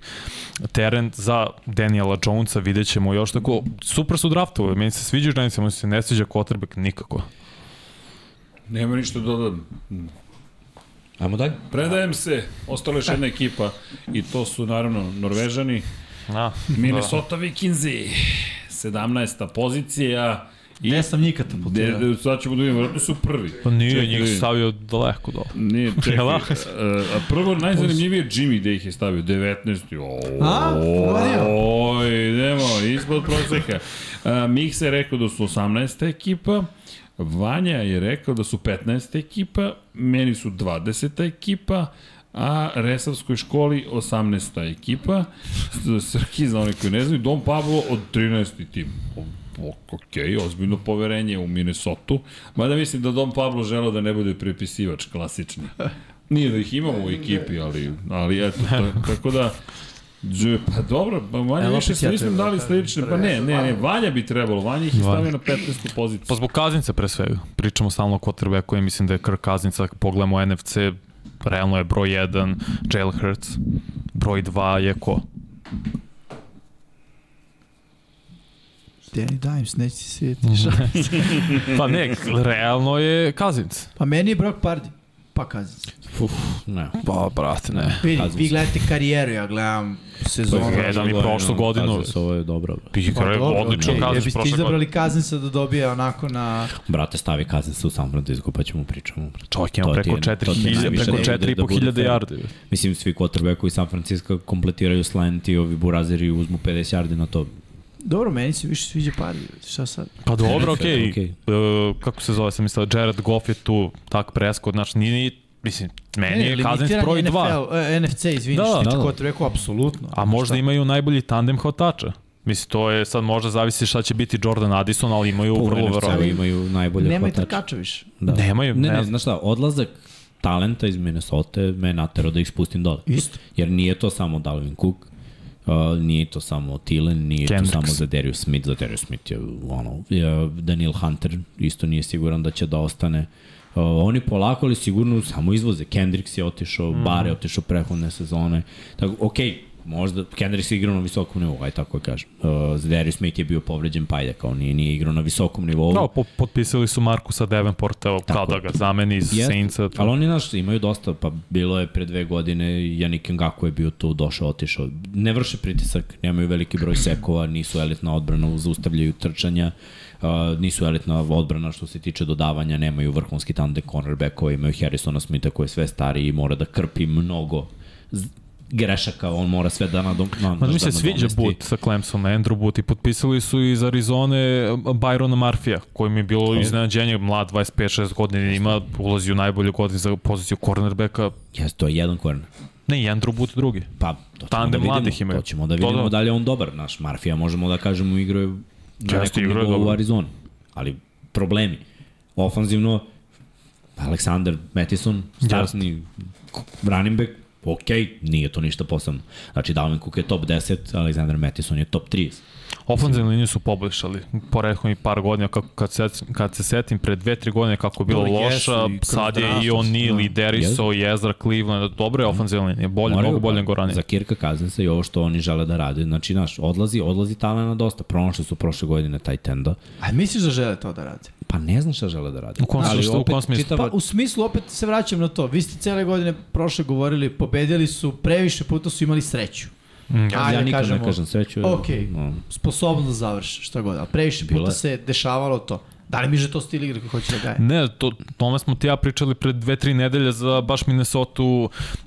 [SPEAKER 3] teren za Daniela Jonesa, vidjet ćemo još tako. Super su draftovali, meni se sviđa Giants, meni se ne sviđa quarterback nikako.
[SPEAKER 1] Nema ništa da dodam.
[SPEAKER 2] Ajmo dalje.
[SPEAKER 1] Predajem se, ostala je još jedna ekipa i to su naravno Norvežani,
[SPEAKER 3] A,
[SPEAKER 1] Minnesota Vikingsi, 17. pozicija. I
[SPEAKER 4] Gde sam njih katapultirao?
[SPEAKER 1] De, sad ćemo da vidimo, vjerojatno su prvi.
[SPEAKER 3] Pa nije,
[SPEAKER 1] Čekaj, da
[SPEAKER 3] njih
[SPEAKER 1] vidim.
[SPEAKER 3] stavio daleko dole.
[SPEAKER 1] Nije, čekaj.
[SPEAKER 3] Jel' da?
[SPEAKER 1] a,
[SPEAKER 3] ovako?
[SPEAKER 1] a prvo najzanimljivije je Jimmy gde ih je stavio, 19.
[SPEAKER 4] A, pogodio.
[SPEAKER 1] O, oj, idemo, ispod proseka. A, Miksa je rekao da su 18. ekipa, Vanja je rekao da su 15. ekipa, meni su 20. ekipa, a Resavskoj školi 18. ekipa, S- Srki za one koji ne znaju, Dom Pablo od 13. tim. O- o- ok, ozbiljno poverenje u Minnesotu, mada mislim da Dom Pablo želeo da ne bude prepisivač klasični. Nije da ih imamo u ekipi, ali, ali eto, to, tako da, Dž- Pa dobro, pa Vanja
[SPEAKER 4] Evo,
[SPEAKER 1] više
[SPEAKER 4] opet
[SPEAKER 1] se
[SPEAKER 4] ja
[SPEAKER 1] nismo
[SPEAKER 4] trebam
[SPEAKER 1] dali
[SPEAKER 4] da
[SPEAKER 1] slične, pa ne, ne, ne, Vanja bi trebalo, Vanja ih je
[SPEAKER 3] Vanja.
[SPEAKER 1] stavio na 15.
[SPEAKER 3] Pa
[SPEAKER 1] poziciju.
[SPEAKER 3] zbog Kazinca pre svega. Pričamo stalno o quarterbacku i mislim da je Kirk Kazinca, ako pogledamo NFC, realno je broj 1, Jalen Hurts, broj 2 je ko?
[SPEAKER 4] Danny Dimes, neće se sjetiti.
[SPEAKER 3] Mhm.
[SPEAKER 4] Šta?
[SPEAKER 3] Pa ne, realno je Kazinc.
[SPEAKER 4] Pa meni je Brock Pardy. Pa Kazic.
[SPEAKER 2] Uf, ne.
[SPEAKER 3] Pa, brate, ne.
[SPEAKER 4] Vidi,
[SPEAKER 2] Cousins.
[SPEAKER 4] vi gledate karijeru, ja gledam sezonu. Pa
[SPEAKER 3] Pa, jedan i prošlu godinu.
[SPEAKER 2] Kazao se, Ovo je dobro. brate.
[SPEAKER 3] Pikar Pa je
[SPEAKER 4] dobro,
[SPEAKER 3] odlično
[SPEAKER 4] ne, jer
[SPEAKER 3] Kazinc
[SPEAKER 4] biste
[SPEAKER 3] prošle godine.
[SPEAKER 4] izabrali Kazinsa da dobije onako na...
[SPEAKER 2] Brate, stavi kazne se u San Francisco, pa ćemo pričamo. brate.
[SPEAKER 3] Čovjek
[SPEAKER 2] To
[SPEAKER 3] ima
[SPEAKER 2] ti je-
[SPEAKER 3] preko
[SPEAKER 2] to ti je
[SPEAKER 3] 4000,
[SPEAKER 2] najviše da-
[SPEAKER 3] preko
[SPEAKER 2] da bude
[SPEAKER 3] 4500
[SPEAKER 2] fair.
[SPEAKER 3] yardi.
[SPEAKER 2] Mislim, svi quarterbackovi San Francisco kompletiraju slant i ovi burazeri uzmu 50 yardi na to.
[SPEAKER 4] Dobro, meni se više sviđa Pardy. Šta sad?
[SPEAKER 3] Pa dobro,
[SPEAKER 2] Sve je
[SPEAKER 3] okej. Okay. E, kako se zove, sam mislio, Jared Goff je tu, tak Prescott, znači nije, mislim, meni je Kazinc
[SPEAKER 4] limitiran
[SPEAKER 3] broj
[SPEAKER 4] NFL,
[SPEAKER 3] 2.
[SPEAKER 4] e, NFC, izvini,
[SPEAKER 3] Da,
[SPEAKER 4] da, što
[SPEAKER 2] da, da.
[SPEAKER 4] da, da. rekao, apsolutno.
[SPEAKER 3] A možda imaju najbolji tandem hvatača. Mislim, to je sad možda zavisi šta će biti Jordan Addison, ali imaju
[SPEAKER 2] U
[SPEAKER 3] vrlo
[SPEAKER 2] NFC-u
[SPEAKER 3] vrlo.
[SPEAKER 2] imaju najbolje
[SPEAKER 4] Nemoj
[SPEAKER 2] hvatače.
[SPEAKER 4] trkača više.
[SPEAKER 2] Da.
[SPEAKER 3] Nemaju,
[SPEAKER 2] Ne,
[SPEAKER 3] ne
[SPEAKER 2] ne,
[SPEAKER 3] znam.
[SPEAKER 2] znaš šta, odlazak talenta iz Minnesota me natero da ih spustim dole.
[SPEAKER 4] Isto.
[SPEAKER 2] Jer nije to samo Dalvin Cook, uh, nije to samo Thielen, nije
[SPEAKER 3] Kendricks.
[SPEAKER 2] to samo za Darius Smith, za Darius Smith je ono, je Daniel Hunter isto nije siguran da će da ostane. Uh, oni polako ali sigurno samo izvoze. Kendricks je otišao,
[SPEAKER 3] Mhm.
[SPEAKER 2] mm. Bare je otišao prehodne sezone. Tako, okej, okay, možda Kendricks je igrao na visokom nivou, aj tako da kažem. Uh, Darius Smith je bio povređen, pa ajde, kao nije, nije igrao na visokom nivou.
[SPEAKER 3] No, po, potpisali su Markusa Davenporta evo, kao da ga zameni iz
[SPEAKER 2] Jeste,
[SPEAKER 3] Saintsa.
[SPEAKER 2] Ali oni, znaš, imaju dosta, pa bilo je pre dve godine, Janik Ngaku je bio tu, došao, otišao. Ne vrše pritisak, nemaju veliki broj sekova, nisu elitna odbrana, zaustavljaju trčanja, uh, nisu elitna odbrana što se tiče dodavanja, nemaju vrhunski tandem cornerbackova, imaju Harrisona Smitha koji je sve stariji i mora da krpi mnogo z- grešaka, on mora sve da nadom... Na,
[SPEAKER 3] Ma mi se
[SPEAKER 2] da
[SPEAKER 3] sviđa
[SPEAKER 2] nadomesti.
[SPEAKER 3] Boot sa Clemson, Andrew Boot i potpisali su iz Arizone um, Byrona Marfija, koji mi je bilo iznenađenje, mlad 25-6 godine ima, ulazi u najbolju godinu za poziciju cornerbacka,
[SPEAKER 2] Jes, to je jedan korner.
[SPEAKER 3] ne i Andrew Boot drugi.
[SPEAKER 2] Pa, to ćemo
[SPEAKER 3] Tandem
[SPEAKER 2] da vidimo.
[SPEAKER 3] mladih imaju.
[SPEAKER 2] To ćemo da
[SPEAKER 3] To
[SPEAKER 2] vidimo
[SPEAKER 3] da.
[SPEAKER 2] da li je on dobar. Naš Marfija, možemo da kažemo, igrao je na
[SPEAKER 3] Jeste,
[SPEAKER 2] nekom
[SPEAKER 3] igrao je
[SPEAKER 2] nivou u
[SPEAKER 3] dobro.
[SPEAKER 2] Arizoni. Ali problemi. Ofanzivno, Aleksandar Mattison, startni running back, Ok, nije to ništa posebno. Znači, Dalvin Cook je top 10, Alexander Mattison je top 30.
[SPEAKER 3] Ofenzivne linije su poboljšali. Porekao mi par godina, kako, kad, se, kad se setim, pre dve, tri godine kako je bilo
[SPEAKER 4] Dobro,
[SPEAKER 3] loša,
[SPEAKER 4] jesu i kroz
[SPEAKER 3] sad je
[SPEAKER 4] draft,
[SPEAKER 3] i O'Neal,
[SPEAKER 4] da.
[SPEAKER 3] i Deriso, i Ezra Cleveland, dobro je ofenzivna linija, bolje,
[SPEAKER 2] Mhm. Moraju
[SPEAKER 3] mnogo bolje
[SPEAKER 2] pa-
[SPEAKER 3] nego ranije.
[SPEAKER 2] Za Kirka Kaznesa i ovo što oni žele da rade. Znači, naš, odlazi, odlazi talena dosta. Pronašli su prošle godine taj tenda.
[SPEAKER 4] A misliš da žele to da rade?
[SPEAKER 2] Pa ne znam šta žele da rade.
[SPEAKER 3] U kom smislu, u kom smislu?
[SPEAKER 2] čitava-
[SPEAKER 4] Pa u smislu, opet se vraćam na to, vi ste cele godine prošle govorili, pobedili su, previše puta su imali sreću.
[SPEAKER 2] Mm, ja,
[SPEAKER 4] Ajde,
[SPEAKER 2] ja nikad
[SPEAKER 4] kažemo,
[SPEAKER 2] ne kažem sreću. jer-
[SPEAKER 4] Ok.
[SPEAKER 2] No.
[SPEAKER 4] Sposobno da završi, šta god, ali previše
[SPEAKER 2] Bilo
[SPEAKER 4] puta
[SPEAKER 2] je.
[SPEAKER 4] se dešavalo to. Da li mi že to stil igre koji hoće da gaje?
[SPEAKER 3] Ne, to, tome smo ti ja pričali pre dve, tri nedelje za baš Minnesota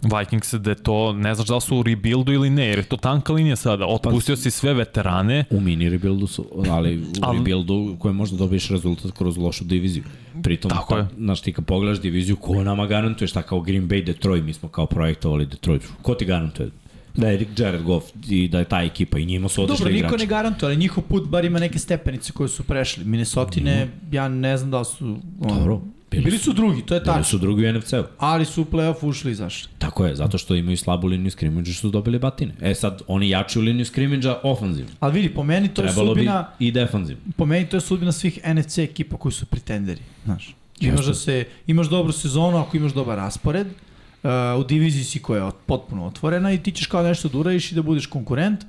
[SPEAKER 3] Vikings, da je to, ne znaš da li su u rebuildu ili ne, jer je to tanka linija sada.
[SPEAKER 2] Pa-
[SPEAKER 3] Otpustio si sve veterane,
[SPEAKER 2] U mini rebuildu su, ali u
[SPEAKER 3] Al-
[SPEAKER 2] rebuildu u kojem možda dobiješ rezultat kroz lošu diviziju. Pritom,
[SPEAKER 3] Tako
[SPEAKER 2] ta,
[SPEAKER 3] je.
[SPEAKER 2] znaš, ti kad pogledaš diviziju, ko nama garantuje šta kao Green Bay, Detroit, mi smo kao projektovali Detroit. Ko ti garantuje? Da je Jared Goff i da je ta ekipa i njima su otišli
[SPEAKER 4] Dobro, niko
[SPEAKER 2] igrači.
[SPEAKER 4] ne garantuje, ali njihov put bar ima neke stepenice koje su prešli. Minnesotine, ja ne znam da li su... Ono,
[SPEAKER 2] Dobro, bili
[SPEAKER 4] bili, bili su drugi, to je
[SPEAKER 2] Bili
[SPEAKER 4] tačno.
[SPEAKER 2] su drugi u NFC-u.
[SPEAKER 4] Ali su u play-off ušli i izašli.
[SPEAKER 2] Tako je, zato što imaju slabu liniju skrimidža su dobili batine. E sad, oni jaču liniju skrimidža ofanzivno.
[SPEAKER 4] Ali vidi, po meni to je
[SPEAKER 2] Trebalo
[SPEAKER 4] sudbina...
[SPEAKER 2] bi i defanzivno.
[SPEAKER 4] po meni to je sudbina svih NFC ekipa koji su pretenderi, znaš. Imaš,
[SPEAKER 2] Jeste.
[SPEAKER 4] da se, imaš dobru sezonu ako imaš dobar raspored, uh, u diviziji si koja je ot- potpuno otvorena i ti ćeš kao nešto da uradiš i da budeš konkurent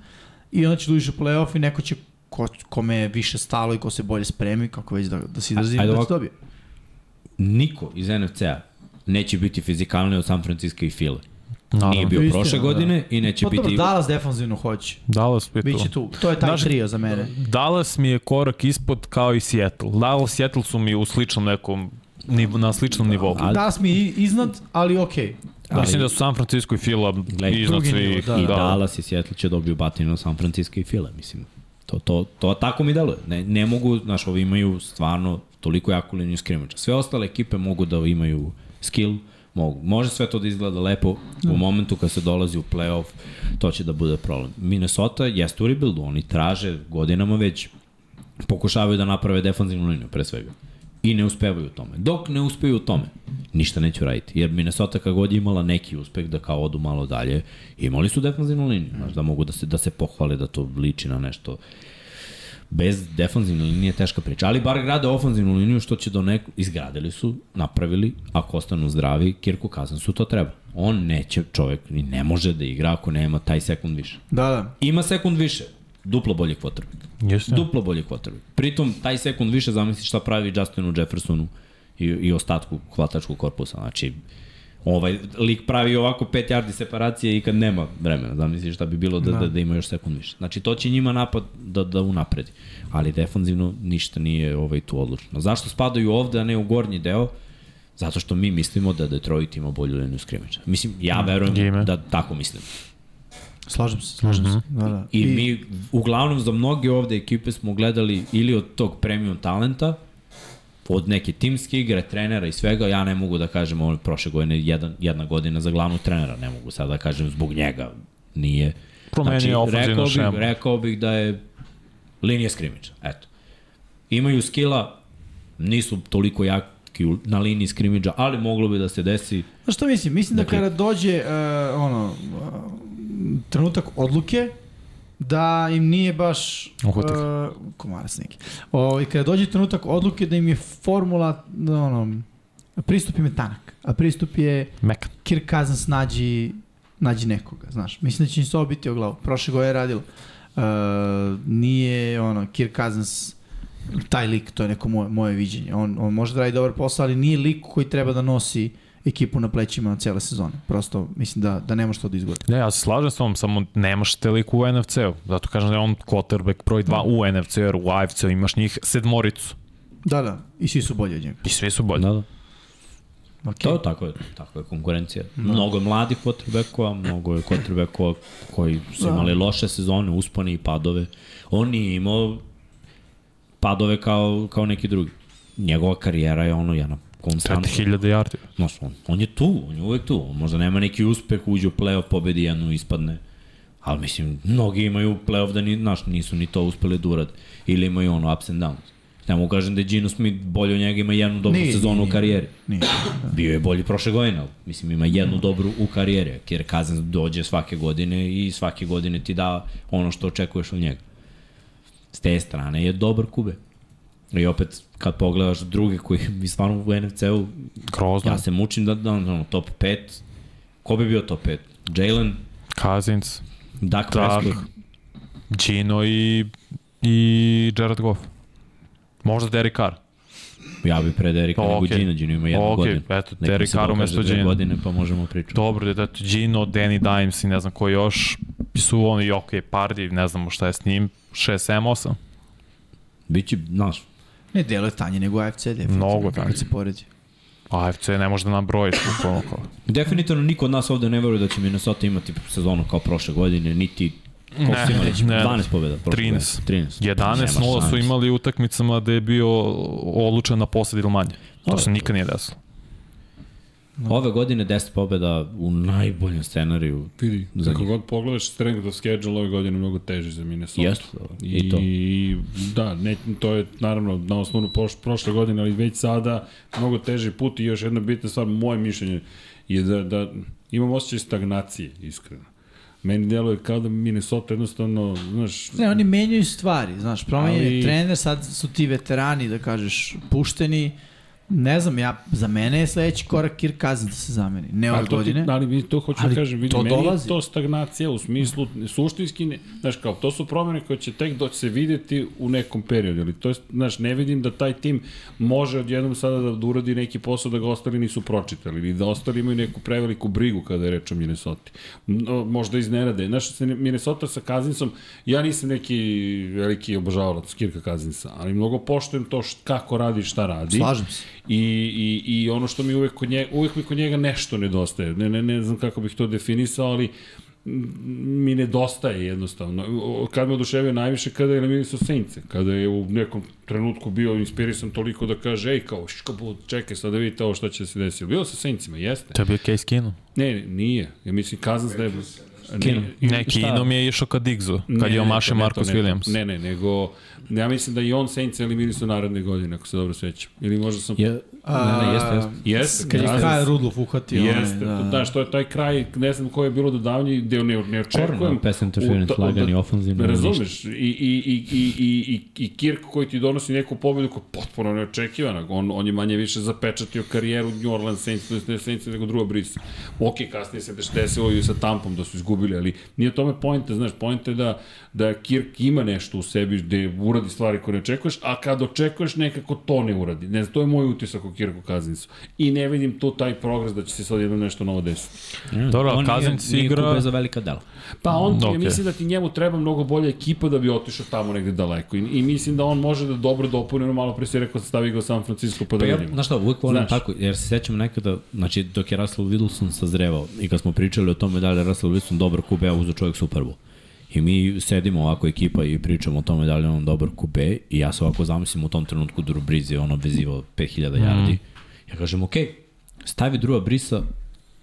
[SPEAKER 4] i onda ćeš da uđeš u play-off i neko će ko, kome je više stalo i ko se bolje spremi, kako već da, da se izrazim,
[SPEAKER 2] ajde
[SPEAKER 4] da će
[SPEAKER 2] ovako.
[SPEAKER 4] dobije.
[SPEAKER 2] Niko iz NFC-a neće biti fizikalni od San Francisco i Fila. Nije
[SPEAKER 3] naravno.
[SPEAKER 2] bio
[SPEAKER 4] Istina,
[SPEAKER 2] prošle
[SPEAKER 4] da.
[SPEAKER 2] godine i neće
[SPEAKER 4] Pa dobro,
[SPEAKER 2] biti...
[SPEAKER 4] Dallas defanzivno hoće.
[SPEAKER 3] Dallas bi
[SPEAKER 4] Biće
[SPEAKER 3] tu.
[SPEAKER 4] tu. To je taj
[SPEAKER 3] Znaš,
[SPEAKER 4] trio za mene.
[SPEAKER 3] Dallas mi je korak ispod kao i Seattle. Dallas, Seattle su mi u sličnom nekom, niv, na sličnom nivou.
[SPEAKER 2] Da, ali-
[SPEAKER 4] Dallas mi je i- iznad, ali okej.
[SPEAKER 2] ali-
[SPEAKER 3] Mislim da su San Francisco i Fila
[SPEAKER 2] Gledaj,
[SPEAKER 3] iznad
[SPEAKER 4] drugi nivo,
[SPEAKER 3] svih.
[SPEAKER 4] da.
[SPEAKER 2] I Dallas i Seattle će dobiju batinu od San Francisco i Fila, mislim. To, to, to tako mi deluje. Ne, ne mogu, znaš, ovi imaju stvarno toliko jaku liniju skrimača. Sve ostale ekipe mogu da imaju skill, mogu. Može sve to da izgleda lepo, u momentu kad se dolazi u playoff, to će da bude problem. Minnesota jeste u rebuildu, oni traže godinama već pokušavaju da naprave defanzivnu liniju pre svega i ne uspevaju u tome. Dok ne uspeju u tome, ništa neću raditi. Jer Minnesota kad god je imala neki uspeh da kao odu malo dalje, imali su defanzivnu liniju, znaš, da mogu da se, da se pohvale da to liči na nešto. Bez defanzivne linije je teška priča, ali bar grade ofanzivnu liniju što će do neko, izgradili su, napravili, ako ostanu zdravi, Kirku Kazansu to treba. On neće, čovjek ni ne može da igra ako nema taj sekund više.
[SPEAKER 4] Da, da.
[SPEAKER 2] Ima sekund više, duplo bolji kvotrbek.
[SPEAKER 3] Jeste.
[SPEAKER 2] Duplo bolji quarterback. Pritom, taj sekund više zamisli šta pravi Justinu Jeffersonu i, i ostatku hvatačkog korpusa. Znači, ovaj lik pravi ovako 5 yardi separacije i kad nema vremena. Zamisli šta bi bilo da, da. da, ima još sekund više. Znači, to će njima napad da, da unapredi. Ali defanzivno ništa nije ovaj, tu odlučno. Zašto spadaju ovde, a ne u gornji deo? Zato što mi mislimo da Detroit ima bolju liniju skrimiča. Mislim, ja verujem
[SPEAKER 3] Ime.
[SPEAKER 2] da tako mislim.
[SPEAKER 4] Slažem se, slažem se. Da, da.
[SPEAKER 2] Mhm. I, I mi, uglavnom, za mnoge ovde ekipe smo gledali ili od tog premium talenta, od neke timske igre, trenera i svega, ja ne mogu da kažem, ovo je prošle godine jedan, jedna godina za glavnog trenera, ne mogu sad da kažem zbog njega, nije. Znači,
[SPEAKER 3] Promenio je ofenzivnu
[SPEAKER 2] rekao bih,
[SPEAKER 3] šemu.
[SPEAKER 2] rekao bih da je linija skrimiča, eto. Imaju skila, nisu toliko jaki u- na liniji skrimiča, ali moglo bi da se desi
[SPEAKER 4] Znaš šta mislim? Mislim
[SPEAKER 2] Dakle-
[SPEAKER 4] dakle, da kada dođe uh, ono, uh, trenutak odluke, da im nije baš...
[SPEAKER 3] Uhvatili.
[SPEAKER 4] Uh, komarac neki. O, I kada dođe trenutak odluke da im je formula, da, ono, pristup im je tanak. A pristup je
[SPEAKER 3] Mekan.
[SPEAKER 4] Kirk Cousins nađi, nađi nekoga, znaš. Mislim da će im se ovo biti o glavu. Prošle godine je radilo. Uh, nije, ono, Kirk Cousins taj lik, to je neko moje, moje viđenje. On, on može da radi dobar posao, ali nije lik koji treba da nosi ekipu na plećima cele sezone. Prosto, mislim da, da ne može to da izgodi.
[SPEAKER 3] Ne, ja se slažem s tom, samo nemaš telik u NFC-u. Zato kažem da je on quarterback broj 2 u NFC-u, jer u AFC-u imaš njih sedmoricu.
[SPEAKER 4] Da, da, i svi su bolji od njega.
[SPEAKER 3] I svi su bolji.
[SPEAKER 2] da, da.
[SPEAKER 4] Okay.
[SPEAKER 2] To tako je, tako je konkurencija.
[SPEAKER 4] Da.
[SPEAKER 2] Mnogo je mladih quarterbackova, mnogo je quarterbackova koji
[SPEAKER 4] Da.
[SPEAKER 2] su imali loše sezone, uspone i padove. On nije imao padove kao, kao neki drugi. Njegova karijera je ono jedna konstantna.
[SPEAKER 3] 5000 yardi.
[SPEAKER 2] Znaš, on, on je tu, on je uvek tu. On možda nema neki uspeh, uđe u play-off, pobedi jednu, ispadne. Ali mislim, mnogi imaju play-off da ni, znaš, nisu ni to uspeli da urade. Ili imaju ono ups and downs. Ne mogu kažem da je Gino Smith bolje od njega ima jednu dobru
[SPEAKER 4] Nije,
[SPEAKER 2] sezonu
[SPEAKER 4] nije,
[SPEAKER 2] u karijeri.
[SPEAKER 4] Nije.
[SPEAKER 2] Bio je bolji prošle godine, ali mislim ima jednu dobru u karijeri, jer Kazan dođe svake godine i svake godine ti da ono što očekuješ od njega. S te strane je dobar kube. I opet, kad pogledaš druge koji mi stvarno u NFC-u,
[SPEAKER 3] Grozno.
[SPEAKER 2] ja se mučim da, da ono, top 5, ko bi bio top 5? Jalen,
[SPEAKER 3] Cousins,
[SPEAKER 2] Dak
[SPEAKER 3] Dak.
[SPEAKER 2] Prescott,
[SPEAKER 3] Gino i, i Jared Goff. Možda Derek Carr.
[SPEAKER 2] ja bi pre Derika
[SPEAKER 3] O,
[SPEAKER 2] nego
[SPEAKER 3] okej.
[SPEAKER 2] Gino, Gino ima jednu
[SPEAKER 3] O, okej,
[SPEAKER 2] godinu.
[SPEAKER 3] eto,
[SPEAKER 2] Nek mi se
[SPEAKER 3] Derek Carr
[SPEAKER 2] dokaže
[SPEAKER 3] umesto
[SPEAKER 2] dve
[SPEAKER 3] Gina.
[SPEAKER 2] godine pa možemo pričati.
[SPEAKER 3] Dobro, da eto, Gino, Danny Dimes i ne znam ko još su oni, ok, Pardi, ne znamo šta je s njim, 6, 7, 8.
[SPEAKER 2] Biće, znaš,
[SPEAKER 4] Ne, delo je tanje nego AFC, definitivno.
[SPEAKER 3] Mnogo
[SPEAKER 4] kad
[SPEAKER 3] tanje.
[SPEAKER 4] se poređe.
[SPEAKER 3] AFC ne može da nabrojiš bukvalno kao.
[SPEAKER 2] Definitivno niko od nas ovde ne veruje da će Minnesota imati sezonu kao prošle godine, niti koliko su imali?
[SPEAKER 3] ne.
[SPEAKER 2] 12 pobjeda prošle
[SPEAKER 3] 13.
[SPEAKER 2] godine. 13.
[SPEAKER 3] 11-0 su imali u utakmicama da je bio odlučen na posed ili manje. To se nikad nije desilo.
[SPEAKER 2] Ove godine 10 pobjeda u najboljem scenariju.
[SPEAKER 1] Vidi,
[SPEAKER 2] Za
[SPEAKER 1] kako god pogledaš, strength of schedule ove godine je mnogo teže za Minnesota.
[SPEAKER 2] Jeste,
[SPEAKER 1] I,
[SPEAKER 2] i to.
[SPEAKER 1] I da, ne, to je naravno na osnovu proš, prošle godine, ali već sada mnogo teži put i još jedna bitna stvar, moje mišljenje je da, da imam osjećaj stagnacije, iskreno. Meni deluje kao da Minnesota jednostavno, znaš,
[SPEAKER 4] Ne, oni menjaju stvari, znaš, promenjen je
[SPEAKER 1] Ali-
[SPEAKER 4] trener, sad su ti veterani, da kažeš, pušteni. Ne znam, ja, za mene je sledeći korak Kirk Cousins da se zameni. Ne
[SPEAKER 1] Ali
[SPEAKER 4] od
[SPEAKER 1] to ti-
[SPEAKER 4] godine.
[SPEAKER 1] Ali mi to hoću da
[SPEAKER 4] Ali
[SPEAKER 1] kažem, vidi,
[SPEAKER 4] to
[SPEAKER 1] meni dolazi.
[SPEAKER 4] dolazi.
[SPEAKER 1] to stagnacija u smislu suštinski, ne, znaš kao, to su promene koje će tek doći se videti u nekom periodu, ali to je, znaš, ne vidim da taj tim može odjednom sada da, da uradi neki posao da ga ostali nisu pročitali ili da ostali imaju neku preveliku brigu kada je reč o Minnesota. No, možda iznenade. Znaš, se ne- Minnesota sa Kazinsom, ja nisam neki veliki obožavalac Kirka Kazinsa, ali mnogo poštujem to št, kako radi i šta radi.
[SPEAKER 4] Slažem se.
[SPEAKER 1] I, i, i ono što mi uvek kod njega, uvek mi kod njega nešto nedostaje. Ne, ne, ne znam kako bih to definisao, ali m, mi nedostaje jednostavno. O, Kad me oduševio najviše, kada je eliminisao Saintse, kada je u nekom trenutku bio inspirisan toliko da kaže, ej, kao, škabu, čekaj sad da vidite ovo šta će da se desiti. Bio sa Saintsima, jeste.
[SPEAKER 3] To je bio Case Keenum.
[SPEAKER 1] Ne, ne, nije. Ja mislim, Kazans da je...
[SPEAKER 2] Keenum.
[SPEAKER 1] Ne,
[SPEAKER 3] Ne, Keenum je išao ka Digzu, kad je omaše
[SPEAKER 1] ne, to,
[SPEAKER 3] Marcus
[SPEAKER 1] ne, to.
[SPEAKER 3] Williams.
[SPEAKER 1] Ne, ne, nego, ja mislim da i on Saints eliminisao naredne godine, ako se dobro sećam. Ili možda sam...
[SPEAKER 2] Je, ne, ne, jeste, jeste.
[SPEAKER 1] Jeste,
[SPEAKER 4] Kad je
[SPEAKER 1] Cousins.
[SPEAKER 4] Kyle Rudolph uhvatio. onaj,
[SPEAKER 1] Jeste,
[SPEAKER 4] da,
[SPEAKER 1] da, što je taj kraj, ne znam koje je bilo dodavanje, gde ne, ne očekujem.
[SPEAKER 2] Korno, pass
[SPEAKER 1] u
[SPEAKER 2] interference,
[SPEAKER 1] ta-
[SPEAKER 2] lagani,
[SPEAKER 1] da-
[SPEAKER 2] ofenzivno.
[SPEAKER 1] Razumeš, i, i, i, i, i, i, i Kirk koji ti donosi neku pobedu koja je potpuno neočekivana, on, on je manje više zapečatio karijeru New Orleans Saints, to jest ne Saints nego druga brisa. Ok, kasnije se deš- desilo i sa Tampom da su izgubili, ali nije u tome pojenta, znaš, pojenta je da, da Kirk ima nešto u sebi gde uradi stvari koje ne očekuješ, a kad očekuješ nekako to ne uradi. Ne znam, to je moj utisak o Kirku Kazinsu. I ne vidim tu taj progres da će se sad jednom nešto novo desiti.
[SPEAKER 3] Dobro,
[SPEAKER 2] On nije-
[SPEAKER 3] Cousins
[SPEAKER 2] nije
[SPEAKER 3] igra-
[SPEAKER 2] kube za velika dela.
[SPEAKER 1] Pa
[SPEAKER 2] Mm,
[SPEAKER 1] on, okay.
[SPEAKER 3] Okej.
[SPEAKER 1] mislim da ti njemu treba mnogo bolja ekipa da bi otišao tamo negde daleko. I, i mislim da on može da dobro dopuni, ono malo pre si rekao da stavi ga u San Francisco pa da
[SPEAKER 2] Pa ja,
[SPEAKER 1] vidimo.
[SPEAKER 2] znaš šta, uvijek volim
[SPEAKER 1] Znaš.
[SPEAKER 2] tako, jer se sećam nekada, znači dok je Russell Wilson sazrevao i kad smo pričali o tome da li je Russell Wilson dobar QB, a uzeo čovjek Super Bowl. I mi sedimo ovako ekipa i pričamo o tome da li je on dobar QB i ja se ovako zamislim u tom trenutku Drew Brees je ono vezivao 5000
[SPEAKER 1] Mhm.
[SPEAKER 2] yardi. Ja kažem, okej, stavi Drewa Brisa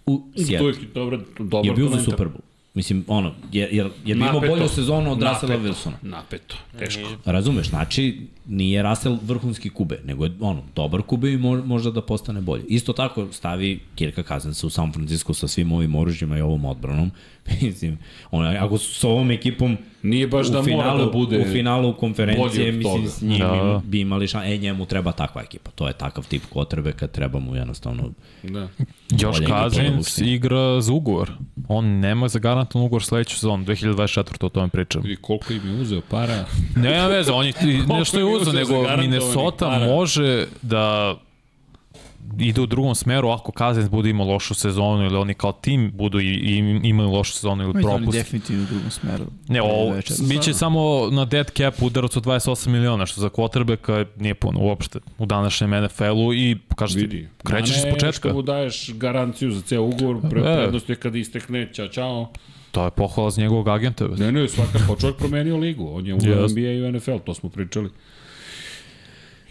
[SPEAKER 2] u
[SPEAKER 1] Tu
[SPEAKER 2] Seattle.
[SPEAKER 1] je dobro, dobro
[SPEAKER 2] Je bio za Super Bowl. Mislim, ono, jer, jer, jer bi imao bolju sezonu od Russella Wilsona.
[SPEAKER 1] Napeto, teško.
[SPEAKER 2] Razumeš, znači nije Russell vrhunski kube, nego je ono, dobar kube i mo, možda da postane bolje. Isto tako stavi Kirka Kazensa u San Francisco sa svim ovim oružjima i ovom odbranom. mislim, ono, ako su s ovom ekipom
[SPEAKER 1] Nije baš da
[SPEAKER 2] u finalu,
[SPEAKER 1] mora da bude...
[SPEAKER 2] u finalu konferencije,
[SPEAKER 1] bolji od toga.
[SPEAKER 2] mislim, s njim
[SPEAKER 3] Da.
[SPEAKER 2] da. bi imali šan, e, njemu treba takva ekipa. To je takav tip kotrbe kad treba mu jednostavno...
[SPEAKER 1] Da.
[SPEAKER 3] Još
[SPEAKER 2] Bolje ekipa
[SPEAKER 3] Cousins
[SPEAKER 2] Luksina.
[SPEAKER 3] igra za ugovor. On nema zagarantan ugovor sledeću sezonu, 2024. o tome pričam.
[SPEAKER 1] Vidi koliko im je uzeo para.
[SPEAKER 3] Nema veze, on je i nešto je
[SPEAKER 1] je
[SPEAKER 3] uzeo,
[SPEAKER 1] uzeo
[SPEAKER 3] nego
[SPEAKER 1] zagarantovanih
[SPEAKER 3] Minnesota
[SPEAKER 1] para?
[SPEAKER 3] može da ide u drugom smeru ako Cousins bude imao lošu sezonu ili oni kao tim budu i, i imaju lošu sezonu ili
[SPEAKER 4] Mislim, oni
[SPEAKER 3] propust.
[SPEAKER 4] definitivno u drugom smeru.
[SPEAKER 3] Ne, ovo,
[SPEAKER 4] Večer.
[SPEAKER 3] biće samo na dead cap udarac od 28 miliona, što za quarterbacka nije puno uopšte u današnjem NFL-u i
[SPEAKER 2] Pa
[SPEAKER 3] kažete,
[SPEAKER 1] Vidi.
[SPEAKER 3] krećeš
[SPEAKER 1] A
[SPEAKER 3] iz
[SPEAKER 1] ne
[SPEAKER 3] početka.
[SPEAKER 1] Što da mu daješ garanciju za ceo ugovor, pre,
[SPEAKER 2] Da.
[SPEAKER 3] E.
[SPEAKER 1] prednost je kada istekne, čao, čao.
[SPEAKER 3] To je pohvala za njegovog agenta. već.
[SPEAKER 1] Ne, ne, svakako, čovjek promenio ligu. On je u
[SPEAKER 3] Jasno.
[SPEAKER 1] NBA i u NFL, to smo pričali.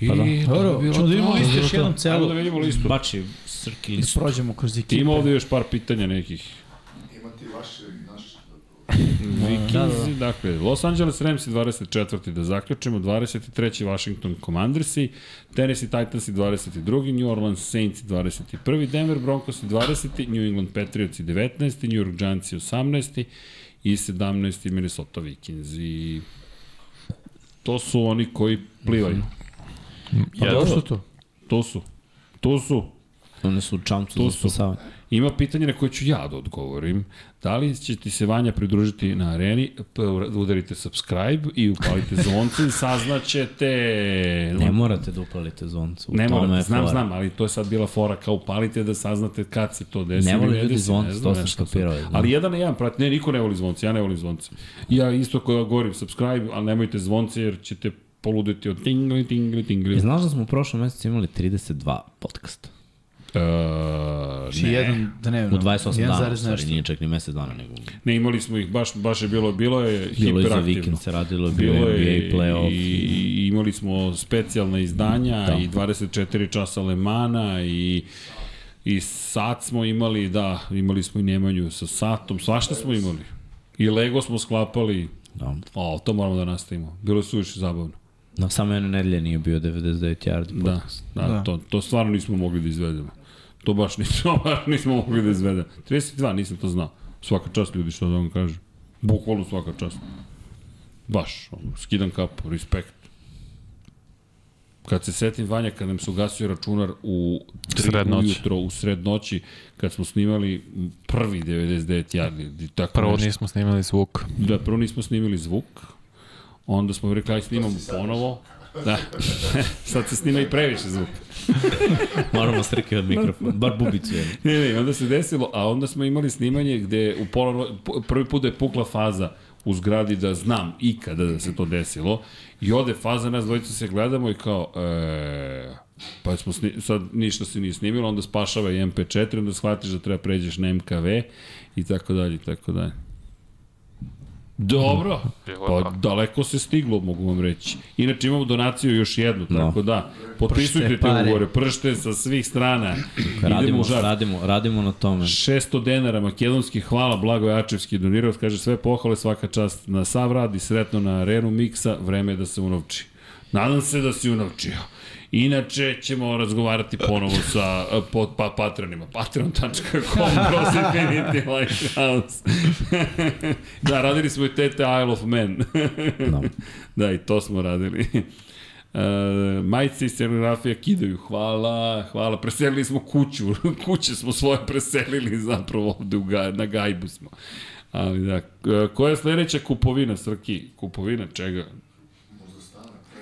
[SPEAKER 1] I,
[SPEAKER 2] Pa da.
[SPEAKER 1] to
[SPEAKER 4] Dobro,
[SPEAKER 1] bi bilo
[SPEAKER 4] ćemo da vidimo
[SPEAKER 1] to.
[SPEAKER 4] listu još jednom
[SPEAKER 1] Ajmo
[SPEAKER 4] celu.
[SPEAKER 1] da vidimo listu.
[SPEAKER 2] Bači srki
[SPEAKER 4] Da prođemo kroz ekipu.
[SPEAKER 1] Ima ovde još par pitanja nekih.
[SPEAKER 5] Imati vaše i naše.
[SPEAKER 1] Vikinzi, dakle, Los Angeles Rams 24. da zaključimo, 23. Washington Commandersi, Tennessee Titans 22. New Orleans Saints 21. Denver Broncos 20. New England Patriots 19. New York Giants 18. i 17. Minnesota Vikings i to su oni koji plivaju.
[SPEAKER 3] Pa dobro.
[SPEAKER 2] Što to?
[SPEAKER 1] To su. To su.
[SPEAKER 2] Oni su u čamcu
[SPEAKER 1] Tu
[SPEAKER 2] za
[SPEAKER 1] su.
[SPEAKER 2] spasavanje.
[SPEAKER 1] Ima pitanje na koje ću ja da odgovorim. Da li će ti se Vanja pridružiti na areni? P- Udarite subscribe i upalite zvonce i saznaćete...
[SPEAKER 2] Ne morate da upalite zvonce. u
[SPEAKER 1] Ne
[SPEAKER 2] tome
[SPEAKER 1] moram,
[SPEAKER 2] je
[SPEAKER 1] znam,
[SPEAKER 2] fora.
[SPEAKER 1] znam, ali to je sad bila fora kao upalite da saznate kad se to desi.
[SPEAKER 2] Ne
[SPEAKER 1] ili
[SPEAKER 2] vole ljudi
[SPEAKER 1] desi,
[SPEAKER 2] zvonce,
[SPEAKER 1] znam,
[SPEAKER 2] to sam
[SPEAKER 1] nešto
[SPEAKER 2] skapirao,
[SPEAKER 1] sam.
[SPEAKER 2] da.
[SPEAKER 1] Ali jedan na jedan, prati, ne, niko ne voli zvonce, ja ne volim zvonce. Ja isto koja govorim subscribe, ali nemojte zvonce jer ćete poluditi od tingli, tingli, tingli.
[SPEAKER 2] I znaš da smo u prošlom mesecu imali 32 podcasta.
[SPEAKER 1] E,
[SPEAKER 4] Znači,
[SPEAKER 1] ne.
[SPEAKER 4] jedan, da ne
[SPEAKER 2] U
[SPEAKER 4] vjerujem,
[SPEAKER 2] 28 dana, u
[SPEAKER 4] 1,0
[SPEAKER 2] stvari,
[SPEAKER 4] nešto.
[SPEAKER 2] nije čak ni mesec dana, nego
[SPEAKER 1] ne, imali smo ih, baš, baš je bilo, bilo je
[SPEAKER 2] bilo je za
[SPEAKER 1] hiperaktivno.
[SPEAKER 2] vikend se radilo, bilo,
[SPEAKER 1] Bilo je
[SPEAKER 2] NBA playoff.
[SPEAKER 1] i,
[SPEAKER 2] I...
[SPEAKER 1] i imali smo specijalna izdanja
[SPEAKER 2] Da.
[SPEAKER 1] i 24 časa Lemana i i sat smo imali, da, imali smo i Nemanju sa satom, svašta smo imali. I Lego smo sklapali,
[SPEAKER 2] Da.
[SPEAKER 1] o, to moramo da nastavimo. Bilo je suviše zabavno.
[SPEAKER 2] Na samo jedne nedelje nije bio 99 yardi
[SPEAKER 1] Da,
[SPEAKER 2] podcast.
[SPEAKER 1] da, da.
[SPEAKER 4] Da.
[SPEAKER 1] To, to stvarno nismo mogli da izvedemo. To baš nismo, baš nismo mogli da izvedemo. 32, nisam to znao. Svaka čast ljudi što da vam kažem. Bukvalno svaka čast. Baš, ono, skidam kapu, respekt. Kad se setim Vanja, kad nam se ugasio računar u 3
[SPEAKER 3] Sred
[SPEAKER 1] sred
[SPEAKER 3] noći.
[SPEAKER 1] ujutro, u sred noći, kad smo snimali prvi 99 jardi, tako
[SPEAKER 3] Prvo
[SPEAKER 1] nešto.
[SPEAKER 3] nismo snimali zvuk.
[SPEAKER 1] Da, prvo nismo snimili zvuk, onda smo rekli, aj snimamo ponovo. Da, sad se snima i previše zvuk.
[SPEAKER 2] Moramo strke od mikrofona, bar bubicu jednu.
[SPEAKER 1] Ne, ne, onda se desilo, a onda smo imali snimanje gde u pola, no- p- prvi put da je pukla faza u zgradi da znam ikada da se to desilo i ode faza, nas dvojica se gledamo i kao, e, pa smo sni, sad ništa se nije snimilo, onda spašava i MP4, onda shvatiš da treba pređeš na MKV i tako dalje, i tako dalje. Dobro, pa daleko se stiglo, mogu vam reći. Inače imamo donaciju još jednu,
[SPEAKER 2] No.
[SPEAKER 1] tako da, potpisujte te
[SPEAKER 4] pare.
[SPEAKER 1] ugovore, pršte sa svih strana. Idemo u
[SPEAKER 2] Radimo,
[SPEAKER 1] žar.
[SPEAKER 2] radimo, radimo na tome.
[SPEAKER 1] 600 denara makedonski, hvala Blago Jačevski donirao, kaže sve pohvale, svaka čast na sav rad i sretno na arenu miksa, vreme je da se unovči. Nadam se da si unovčio. Inače ćemo razgovarati ponovo sa e, pod, pa, patronima. Patron.com, kroz Infinity Lighthouse. da, radili smo i tete Isle of Man.
[SPEAKER 2] Da.
[SPEAKER 1] Da, i to smo radili. Uh, majice i scenografija kidaju, hvala, hvala, preselili smo kuću, kuće smo svoje preselili zapravo ovde u ga, na gajbu smo. Ali da, e, koja je sledeća kupovina, Srki? Kupovina čega?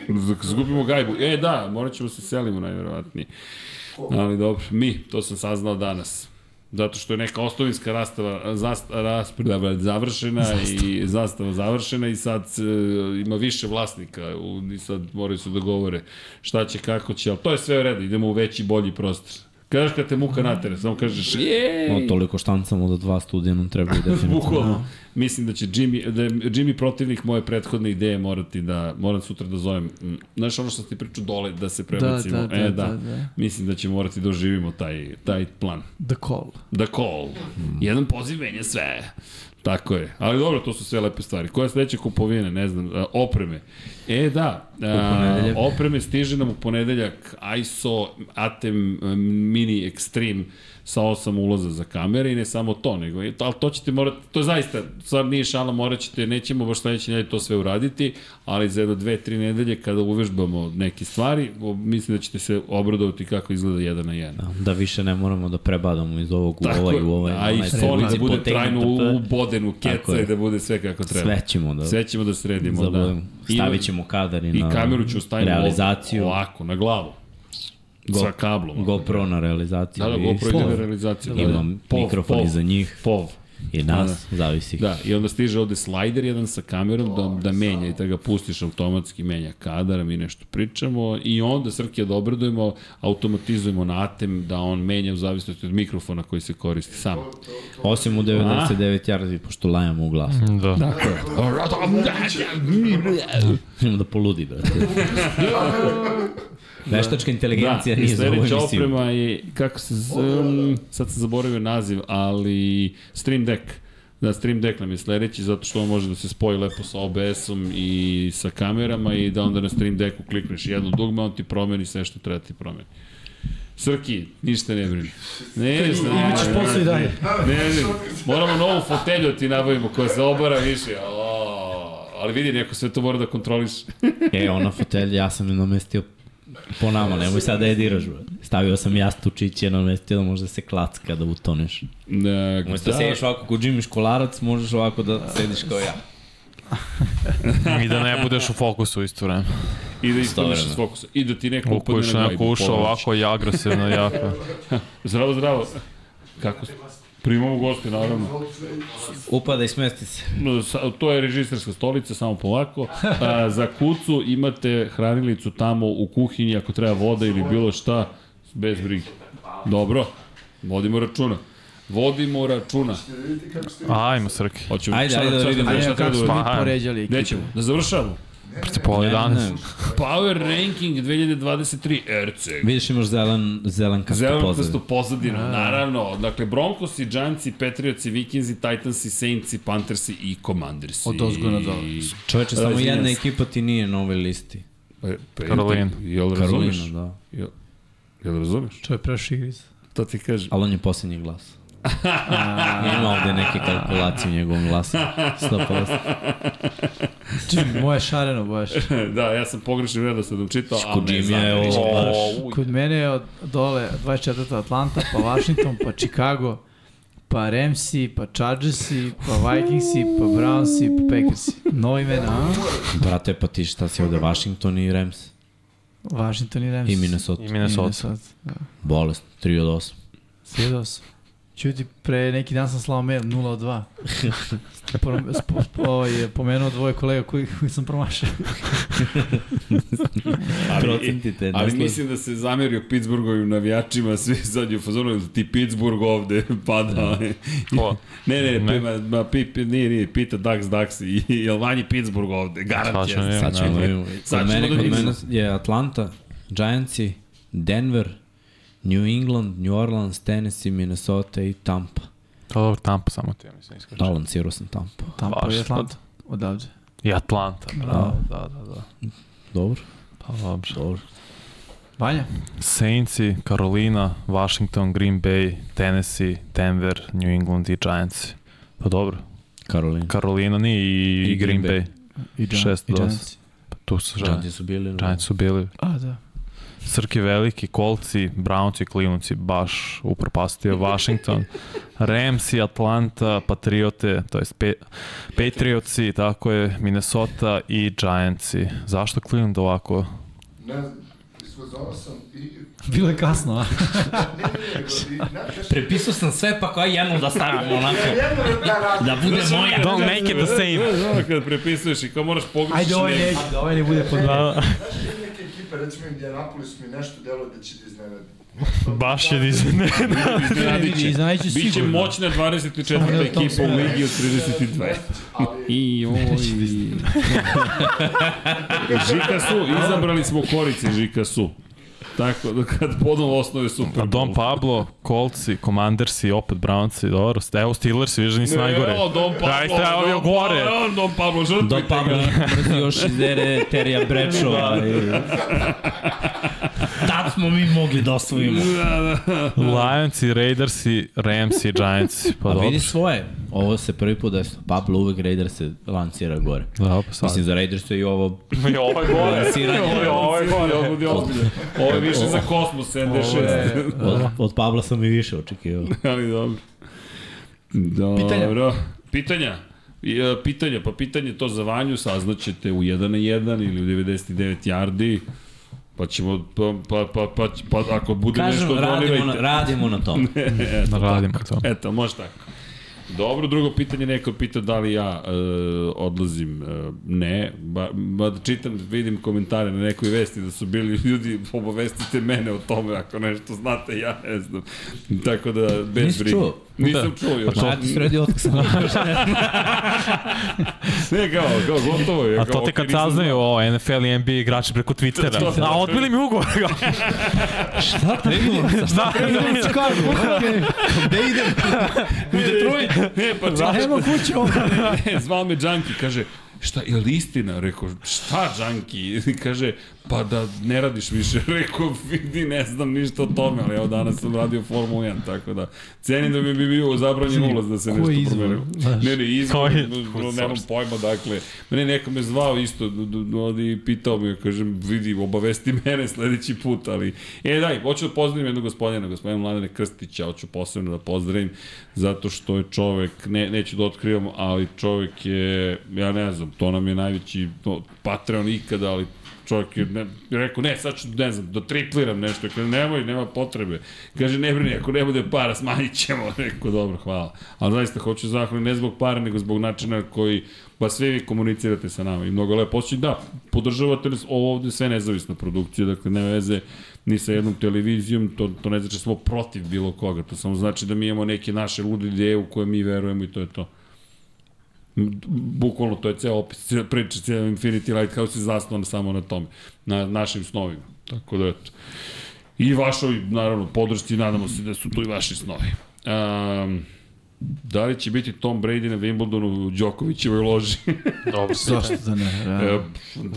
[SPEAKER 1] Možda Zgubimo gajbu. E, da, morat ćemo se selimo najverovatnije. Ali dobro, mi, to sam saznao danas. Zato što je neka ostovinska rastava, zast, rasprava završena i zastava završena i sad e, ima više vlasnika u, i sad moraju se dogovore šta će, kako će, ali to je sve u redu, idemo u veći, bolji prostor. Kažeš kad te muka natere, samo kažeš jej!
[SPEAKER 2] No, toliko štancamo da dva studija nam trebaju definitivno.
[SPEAKER 1] Bukvalno. Mislim da će Jimmy, da je Jimmy protivnik moje prethodne ideje morati da, moram sutra da zovem, mm, znaš ono što ti pričao dole, da se prebacimo.
[SPEAKER 4] da,
[SPEAKER 1] e,
[SPEAKER 4] da,
[SPEAKER 1] da.
[SPEAKER 4] da, da.
[SPEAKER 1] Mislim da će morati da oživimo taj, taj plan.
[SPEAKER 4] The Call.
[SPEAKER 1] The call. Jedan poziv menja sve. Tako je. Ali dobro, to su sve lepe stvari. Koja je sledeća kupovina, ne znam, a, opreme. E, da, a,
[SPEAKER 2] ponedeljak.
[SPEAKER 1] opreme stiže nam u ponedeljak ISO Atem e, Mini Extreme sa osam ulaza za kamere i ne samo to, nego, i to- ali to ćete morati, to je zaista, stvar nije šala, morat ćete, nećemo baš sledeće nedelje to sve uraditi, ali za jedno dve, tri nedelje kada uvežbamo neke stvari, o, mislim da ćete se obradovati kako izgleda jedan na jedan.
[SPEAKER 2] Da više ne moramo da prebadamo iz ovog u
[SPEAKER 1] Tako
[SPEAKER 2] ovaj
[SPEAKER 1] je,
[SPEAKER 2] u ovaj.
[SPEAKER 1] A i Sony da bude trajno u- ubodenu
[SPEAKER 2] Tako
[SPEAKER 1] keca
[SPEAKER 2] je.
[SPEAKER 1] i da bude sve kako treba.
[SPEAKER 2] Sve ćemo da
[SPEAKER 1] Sve ćemo da sredimo. Da.
[SPEAKER 2] zabavimo. Stavit ćemo kadar i
[SPEAKER 1] I
[SPEAKER 2] na
[SPEAKER 1] kameru ću staviti
[SPEAKER 2] realizaciju.
[SPEAKER 1] Ovako, na glavu. Sa kablom.
[SPEAKER 2] GoPro na realizaciju.
[SPEAKER 1] Da, da,
[SPEAKER 2] i
[SPEAKER 1] GoPro ide na
[SPEAKER 2] sve.
[SPEAKER 1] realizaciju. da, da.
[SPEAKER 2] Imam
[SPEAKER 1] Pov,
[SPEAKER 2] mikrofon
[SPEAKER 1] pov,
[SPEAKER 2] iza njih
[SPEAKER 1] Pov.
[SPEAKER 2] i nas, zavisi.
[SPEAKER 1] Da, i onda stiže ovde slajder jedan sa kamerom da, da menja i da ga pustiš automatski, menja kadar, mi nešto pričamo i onda Srke da obradujemo, automatizujemo na ATEM da on menja u zavisnosti od mikrofona koji se koristi sam.
[SPEAKER 2] Osim u 99 yardi, pošto lajamo u glas.
[SPEAKER 1] Mm,
[SPEAKER 3] Da. da.
[SPEAKER 1] Tako je.
[SPEAKER 2] Imam da poludi, brate. Veštačka inteligencija
[SPEAKER 1] Da,
[SPEAKER 2] nije
[SPEAKER 1] i
[SPEAKER 2] za ovu
[SPEAKER 1] sledeća
[SPEAKER 2] emisiju.
[SPEAKER 4] da,
[SPEAKER 1] oprema je, kako se, z- um, sad sam zaboravio naziv, ali Stream Deck. Da, Stream Deck nam je sledeći, zato što on može da se spoji lepo sa OBS-om i sa kamerama i da onda na Stream Decku klikneš jedno dugme, on ti promeni sve što treba da ti promeni. Srki, ništa ne brini. Ne, ništa ne brini.
[SPEAKER 4] Imaćeš posao i da- dalje.
[SPEAKER 1] Ne, ne, moramo novu fotelju da ti nabavimo koja se obara više. O, ali vidi, neko sve to mora da kontroliš.
[SPEAKER 2] E, ona fotelja, ja sam je namestio po nama, nemoj sad da je diraš, bro. Stavio sam jastučiće, namestio da možda se klacka da utoneš.
[SPEAKER 1] Da,
[SPEAKER 2] Umesto da sediš ovako ko Jimmy Školarac, možeš ovako da sediš kao ja.
[SPEAKER 3] I da ne budeš u fokusu isto vreme.
[SPEAKER 1] I da
[SPEAKER 2] Isto
[SPEAKER 1] ispadneš
[SPEAKER 2] vreme.
[SPEAKER 1] iz fokusa. I da ti neko upadne
[SPEAKER 3] Kupuješ
[SPEAKER 1] na
[SPEAKER 3] neko
[SPEAKER 1] gajbu.
[SPEAKER 3] ušao ovako i agresivno jako.
[SPEAKER 1] Zdravo, zdravo. Kako ste? Primamo goste, naravno.
[SPEAKER 2] Upada i smesti se.
[SPEAKER 1] Sa- to je režiserska stolica, samo polako. A, za kucu imate hranilicu tamo u kuhinji, ako treba voda ili bilo šta, bez brige. Dobro, vodimo računa. Vodimo računa.
[SPEAKER 3] Ajmo, Srki.
[SPEAKER 1] Hoćemo
[SPEAKER 2] Ajde, ajde da vidimo.
[SPEAKER 1] Ajde,
[SPEAKER 4] Ajde,
[SPEAKER 1] šta treba
[SPEAKER 4] kako
[SPEAKER 1] da
[SPEAKER 4] smo mi
[SPEAKER 1] uradimo?
[SPEAKER 3] Pa, ajde.
[SPEAKER 4] poređali
[SPEAKER 1] Gde
[SPEAKER 4] ekipu.
[SPEAKER 1] ćemo? Da završamo.
[SPEAKER 3] Proti pola
[SPEAKER 2] Ne,
[SPEAKER 3] 11.
[SPEAKER 2] ne.
[SPEAKER 1] Power Ranking 2023 RC.
[SPEAKER 2] Vidiš imaš zelen, zelen
[SPEAKER 4] Pa
[SPEAKER 2] kastu
[SPEAKER 1] Zelenokastu
[SPEAKER 2] pozdrav.
[SPEAKER 1] pozadinu,
[SPEAKER 4] Da.
[SPEAKER 1] naravno. Dakle, Broncosi, Giantsi, Patriotsi, Vikingsi, Titansi, Saintsi, Panthersi i Commandersi.
[SPEAKER 4] Od ozgo na dole.
[SPEAKER 2] Čoveče, samo
[SPEAKER 1] izvinjam
[SPEAKER 2] jedna
[SPEAKER 1] se.
[SPEAKER 2] ekipa ti nije na ovoj listi.
[SPEAKER 1] Pa, pa,
[SPEAKER 3] Karolin.
[SPEAKER 1] Jel razumeš?
[SPEAKER 2] Karolina, da.
[SPEAKER 1] Jel, jel razumeš?
[SPEAKER 4] To je prešao igrica.
[SPEAKER 1] To ti kažem.
[SPEAKER 2] Ali on je posljednji glas. Ima ovde neke kalkulacije u njegovom glasu. 100%.
[SPEAKER 4] Čim, moje šareno baš.
[SPEAKER 1] da, ja sam pogrešnim redosledom čitao, ali ne
[SPEAKER 2] Kudžim je
[SPEAKER 1] znam.
[SPEAKER 2] ovo baš.
[SPEAKER 4] Kod mene je od dole 24. Atlanta, pa Washington, pa Chicago, pa Ramsi, pa Chargersi, pa Vikingsi, pa Brownsi, pa Packersi. Novo imena, a?
[SPEAKER 2] Brate, pa ti šta si ovde, Washington i Rams.
[SPEAKER 4] Washington i Ramsi.
[SPEAKER 2] I Minnesota.
[SPEAKER 3] I Minnesota.
[SPEAKER 4] Da.
[SPEAKER 2] Bolest, 3 od 8.
[SPEAKER 4] Sjedao sam. Čuti, pre neki dan sam slao mail 0 od 2. Porom- spo- spo- ovaj, je pomenuo dvoje kolega koji, koji sam promašao.
[SPEAKER 2] Procenti te.
[SPEAKER 1] Ali mislim da se zamerio Pittsburghovim navijačima, svi sad je u fazonu, ti Pittsburgh ovde
[SPEAKER 2] Da.
[SPEAKER 1] pada.
[SPEAKER 3] Ko?
[SPEAKER 1] ne, ne, ne,
[SPEAKER 3] Ne.
[SPEAKER 1] ma, ma, pip, nije, nije, pita Dax Dax, i- i- jel vanji Pittsburgh ovde, garant
[SPEAKER 3] Tačno,
[SPEAKER 1] je.
[SPEAKER 3] je.
[SPEAKER 2] Sad ćemo
[SPEAKER 1] Ne,
[SPEAKER 2] da
[SPEAKER 1] ne.
[SPEAKER 2] vidimo.
[SPEAKER 1] Sad
[SPEAKER 2] Kod
[SPEAKER 1] ćemo
[SPEAKER 2] mene,
[SPEAKER 1] da
[SPEAKER 2] kod
[SPEAKER 1] vidimo.
[SPEAKER 2] mene je Atlanta, Giantsi, Denver, New England, New Orleans, Tennessee, Minnesota i Tampa.
[SPEAKER 3] To je Pa dobro tampa samo ti, ja mislim, iskače.
[SPEAKER 2] Da, lancirao sam Tampa.
[SPEAKER 4] Tamo
[SPEAKER 3] Baš,
[SPEAKER 4] je Atlanta. Odavde.
[SPEAKER 3] I Atlanta, bravo, da, da, da.
[SPEAKER 2] Dobro,
[SPEAKER 3] Pa dobro.
[SPEAKER 2] dobro.
[SPEAKER 4] Vanja?
[SPEAKER 3] Saintsi, Carolina, Washington, Green Bay, Tennessee, Denver, New England i Giants. Pa dobro.
[SPEAKER 2] Karolina.
[SPEAKER 3] Carolina nije i,
[SPEAKER 2] I
[SPEAKER 3] i Green
[SPEAKER 2] Green
[SPEAKER 3] Bay.
[SPEAKER 4] I Giants.
[SPEAKER 3] Šest
[SPEAKER 4] I
[SPEAKER 3] do
[SPEAKER 4] Giants.
[SPEAKER 3] Pa tu su Giants.
[SPEAKER 2] Giantsi su bili. da.
[SPEAKER 3] Giants su bili
[SPEAKER 4] A, da.
[SPEAKER 3] Srki veliki, Kolci, Brownci, Klinunci, baš upropastio Washington, Ramsi, Atlanta, Patriote, to jest pe, Patriotsi, tako je, Minnesota i Giantsi. Zašto Cleveland ovako?
[SPEAKER 5] Ne znam, isfazovao sam i...
[SPEAKER 4] Bilo je kasno, a?
[SPEAKER 5] Ne, ne, ne, i- znaš, znaš,
[SPEAKER 2] Prepisao sam sve pa kao jednu da stavim onako.
[SPEAKER 5] jedno je da radi.
[SPEAKER 2] Da bude moja.
[SPEAKER 3] Don't make it the same.
[SPEAKER 1] Da, kad prepisuješ i kao moraš pogrešiti.
[SPEAKER 4] Ajde, ovaj ne, da ovaj ne bude po dva.
[SPEAKER 3] Pa,
[SPEAKER 5] Sve neke ekipe, recimo Indianapolis mi nešto deluje da će da iznenadi.
[SPEAKER 3] Baš je dizne.
[SPEAKER 1] Iznenadit će.
[SPEAKER 4] Iznenadit će
[SPEAKER 1] Biće
[SPEAKER 4] sigurno.
[SPEAKER 1] moćna 24.
[SPEAKER 4] Samo
[SPEAKER 1] ekipa u
[SPEAKER 4] da
[SPEAKER 1] Ligi od 32.
[SPEAKER 5] Ali,
[SPEAKER 1] I oj. Žika su, izabrali smo korice Žika su. Tako da kad podom osnove su
[SPEAKER 3] Pa Don Pablo, Kolci, Commandersi, opet Brownci, dobro. Evo Steelers, vidiš da nisu najgore.
[SPEAKER 1] Evo, Don Pablo.
[SPEAKER 3] Daj, treba bio gore.
[SPEAKER 1] Evo, Don Pablo, žrtvite
[SPEAKER 2] Do Pablo
[SPEAKER 1] ga.
[SPEAKER 2] mrzi još iz ere Terija Brečova.
[SPEAKER 3] Da,
[SPEAKER 2] Tad smo mi mogli da osvojimo.
[SPEAKER 3] Lionsi, Raidersi, Ramsi, Giantsi, pa
[SPEAKER 2] Pa
[SPEAKER 3] dobro.
[SPEAKER 2] vidi svoje. Ovo se prvi put desilo. Pablo uvek Raider se lancira gore.
[SPEAKER 3] Da, pa sad.
[SPEAKER 2] Mislim, za Raiders je i ovo
[SPEAKER 3] I ovo je gore.
[SPEAKER 2] lanciranje.
[SPEAKER 1] Ovo je gore, ovo je ozbiljno. Ovo je više za kosmos, 76.
[SPEAKER 3] Da.
[SPEAKER 2] Od, od Pabla sam i više očekivao.
[SPEAKER 1] Ali dobro. Dobro.
[SPEAKER 4] Pitanja?
[SPEAKER 1] Pitanja? I, e, Pitanja, pa pitanje to za Vanju saznaćete u 1 na 1 ili u 99 yardi. Pa ćemo, pa, pa, pa, pa, pa ako bude
[SPEAKER 2] Kažem,
[SPEAKER 1] nešto
[SPEAKER 2] radimo na,
[SPEAKER 1] donirajte.
[SPEAKER 2] radimo na tom.
[SPEAKER 3] Da Radimo to.
[SPEAKER 1] Eto, može tako. Dobro, drugo pitanje, neko pita da li ja e, odlazim, e, ne, ba, ba, da čitam, vidim komentare na nekoj vesti da su bili ljudi, obavestite mene o tome ako nešto znate, ja ne znam. Tako da, bez brige.
[SPEAKER 2] Nisi čuo?
[SPEAKER 1] Nisam čuo još.
[SPEAKER 2] Pa ja ti sredi otak sam.
[SPEAKER 3] Da.
[SPEAKER 1] Ne, kao, kao, gotovo je.
[SPEAKER 3] A
[SPEAKER 1] kao,
[SPEAKER 3] to te
[SPEAKER 1] okej,
[SPEAKER 3] kad
[SPEAKER 1] nisam
[SPEAKER 3] saznaju
[SPEAKER 1] znao.
[SPEAKER 3] o NFL i NBA igrači preko
[SPEAKER 1] To- to-
[SPEAKER 3] Twittera. A odbili mi ugovor.
[SPEAKER 2] Šta tako?
[SPEAKER 3] Šta?
[SPEAKER 4] Idemo u Chicago, okej.
[SPEAKER 2] Gde idem?
[SPEAKER 1] U Detroit. ne, pa čekaj,
[SPEAKER 4] Ajmo kuće ovdje.
[SPEAKER 1] ne, zvao me Džanki, kaže, šta, je li istina? Rekao, šta Džanki? Kaže, pa da ne radiš više. Rekao, vidi, ne znam ništa o tome, ali evo danas sam radio Formula 1, tako da cenim da bi mi bio zabranjen ulaz da se
[SPEAKER 4] Koji
[SPEAKER 1] nešto
[SPEAKER 4] izvor,
[SPEAKER 1] proverilo.
[SPEAKER 4] znaš?
[SPEAKER 1] Ne, ne, izvor,
[SPEAKER 3] Koji-
[SPEAKER 1] no, nemam pojma, dakle. Mene neko me zvao isto d- d- ovdje i pitao me, kažem, vidi, obavesti mene sledeći put, ali... E, daj, hoću da pozdravim jednog gospodina, gospodina Mladene Krstića, hoću posebno da pozdravim, zato što je čovek, ne, neću da otkrivam, ali čovek je, ja ne znam, to nam je najveći no, Patreon ikada, ali čovjek je ne, rekao, ne, sad ću, ne znam, da tripliram nešto. Kaže, nemoj, nema potrebe. Kaže, ne brini, ako ne bude para, smanjit ćemo. Rekao, dobro, hvala. Ali zaista, hoću zahvalim ne zbog para, nego zbog načina na koji pa svi vi komunicirate sa nama i mnogo lepo osjećaj. Da, podržavate nas ovo ovde sve nezavisna produkcija, dakle ne veze ni sa jednom televizijom, to, to ne znači da smo protiv bilo koga, to samo znači da mi imamo neke naše lude ideje u koje mi verujemo i to je to. Bukvalno to je ceo opis, ceo priča, ceo Infinity Lighthouse je zasnovan samo na tome, na našim snovima. Tako da, eto. I vašoj, naravno, podršci, nadamo se da su tu i vaši snovi. Um, da li će biti Tom Brady na Wimbledonu u Đokovićevoj loži?
[SPEAKER 3] Dobro,
[SPEAKER 4] Zašto da ne?
[SPEAKER 1] E,
[SPEAKER 4] realno.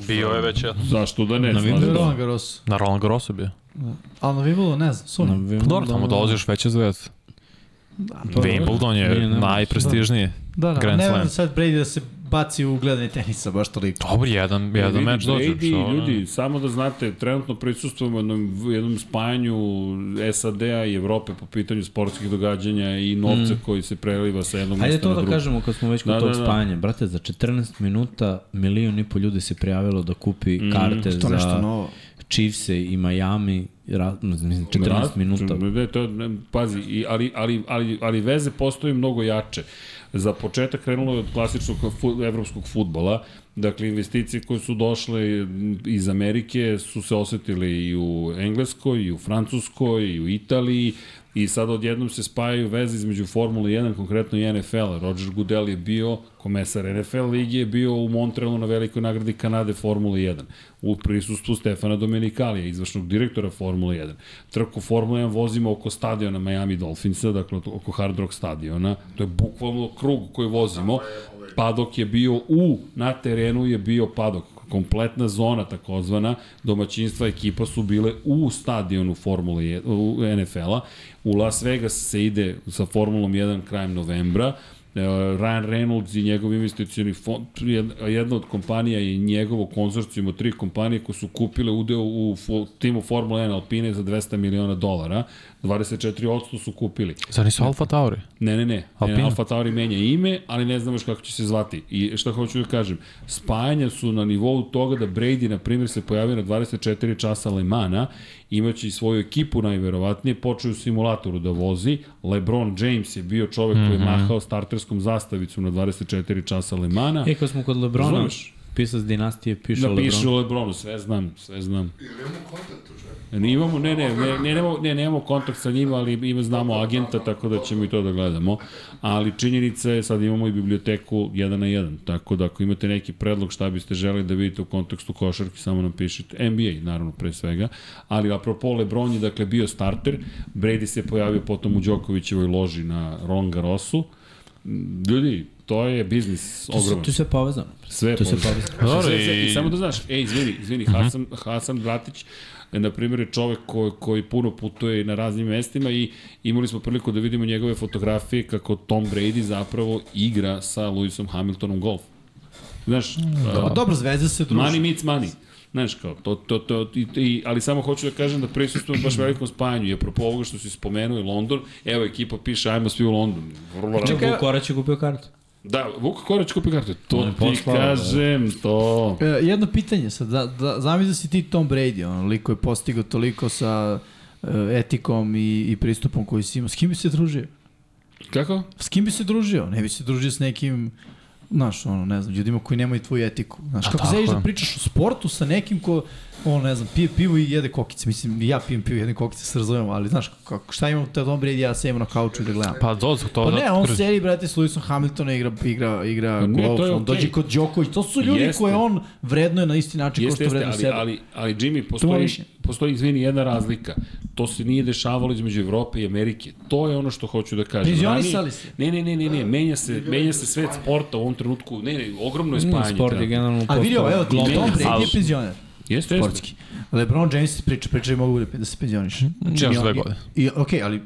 [SPEAKER 3] bio je već jedno.
[SPEAKER 1] zašto da ne?
[SPEAKER 2] Na
[SPEAKER 1] znaš
[SPEAKER 4] To je
[SPEAKER 2] Wimbledonu?
[SPEAKER 1] da.
[SPEAKER 4] Roland Garros.
[SPEAKER 3] Na Roland Garrosu bio.
[SPEAKER 4] Ali na Wimbledonu, ne znam,
[SPEAKER 2] Na
[SPEAKER 4] sumnjam.
[SPEAKER 2] Wimbledonu-
[SPEAKER 3] Dobro, tamo dolaziš veće zvezde.
[SPEAKER 1] Da,
[SPEAKER 2] Pa,
[SPEAKER 3] Wimbledon
[SPEAKER 2] nije
[SPEAKER 3] je
[SPEAKER 2] nemoguće.
[SPEAKER 3] najprestižniji.
[SPEAKER 4] Da, da,
[SPEAKER 3] Grand
[SPEAKER 4] ne
[SPEAKER 3] Slam.
[SPEAKER 4] znam sad Brady da se baci u gledanje tenisa, baš toliko.
[SPEAKER 3] Dobro, jedan,
[SPEAKER 1] E, Vidi,
[SPEAKER 3] jedan meč dođe.
[SPEAKER 1] Brady, ljudi, samo da znate, trenutno prisustujemo jednom, jednom spajanju SAD-a i Evrope po pitanju sportskih događanja i novca mm. koji se preliva sa jednog
[SPEAKER 2] Ajde
[SPEAKER 1] mesta
[SPEAKER 2] to
[SPEAKER 1] na
[SPEAKER 2] da
[SPEAKER 1] drugo.
[SPEAKER 2] kažemo kad smo već kod
[SPEAKER 1] Da,
[SPEAKER 2] da, tog
[SPEAKER 1] da, da.
[SPEAKER 2] spajanja. Brate, za 14 minuta milion i po ljudi se prijavilo da kupi
[SPEAKER 1] Mhm.
[SPEAKER 2] mm, karte
[SPEAKER 4] To nešto
[SPEAKER 2] za
[SPEAKER 4] novo.
[SPEAKER 2] Chiefs i Miami. Ra, mislim, 14
[SPEAKER 1] Raz-
[SPEAKER 2] minuta.
[SPEAKER 1] Ne, to, je- ne, pazi, i, ali, ali, ali, ali veze postoji mnogo jače. Za početak krenulo je od klasičnog fu, evropskog futbola, dakle investicije koje su došle iz Amerike su se osetile i u Engleskoj, i u Francuskoj, i u Italiji, i sad odjednom se spajaju veze između Formule 1, konkretno i NFL. Roger Goodell je bio komesar NFL ligi, je bio u Montrealu na velikoj nagradi Kanade Formule 1, u prisustvu Stefana Domenikalija, izvršnog direktora Formule 1. Trku Formule 1 vozimo oko stadiona Miami Dolphinsa, dakle oko Hard Rock stadiona, to je bukvalno krug koji vozimo. Padok je bio u, na terenu je bio padok, kompletna zona takozvana, domaćinstva ekipa su bile u stadionu Formule 1, u NFL-a. U Las Vegas se ide sa Formulom 1 krajem novembra. E, Ryan Reynolds i njegov investicioni fond, jed- jedna od kompanija i njegovo konzorcijum od tri kompanije koje su kupile udeo u fo- timu Formula 1 Alpine za 200 miliona dolara, 24% su kupili.
[SPEAKER 3] Zar nisu Alfa Tauri?
[SPEAKER 1] Ne, ne, ne. Alpina.
[SPEAKER 3] Alpina.
[SPEAKER 1] Alfa Tauri menja ime, ali ne znamo još kako će se zvati. I šta hoću da kažem, spajanja su na nivou toga da Brady, na primjer, se pojavio na 24 časa Lemana, imaće i svoju ekipu najverovatnije, počeo je u simulatoru da vozi, LeBron James je bio čovek mm -hmm. koji je mahao starterskom zastavicom na 24 časa Lemana.
[SPEAKER 2] E, kad smo kod Lebrona,
[SPEAKER 1] Razumeš?
[SPEAKER 2] pisac dinastije piše da,
[SPEAKER 1] Da piše
[SPEAKER 2] Lebron.
[SPEAKER 1] o Lebronu, sve znam, sve znam.
[SPEAKER 5] Ili imamo kontakt u čemu?
[SPEAKER 1] Ne imamo, ne, ne, ne, ne, nemamo, ne, nemamo kontakt sa njima, ali ima, znamo agenta, tako da ćemo i to da gledamo. Ali činjenica je, sad imamo i biblioteku jedan na jedan, tako da ako imate neki predlog šta biste želeli da vidite u kontekstu košarki, samo nam pišite. NBA, naravno, pre svega. Ali apropo, Lebron je, dakle, bio starter, Brady se pojavio potom u Đokovićevoj loži na Roland Garrosu. Ljudi, to je biznis
[SPEAKER 2] Tu se,
[SPEAKER 1] ogroman.
[SPEAKER 2] tu se povezano.
[SPEAKER 1] Sve
[SPEAKER 2] Tu se
[SPEAKER 1] povezano.
[SPEAKER 2] povezano.
[SPEAKER 3] Dobro,
[SPEAKER 1] Sve, sve,
[SPEAKER 3] i- Mhm.
[SPEAKER 1] I samo da znaš, ej, izvini, izvini, Hasan, Hasan Bratić, e, na primjer, je čovek koji, koji puno putuje na raznim mestima i imali smo priliku da vidimo njegove fotografije kako Tom Brady zapravo igra sa Lewisom Hamiltonom golf. Znaš,
[SPEAKER 4] Pa
[SPEAKER 1] a,
[SPEAKER 4] dobro, zvezde se druže.
[SPEAKER 1] money meets money. Znaš kao, to, to, to, i, i, ali samo hoću da kažem da prisustujem baš velikom spajanju. I apropo ovoga što si spomenuo i London, evo ekipa piše ajmo svi u London. Vrlo rado.
[SPEAKER 2] Čekaj, Korać je kupio kartu.
[SPEAKER 1] Da, Vuk Korać kupi kartu. To
[SPEAKER 2] On je
[SPEAKER 1] ti
[SPEAKER 2] poslao, da.
[SPEAKER 1] kažem, to.
[SPEAKER 4] E, jedno pitanje sad, da, da, zamisli da si ti Tom Brady, ono, liko je postigao toliko sa e, etikom i, i pristupom koji si imao. S kim bi se družio?
[SPEAKER 1] Kako?
[SPEAKER 4] S kim bi se družio? Ne bi se družio s nekim, znaš, ono, ne znam, ljudima koji nemaju tvoju etiku. Znaš, kako
[SPEAKER 3] tako
[SPEAKER 4] zajedeš
[SPEAKER 3] je.
[SPEAKER 4] da pričaš o sportu sa nekim ko, ono, ne znam, pije pivo i jede kokice. Mislim, i ja pijem pivo i jedem kokice, se razumemo, ali znaš, kako, šta ima te Tom Brady, ja sedim na kauču i da gledam.
[SPEAKER 3] Pa do, to
[SPEAKER 4] Pa ne, on
[SPEAKER 3] kroz-
[SPEAKER 4] sedi, brate, s Lewisom Hamiltona igra, igra, igra
[SPEAKER 1] Pa ne,
[SPEAKER 4] golf,
[SPEAKER 1] to je
[SPEAKER 4] on
[SPEAKER 1] okej.
[SPEAKER 4] dođe kod Đoković, to su ljudi
[SPEAKER 1] Jeste.
[SPEAKER 4] jeste. koje on vrednuje na isti način kao
[SPEAKER 1] Jeste,
[SPEAKER 4] što
[SPEAKER 1] jeste,
[SPEAKER 4] vrednuje
[SPEAKER 1] ali,
[SPEAKER 4] sebe.
[SPEAKER 1] ali, ali Jimmy,
[SPEAKER 4] moje
[SPEAKER 1] postoji,
[SPEAKER 4] mišljenje.
[SPEAKER 1] postoji, izvini, jedna razlika. To se nije dešavalo između Evrope i Amerike. To je ono što hoću da kažem.
[SPEAKER 4] Penzionisali
[SPEAKER 1] Ranije-
[SPEAKER 4] se.
[SPEAKER 1] Ne, ne, ne, ne, ne, menja se, menja se svet sporta u ovom trenutku. Ne, ne, ogromno je spajanje.
[SPEAKER 2] Sport je
[SPEAKER 1] trenutno.
[SPEAKER 2] generalno
[SPEAKER 4] A vidi ovo, evo, Tom
[SPEAKER 1] Globalno.
[SPEAKER 4] Brady
[SPEAKER 1] Ali-
[SPEAKER 4] je penzioner.
[SPEAKER 1] Jeste, jeste.
[SPEAKER 4] Sportski. LeBron James priča, priča i mogu da se penzioniš. Znači,
[SPEAKER 3] Još
[SPEAKER 4] on-
[SPEAKER 3] dve godine.
[SPEAKER 4] I, okej, ali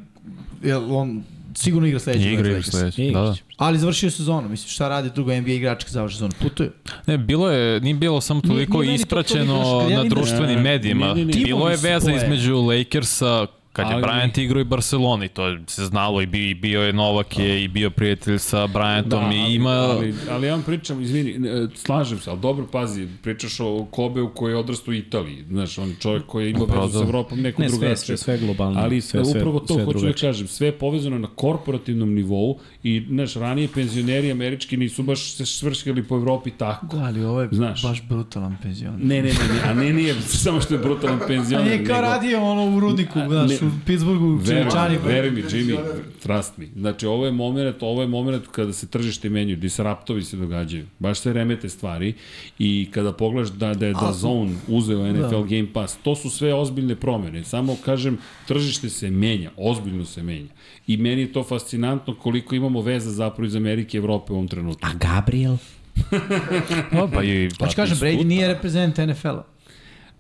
[SPEAKER 4] jel on sigurno igra sledeće.
[SPEAKER 3] I igra, igra sledeće. Da, da.
[SPEAKER 4] Ali završio sezonu, mislim šta radi drugo NBA igrač kad završi sezonu, putuje.
[SPEAKER 3] Ne, bilo je, nije bilo samo
[SPEAKER 4] Nije-
[SPEAKER 3] toliko
[SPEAKER 4] nije meni to
[SPEAKER 3] ispraćeno
[SPEAKER 4] toliko, znaš, kad ja
[SPEAKER 3] na
[SPEAKER 4] vidim-
[SPEAKER 3] društvenim medijima.
[SPEAKER 1] Ne, ne, ne.
[SPEAKER 3] Bilo je
[SPEAKER 4] Timovi
[SPEAKER 3] veza
[SPEAKER 4] spoje.
[SPEAKER 3] između Lakersa, kad je
[SPEAKER 2] Ali-
[SPEAKER 3] Bryant igrao i Barceloni, to se znalo i bio, i bio je Novak je i bio prijatelj sa Bryantom i ima...
[SPEAKER 1] Da, ali, ali ja vam pričam, izvini, ne, slažem se, ali dobro, pazi, pričaš o Kobeu koji je odrastao u Italiji, znaš, on je čovjek koji je imao
[SPEAKER 3] Upravo
[SPEAKER 1] vezu s
[SPEAKER 3] da.
[SPEAKER 1] Evropom neko
[SPEAKER 2] Ne, sve,
[SPEAKER 1] drugačije.
[SPEAKER 2] sve, sve globalno.
[SPEAKER 1] Ali sve,
[SPEAKER 2] sve,
[SPEAKER 1] upravo to
[SPEAKER 2] sve
[SPEAKER 1] hoću
[SPEAKER 2] drugačije.
[SPEAKER 1] da kažem, sve je povezano na korporativnom nivou i naš ranije penzioneri američki nisu baš se švrškali po Evropi tako.
[SPEAKER 4] Da, ali ovo je
[SPEAKER 1] Znaš.
[SPEAKER 4] baš brutalan penzioner.
[SPEAKER 1] Ne, ne, ne, ne, a ne nije samo što je brutalan
[SPEAKER 4] A
[SPEAKER 1] penzioner.
[SPEAKER 4] nije kao
[SPEAKER 1] nego-
[SPEAKER 4] radio ono u Rudniku, znaš,
[SPEAKER 1] ne.
[SPEAKER 4] u Pittsburghu, Čeličani.
[SPEAKER 1] Veruj, veruj mi, Jimmy, trust me. Znači, ovo je moment, ovo je moment kada se tržište menjaju, disruptovi se događaju. Baš se remete stvari i kada pogledaš da, da je da Zone uzeo NFL da. Game Pass, to su sve ozbiljne promene. Samo, kažem, tržište se menja, ozbiljno se menja. I meni je to fascinantno koliko imamo veza zapravo iz Amerike i Evrope u ovom trenutku.
[SPEAKER 2] A Gabriel?
[SPEAKER 3] Pa, pa i...
[SPEAKER 4] Pa
[SPEAKER 1] Pa
[SPEAKER 4] ću kažem,
[SPEAKER 1] ti
[SPEAKER 4] Brady
[SPEAKER 1] skuta.
[SPEAKER 4] nije reprezent NFL-a.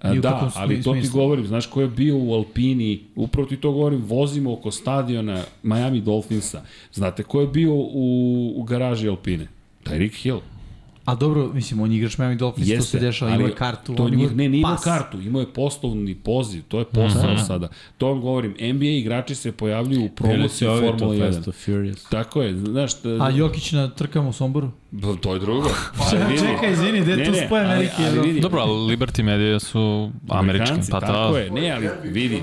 [SPEAKER 1] A,
[SPEAKER 4] I u
[SPEAKER 1] Da,
[SPEAKER 4] kakvom
[SPEAKER 1] ali to ti
[SPEAKER 4] smislu?
[SPEAKER 1] govorim, znaš ko je bio u Alpini, upravo ti to govorim, vozimo oko stadiona Miami Dolphinsa. Znate ko je bio u, u garaži Alpine? Tyreek Hill.
[SPEAKER 4] A dobro, mislim, on je igrač Miami Dolphins, to se dešava, ima
[SPEAKER 1] ali
[SPEAKER 4] kartu,
[SPEAKER 1] to
[SPEAKER 4] on
[SPEAKER 1] nije,
[SPEAKER 4] ima
[SPEAKER 1] ne, nije imao
[SPEAKER 4] pas.
[SPEAKER 1] kartu, imao je poslovni poziv, to je posao sada. To vam govorim, NBA igrači se pojavljuju u promociji Formula 1.
[SPEAKER 2] Furious.
[SPEAKER 1] Tako je, znaš, t-
[SPEAKER 4] A Jokić na trkama u Somboru?
[SPEAKER 1] b- to je drugo. Pa, vidi.
[SPEAKER 4] Čekaj, izvini, gde
[SPEAKER 1] Ne,
[SPEAKER 4] tu
[SPEAKER 1] ne,
[SPEAKER 4] spoje
[SPEAKER 1] ali-
[SPEAKER 4] Amerike i
[SPEAKER 1] ali
[SPEAKER 4] Evrope?
[SPEAKER 1] vidi,
[SPEAKER 3] Dobro, ali Liberty Media su američki,
[SPEAKER 1] Amerikanci,
[SPEAKER 3] pa
[SPEAKER 1] tako
[SPEAKER 3] ta...
[SPEAKER 1] je, ne, ali vidi,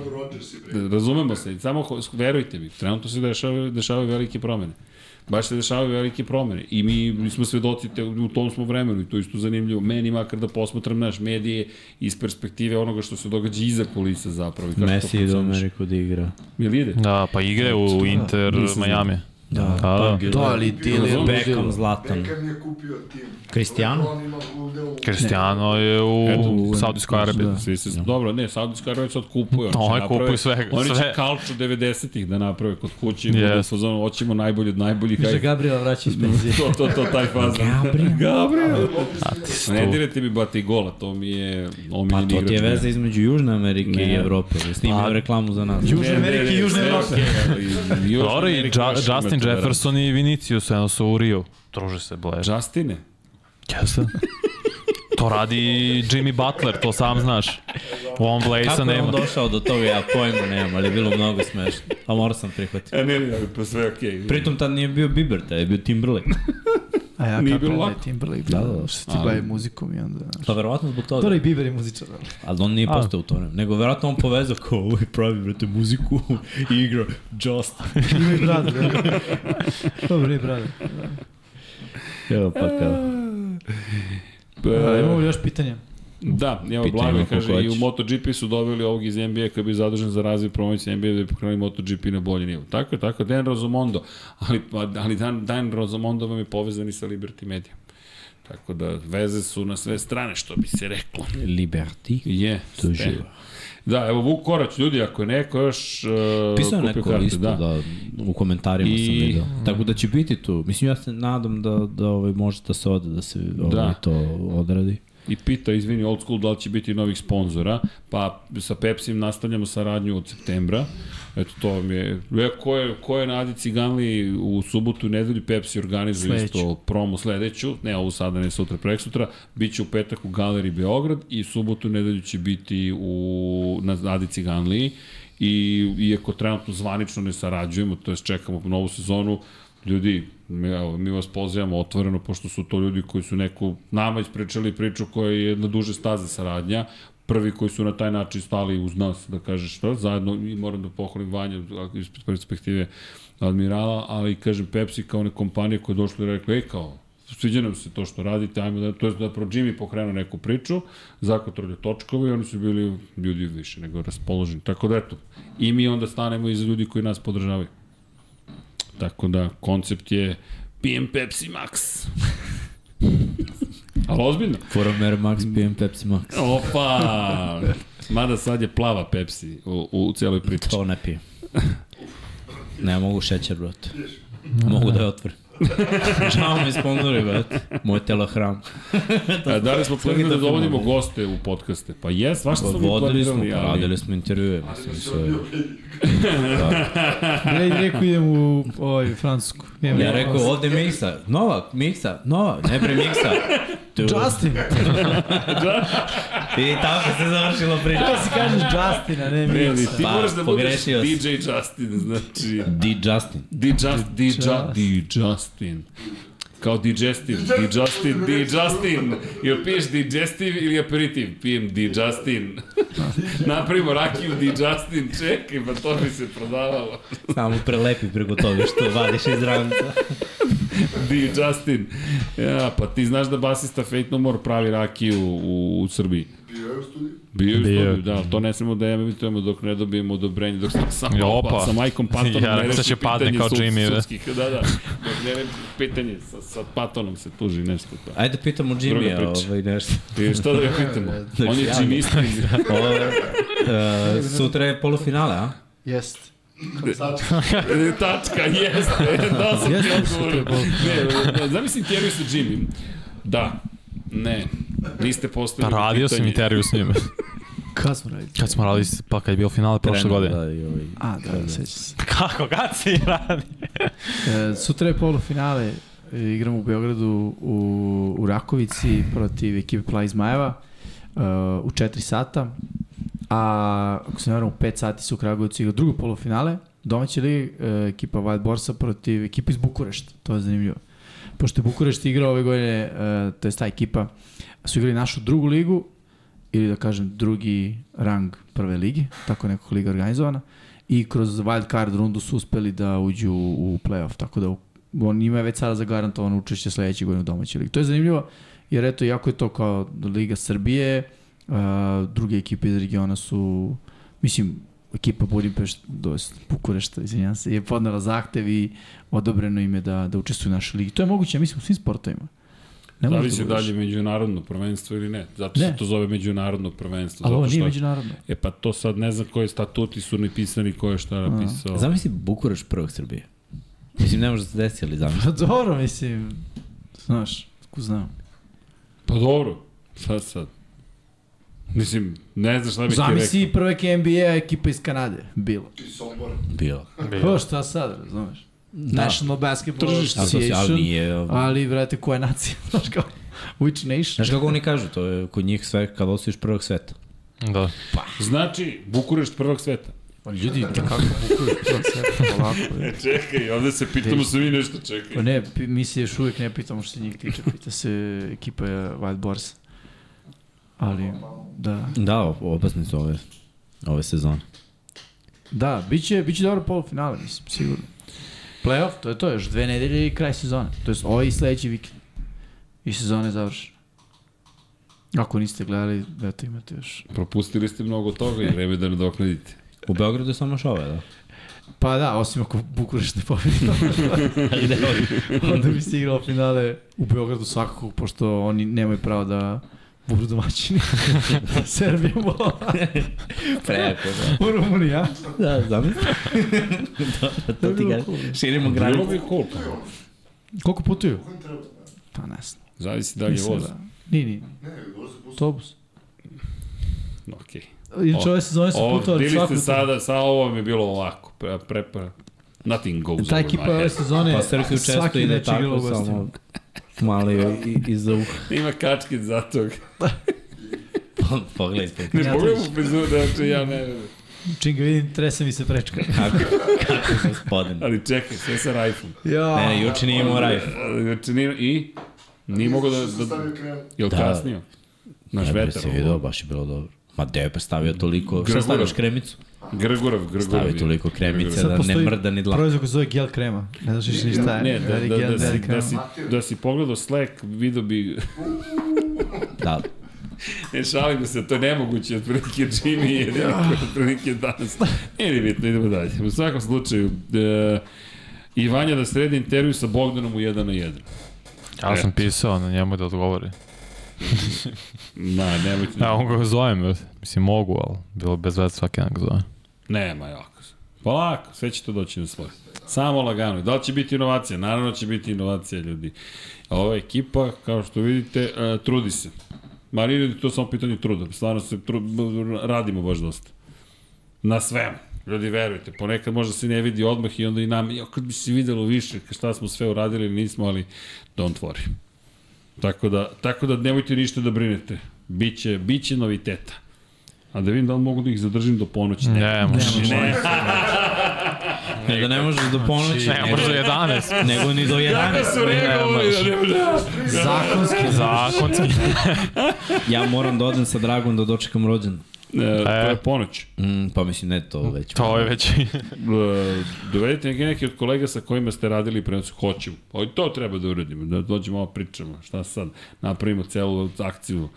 [SPEAKER 1] razumemo se, samo ho- verujte mi, trenutno se dešavaju, dešavaju velike promene. Baš se dešavaju velike promene i mi, mi smo svedoci te, u tom smo vremenu i to je isto zanimljivo. Meni makar da posmatram naš medije iz perspektive onoga što se događa iza kulisa zapravo. i kako to
[SPEAKER 2] Messi ide u
[SPEAKER 1] funkcioniše.
[SPEAKER 2] Ameriku da igra.
[SPEAKER 1] Jel ide?
[SPEAKER 3] Da, pa igre u Inter,
[SPEAKER 1] Nisam znao.
[SPEAKER 3] Miami.
[SPEAKER 2] Da,
[SPEAKER 3] Pa, da.
[SPEAKER 2] Pogba,
[SPEAKER 4] To, ali ti je
[SPEAKER 1] Razumem.
[SPEAKER 2] Beckham, Zlatan.
[SPEAKER 5] Beckham je kupio tim.
[SPEAKER 2] Cristiano?
[SPEAKER 5] On ima udeo u...
[SPEAKER 3] Cristiano je u Saudijskoj Arabiji.
[SPEAKER 1] Da. Svi se, dobro, ne, Saudijska Arabija sad kupuje. Oni,
[SPEAKER 3] Oni
[SPEAKER 1] će
[SPEAKER 3] kupuju
[SPEAKER 1] naprave-
[SPEAKER 3] sve-
[SPEAKER 1] Oni će
[SPEAKER 3] sve.
[SPEAKER 1] kalču 90-ih da naprave kod kuće. Yes.
[SPEAKER 3] Jest.
[SPEAKER 1] Budu, fazonu, hoćemo najbolji od najboljih.
[SPEAKER 4] Kaže
[SPEAKER 1] ajde,
[SPEAKER 4] Gabriela vraća iz penzije.
[SPEAKER 1] to, to, to, taj fazan. Gabriel. Gabriel. Ne
[SPEAKER 3] Tu.
[SPEAKER 1] dirajte mi bati gola, to mi je
[SPEAKER 2] Pa
[SPEAKER 1] omiljeni
[SPEAKER 2] to ti je veza između Južne Amerike
[SPEAKER 1] Ne.
[SPEAKER 2] i Evrope. Da snimaju reklamu za nas.
[SPEAKER 4] Južne Amerike i Južne Evrope.
[SPEAKER 3] Dobro, i Ja- Justin Jefferson i Vinicius, jedno su u Rio. Druže se, Blair.
[SPEAKER 1] Justine?
[SPEAKER 3] Jeste. To radi Jimmy Butler, to sam znaš. U ovom Blaze-a
[SPEAKER 2] Kako je on
[SPEAKER 3] nema.
[SPEAKER 2] došao do toga, ja pojma nemam, ali je bilo mnogo smešno. A Pa morao sam prihvatiti.
[SPEAKER 1] E, ne, ne, ne, pa sve okej. Okay.
[SPEAKER 2] Pritom tad nije bio Bieber, tad je bio Timberlake.
[SPEAKER 4] A ja
[SPEAKER 1] Nije
[SPEAKER 4] kako
[SPEAKER 1] bilo
[SPEAKER 4] bilo
[SPEAKER 1] lako.
[SPEAKER 4] Timberlake, da, da, što ti bavi muzikom i onda...
[SPEAKER 2] Pa verovatno zbog toga.
[SPEAKER 4] Dobro i Bieber je muzičar, ali.
[SPEAKER 2] Ali on nije postao u to vreme. Nego verovatno on povezao kao ovo je pravi, brate, muziku i igra Just.
[SPEAKER 4] Ima i brada, da. Dobro, i brada.
[SPEAKER 2] Evo pa kao.
[SPEAKER 4] Da, imamo li još pitanja?
[SPEAKER 1] E, Da, evo
[SPEAKER 2] Pitanje
[SPEAKER 1] Blago
[SPEAKER 2] ima koliko
[SPEAKER 1] kaže i u
[SPEAKER 2] hoćeš.
[SPEAKER 1] MotoGP su doveli ovog iz NBA koji je bio zadužen za razvoj promocije NBA da bi pokrenuli MotoGP na bolji nivo. Tako je, tako je, Dan Rozomondo, ali, pa, ali Dan, Dan Rozomondo vam je povezan i sa Liberty Media. Tako da veze su na sve strane, što bi se reklo.
[SPEAKER 2] Liberty.
[SPEAKER 1] Je,
[SPEAKER 2] To je
[SPEAKER 1] ste.
[SPEAKER 2] živo.
[SPEAKER 1] e. Da, evo Vuk Korać, ljudi, ako je neko još uh,
[SPEAKER 2] Pisao je
[SPEAKER 1] kupio
[SPEAKER 2] neko
[SPEAKER 1] karte,
[SPEAKER 2] isto, da. da. u komentarima I... sam
[SPEAKER 1] I-
[SPEAKER 2] vidio. Tako da će biti tu. Mislim, ja se nadam da, da ovaj, može da se ode, da se ovaj,
[SPEAKER 1] Da.
[SPEAKER 2] da. to odradi.
[SPEAKER 1] I pita, izvini, Old School, da li će biti novih sponzora, pa sa Pepsim nastavljamo saradnju od septembra. Eto, to vam je... E, ko je, ko je na Adi Ciganli u subotu i nedelju Pepsi organizuje
[SPEAKER 4] Sledeću.
[SPEAKER 1] isto promo sledeću, ne ovu sada, ne sutra, prek sutra, bit će u petak u Galeriji Beograd i subotu i nedelju će biti u, na Adi Ciganliji i iako trenutno zvanično ne sarađujemo, to jest čekamo novu sezonu, ljudi, mi, evo, mi vas pozivamo otvoreno, pošto su to ljudi koji su neku nama ispričali priču koja je na duže staze saradnja, prvi koji su na taj način stali uz nas, da kažeš što, zajedno i moram da pohvalim Vanja iz perspektive admirala, ali kažem Pepsi kao one kompanije koje je došla i rekla, ej kao, sviđa nam se to što radite, ajmo da, to je zapravo Jimmy pokrenuo neku priču, zakotrlja točkove i oni su bili ljudi više nego raspoloženi. Tako da eto, i mi onda stanemo iza ljudi koji nas podržavaju. Tako da, koncept je pijem Pepsi Max. Ali ozbiljno.
[SPEAKER 2] Forum Air Max, PM Pepsi Max.
[SPEAKER 1] Opa! Mada sad je plava Pepsi u, u celoj priči.
[SPEAKER 2] To ne pijem. Ne mogu šećer, brate. Mogu da je otvorim. Žao mi sponzori, brate. Moj telohram.
[SPEAKER 1] A, da li smo planili da
[SPEAKER 2] Slika
[SPEAKER 1] dovodimo
[SPEAKER 2] filmova.
[SPEAKER 1] goste u podcaste? Pa jes, svašta smo mi
[SPEAKER 2] Vodili smo, pa
[SPEAKER 1] planirali, ali-
[SPEAKER 2] radili smo intervjue, mislim, sve.
[SPEAKER 4] Ja i rekao idem u ovaj, Francusku. Idem
[SPEAKER 2] Ja
[SPEAKER 4] u-
[SPEAKER 2] rekao, ovde miksa, Novak, miksa, Novak, ne pre miksa. Tu.
[SPEAKER 4] Justin!
[SPEAKER 2] I tako se završila
[SPEAKER 4] Da
[SPEAKER 2] priča.
[SPEAKER 4] si kažeš Justin, a ne
[SPEAKER 1] Ne, ali
[SPEAKER 4] Miksa.
[SPEAKER 1] ti
[SPEAKER 2] Pa,
[SPEAKER 1] moraš da budeš
[SPEAKER 2] pogrešio si.
[SPEAKER 1] DJ Justin, znači...
[SPEAKER 2] Di Justin.
[SPEAKER 1] Di Just, Di Ju- Di Justin. Kao digestive, di Justin, di Justin. Jel piješ digestive ili aperitiv? Pijem di Justin. Napravimo rakiju di Justin, čekaj, pa to bi se prodavalo.
[SPEAKER 2] Samo prelepi preko toga što vadiš iz ranca.
[SPEAKER 1] Di Justin. Ja, pa ti znaš da basista Fate No More pravi rakiju u, u Srbiji.
[SPEAKER 5] Bio je u studiju.
[SPEAKER 1] Bio je u
[SPEAKER 3] Bio.
[SPEAKER 1] studiju, da, ali to ne smemo da emitujemo dok ne dobijemo odobrenje, dok sam sam
[SPEAKER 3] Ja,
[SPEAKER 1] opa,
[SPEAKER 3] opa.
[SPEAKER 1] sa Majkom Patonom
[SPEAKER 3] Ja,
[SPEAKER 1] ne
[SPEAKER 3] sad
[SPEAKER 1] reši
[SPEAKER 3] će padne
[SPEAKER 1] pitanje
[SPEAKER 3] kao
[SPEAKER 1] sud-
[SPEAKER 3] Jimmy, da.
[SPEAKER 1] sudskih, da, da, dok ne reši pitanje, sa, sa Patonom se tuži nešto. Da.
[SPEAKER 2] Ajde pitamo
[SPEAKER 1] Druga
[SPEAKER 2] Jimmy-a
[SPEAKER 1] priča.
[SPEAKER 2] ovaj nešto.
[SPEAKER 1] I šta da ga pitamo?
[SPEAKER 2] Da
[SPEAKER 1] On je
[SPEAKER 2] javno.
[SPEAKER 1] džimistin.
[SPEAKER 2] Ovo, je, e, sutra je polufinale, a?
[SPEAKER 4] Jeste.
[SPEAKER 1] Tačka, jeste. Da sam ti
[SPEAKER 4] Jeste,
[SPEAKER 1] odgovorio. Ne, ne, Zamisli intervju sa Jimim. Da. Ne. Niste
[SPEAKER 3] Pa
[SPEAKER 1] postavili
[SPEAKER 3] radio sam
[SPEAKER 1] pitanje.
[SPEAKER 3] intervju s njime.
[SPEAKER 4] Kad smo radili?
[SPEAKER 3] Kad smo radili, s- pa kad je bio finale prošle
[SPEAKER 2] Trenutno,
[SPEAKER 3] godine.
[SPEAKER 2] Da, i ovaj.
[SPEAKER 4] A, da, da, sećam se.
[SPEAKER 3] Kako, kad si radi?
[SPEAKER 4] E, sutra je polufinale. E, Igramo u Beogradu u, u Rakovici protiv ekipe Pla iz Majeva e, u 4 sata. A ako se ne varam, u 5 sati su u Kragujevcu igra drugo polufinale. Domaći li e, ekipa Wild Borsa protiv ekipe iz Bukurešta. To je zanimljivo. Pošto je Bukurešt igrao ove godine, e, to je ta ekipa, su igrali našu drugu ligu ili da kažem drugi rang prve ligi, tako je nekako liga organizovana i kroz wild card rundu su uspeli da uđu u, u playoff, tako da u- on ima već sada zagarantovano učešće sledeće godine u domaćoj ligi. To je zanimljivo, jer eto, jako je to kao Liga Srbije, a, druge ekipe iz regiona su, mislim, ekipa Budimpešta, dosta, Bukurešta, izvinjam se, je podnela zahtev i odobreno im je da, da učestvuju u našoj ligi. To je moguće, ja mislim, u svim sportovima. Ne možeš
[SPEAKER 1] Zavisi
[SPEAKER 4] budeš.
[SPEAKER 1] da li je međunarodno prvenstvo ili ne. Zato
[SPEAKER 4] Ne.
[SPEAKER 1] se to zove međunarodno prvenstvo.
[SPEAKER 4] Ali ovo
[SPEAKER 1] zato
[SPEAKER 4] nije
[SPEAKER 1] što...
[SPEAKER 4] međunarodno.
[SPEAKER 1] E pa to sad ne znam koji statuti su napisani, ko je šta napisao.
[SPEAKER 2] Zamisli Bukureš prvog Srbije. Mislim, ne može da se desi, ali zamisli.
[SPEAKER 4] Pa dobro, mislim, znaš, ku znam.
[SPEAKER 1] Pa dobro, sad sad. Mislim, ne znam šta bih ti rekao.
[SPEAKER 4] Zamisli prvek NBA ekipa iz Kanade. Bilo.
[SPEAKER 5] I Sombor.
[SPEAKER 2] Bilo.
[SPEAKER 4] Pa šta sad, razumeš? Da. National Basketball
[SPEAKER 1] Tržište.
[SPEAKER 2] Ali, to se- ali
[SPEAKER 4] Association.
[SPEAKER 2] nije... ovaj,
[SPEAKER 4] Ali, vrate, koja je nacija? Znaš kao, which nation?
[SPEAKER 2] Znaš kako oni kažu, to je kod njih sve kad osvojiš prvog sveta.
[SPEAKER 3] Da.
[SPEAKER 1] Znači, Bukurešt prvog sveta.
[SPEAKER 6] Pa ljudi,
[SPEAKER 1] da
[SPEAKER 6] kako bukuju to sve, polako. je.
[SPEAKER 1] Čekaj, ovde se pitamo se mi nešto, čekaj.
[SPEAKER 4] Pa ne, pi- mi se još uvijek ne pitamo što se njih tiče, pita se ekipa je Wild Borsa. Ali, da.
[SPEAKER 2] Da, o- opasni su ove, ove sezone.
[SPEAKER 4] Da, bit će, bit će dobro polufinale, mislim, sigurno. Playoff, to je to, još dve nedelje i kraj sezone. To je ovaj i sledeći vikend. I sezona je završena. Ako niste gledali, eto imate još.
[SPEAKER 1] Propustili ste mnogo toga i vreme da nadoknadite.
[SPEAKER 2] U Beogradu je samo šove, da.
[SPEAKER 4] Pa da, osim ako Bukurešt ne pobedi. onda bi se igrao finale u Beogradu svakako, pošto oni nemaju pravo da budu domaćini. Srbija bola.
[SPEAKER 2] Preko,
[SPEAKER 4] U Rumuniji, a?
[SPEAKER 2] da. Da, zamisli. Dobro, Da, to ti ga širimo
[SPEAKER 1] Bilo
[SPEAKER 2] granicu.
[SPEAKER 1] bi cool. pa.
[SPEAKER 4] Koliko putuju? Pa ne znam.
[SPEAKER 1] Zavisi da li je
[SPEAKER 4] Mislim
[SPEAKER 1] voz.
[SPEAKER 4] da- Ni, ni,
[SPEAKER 5] Ne, voz se pusti.
[SPEAKER 4] autobus.
[SPEAKER 1] Okej.
[SPEAKER 4] Inače, ove sezone su
[SPEAKER 1] Ovo,
[SPEAKER 4] da. putovali
[SPEAKER 1] bili ste
[SPEAKER 4] svaku.
[SPEAKER 1] sada, sa ovo mi je bilo ovako. Pre, pre, pre, nothing goes
[SPEAKER 4] Ta
[SPEAKER 1] over
[SPEAKER 4] ekipa
[SPEAKER 1] my
[SPEAKER 4] ove
[SPEAKER 1] head.
[SPEAKER 4] sezone
[SPEAKER 2] Pa Srki često
[SPEAKER 4] svaki
[SPEAKER 2] ide
[SPEAKER 4] meč igra u
[SPEAKER 2] tako,
[SPEAKER 4] gostima.
[SPEAKER 2] samo malo je i- iza uha.
[SPEAKER 1] Ima kačket za tog.
[SPEAKER 2] Pogledajte.
[SPEAKER 1] Ne
[SPEAKER 4] Ja
[SPEAKER 1] pogledam
[SPEAKER 4] to-
[SPEAKER 1] u prizor, znači ja ne.
[SPEAKER 4] Čim ga vidim, trese mi se prečka.
[SPEAKER 2] Kako, kako je gospodin.
[SPEAKER 1] Ali čekaj, sve sa rajfom.
[SPEAKER 4] Ja.
[SPEAKER 2] Ne, juče nije
[SPEAKER 1] Е,
[SPEAKER 2] imao rajf.
[SPEAKER 1] Ali, Znači, nije, i? Nije mogao da... da jel
[SPEAKER 2] Da.
[SPEAKER 1] kasnio? Naš
[SPEAKER 2] Ne,
[SPEAKER 1] vetar.
[SPEAKER 2] se video, baš je bilo dobro. Ma deo je stavio toliko, šta
[SPEAKER 1] Grgura.
[SPEAKER 2] staviš kremicu?
[SPEAKER 1] Grgurav, Grgurav.
[SPEAKER 2] Stavi
[SPEAKER 1] je.
[SPEAKER 2] toliko kremice
[SPEAKER 4] Sad
[SPEAKER 2] da ne
[SPEAKER 4] postoji
[SPEAKER 2] mrda ni dlan.
[SPEAKER 4] Proizvod koji se zove gel krema. Ne znaš više ni šta je.
[SPEAKER 1] Ne, da,
[SPEAKER 4] Veli
[SPEAKER 1] da,
[SPEAKER 4] gel,
[SPEAKER 1] da, si,
[SPEAKER 4] veli krema.
[SPEAKER 1] da, si, da si pogledao Slack, vidio bi...
[SPEAKER 2] Da,
[SPEAKER 1] Ne šalim se, to je nemoguće, otprilike Jimmy je rekao, otprilike danas. Nije ni bitno, idemo dalje. U svakom slučaju, e, i Vanja da sredi intervju sa Bogdanom u 1 na 1.
[SPEAKER 3] Ja sam pisao na njemu da odgovori.
[SPEAKER 1] Na, nemojte.
[SPEAKER 3] Ja, on ga zovem, brate. mislim mogu, ali bilo bez veze svaki dan ga zovem.
[SPEAKER 1] Nema jako. Polako, sve će to doći na svoje. Samo lagano. Da li će biti inovacija? Naravno da će biti inovacija, ljudi. A ova ekipa, kao što vidite, e, trudi se. Ma nije ljudi, to samo pitanje truda. Stvarno se tru, b- radimo baš dosta. Na svemu. Ljudi, verujte, ponekad možda se ne vidi odmah i onda i nam, jo, kad bi se videlo više, šta smo sve uradili ili nismo, ali don't worry. Tako da, tako da nemojte ništa da brinete. Biće, biće noviteta. A da vidim da li mogu da ih zadržim do ponoći. Ne,
[SPEAKER 3] Ne, može.
[SPEAKER 2] Ne, ne, da ne možeš do ponoći,
[SPEAKER 3] Ne,
[SPEAKER 2] nego,
[SPEAKER 3] može 11.
[SPEAKER 2] nego ni do 11.
[SPEAKER 1] Kako su reagovali da ne može?
[SPEAKER 6] Zakonski
[SPEAKER 3] Zakon.
[SPEAKER 2] Ja moram da odem sa Dragom da dočekam rođen.
[SPEAKER 1] E, to je ponoć.
[SPEAKER 2] Mm, pa mislim, ne to već.
[SPEAKER 3] To je već.
[SPEAKER 1] E, dovedite neke, neke od kolega sa kojima ste radili prenos. Hoćemo. O, to treba da uradimo. Da dođemo ovo pričamo. Šta sad? Napravimo celu akciju.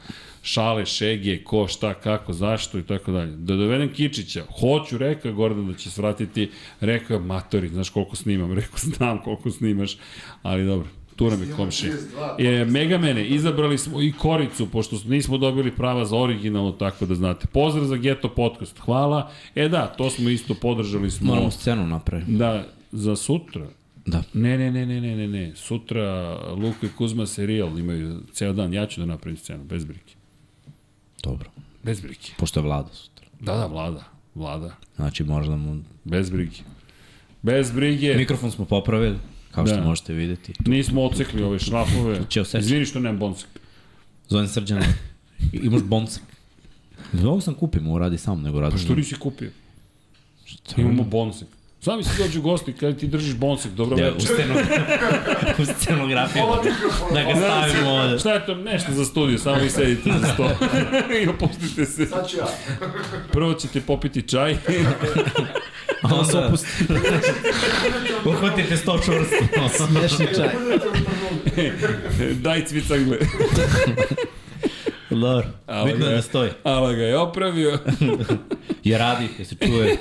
[SPEAKER 1] Šale, šege, ko, šta, kako, zašto i tako dalje. Da dovedem Kičića. Hoću, rekao je Gordon da će svratiti. Rekao je Matori, znaš koliko snimam. Rekao znam koliko snimaš. Ali dobro, tu nam je komšija.
[SPEAKER 5] 32,
[SPEAKER 1] E, Megamene, izabrali smo i Koricu, pošto nismo dobili prava za originalno, tako da znate. Pozdrav za Geto Podcast, hvala. E da, to smo isto podržali smo.
[SPEAKER 2] Moramo scenu napraviti.
[SPEAKER 1] Da, za sutra.
[SPEAKER 2] Da.
[SPEAKER 1] Ne, ne, ne, ne, ne, ne, ne. Sutra Luka i Kuzma serijal imaju ceo dan. Ja ću da napravim scenu, bez brike.
[SPEAKER 2] Dobro.
[SPEAKER 1] Bez brike.
[SPEAKER 2] Pošto je vlada sutra.
[SPEAKER 1] Da, da, vlada. Vlada.
[SPEAKER 2] Znači, možda mu...
[SPEAKER 1] Bez brige. Bez brige.
[SPEAKER 2] Mikrofon smo popravili, kao što
[SPEAKER 1] Da.
[SPEAKER 2] možete videti.
[SPEAKER 1] Nismo ocekli ove šrafove.
[SPEAKER 2] će oseći.
[SPEAKER 1] Izvini što nemam bonsak.
[SPEAKER 2] Zovem Srđana. Imaš bonsak. Mnogo sam kupim, ovo radi sam, nego radi.
[SPEAKER 1] Pa što nisi kupio? Imamo bonsak. Sami se dođu gosti, kada ti držiš bonsak, dobro
[SPEAKER 2] Da,
[SPEAKER 1] večer.
[SPEAKER 2] u, steno... u scenografiju. Da ga stavimo ovde.
[SPEAKER 1] Šta je to? Nešto za studiju, samo vi sedite za sto i opustite se.
[SPEAKER 5] Sad ću ja.
[SPEAKER 1] Prvo ćete popiti čaj,
[SPEAKER 2] A on
[SPEAKER 1] Da,
[SPEAKER 2] se opusti. Uhvatite sto čvrsto.
[SPEAKER 4] Smešni čaj.
[SPEAKER 5] Budete u prvom.
[SPEAKER 1] daj cvicangle.
[SPEAKER 2] Lor.
[SPEAKER 1] Ali
[SPEAKER 2] Bitno je
[SPEAKER 1] ne.
[SPEAKER 2] da stoji.
[SPEAKER 1] Ala ga je opravio.
[SPEAKER 2] Je radi, je se čuje.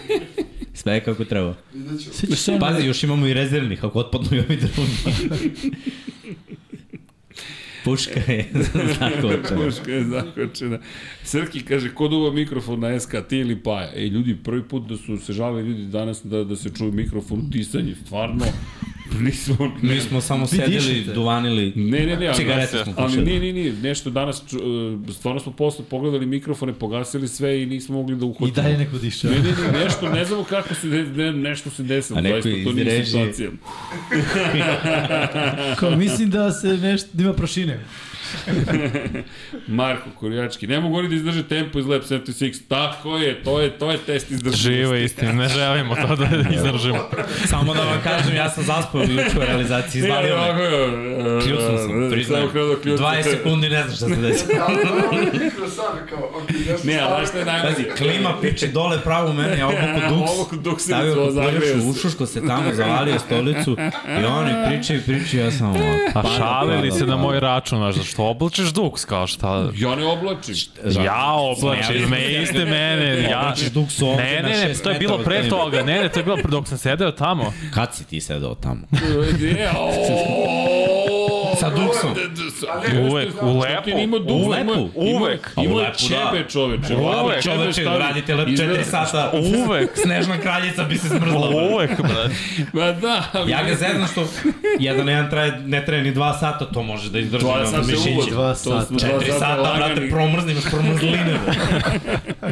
[SPEAKER 2] Sve je kako treba.
[SPEAKER 5] Vidjet ću.
[SPEAKER 4] Sjećaš se ono-
[SPEAKER 2] Pazi, još imamo i rezervnih, ako otpadnu i ovi drugi. Puška je zakočena.
[SPEAKER 1] Puška je zakočena. Srki kaže, ko duva mikrofon na SK, ti ili Paja? E, ljudi, prvi put da su se žalili ljudi danas da, da se čuje mikrofon u tisanju, stvarno, nismo...
[SPEAKER 2] Mi smo samo
[SPEAKER 4] Vi
[SPEAKER 2] sedeli,
[SPEAKER 4] dišete.
[SPEAKER 2] duvanili.
[SPEAKER 1] Ne, ne, ne, ali,
[SPEAKER 2] Cigarete smo
[SPEAKER 1] ali
[SPEAKER 2] pušili.
[SPEAKER 1] nije, nije, nije, nešto danas, ču, e, stvarno smo posle pogledali mikrofone, pogasili sve i nismo mogli da
[SPEAKER 4] I
[SPEAKER 1] uhvatimo.
[SPEAKER 4] dalje neko diše.
[SPEAKER 1] Ne, ne, ne, nešto, ne znamo kako se, de, ne, nešto se desilo,
[SPEAKER 2] A neko
[SPEAKER 1] zaista, to
[SPEAKER 2] iz
[SPEAKER 1] nije
[SPEAKER 2] režije.
[SPEAKER 1] situacija.
[SPEAKER 4] Kao, mislim da se nešto, da ima prašine.
[SPEAKER 1] Marko Kurjački, ne mogu oni da izdrže tempo iz Lab 76, tako je, to je, to je test izdržljivosti.
[SPEAKER 3] Živa istina, ne želimo to da izdržimo.
[SPEAKER 2] Samo da vam kažem, ja sam zaspao juče u realizaciji,
[SPEAKER 1] Izvalio
[SPEAKER 2] izvalio me.
[SPEAKER 1] me.
[SPEAKER 2] Kljucno
[SPEAKER 1] e,
[SPEAKER 2] sam, priznajem.
[SPEAKER 1] da
[SPEAKER 2] 20 sekundi ne znam šta se desilo.
[SPEAKER 5] Ja, ono je mikro sam, kao, ok, ja sam
[SPEAKER 1] Ne, ali znaš
[SPEAKER 5] stvarno-
[SPEAKER 1] šta je najbolje?
[SPEAKER 2] Pazi, klima piče dole pravo u mene, ja obuku duks.
[SPEAKER 1] Obuku duksnicu,
[SPEAKER 2] stavio
[SPEAKER 1] ovo,
[SPEAKER 2] kukoljaču,
[SPEAKER 1] zagreju se.
[SPEAKER 2] ušuško se tamo, zavalio stolicu i oni pričaju, pričaju, ja sam pa ovako.
[SPEAKER 3] A
[SPEAKER 2] pada,
[SPEAKER 3] Pa šalili
[SPEAKER 2] pada,
[SPEAKER 3] se na
[SPEAKER 2] pada.
[SPEAKER 3] moj račun, znaš, zašto oblačiš duks, kao šta?
[SPEAKER 1] Ja ne oblačim.
[SPEAKER 3] Ja oblačim, me iste mene, ja...
[SPEAKER 2] da. Oblačiš duks ovde
[SPEAKER 3] Ne,
[SPEAKER 2] na
[SPEAKER 3] ne, ne,
[SPEAKER 2] šest
[SPEAKER 3] to je bilo
[SPEAKER 2] metara od
[SPEAKER 3] pre
[SPEAKER 2] tebe.
[SPEAKER 3] toga, ne, ne, to je bilo pre dok sam sedeo tamo.
[SPEAKER 2] Kad si ti sedao tamo?
[SPEAKER 1] Je, ooo.
[SPEAKER 2] Sa duksom.
[SPEAKER 1] D- d- sa- da
[SPEAKER 3] Uvek, u lepu.
[SPEAKER 1] Ima
[SPEAKER 2] U
[SPEAKER 1] duva, ima,
[SPEAKER 2] lepu?
[SPEAKER 3] Uvek.
[SPEAKER 2] A u
[SPEAKER 1] ima
[SPEAKER 2] lepu, da.
[SPEAKER 1] čepe čoveče.
[SPEAKER 3] U
[SPEAKER 1] Vlado,
[SPEAKER 3] lepu,
[SPEAKER 1] čebe
[SPEAKER 2] Čoveče,
[SPEAKER 1] stavi.
[SPEAKER 2] da radite lep 4
[SPEAKER 1] Izgleda-
[SPEAKER 2] sata.
[SPEAKER 3] Uvek.
[SPEAKER 2] Snežna kraljica bi se smrzla. bro.
[SPEAKER 3] Uvek, brate.
[SPEAKER 1] Ma da. ali-
[SPEAKER 2] Ja ga zezam što jedan na jedan traje, ne traje ni dva sata, to može da izdrži
[SPEAKER 1] Dva
[SPEAKER 2] na
[SPEAKER 1] sata
[SPEAKER 2] mišiće.
[SPEAKER 1] uvod.
[SPEAKER 4] Dva
[SPEAKER 1] To
[SPEAKER 4] sata.
[SPEAKER 1] smo dva
[SPEAKER 2] Četiri sata, brate,
[SPEAKER 1] laganih.
[SPEAKER 2] promrzni, imaš promrzline. bro.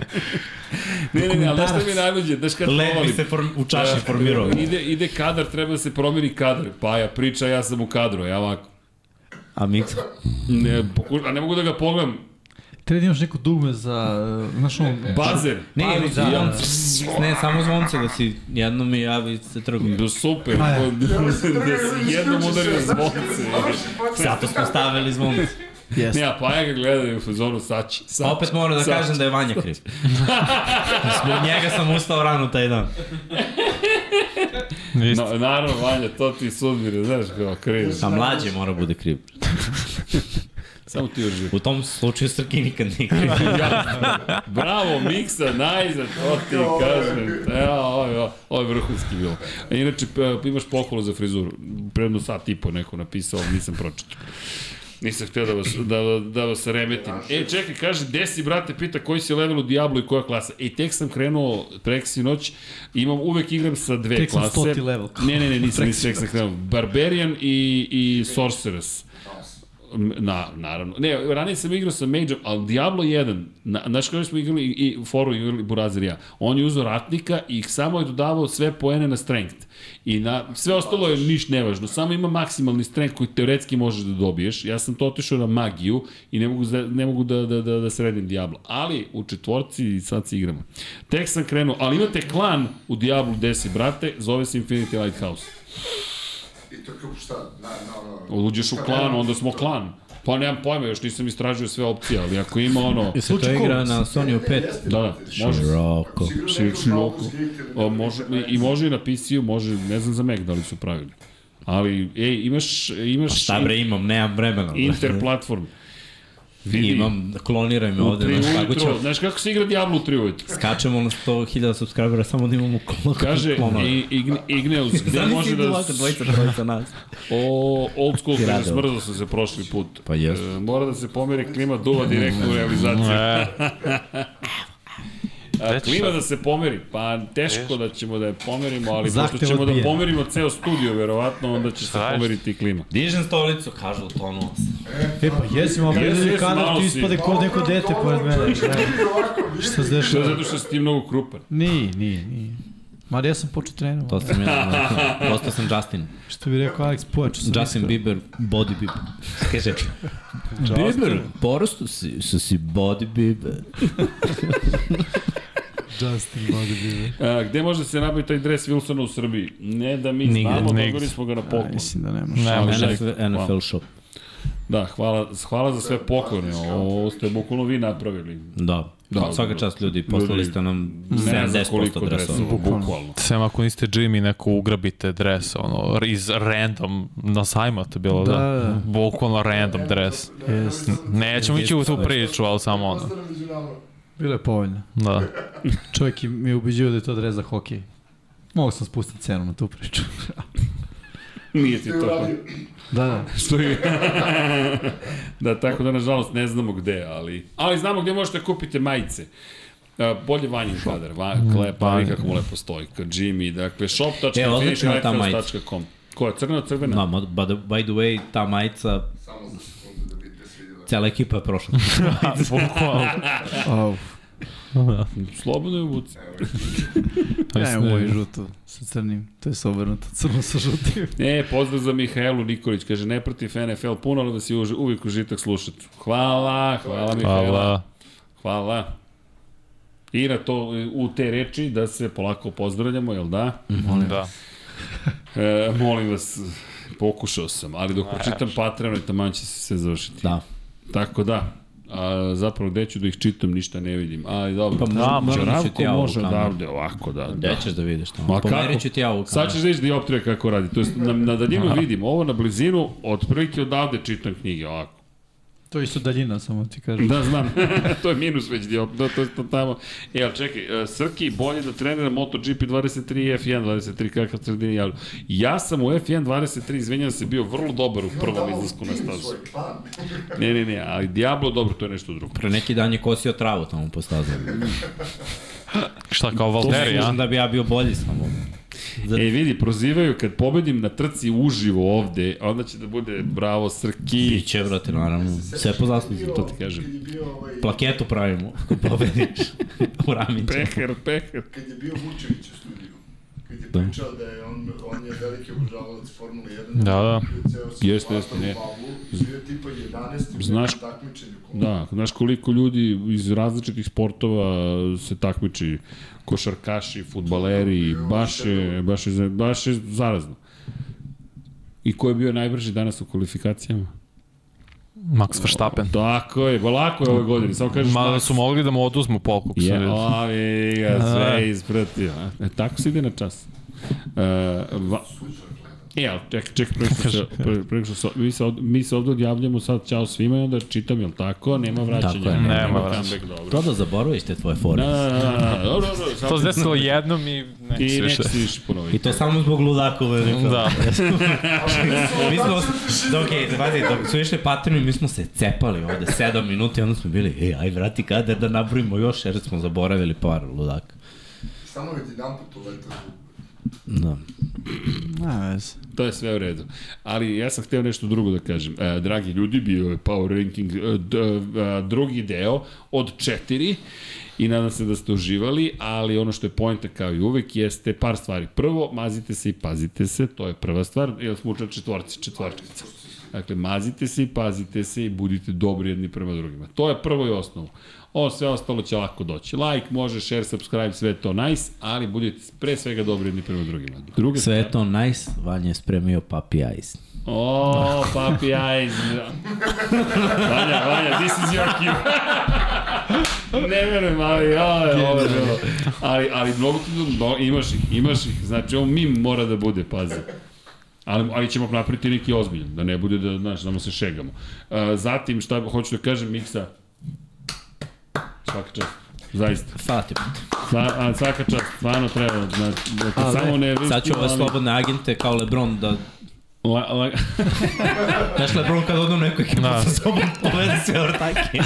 [SPEAKER 1] Ne, ne, ne, ali znaš šta mi je
[SPEAKER 4] dokumentarac.
[SPEAKER 1] najluđe? Znaš kad
[SPEAKER 2] Led bi
[SPEAKER 1] provalim?
[SPEAKER 2] se form, u
[SPEAKER 1] Da.
[SPEAKER 2] čaši formirao.
[SPEAKER 1] Ide, ide kadar, treba da se promeni kadar. Pa ja priča, ja sam u kadru, ja ovako.
[SPEAKER 2] A Miksa?
[SPEAKER 1] Ne, pokuš, a ne mogu da ga pogledam.
[SPEAKER 4] Treba da imaš neko dugme za, uh, znaš ono,
[SPEAKER 1] E, Bazer.
[SPEAKER 2] Ne, ili
[SPEAKER 4] da.
[SPEAKER 2] zvonce. Ne, samo zvonce da si jednom i javi se trgu.
[SPEAKER 1] Da, super.
[SPEAKER 4] Pa ja.
[SPEAKER 1] Da se jednom udario zvonce.
[SPEAKER 5] Završi podcast.
[SPEAKER 2] Zato smo stavili zvonce.
[SPEAKER 1] Ne,
[SPEAKER 4] jeste.
[SPEAKER 1] a pa ja ga gledaju u fazonu sači.
[SPEAKER 2] Pa
[SPEAKER 1] sači.
[SPEAKER 2] opet moram da
[SPEAKER 1] Sad.
[SPEAKER 2] kažem da je Vanja kriv. Zbog njega sam ustao rano taj dan.
[SPEAKER 3] Isto.
[SPEAKER 1] Na, naravno, Vanja, to ti sudbire, znaš kao kriv.
[SPEAKER 2] A mlađe mora bude kriv.
[SPEAKER 1] Samo ti uživ.
[SPEAKER 2] U tom slučaju Srki nikad nije kriv.
[SPEAKER 1] Bravo, Miksa, najzad, to ti kažem. Evo, ovo je, ovo je vrhunski bilo. A Inače, p- imaš pohvalu za frizuru. Predno sat i po neko napisao, ali nisam pročito. Nisam htio da vas, da, da vas remetim. E, čekaj, kaže, gde si, brate, pita koji si level u Diablo i koja klasa. E, tek sam krenuo preksi noć, imam, uvek igram sa dve
[SPEAKER 4] Tek sam
[SPEAKER 1] klase.
[SPEAKER 4] stoti level.
[SPEAKER 1] Ne, ne, ne, nisam, nisam, tek sam krenuo. Barbarian i, i Sorceress. Na, naravno. Ne, ranije sam igrao sa Mageom, ali Diablo 1, na, znaš kada smo igrali i, i foru igrali Burazir i ja, on je uzao ratnika i samo je dodavao sve poene na strength. I na, sve ostalo je niš nevažno, samo ima maksimalni strength koji teoretski možeš da dobiješ. Ja sam to otišao na magiju i ne mogu, za- ne mogu da, da, da, da sredim Diablo. Ali u četvorci sad se igramo. Tek sam krenuo, ali imate klan u Diablo 10, brate, zove se Infinity Lighthouse.
[SPEAKER 5] I to kao šta? Na, na, na,
[SPEAKER 1] Uđeš u klan, onda smo klan. Pa nemam pojma, još nisam istražio sve opcije, ali ako ima ono...
[SPEAKER 2] Jesi to igra na Sony 5?
[SPEAKER 1] Da, da, može.
[SPEAKER 2] Široko.
[SPEAKER 1] Šir- Široko. O, može, I može i na PC-u, može, ne znam za Mac da li su pravili. Ali, ej, imaš, imaš
[SPEAKER 2] Šta bre imam, nemam vremena. bre.
[SPEAKER 1] interplatform. Vidi,
[SPEAKER 2] Imam, kloniraj me
[SPEAKER 1] u
[SPEAKER 2] ovde,
[SPEAKER 1] tri
[SPEAKER 2] znaš kako
[SPEAKER 1] ujutro,
[SPEAKER 2] ćemo.
[SPEAKER 1] znaš kako se igra Diablo u tri ujutro?
[SPEAKER 2] Skačemo na 100.000 subscribera samo da imamo klon.
[SPEAKER 1] Kaže,
[SPEAKER 2] klonove.
[SPEAKER 1] i, Igne, Igneus, gde
[SPEAKER 2] Zamisli
[SPEAKER 1] može
[SPEAKER 2] idu
[SPEAKER 1] da...
[SPEAKER 2] ovako dvojica, trojica nas.
[SPEAKER 1] O, old school, kaže,
[SPEAKER 2] Pirate.
[SPEAKER 1] smrzao sam se prošli put.
[SPEAKER 2] Pa jeste.
[SPEAKER 1] E, mora da se pomeri klima duva direktno u realizaciju.
[SPEAKER 3] E,
[SPEAKER 1] A,
[SPEAKER 3] Već
[SPEAKER 1] klima
[SPEAKER 3] sad.
[SPEAKER 1] da se pomeri, pa teško da ćemo da je pomerimo, ali
[SPEAKER 4] Zahtev
[SPEAKER 1] pošto ćemo
[SPEAKER 4] odbijen.
[SPEAKER 1] da pomerimo ceo studio, verovatno, onda će se
[SPEAKER 3] Šta je?
[SPEAKER 1] pomeriti i klima.
[SPEAKER 2] Dižem stolicu, kažu tonu vas.
[SPEAKER 4] E pa jesi, malo
[SPEAKER 1] Jesi,
[SPEAKER 4] yes,
[SPEAKER 1] jesi,
[SPEAKER 4] kadar
[SPEAKER 1] malo
[SPEAKER 4] ti
[SPEAKER 1] si.
[SPEAKER 4] ispade kod neko dete pored mene. Šta se
[SPEAKER 1] Što je
[SPEAKER 4] dešava?
[SPEAKER 1] zato što si ti mnogo krupan.
[SPEAKER 4] Nije, nije, nije. Ma ja sam počeo trenovati.
[SPEAKER 2] To sam ja, postao sam Justin.
[SPEAKER 4] Što bi rekao Alex, pojačao sam.
[SPEAKER 2] Justin Bieber, body Bieber. Kaže, Bieber, porastu si, su si body Bieber.
[SPEAKER 6] Justin Bodybuilder.
[SPEAKER 1] A, gde može da se nabavi taj dres Wilsona u Srbiji? Ne da mi
[SPEAKER 2] Nigde.
[SPEAKER 1] znamo,
[SPEAKER 3] Nigde.
[SPEAKER 1] dobili smo ga na
[SPEAKER 4] Aj,
[SPEAKER 1] poklon.
[SPEAKER 4] Mislim da nemaš.
[SPEAKER 3] ne
[SPEAKER 1] Pa
[SPEAKER 3] može.
[SPEAKER 2] NFL, NFL shop.
[SPEAKER 1] Da, hvala, hvala za sve poklone, ovo ste bukvalno vi napravili.
[SPEAKER 2] Da.
[SPEAKER 1] Da.
[SPEAKER 2] da Svaka čast ljudi, poslali ste nam
[SPEAKER 1] Ne znam koliko
[SPEAKER 2] 70%
[SPEAKER 1] dresova,
[SPEAKER 2] dresova.
[SPEAKER 1] bukvalno.
[SPEAKER 3] Sem ako niste Jimmy, neko ugrabite dres, ono, iz random, na sajma to je bilo, da.
[SPEAKER 4] Da, da.
[SPEAKER 3] da. Bukvalno random dres.
[SPEAKER 4] Jeste.
[SPEAKER 3] Nećemo ići u tu priču, ali samo ono.
[SPEAKER 4] Bilo je povoljno.
[SPEAKER 3] Da.
[SPEAKER 4] Čovjek je- mi je ubeđio da je to dres za hokej. Mogu sam spustiti cenu na tu priču.
[SPEAKER 1] Nije ti to.
[SPEAKER 4] da, da.
[SPEAKER 1] Što je... da, tako da, nažalost, ne znamo gde, ali... Ali znamo gde možete da kupite majice. A, bolje vanjin kadar, va, klepa, mm, kako mu lepo stoji, ka Jimmy, dakle,
[SPEAKER 2] pa- E, odlična je ta
[SPEAKER 1] shop.finishlighthouse.com. Koja, crna, crvena?
[SPEAKER 2] Da, ma- by the- by the way, ta majica,
[SPEAKER 5] Samo za sekundu da bi da se vidjela.
[SPEAKER 2] cela ekipa je prošla.
[SPEAKER 3] Bukvalno.
[SPEAKER 4] Au.
[SPEAKER 1] Slobodno je uvuci.
[SPEAKER 4] Ja imam moju žutu sa crnim. To je sobrnuto, crno sa žutim.
[SPEAKER 1] E, pozdrav za Mihajlu Nikolić, kaže, ne protiv NFL, puno, ali vas je uži, uvijek užitak slušati. Hvala, hvala Mihajla. Hvala.
[SPEAKER 3] Hvala.
[SPEAKER 1] hvala. I na to, u te reči, da se polako pozdravljamo, jel da?
[SPEAKER 3] Da.
[SPEAKER 1] E, molim vas, pokušao sam, ali dok pročitam Patreon, taman će se sve završiti.
[SPEAKER 2] Da.
[SPEAKER 1] Tako da, a, zapravo gde ću da ih čitam, ništa ne vidim. Ali dobro,
[SPEAKER 2] Pa možda- možda ću
[SPEAKER 1] Čoravko
[SPEAKER 2] ti ja ovu
[SPEAKER 1] može
[SPEAKER 2] kameru.
[SPEAKER 1] odavde ovako, da. da.
[SPEAKER 2] Gde ćeš da vidiš
[SPEAKER 1] Ma
[SPEAKER 2] tamo?
[SPEAKER 1] kako?
[SPEAKER 2] Pomerit ću ti ja ovu
[SPEAKER 1] Sad
[SPEAKER 2] kameru.
[SPEAKER 1] ćeš da vidiš dioptrija kako radi. To jest, na, na daljinu vidim, ovo na blizinu, otprilike odavde čitam knjige, ovako.
[SPEAKER 4] To je isto daljina, samo ti kažem.
[SPEAKER 1] Da, znam. to je minus već dio. Da, to je to tamo. E, ali čekaj, e, Srki, bolje da trenira MotoGP 23 i F1 23, kakav sredini javlja. Ja sam u F1 23, izvinjam se, bio vrlo dobar u prvom izlasku na stazu. Ne, ne, ne, ali Diablo, dobro, to je nešto drugo.
[SPEAKER 2] Pre neki dan je kosio travu tamo po stazu.
[SPEAKER 3] Šta kao Valtteri, a?
[SPEAKER 2] Kažem da bi ja bio bolji samo.
[SPEAKER 1] E, vidi, prozivaju, kad pobedim na trci uživo ovde, onda će da bude bravo Srki.
[SPEAKER 2] Biće, brate, naravno. Sve po zasluzi.
[SPEAKER 1] To ti kažem.
[SPEAKER 5] Kad je bio, ovaj,
[SPEAKER 2] Plaketu pravimo, ako pobediš. U ramin ćemo.
[SPEAKER 1] Pehar, pehar.
[SPEAKER 5] kad je bio Vučević u studiju, kad je pričao da je on, on je veliki obožavalac Formule 1,
[SPEAKER 3] Da, da.
[SPEAKER 1] Jeste, jeste, ne.
[SPEAKER 5] Izvio tipa 11.
[SPEAKER 1] Znaš-
[SPEAKER 5] Znaš, takmičenju.
[SPEAKER 1] Da, znaš koliko ljudi iz različitih sportova se takmiči, košarkaši, futbaleri, baš je, baš je, baš je zarazno. I ko je bio najbrži danas u kvalifikacijama?
[SPEAKER 3] Max Verstappen.
[SPEAKER 1] Tako je, ba, lako je ove godine, samo kažeš...
[SPEAKER 3] Mada
[SPEAKER 1] Max.
[SPEAKER 3] su mogli da mu oduzmu polku.
[SPEAKER 1] Je,
[SPEAKER 3] Yeah,
[SPEAKER 1] ovi ga sve ispratio. E, tako se ide na čas. E, va, E, ali čekaj, čekaj, preko što se, pre- preko što se, mi se, ovde, mi se ovde odjavljamo sad, čao svima i onda čitam, jel tako? Nema vraćanja.
[SPEAKER 2] Tako je, nema
[SPEAKER 3] vraćanja.
[SPEAKER 1] comeback, dobro.
[SPEAKER 2] To da zaboraviš te tvoje fore.
[SPEAKER 1] Da, da, da, da, dobro, dobro, sad-
[SPEAKER 3] Pa To se desilo jednom i neće
[SPEAKER 1] I
[SPEAKER 3] se više.
[SPEAKER 1] neće se više ponoviti.
[SPEAKER 2] I to samo zbog ludakova.
[SPEAKER 3] Da.
[SPEAKER 2] Mi smo, da, okej, okay, pazi, dok su išli patrinu, mi smo se cepali ovde 7 minuta i onda smo bili, ej, aj vrati kader da nabrojimo još, jer smo zaboravili par ludaka.
[SPEAKER 5] Samo već jedan put u letu.
[SPEAKER 2] Da.
[SPEAKER 4] Na vez.
[SPEAKER 1] To je sve u redu. Ali ja sam hteo nešto drugo da kažem. E, dragi ljudi, bio je Power Ranking e, d, e, drugi deo od četiri i nadam se da ste uživali, ali ono što je pojenta kao i uvek jeste par stvari. Prvo, mazite se i pazite se, to je prva stvar, jer smo učili četvorci, četvorčica. Dakle, mazite se i pazite se i budite dobri jedni prema drugima. To je prvo i osnovo. Ovo sve ostalo će lako doći. Like, može, share, subscribe, sve je to nice, ali budite pre svega dobri jedni prema drugima. Druga
[SPEAKER 2] Sve je to nice, Vanja je spremio papi ajs.
[SPEAKER 1] O, papi eyes. Vanja, Vanja, this is your cue. ne verujem, ali ovo je ovo. je bilo. Ali, ali mnogo ti no, imaš ih, imaš ih. Znači, ovo mim mora da bude, pazi. Ali, ali ćemo napraviti neki ozbiljan, da ne bude da, znaš, da mu se šegamo. Uh, zatim, šta hoću da kažem, Miksa, svaka čast. Zaista.
[SPEAKER 2] Hvala ti. brate.
[SPEAKER 1] Sa, a, svaka čast, stvarno treba. Da, da te samo ne vidim.
[SPEAKER 2] Sad ću ove slobodne agente kao Lebron da...
[SPEAKER 1] La, la,
[SPEAKER 2] Znaš Lebron kad odu u neku ekipu
[SPEAKER 3] Da.
[SPEAKER 2] sa sobom povede sve ortake.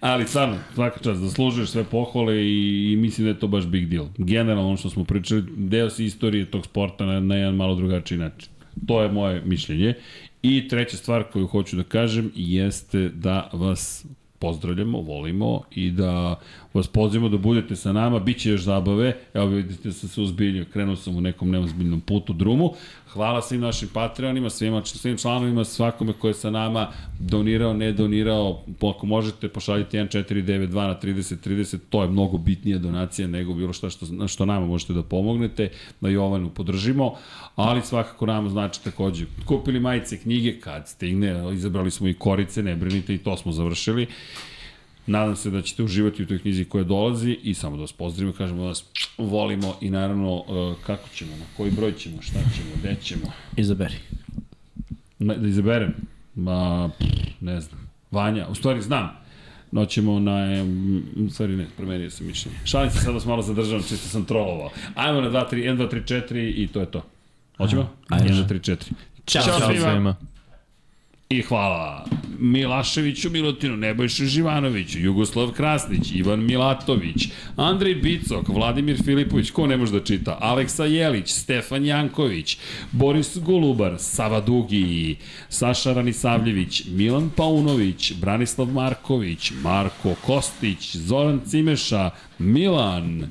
[SPEAKER 1] Ali stvarno, svaka čast, zaslužuješ sve pohvale i, i mislim da je to baš big deal. Generalno ono što smo pričali, deo si istorije tog sporta na, na jedan malo drugačiji način. To je moje mišljenje. I treća stvar koju hoću da kažem jeste da vas pozdravljamo, volimo i da vas pozivamo da budete sa nama, bit će još zabave, evo vidite da sam se uzbiljio, krenuo sam u nekom neozbiljnom putu drumu, hvala svim našim Patreonima, svima, svim članovima, svakome ko je sa nama donirao, ne donirao, po- ako možete pošaljite 1492 na 3030, to je mnogo bitnija donacija nego bilo šta što, na što nama možete da pomognete, da Jovanu podržimo, ali svakako nama znači takođe, kupili majice, knjige, kad stigne, izabrali smo i korice, ne brinite i to smo završili. Nadam se da ćete uživati u toj knjizi koja dolazi i samo da vas pozdravimo, kažemo da vas volimo i naravno e, kako ćemo, na koji broj ćemo, šta ćemo, gde ćemo.
[SPEAKER 2] Izaberi.
[SPEAKER 1] Ne, da izaberem, ma, pff, ne znam, Vanja, u stvari znam, noćemo na, em, u stvari ne, promenio sam mišljenje. Šalim se sad vas malo zadržavam, čisto sam trolovao. Ajmo na 2, 3, 1, 2, 3, 4 i to je to. Hoćemo?
[SPEAKER 2] Ajde.
[SPEAKER 1] 1, 2, 3, 4.
[SPEAKER 2] Ćao.
[SPEAKER 1] Ćao
[SPEAKER 3] Ćao
[SPEAKER 1] svima.
[SPEAKER 3] svima.
[SPEAKER 1] I hvala Milaševiću Milutinu, Nebojšu Živanoviću, Jugoslav Krasnić, Ivan Milatović, Andrej Bicok, Vladimir Filipović, ko ne može da čita, Aleksa Jelić, Stefan Janković, Boris Golubar, Sava Dugi, Saša Ranisavljević, Milan Paunović, Branislav Marković, Marko Kostić, Zoran Cimeša, Milan,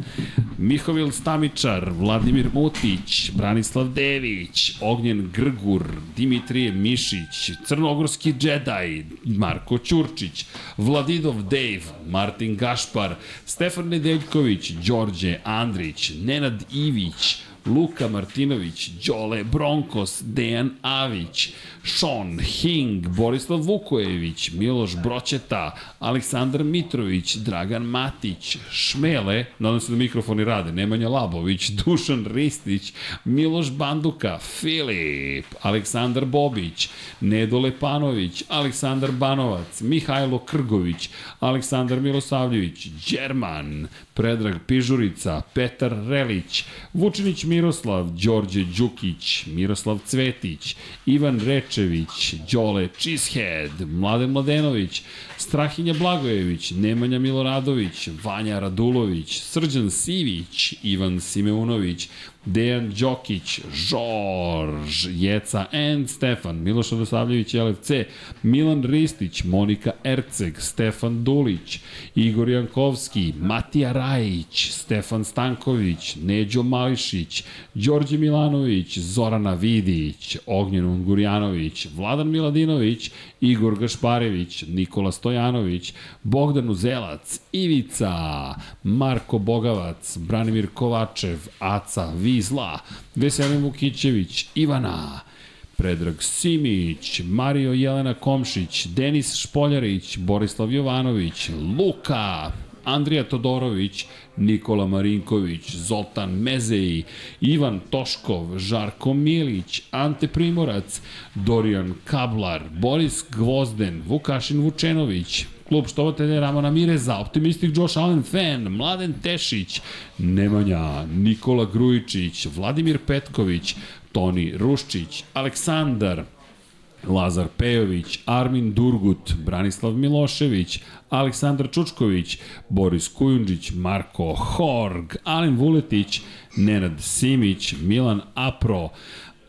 [SPEAKER 1] Mihovil Stamičar, Vladimir Mutić, Branislav Dević, Ognjen Grgur, Dimitrije Mišić, Crnogorski Jedi, Marko Ćurčić, Vladidov Dave, Martin Gašpar, Stefan Nedeljković, Đorđe Andrić, Nenad Ivić, Luka Martinović, Đole Bronkos, Dejan Avić, Sean Hing, Borislav Vukojević, Miloš Bročeta, Aleksandar Mitrović, Dragan Matić, Šmele, nadam se da mikrofoni rade, Nemanja Labović, Dušan Ristić, Miloš Banduka, Filip, Aleksandar Bobić, Nedo Lepanović, Aleksandar Banovac, Mihajlo Krgović, Aleksandar Milosavljević, Đerman, Predrag Pižurica, Petar Relić, Vučinić Miroslav, Đorđe Đukić, Miroslav Cvetić, Ivan Rečević, Đole Cheesehead, Mladen Mladenović, Strahinja Blagojević, Nemanja Miloradović, Vanja Radulović, Srđan Sivić, Ivan Simeunović, Dejan Đokić, Žorž, Jeca N, Stefan, Miloš Odosavljević, LFC, Milan Ristić, Monika Erceg, Stefan Dulić, Igor Jankovski, Matija Rajić, Stefan Stanković, Neđo Mališić, Đorđe Milanović, Zorana Vidić, Ognjen Ungurjanović, Vladan Miladinović, Igor Gašparević, Nikola Stojanović, Bogdan Uzelac, Ivica, Marko Bogavac, Branimir Kovačev, Aca Vizla, Veselin Vukićević, Ivana, Predrag Simić, Mario Jelena Komšić, Denis Špoljarić, Borislav Jovanović, Luka, Andrija Todorović, Nikola Marinković, Zoltan Mezeji, Ivan Toškov, Žarko Milić, Ante Primorac, Dorijan Kablar, Boris Gvozden, Vukašin Vučenović, klub štovatelja Ramona Mireza, optimistik Josh Allen Fan, Mladen Tešić, Nemanja, Nikola Grujičić, Vladimir Petković, Toni Ruščić, Aleksandar, Lazar Pejović, Armin Durgut, Branislav Milošević, Aleksandar Čučković, Boris Kujundžić, Marko Horg, Alen Vuletić, Nenad Simić, Milan Apro,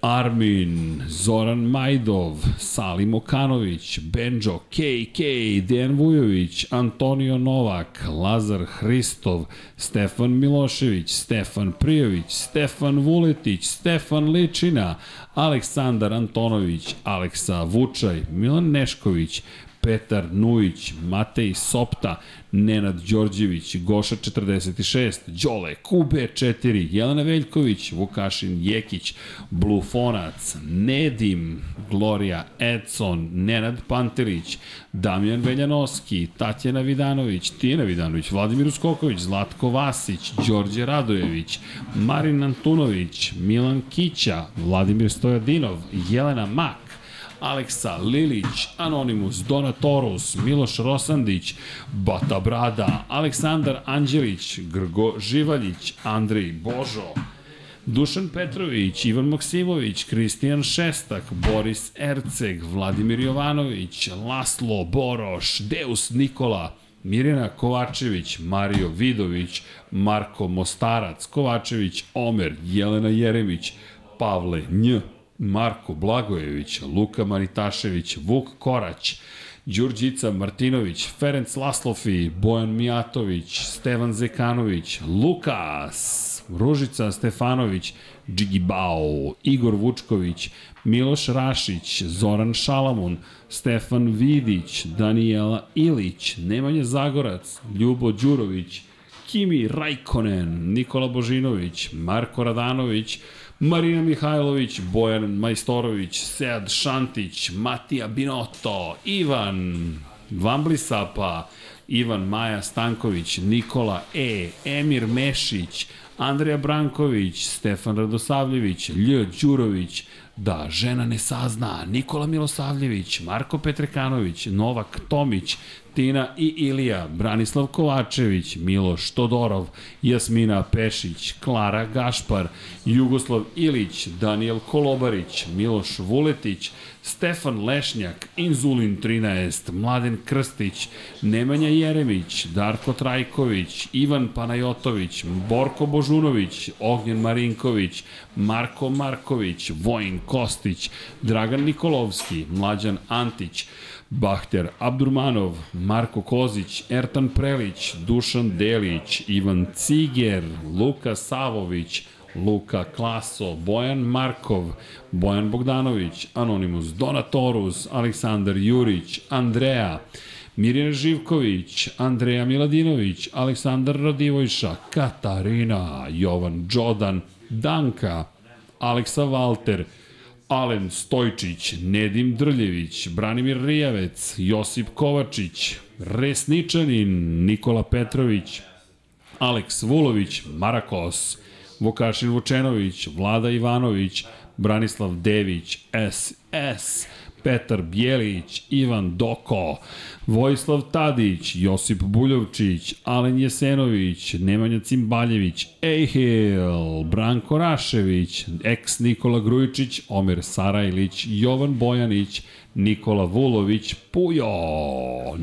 [SPEAKER 1] Armin, Zoran Majdov, Salim Okanović, Benjo KK, Dejan Vujović, Antonio Novak, Lazar Hristov, Stefan Milošević, Stefan Prijović, Stefan Vuletić, Stefan Ličina, Aleksandar Antonović, Aleksa Vučaj, Milan Nešković, Petar Nujić, Matej Sopta, Nenad Đorđević, Goša 46, Đole, Kube 4, Jelena Veljković, Vukašin Jekić, Blufonac, Nedim, Gloria Edson, Nenad Pantelić, Damjan Veljanoski, Tatjana Vidanović, Tijena Vidanović, Vladimir Uskoković, Zlatko Vasić, Đorđe Radojević, Marin Antunović, Milan Kića, Vladimir Stojadinov, Jelena Mak, Aleksa Lilić, Anonimus, Donatorus, Miloš Rosandić, Bata Brada, Aleksandar Anđelić, Grgo Živaljić, Andrej Božo, Dušan Petrović, Ivan Maksimović, Kristijan Šestak, Boris Erceg, Vladimir Jovanović, Laslo Boroš, Deus Nikola, Mirjana Kovačević, Mario Vidović, Marko Mostarac, Kovačević, Omer, Jelena Jeremić, Pavle Nj, Marko Blagojević, Luka Maritašević, Vuk Korać, Đurđica Martinović, Ferenc Laslofi, Bojan Mijatović, Stevan Zekanović, Lukas, Ružica Stefanović, Džigibao, Igor Vučković, Miloš Rašić, Zoran Šalamun, Stefan Vidić, Danijela Ilić, Nemanja Zagorac, Ljubo Đurović, Kimi Rajkonen, Nikola Božinović, Marko Radanović, Marina Mihajlović, Bojan Majstorović, Sead Šantić, Matija Binoto, Ivan Vamblisapa, Ivan Maja Stanković, Nikola E, Emir Mešić, Andreja Branković, Stefan Radosavljević, Lj. Đurović, Da žena ne sazna, Nikola Milosavljević, Marko Petrekanović, Novak Tomić, Tina i Ilija, Branislav Kovačević, Miloš Todorov, Jasmina Pešić, Klara Gašpar, Jugoslav Ilić, Daniel Kolobarić, Miloš Vuletić, Stefan Lešnjak, Inzulin 13, Mladen Krstić, Nemanja Jeremić, Darko Trajković, Ivan Panajotović, Borko Božunović, Ognjen Marinković, Marko Marković, Vojin Kostić, Dragan Nikolovski, Mlađan Antić, Bahter Abdurmanov, Marko Kozić, Ertan Prelić, Dušan Delić, Ivan Ciger, Luka Savović, Luka Klaso, Bojan Markov, Bojan Bogdanović, Anonimus Donatorus, Aleksandar Jurić, Andreja, Mirjana Živković, Andreja Miladinović, Aleksandar Radivojša, Katarina, Jovan Đodan, Danka, Aleksa Valter, Alen Stojčić, Nedim Drljević, Branimir Rijavec, Josip Kovačić, Resničanin, Nikola Petrović, Aleks Vulović, Marakos, Vukašin Vučenović, Vlada Ivanović, Branislav Dević, SS, Petar Bjelić, Ivan Doko, Vojislav Tadić, Josip Buljovčić, Alen Jesenović, Nemanja Cimbaljević, Ejhil, Branko Rašević, ex Nikola Grujičić, Omer Sarajlić, Jovan Bojanić, Nikola Vulović, Pujo,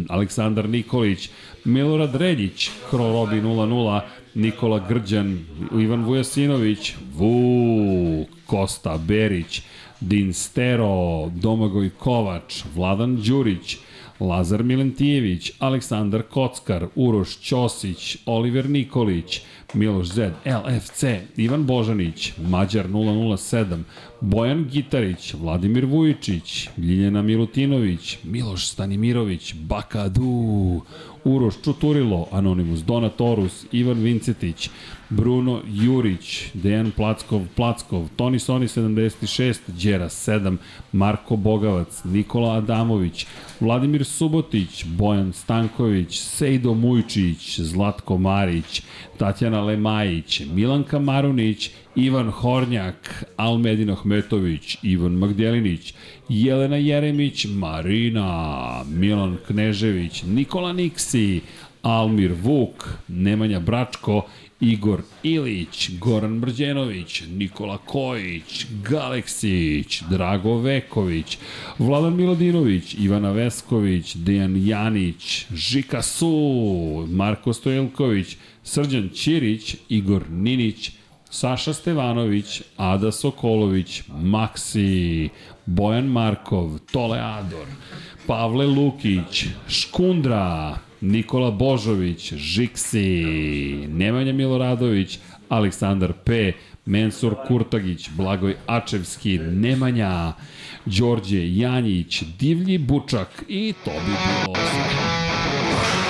[SPEAKER 1] Aleksandar Nikolić, Milorad Reljić, Krorobi 00, Nikola Grđan, Ivan Vujasinović, Vuk, Kosta Berić, Din Stero, Domagoj Kovač, Vladan Đurić, Lazar Milentijević, Aleksandar Kockar, Uroš Ćosić, Oliver Nikolić, Miloš Z, LFC, Ivan Božanić, Mađar 007, Bojan Gitarić, Vladimir Vujičić, Ljiljana Milutinović, Miloš Stanimirović, Bakadu, Uroš Čuturilo, Anonimus Donatorus, Ivan Vincetić, Bruno Jurić, Dejan Plackov, Plackov, Toni Soni 76, Đera 7, Marko Bogavac, Nikola Adamović, Vladimir Subotić, Bojan Stanković, Sejdo Mujčić, Zlatko Marić, Tatjana Lemajić, Milan Kamarunić, Ivan Hornjak, Almedin Ahmetović, Ivan Magdjelinić, Jelena Jeremić, Marina, Milan Knežević, Nikola Niksi, Almir Vuk, Nemanja Bračko, Igor Ilić, Goran Brđenović, Nikola Kojić, Galeksić, Drago Veković, Vladan Miladinović, Ivana Vesković, Dejan Janić, Žika Su, Marko Stojelković, Srđan Ćirić, Igor Ninić, Saša Stevanović, Ada Sokolović, Maksi, Bojan Markov, Tole Ador, Pavle Lukić, Škundra, Nikola Božović, Žiksi, Nemanja Miloradović, Aleksandar P, Mensur Kurtagić, Blagoj Ačevski, Nemanja, Đorđe Janjić, Divlji Bučak i to bi bilo sve.